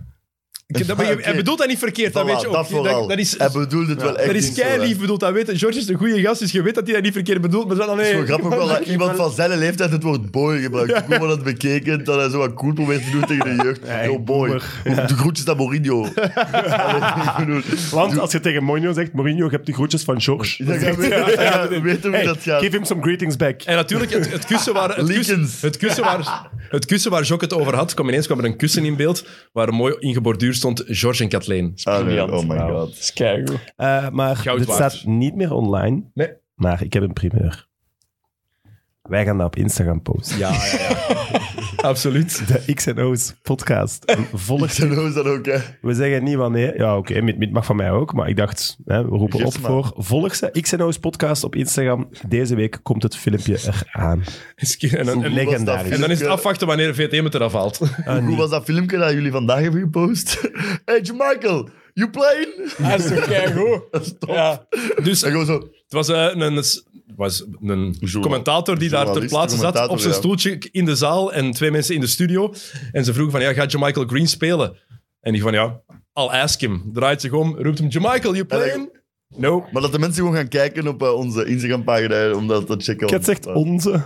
Ik- dat, Oké. Hij bedoelt dat niet verkeerd, dat Voilà, weet je ook. dat vooral. Dat, dat is, Hij bedoelde het wel echt dat is niet zo, hè. kei lief bedoeld, dat weet je. George is een goede gast, dus je weet dat hij dat niet verkeerd bedoelt. Maar dan, Het is nee. wel grappig wel *laughs* dat iemand van zijn leeftijd het woord boy gebruikt. Hoe wordt dat bekeken dat hij zo wat cool probeert te doen tegen de jeugd? Yo boy, de groetjes aan Mourinho. Dat heeft niet bedoeld. Want als je tegen Mourinho zegt, Mourinho, je hebt de groetjes van George. Ja, ja, weet- ja, weten hoe Hey, dat gaat. give him some greetings back. En natuurlijk, het, het kussen waar... Het kussen, Leakens. het kussen waar... Het kussen waar Jok het over had, kwam ineens kwam er een kussen in beeld waar mooi in geborduurd stond George en Kathleen. Ah, nee, oh my Dat god. is keigoed. Eh, maar Goud dit waard. staat niet meer online. Nee. Maar ik heb een primeur. Wij gaan dat op Instagram posten. Ja, ja, ja. *laughs* Absoluut. De X en O's podcast. En *laughs* Volg. Zo is dat ook, hè. We zeggen niet wanneer. Ja, oké, mit, mit mag van mij ook. Maar ik dacht, hè, we roepen Geef op ze maar. voor. Volg ze. X en O's podcast op Instagram. Deze week komt het filmpje eraan. En dan, en, Legendarisch. en dan is het afwachten wanneer VTM het eraf haalt. Hoe was dat filmpje dat jullie vandaag hebben gepost? *laughs* Hey, Michael, you playing? *laughs* Dat is toch keigoed? *laughs* Ja. Dus En het gewoon zo, was eh, een, het was een Journal- commentator die daar ter journalist, plaatse zat commentator, op zijn ja. stoeltje in de zaal en twee mensen in de studio. En ze vroegen van, ja, gaat Michael Green spelen? En die van, ja, I'll ask him. Draait zich om, roept hem, Michael, you playing? No. maar dat de mensen gewoon gaan kijken op eh, onze Instagram-pagina, omdat dat checken. eh, Ik had gezegd *laughs* onze. *laughs*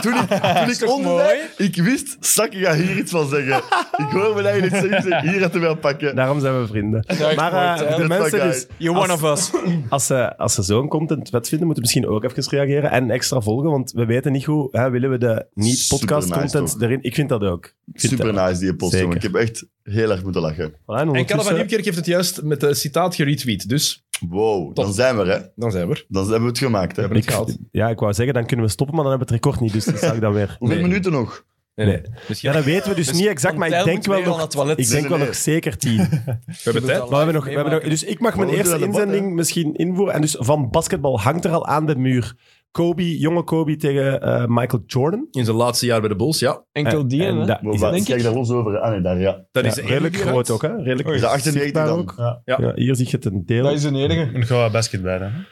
Toen ik, toen ik toch onder mooi? zei, ik wist, Sakke gaat hier iets van zeggen. ik hoor mijn eigen iets *laughs* zeggen, ik zeg, hier had hij wel pakken. Daarom zijn we vrienden. echt Maar mooi, eh, hè? de mensen dus... You're one of us. Als ze, als ze zo'n content vet vinden, moeten we misschien ook even reageren en extra volgen, want we weten niet hoe hè, willen we de Super niet-podcast-content nice, toch? erin. Ik vind dat ook. Ik vind Super dat ook. nice die post, Zeker. jongen. Ik heb echt heel erg moeten lachen. Voilà, En en Kalle van ondertussen- Nieuwkerk heeft het juist met een citaat geretweet. Dus Wow, dan zijn we er, hè. Dan zijn we er. Dan hebben we het gemaakt, hè. We hebben het gehaald. Ja, ik wou zeggen, dan kunnen we stoppen, maar dan hebben we het record niet. Dus dan zag ik dat weer. Hoeveel Nee. minuten nog? Nee, nee. Ja, dat weten we dus niet exact, maar ik denk wel nog... het toilet. Ik denk wel Nee, nog zeker tien. We hebben tijd. Maar we hebben nog, we hebben nog, dus ik mag mijn we eerste doen dat debat, inzending misschien invoeren. En dus van basketbal hangt er al aan de muur. Kobe, jonge Kobe tegen eh, Michael Jordan. In zijn laatste jaar bij de Bulls, ja. Enkel die, Eh, en hè? dat Wow, is wat? denk Kijk ik. daar los over. Ah nee, daar, ja. Dat is Ja, de redelijk enige uit. groot ook, hè? Redelijk, Is dat 98 zichtbaar dan? ook. Ja. Ja, hier zie je het een deel. Dat is de enige. Een gouden basketballer.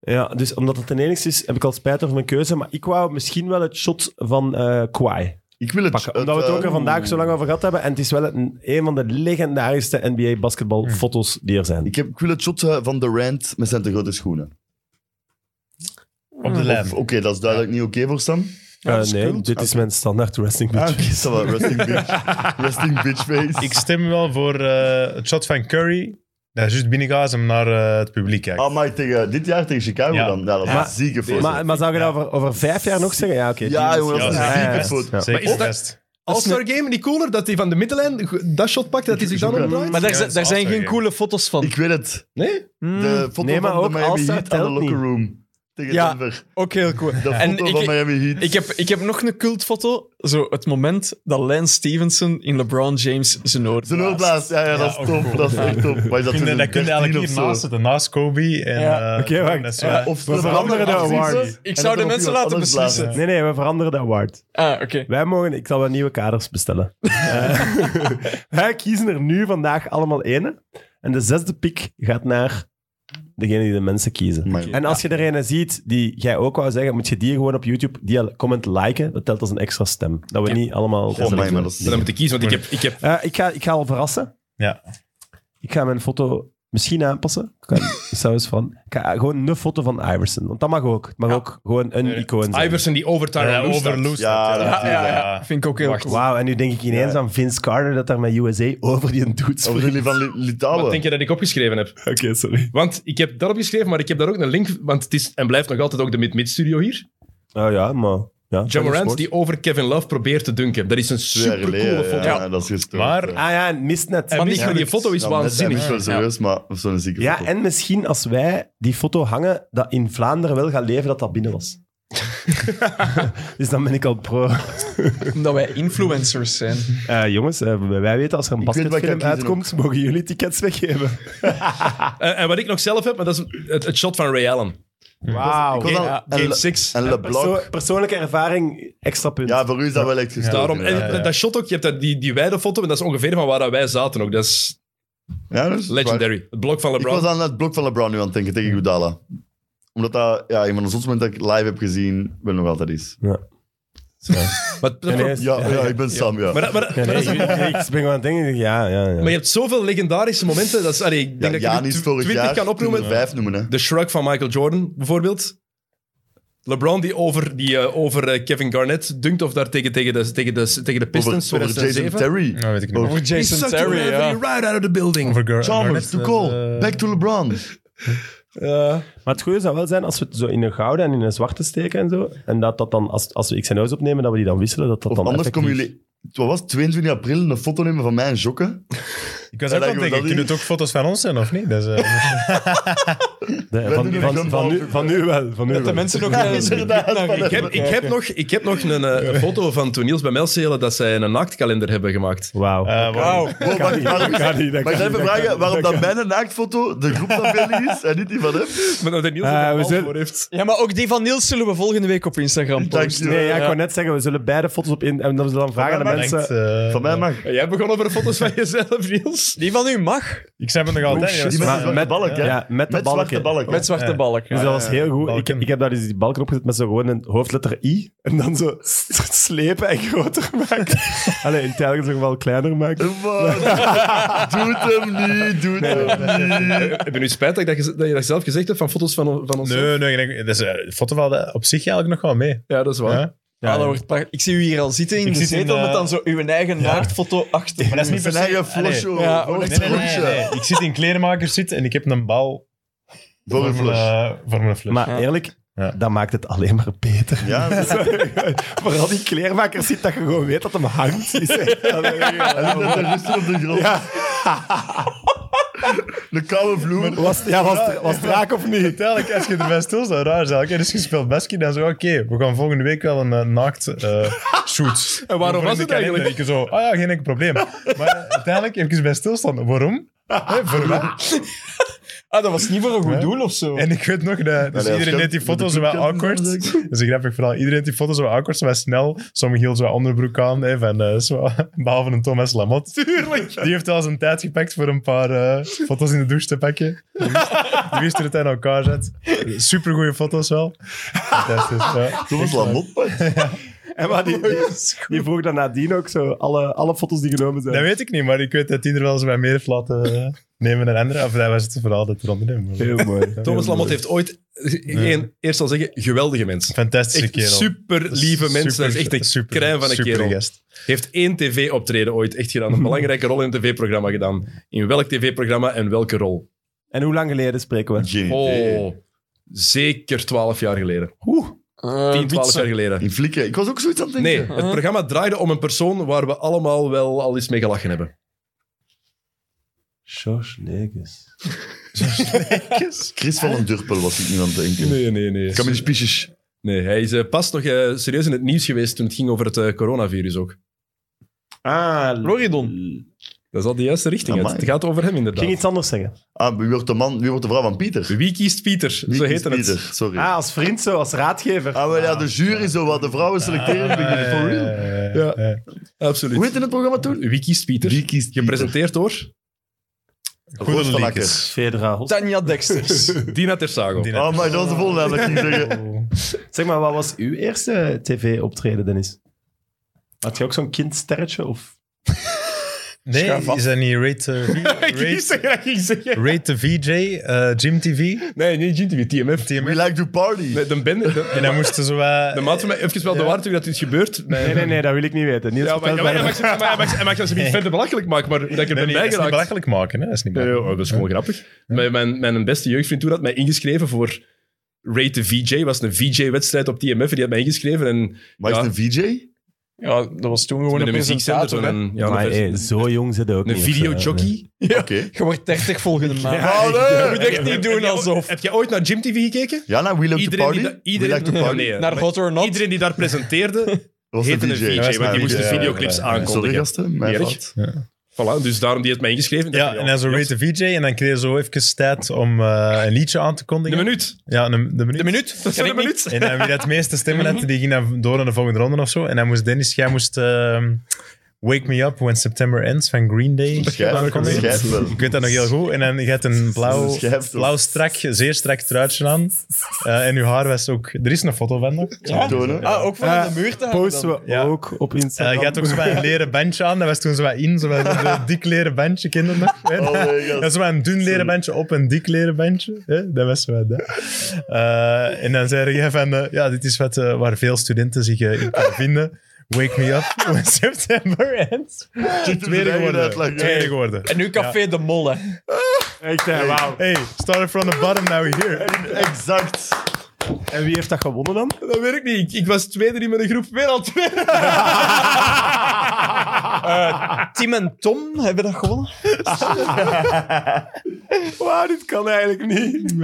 Ja, dus omdat het de enigste is, heb ik al spijt over mijn keuze. Maar ik wou misschien wel het shot van eh Kawhi Ik wil het... pakken. Omdat we het eh, ook er vandaag zo lang over gehad hebben. En het is wel een, een van de legendarischste NBA-basketbalfoto's die er zijn. Ik, heb, ik wil het shot eh, van Durant met zijn te grote schoenen. Op de lijn. Of- Oké, dat is duidelijk niet oké voor Sam. Eh, nee, dit is mijn standaard wrestling Ah, *laughs* bitch. oké, ça va, *laughs* resting bitch. resting bitch face. Ik stem wel voor eh, het shot van Curry. Dat is juist binnengaat hem naar eh, het publiek kijkt. Ah, maar tegen, dit jaar tegen Chicago Ja. dan. Ja, dat is Maar- een zieke foto. Maar, maar zou je dat over, over vijf jaar nog zeggen? Ja, oké. ja, jongen, dat is een Ja, zieke ja, foto. Zeker Maar is dat- best. All-Star Game, niet cooler dat hij van de middenlijn g- dat shot pakt, dat hij zich dan Ja. omdraait? Maar daar, Ja, zijn- dat daar is zijn altijd geen een- coole fotos van. Ik weet het. Nee? De foto Hmm. Nee, maar van ook de Miami All-Star Heat aan de telt locker niet. room. Tegen Ja. Denver. Ook heel cool. De En foto ik- van Miami Heat. Ik heb, ik heb nog een cultfoto. Zo, het moment dat Lance Stevenson in LeBron James zijn oor Zijn blaast. oorplaats. Ja, ja, dat Ja, is top. Dat is echt top. Maar is dat Kun je- toen Dat kun je eigenlijk 13 of hier zo? naast zitten, naast Kobe. En, Ja. eh, Oké, wacht. dat is Ja, waar. Of We veranderen de award. Ik zou de mensen laten beslissen. Nee, nee, we veranderen de award. Ah, oké. Wij mogen, ik zal wel nieuwe kaders bestellen. *laughs* Eh, wij kiezen er nu vandaag allemaal één. En de zesde pick gaat naar degene die de mensen kiezen. En als je er een ziet die jij ook wou zeggen, moet je die gewoon op YouTube, die al- comment liken. Dat telt als een extra stem. Dat we niet allemaal... Oh, my, maar dat is... Dan moet ik kiezen, want ik heb, ik heb Eh, ik, ga, ik ga al verrassen. Ja. Ik ga mijn foto misschien aanpassen. *laughs* Ik ga, zelfs van. Ik ga gewoon een foto van Iverson. Want dat mag ook. Het mag ook gewoon een icoon zijn. Iverson die over Ja, Tyrone Lue staat. over Lou Ja, staat, ja. dat- Ja, ja, ja. Vind ik ook heel cool. Wauw, en nu denk ik ineens aan Vince Carter dat daar met USA over die dudes *laughs* Over jullie van vliegt. Li- Litouwen. Wat denk je dat ik opgeschreven heb? Oké, sorry. Want ik heb dat opgeschreven, maar ik heb daar ook een link... Want het is en blijft nog altijd ook de mid-mid-studio hier. Oh ja, maar... Ja, John Morant sport. die over Kevin Love probeert te dunken. Dat is een Twee jaar supercoole geleden, foto. ja, dat is gestoord. Maar- Ja. Ah ja, en mist net. En Michel, die gelukt. foto is Ja, waanzinnig. Dat is wel serieus, maar of zo'n zieke Ja, foto. en misschien als wij die foto hangen, dat in Vlaanderen wel gaat leven dat dat binnen *laughs* was. dus dan ben ik al pro. Omdat wij *laughs* influencers zijn. Eh, jongens, eh, wij weten als er een Ik weet wat ik basketfilm ga kiezen uitkomt, mogen jullie tickets weggeven. Eh, En, en wat ik nog zelf heb, maar dat is het, het shot van Ray Allen. Wauw. Ik was al- Game- en Game Le- 6. En LeBlanc. persoonlijke ervaring, extra punt. Ja, voor u is dat wel echt gestoord. Daarom, en inderdaad. dat- dat shot ook, je hebt daar die, die wijde foto, en dat is ongeveer van waar dat wij zaten ook. Dat is Ja, dat is waar. legendary. Het blok van Ik LeBron. was aan het blok van LeBron nu aan het denken tegen Goudala. Omdat dat ja, een van de zotste momenten dat ik live heb gezien, wel nog altijd is. Maar, dat- nee, Ja, ja, ik ben Sam, ja. maar, dat- maar dat- maar dat is een- ik ben gewoon aan het denken, ja, ja, ja. maar je hebt zoveel legendarische momenten. Dat is, allee, ik denk ja, dat je Janis er tw- vorig 20 jaar kan opnoemen. kunnen we vijf noemen, hè. De shrug van Michael Jordan, bijvoorbeeld. LeBron die over, die, eh, over eh, Kevin Garnett dunkt of daar tegen, tegen, de, tegen, de, tegen de Over, Pistons. over Jason 2007. Terry. Dat weet ik niet. Over He Jason sucked your Terry, gravity ja. right out of the building. Over Gar- Chalmers, Garnett, to dat, call. eh, Back to LeBron. Maar het goede zou wel zijn als we het zo in een gouden en in een zwarte steken en zo. En dat dat dan, als, als we XNO's opnemen, dat we die dan wisselen. Dat dat Of dan anders effectief- komen jullie... Wat was het? 22 april een foto nemen van mij en Jokke? Ik was Ja, ook dat aan het je dat denken, kunnen het ook foto's van ons zijn of niet? Dat is, eh, Nee, Wij van, doen een van, gun van, nu, bal. van nu wel. Van nu Dat de wel. *laughs* mensen nog naar Eh, Ik heb, ik heb nog, ik heb nog een, eh, een foto van toen Niels bij Melcelen dat zij een naaktkalender hebben gemaakt. Wauw. *laughs* eh, Wauw. Oh, maar niet, dat kan niet, maar dat ik kan zal even niet, dat kan vragen niet, waarom dat dat mijn naaktfoto de groepsafbeelding is en niet die van hem. Maar dat Niels Eh, er een we bal zijn- voor heeft. Ja, maar ook die van Niels zullen we volgende week op Instagram Dank posten. je. Nee, ja, ik wou net zeggen, we zullen beide foto's op in... En dat we dan vragen aan de Bedankt, mensen... eh, Van mij mag. En jij begon over foto's van jezelf, Niels. Die van u mag, Ik zei het nog altijd. ja, dat is Die waar. met- zwarte balk, hè? Ja, met de Met zwarte balken. balk. met zwarte Ja. balk. Dus dat was heel goed. Ik, balken. ik heb daar dus die balken opgezet met zo gewoon een hoofdletter I. En dan zo *laughs* slepen en groter maken. Allee, in telkens nog wel kleiner maken. *laughs* Wat? Doe het hem niet, doe het hem niet. Heb je nu spijt dat, ik dat, je- dat je dat zelf gezegd hebt van foto's van, van ons? Nee, nee, nee, nee, dat is, eh, de foto valt op zich eigenlijk nog wel mee. Ja, dat is waar. Ja. Ah, dat wordt prachtig. ik zie u hier al zitten in Ik de zit in, zetel eh, met dan zo uw eigen naaktfoto achter. Maar dat is niet per Zijn se... eigen Allee. flosje. Ja, hoor. ook Echt Nee, nee, nee, flosje. nee. Ik zit in klerenmakers zitten en ik heb een bal Voor een voor mijn, flush. eh, voor mijn flush. Maar eerlijk, Ja. dat maakt het alleen maar beter. Ja, dat is- *laughs* Vooral die kleermaker ziet dat je gewoon weet dat hem *laughs* hangt. Is echt- hij ligt net te rusten op de grond. *laughs* De koude vloer. Was, ja, was, het- was het raak of niet? Uiteindelijk, als je erbij stil zou, raar zijn. Oké, dus je speelt basket en zo, oké, we gaan volgende week wel een eh, *laughs* naakt eh shoot. En waarom Voor was in het de kalender. eigenlijk? Ik zo, ah ja, geen enkel probleem. Maar eh, uiteindelijk even bij stilstaan. Waarom? Hè, voor wat? Ah, dat was niet voor een goed Ja. doel of zo. En ik weet nog, dat, dus Allee, als iedereen je- deed die de foto's wel clubkant awkward. dan, *laughs* Dat is een grappig verhaal. Iedereen deed die foto's wel awkward, zo wel snel. Sommigen hielden zo onderbroek aan, hè, van, eh, zo, *laughs* behalve een Thomas Lamotte. Tuurlijk. Die heeft al zijn tijd gepakt voor een paar eh, foto's in de douche te pakken. Die wist- Die wist hoe het aan elkaar zat. Supergoeie foto's wel. Fantastisch. Ja. Thomas Lamotte. En maar die, die, die vroeg dan nadien ook zo alle, alle foto's die genomen zijn. Dat weet ik niet, maar ik weet dat die er wel eens bij meer heeft laten eh, nemen dan anderen. Of dat was het verhaal dat eronder in. maar- Heel mooi. *laughs* Thomas Lamotte heeft ooit, eh, geen, eerst al zeggen, geweldige mensen. Fantastische Echt kerel. super lieve mensen. dat is echt een super- crème van een super kerel. gast. Heeft één tv-optreden ooit echt gedaan. Een belangrijke rol in een tv-programma gedaan. In welk tv-programma en welke rol? En hoe lang geleden spreken we? Geen idee. Oh, zeker twaalf jaar geleden. Eh, 10, 12 Wietse. jaar geleden. In flikken. Ik was ook zoiets aan het denken. Nee, het programma draaide om een persoon waar we allemaal wel al eens mee gelachen hebben. Sjors Negus. Chris van den Durpel was ik nu aan het denken. Nee, nee, nee. Kan me die spiesjes. Nee, hij is eh, pas nog eh, serieus in het nieuws geweest toen het ging over het eh, coronavirus ook. Ah, Loridon. Dat is al de juiste richting. uit. Amai. Het gaat over hem ik ging inderdaad. iets anders zeggen. Ah, wie wordt de man? Wie wordt de vrouw van Pieter? Wie kiest Pieter? Wie Zo kiest heette Pieter? het. Sorry. Ah, Ah, als vriend zo, als raadgever. wel, ja, de jury zo wat. De vrouwen selecteren. ik Ah, ja, ben for ja, real. ja, Ja. ja. Absoluut. Hoe heette het programma toen? Wie kiest Pieter? Wie kiest Pieter? Gepresenteerd door Roos Goede van liedjes. Federa Hos. Tanja Dexters. Dina Tersago. Die- nou? Oh, maar dat was de volgende naam dat ik ging zeggen. Oh. Zeg maar, wat was uw eerste tv-optreden, Dennis? Had je ook zo'n kindsterretje? Of... Nee, Schuif af. is dat niet Rate, *laughs* eh, V- Rate, Rate the VJ, eh, Jim TV? Nee, niet GTV, TMF. We like to party. Nee, de bende. De, En dan moesten ze wel... de maat van mij, even wel de waarheid dat dit gebeurt. Nee, nee, nee, dat wil ik niet weten. Niels, Ja, maar, vertel ja, maar, het mij ja, maar, dan. maar, maar, maar, maar, maar als je niet verder belachelijk maakt, maar dat ik er Nee, ben nee, dat is niet bijgeraakt. belachelijk maken, hè? Dat is niet Nee, belachelijk. joh, dat is gewoon grappig. Mijn, mijn, mijn beste jeugdvriend toen had mij ingeschreven voor Rate the VJ. was een VJ-wedstrijd op TMF en die had mij ingeschreven. En Maar is ja, het een VJ? Ja, dat was toen gewoon met een een muziekcenter. presentator. hè. Een, ja, maar een, hey, vers- zo jong zit hij ook een niet, of zo, hè. videojockey. Oké. Je wordt 30 volgende maand. Allee! Je moet echt niet doen alsof. Heb jij ooit naar Jim TV gekeken? Ja, nou, We like to Iedereen party. die, da- iedereen, we like to Ja, party. nee, Naar maar Hot or Not. iedereen die daar presenteerde, Dat was heette een een VJ. VJ. was want een die moest de VJ, videoclips ja, ja, ja. Sorry, aankondigen. gasten. Mijn Niet fout. erg. Voilà, dus daarom die heeft mij ingeschreven. Ja, en dan zo Rate the VJ. En dan kreeg je zo even tijd om eh, een liedje aan te De kondigen. minuut. Ja, een, de minuut. De minuut. Dat is Ken een ik niet. minuut. *laughs* En dan wie dat meeste stemmen had, die ging dan door naar de volgende ronde of zo. En dan moest Dennis, jij moest ehm, Wake Me Up When September Ends van Green Day. Schijf, aankondigen. schijf wel. Ik weet dat nog heel goed. En dan je had een blauw, Schijf wel. blauw strak, zeer strak truitje aan. Eh, en uw haar was ook... Er is een foto van nog. Ja? Tonen. Ah, ook van Eh, de muur te hangen Posten dan. we Ja. ook op Eh, Instagram. je had ook zo'n leren bandje aan. Dat was toen zo wat in. Zo'n zo dik leren bandje, kinderen nog. hè. Oh my god. Dat is maar een dun leren bandje op een dik leren bandje. Hè? Dat was wat. Hè? Eh, en dan zei jij van, eh, ja, dit is wat, eh, waar veel studenten zich eh, in kunnen vinden. Wake me up *laughs* when September ends. Tweede geworden. Tweede geworden. En nu Café de Molle. Echt, hè, wauw. Hey, started from the bottom, now we're here. Exact. En wie heeft dat gewonnen dan? Dat weet ik niet. Ik, ik was tweede in mijn groep. Weer al *laughs* tweede. Tim en Tom hebben dat gewonnen. Wauw, dit kan eigenlijk *laughs* niet.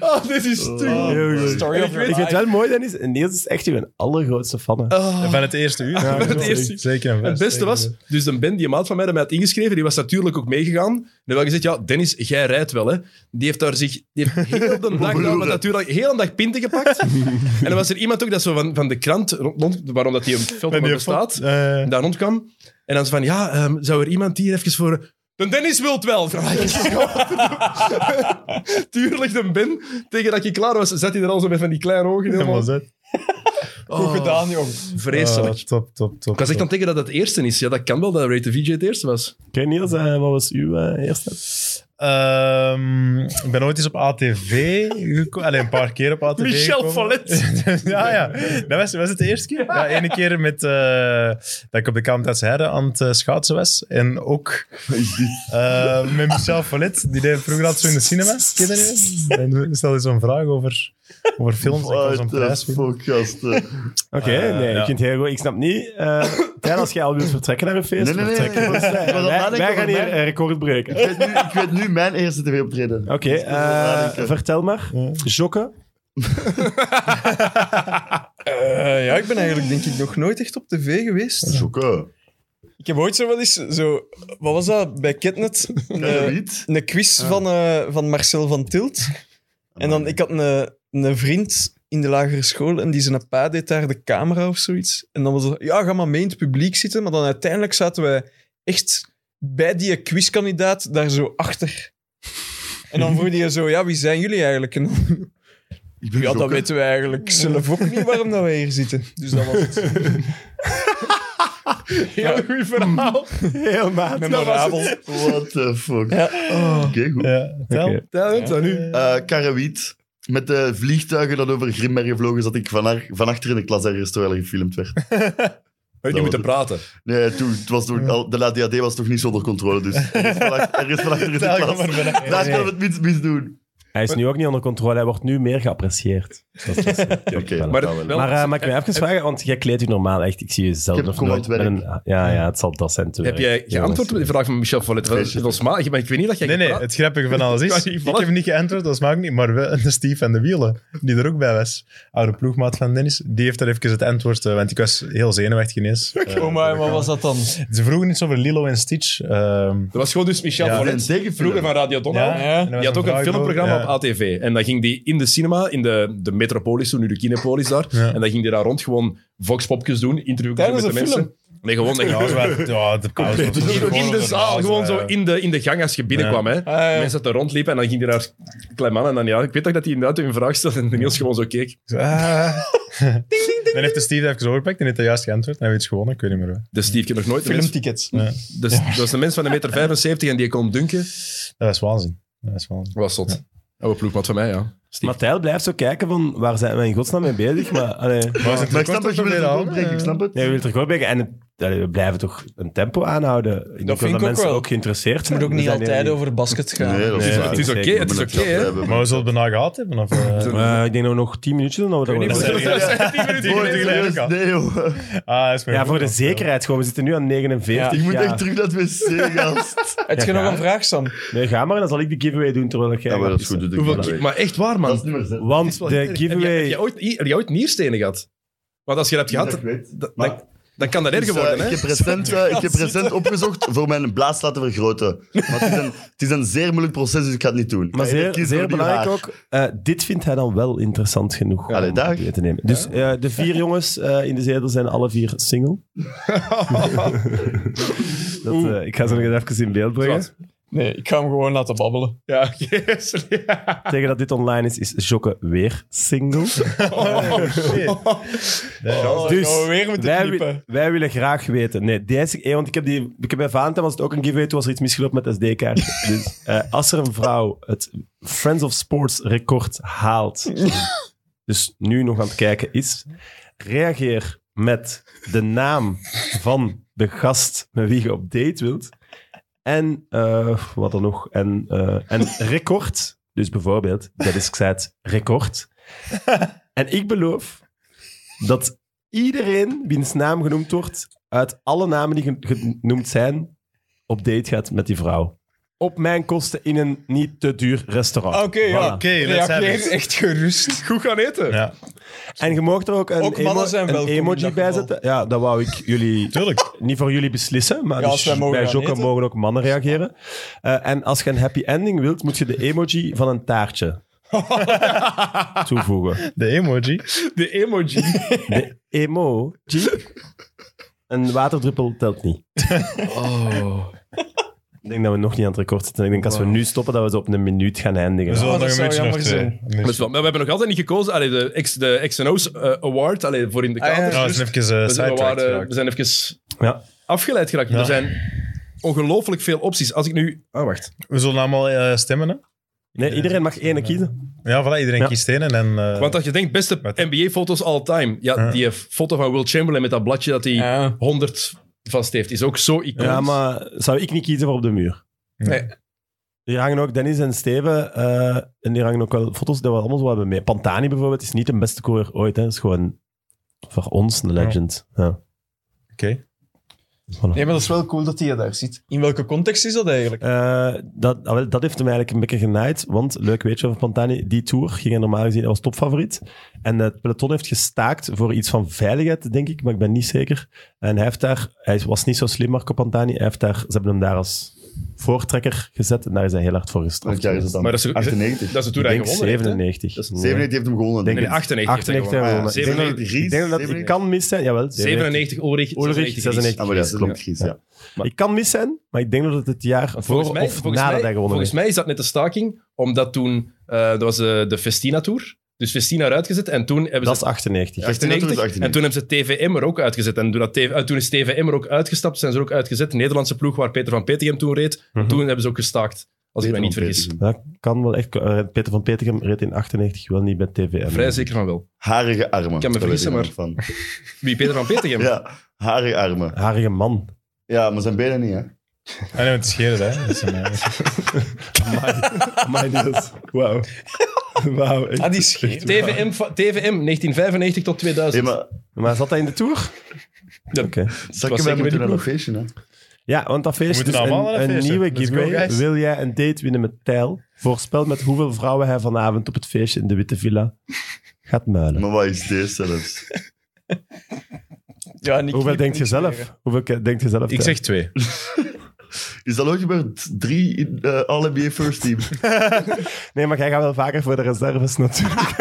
Oh, dit is stuk. Heel goed. Story of Ik your vind het life. wel mooi, Dennis. En Niels is echt uw allergrootste fan. hè. Van het eerste uur. Ja, van het eerste uur. Zeker en Het vast, beste zeker was, en vast. dus de band die een maat van mij dat mij had ingeschreven, die was natuurlijk ook meegegaan. En dan had gezegd, ja, Dennis, jij rijdt wel, hè. Die heeft daar zich die heeft heel de dag, daar, maar natuurlijk heel een dag pinten *laughs* gepakt. en dan was er iemand ook dat zo van, van de krant, rond, rond- waarom dat die een film die bestaat, Eh, daar rondkwam. En dan zo van, ja, ehm, zou er iemand hier even voor... De Dennis wilt wel. *laughs* Tuurlijk, de Ben. Tegen dat je klaar was, zat hij er al zo met van die kleine ogen. helemaal Helemaal. zet. Oh, Goed gedaan, jong. Vreselijk. Ah, top, top, top. Ik was echt aan het denken dat dat het eerste is. Ja, dat kan wel dat Rate the VJ het eerste was. Oké, Niels, eh, wat was uw eh, eerste? Ehm, ik ben ooit eens op ATV gekomen. Allee, een paar keer op ATV Michel gekomen. Follet. *laughs* ja, ja. Dat was, was het de eerste keer. Ja, ene keer met, eh, dat ik op de Kamptijds Heide aan het eh, schaatsen was. En ook eh, met Michel Follet. Die deed vroeger altijd zo in de cinema. Ken je dat? En Stel je zo'n vraag over... Over films en als een What the prijs winnen. fuck, gasten. Oké, nee, ik vind het heel goed. Ik snap niet. eh Tijn, als jij al wilt vertrekken naar een feest, Nee, nee, nee, vertrek. nee, ik was- ik was aan het wij, nadenken wij gaan over hier mij. eh, record breken. Ik weet, nu, ik weet nu mijn eerste tv-optreden. Oké, eh, nadenken. vertel maar. Jokken. Eh, ja, ik ben eigenlijk denk ik nog nooit echt op tv geweest. Jokke. Ik heb ooit zo wel eens, zo, wat was dat, bij Ketnet? Uh, Een, eh, een quiz Ah. van, eh, van Marcel van Tilt. En dan, ik had een, een vriend in de lagere school en die zijn pa deed daar de camera of zoiets. En dan was het, ja, ga maar mee in het publiek zitten. Maar dan uiteindelijk zaten wij echt bij die quizkandidaat daar zo achter. En dan vroeg je zo, ja, wie zijn jullie eigenlijk? *laughs* En dan, Ik ben ja, dat Jokke. weten we eigenlijk zelf ook niet waarom dat wij hier zitten. Dus dat was *laughs* het. Heel goed verhaal. Heel maat. *laughs* Memorabel. What the fuck. Oh. Ja. Oké, goed. Ja, tel. Oké. Talent, dan nu. Eh, Karawiet. Met de vliegtuigen dat over Grimbergen vlogen, zat ik van, haar, van achter in de klas ergens terwijl er gefilmd werd. Had je was moeten het. praten. Nee, toen, het was toen, al, de ADHD was toch niet zonder controle, dus ergens van ach- ergens van achter in de Tel, kom klas. maar binnen. Daar kunnen we het minst misdoen. Hij is nu ook niet onder controle, hij wordt nu meer geapprecieerd. Dat is wel zo. Oké, Maar, dat wel. wel- Maar eh, mag ik me even vragen, want jij kleedt je normaal echt. Ik zie je zelf Ik heb nog kom nooit uit werk. met een- Ah, Ja, ja, het zal dat zijn te heb jij geantwoord op de vraag van Michel Follet? Dat Feestje. was maar, maar ik weet niet dat jij Nee, nee, gepraat- het grappige van alles is, Ja, ik voilà. heb niet geantwoord, dat maakt niet, maar wel de Steve en de Wielen, die er ook bij was, oude ploegmaat van Dennis, die heeft daar even het antwoord, eh, want ik was heel zenuwachtig ineens. Eh, Oh, maar wat was dat dan? Ze vroegen iets over Lilo en Stitch. ehm, Dat was gewoon dus Michel Ja. Follet. Een tegenfilm. Vroeger van Radio Donna. ja, en er was Die had ook een een vrouw filmprogramma ja. op ATV. En dan ging die in de cinema, in de, de Metropolis, toen nu de Kinepolis daar. Ja. En dan ging die daar rond gewoon voxpopjes doen, interviews doen Tijdens met de een mensen. Nee, gewoon *laughs* dat je- Ja, dat is waar. Ja, de pauze. was in, gewoon Dus in de een zaal, pauze, gewoon eh. zo in de, in de gang als je binnenkwam. Hè. Ah, ja. Mensen dat er rondliepen en dan ging die daar klein man. En dan, ja, ik weet toch dat hij inderdaad een vraag stelde en de Niels gewoon zo keek. Zo, ah. Dan heeft de Steve dat even overgepakt en heeft hij juist geantwoord. En hij heeft iets gewonnen, ik weet niet meer. waar. Dus Steve, ik heb nog nooit een mens... Filmtickets. Dus, Dat was een mens van een meter 75 en die kon dunken. Dat is waanzin. Dat is waanzin. Was zot. Oude ploegmaat van mij, ja. Steve. Matthijl blijft zo kijken van waar zijn we in godsnaam mee bezig, maar *laughs* allee, Maar ik snap dat je wilt het doorbreken, ik snap het. nee, we willen terug opbreken en het- allee, we blijven toch een tempo aanhouden. Ik denk vind ik dat ook mensen wel. ook geïnteresseerd Het zijn. moet ook We niet zijn hier altijd over basket gaan. Nee, dat is Nee, waar. het is Ik oké, zeg, we het is moeten oké, hè. hebben. Maar we zullen het bijna gehad hebben. Of, eh? Eh, ik denk dat we nog tien minuutjes doen. Dat we dat niet, wel- maar- Ja. Dat zijn tien minuten Mooi, geleden. tuurlijk. Serieus, Nee, joh. Ah, is maar ja, goed. voor de zekerheid gewoon. We zitten nu aan 49. Ik moet Ja. echt terug naar het wc, gast. Heb je Ja, nog ga. een vraag, Sam? Nee, ga maar en dan zal ik de giveaway doen terwijl jij... Ja, maar dat is gaat goed. pissen. doe ik Hoeveel wel. ki- Maar echt waar, man. Dat is nummer zes. Want Wel, de heb je- giveaway... Heb je ooit, heb je ooit nierstenen gehad? Want als je dat hebt Dat gehad, ik weet. dan- Maar- dan, dan kan dat erger Dus, eh, worden, hè? ik heb recent, eh, ik heb recent opgezocht voor mijn blaas te laten vergroten. Maar het is, een, het is een zeer moeilijk proces, dus ik ga het niet doen. Maar Ik ga zeer, kiezen zeer voor die belangrijk waar. ook, eh, dit vindt hij dan wel interessant genoeg Allee, om dag. mee te nemen. Dus eh, de vier jongens eh, in de zetel zijn alle vier *laughs* single. Dat, eh, ik ga ze nog eens even in beeld brengen. Nee, ik ga hem gewoon laten babbelen. Ja, yes. ja. *laughs* Tegen dat dit online is, is Jokke weer single. Dus, Oh, gaan we weer moeten wij, wi- knippen. wij willen graag weten. Nee, deze, eh, want ik heb, die, ik heb bij Valentijn was het ook een giveaway, toen was er iets misgelopen met SD-kaart. *laughs* dus eh, als er een vrouw het Friends of Sports record *laughs* haalt, dus nu nog aan het kijken is, reageer met de naam van de gast met wie je op date wilt. En eh, wat dan nog? En, eh, *laughs* en record. Dus bijvoorbeeld, dat is het *laughs* record. En ik beloof dat iedereen wiens naam genoemd wordt, uit alle namen die gen- genoemd zijn, op date gaat met die vrouw. Op mijn kosten in een niet te duur restaurant. Oké, ja. Voilà. Oké, let's have it. Reageer echt gerust. *laughs* Goed gaan eten. *laughs* Ja, En je mag er ook een, Ook mannen zijn welkom een in emoji dat bij geval. zetten. Ja, dat wou ik jullie tuurlijk. niet voor jullie beslissen, maar Ja, als dus wij mogen bij gaan Jokken eten. mogen ook mannen reageren. Eh, en als je een happy ending wilt, moet je de emoji van een *laughs* taartje toevoegen. De emoji. De *laughs* emoji. De emoji. Een waterdruppel telt niet. Ik denk dat we nog niet aan het record zitten. Ik denk als we nu stoppen, dat we ze op een minuut gaan We eindigen. zullen Oh, dat nog een beetje zou eh, nog jammer twee. zijn. Een minuutje. Dat is wel- maar we hebben nog altijd niet gekozen. Allee, de, X, de XNO's eh, Award allee, voor in de Ah, ja. kamer. Ja, we Dus zijn even eh, we, zijn, we, sidetracked waren- geraakt. we zijn even Ja. afgeleid geraakt. Ja. Er zijn ongelooflijk veel opties. Als ik nu... Ah, wacht. We zullen allemaal eh, stemmen, hè? Nee, iedereen mag één kiezen. Ja, voilà, iedereen Ja. kiest één en... eh, Want als je denkt, beste Wat? NBA-foto's all time. Ja, Ja. die foto van Will Chamberlain met dat bladje dat hij Ja. 100 vast heeft, is ook zo iconisch. Ja, maar zou ik niet kiezen voor op de muur? Nee. Hier hangen ook Dennis en Steven, eh, en die hangen ook wel foto's dat we allemaal zo hebben mee. Pantani bijvoorbeeld is niet de beste coureur ooit, hè. is gewoon voor ons een legend. Ja. Oké. Voilà. Nee, maar dat is wel cool dat hij je daar ziet. In welke context is dat eigenlijk? Eh, dat, ah, wel, dat heeft hem eigenlijk een beetje genaaid. Want, leuk weet je over Pantani, die Tour ging hij normaal gezien, hij was topfavoriet. En het peloton heeft gestaakt voor iets van veiligheid, denk ik, maar ik ben niet zeker. En hij, heeft daar, hij was niet zo slim, Marco Pantani. Hij heeft daar, ze hebben hem daar als voortrekker gezet en daar is hij heel hard voor gestraft. Welk jaar is het dan? Maar dat is- 98. Dat is de Tour Ik die denk hij gewonnen heeft, hè? 97. Dat is Nee. 97 heeft hem gewonnen. Denk denk Nee, ik. 98. 98 heeft hij hebben gewonnen. we gewonnen. gewonnen. Zeven- Ries, Ik denk dat ik 97. kan mis zijn. Jawel, 97 Ulrich, Ulrich, 96. Ah, maar ja, dat klopt, Ries. Ja. Ik kan mis zijn, maar ik denk dat het het jaar Volgens voor mij, of volgens, nadat mij, hij gewonnen volgens heeft. mij is dat net de staking, omdat toen, eh, dat was eh, de Festina Tour, dus Festina eruit gezet en toen hebben Dat ze... is 98. Ja. 98, 98, en toen hebben ze TVM er ook uitgezet. En toen, dat TV, eh, toen is TVM er ook uitgestapt, zijn ze er ook uitgezet. De Nederlandse ploeg waar Peter van Petegem toen reed. Mhm. Toen hebben ze ook gestaakt, als ik mij niet vergis. Dat kan wel echt. eh, Peter van Petegem reed in 98 wel niet bij TVM. Vrij zeker van wel. Harige armen. Ik kan me Daar weet vergissen, ik nog Van. Wie, Peter van Petegem? *laughs* Ja, harige armen. Harige man. Ja, maar zijn benen niet, hè. Ah, nee, het scheren, hè. Dat is een, eh, Maar dus. *laughs* Wauw. Wauw. Ah, die scheet. TVM, va- TVM 1995 tot 2000. Hey, maar Maar zat hij in de Tour? Ja. Oké. zakken zeker met wij moeten die naar dat feestje, hè. Ja, want dat feest moeten is een, allemaal naar dat een feestje. nieuwe Let's go, giveaway. guys. Wil jij een date winnen met Tijl? Voorspel met hoeveel vrouwen hij vanavond op het feestje in de Witte Villa gaat muilen. Maar wat is dit zelfs? Ja, en ik Hoeveel knip denk je niks zelf? meer. Hoeveel ke- denk je zelf? ik Tijl? zeg twee. Is dat ook gebeurd? Drie in, eh, All-NBA First Team. Nee, maar jij gaat wel vaker voor de reserves natuurlijk.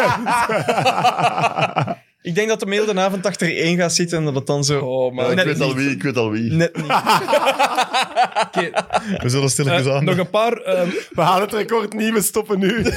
Ik denk dat de mail de avond achter één gaat zitten en dat het dan zo... Oh, maar... ik, net weet al niet. wie, ik weet al wie. Net niet. Oké, We zullen stilletjes eh, aan. nog een paar... ehm, We halen het record niet, we stoppen nu. Ik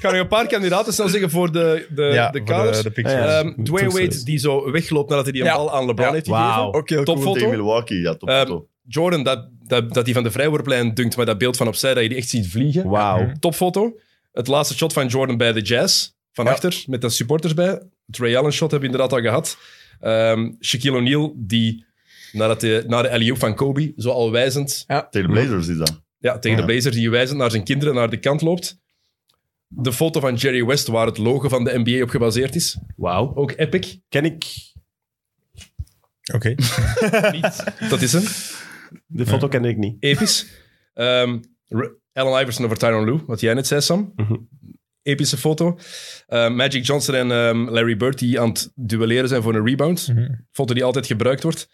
ga nog een paar kandidaten snel zeggen voor de, de, ja, eh, de voor kaders. de, de pictures. Ja, ja. Ehm, Dwayne Wade, die zo wegloopt nadat hij die Ja. bal aan LeBron Ja. heeft gegeven. Wauw. Ook heel cool. Topfoto. Tegen Milwaukee, ja, top. Ehm, top. Jordan, dat, dat, dat die van de vrijworplijn dunkt, maar dat beeld van opzij, dat je die echt ziet vliegen. Wauw. Topfoto. Het laatste shot van Jordan bij de Jazz. Van achter, met de supporters bij. Het Ray Allen shot hebben we inderdaad al gehad. Ehm, Shaquille O'Neal, die nadat de, na de alley van Kobe, zo al wijzend... Tegen de Blazers is dat. Ja, tegen de Blazers, die wijzend naar zijn kinderen naar de kant loopt. De foto van Jerry West, waar het logo van de NBA op gebaseerd is. Wauw. Ook epic. Ken ik. Oké. Dat is hem. De foto ken ik niet. Episch. Ehm Alan Iverson over Tyronn Lue, wat jij net zei, Sam. Mhm. Epische foto. Ehm, Magic Johnson en ehm, Larry Bird die aan het duelleren zijn voor een rebound. Mhm. Foto die altijd gebruikt wordt.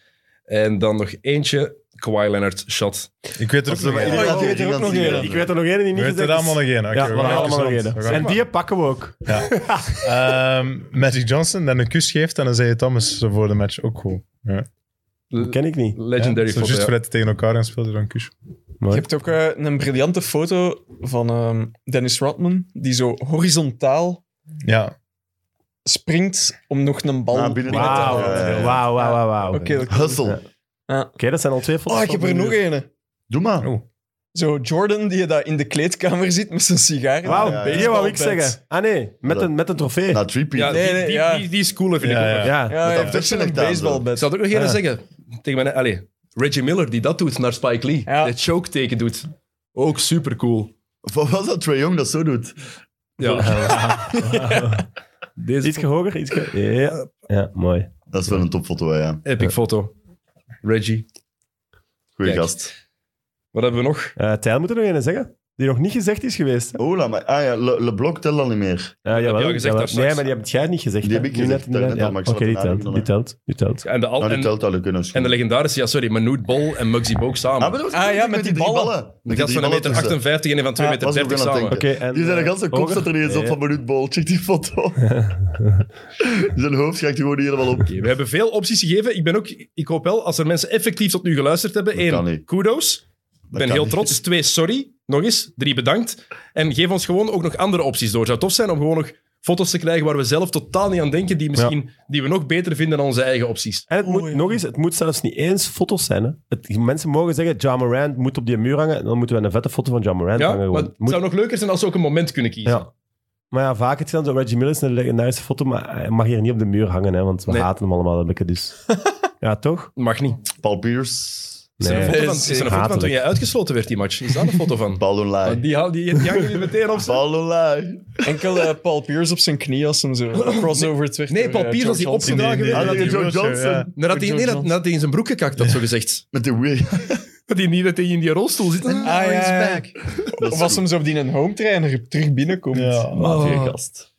En dan nog eentje, Kawhi Leonard shot. Ik weet er ook nog één. iedereen- ik weet er ook iedereen nog zien, één. ja. Ik weet er nog één die We niet weten er gezegd is. allemaal nog één. Oké, Ja, we we gaan even allemaal nog rond. één. We gaan En even- die pakken we ook. Ja. Ehm, Magic Johnson dan een kus geeft en dan zei je Thomas voor de match ook cool. Ja. L- Ken ik niet. Legendary ja, foto. Juist ja. voordat hij tegen elkaar aan speelde, dan een kus. Je hebt ook eh, een briljante foto van ehm, Dennis Rodman, die zo horizontaal Ja, springt om nog een bal Ah, binnen binnen te te Wauw, houden. houden. Ja, ja, wauw, ja. wauw, wauw. wauw. Oké, Oké, dat- Hustle. Ja. dat zijn al twee foto's. oh, ik heb van er nu. nog één. Doe maar. Oh. Zo Jordan, die je daar in de kleedkamer zit met zijn sigaar. in Wauw, de Ja, ja, die wou ik baseballbed. zeggen. Ah nee, met een, met een trofee. Na three Ja, Ja, die, Nee, nee, die, ja. die, die is cool, vind ik. Ja, ook. ja. Ja, Ja, Met ja, dat echt zo'n versneld aan, zo. Ik baseballbed. zal het ook nog even Ja. zeggen. Tegen mijn... Allee, Reggie Miller, die dat doet naar Spike Lee. Ja. Dat choke-teken doet. Ook super cool. Wat was dat Trae Young dat zo doet? Ja. *laughs* Deze iets hoger, iets Ja. ja, mooi. Dat is wel een topfoto, hè, ja. Epic foto. Reggie. Goeie Kijk. gast. Wat hebben we nog? Eh Tijl moet er nog één zeggen, die nog niet gezegd is geweest. Ola, maar... Ah ja, Le, Leblanc telt al niet meer. Ja, heb je al gezegd daar nee, straks. maar die hebt jij niet gezegd. Die hè? heb ik Nu gezegd, net inderdaad, daarnet al, ja. maar ik zal Oké, die het telt, die nadenken, telt, die telt. Ja, En de, al- Nou, die Oh, en, telt al, dat kunnen we en de legendarische, ja, sorry, Manute Bol en Muggsy Bogues samen. Ah, maar dat was Ah, goed, ja, met die drie ballen. de Met gast die van 1,58 ballen meter tussen. 58 en een van 2,30 Ja, meter was ik ook 30 aan het samen. denken. Die eh, zijn de ganse kop staat er niet eens op van Manute Bol. Check die *laughs* foto. zijn hoofd gaat gewoon niet helemaal op. Oké, we hebben veel opties gegeven. Ik, ben ook, ik hoop wel, als er mensen effectief tot nu geluisterd hebben, Dat kan één, niet. kudos. Ik ben kan heel niet. trots. Twee, sorry. Nog eens. Drie, bedankt. En geef ons gewoon ook nog andere opties door. Zou tof zijn om gewoon nog foto's te krijgen waar we zelf totaal niet aan denken, die, misschien, die we nog beter vinden dan onze eigen opties. En het moet, nog eens, het moet zelfs niet eens foto's zijn. Hè. Het, mensen mogen zeggen, Ja Morant moet op die muur hangen. En dan moeten we een vette foto van Ja Morant Ja, hangen. maar gewoon. het Moet- zou nog leuker zijn als we ook een moment kunnen kiezen. ja. Maar ja, vaak het is dan zo, Reggie Miller is een legendarische foto, maar hij mag hier niet op de muur hangen, hè, want we Nee. *laughs* haten hem allemaal een beetje. Dus. ja, toch? Mag niet. Paul Pierce. Is er een Nee. foto van, Nee, is er een foto van toen hatelijk. jij uitgesloten werd, die match? Is daar een foto *laughs* van? Balloon Want lie. Die, hou- die, die hangen jullie meteen op. Balloon lie. Enkel eh, Paul Pierce op zijn knie als hem zo crossover eh, terug. Nee, Paul Pierce als hij opgedragen werd. Ah, nadat dat hij- is Joe wheelchair, Johnson. ja. Nadat hij nee, nadat- nadat hij in zijn broek gekakt had, zo gezegd. Met de wheel. Dat hij niet dat hij in die rolstoel zit. Ah, ja, he's ja. back. Of als hem zo op die een home trainer terug binnenkomt. Matige gast.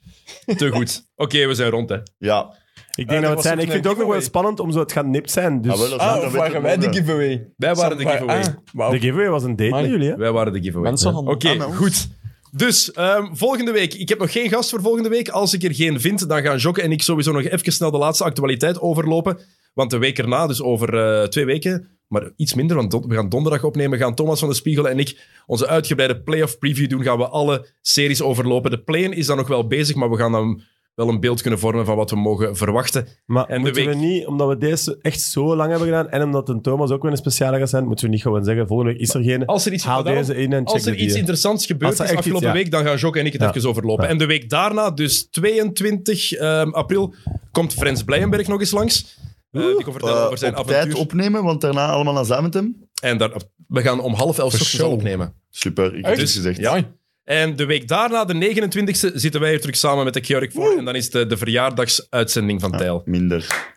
Te goed. Oké, we zijn rond, hè. *laughs* Ja. Ik Ah, denk dat dat we was het zijn. ook Ik vind een het ook nog wel giveaway. spannend om zo... Het gaat nipt zijn, dus... Ah, wel, dat is- Ah, dat of weet waren ik wij nog, de hè. giveaway? Wij waren de Sam- giveaway. Ah, wauw. De giveaway was een date Amai. met jullie, hè? Wij waren de giveaway. Mensenhandel. Oké, goed. Dus, ehm, volgende week. Ik heb nog geen gast voor volgende week. Als ik er geen vind, dan gaan Jokke en ik sowieso nog even snel de laatste actualiteit overlopen. Want de week erna, dus over eh, twee weken, maar iets minder, want don- we gaan donderdag opnemen, gaan Thomas van de Spiegel en ik onze uitgebreide playoff preview doen. Gaan we alle series overlopen. De play is dan nog wel bezig, maar we gaan dan wel een beeld kunnen vormen van wat we mogen verwachten. Maar En de moeten week. we niet, omdat we deze echt zo lang hebben gedaan en omdat een Thomas ook weer een speciale gaat zijn, moeten we niet gewoon zeggen, volgende week is er geen... Als er iets, Haal daarom- deze in en check als er de iets die. interessants gebeurd Als er is echt iets- afgelopen ja. week, dan gaan Jok en ik het Ja. even overlopen. Ja. En de week daarna, dus 22 ehm, april, komt Frans Blijenberg nog eens langs. Eh, die kon vertellen Eh, over zijn op tijd avontuur. opnemen, want daarna allemaal naar Zaventem. En daar, we gaan om half elf 's ochtends al show. opnemen. Super, ik heb Echt? het gezegd. Ja. En de week daarna, de 29e, zitten wij hier terug samen met de Georg voor. En dan is eh, de, de verjaardagsuitzending van Tijl. Minder.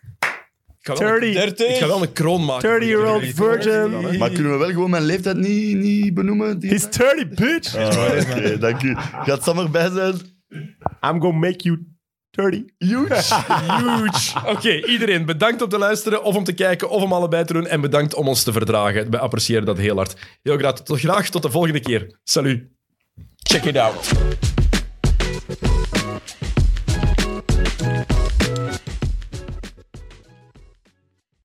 Ik ga, wel een, 30 ik ga wel een kroon maken. 30-year-old virgin. Maar kunnen we wel gewoon mijn leeftijd niet, niet benoemen? Die He's 30, bitch! Ah, Oké, dank u. Gaat Sam erbij zijn? I'm gonna make you 30. Huge. Huge. Oké, iedereen, bedankt om te luisteren of om te kijken of om allebei te doen. En bedankt om ons te verdragen. We appreciëren dat heel hard. Heel graag, tot, graag tot de volgende keer. Salut. Check it out.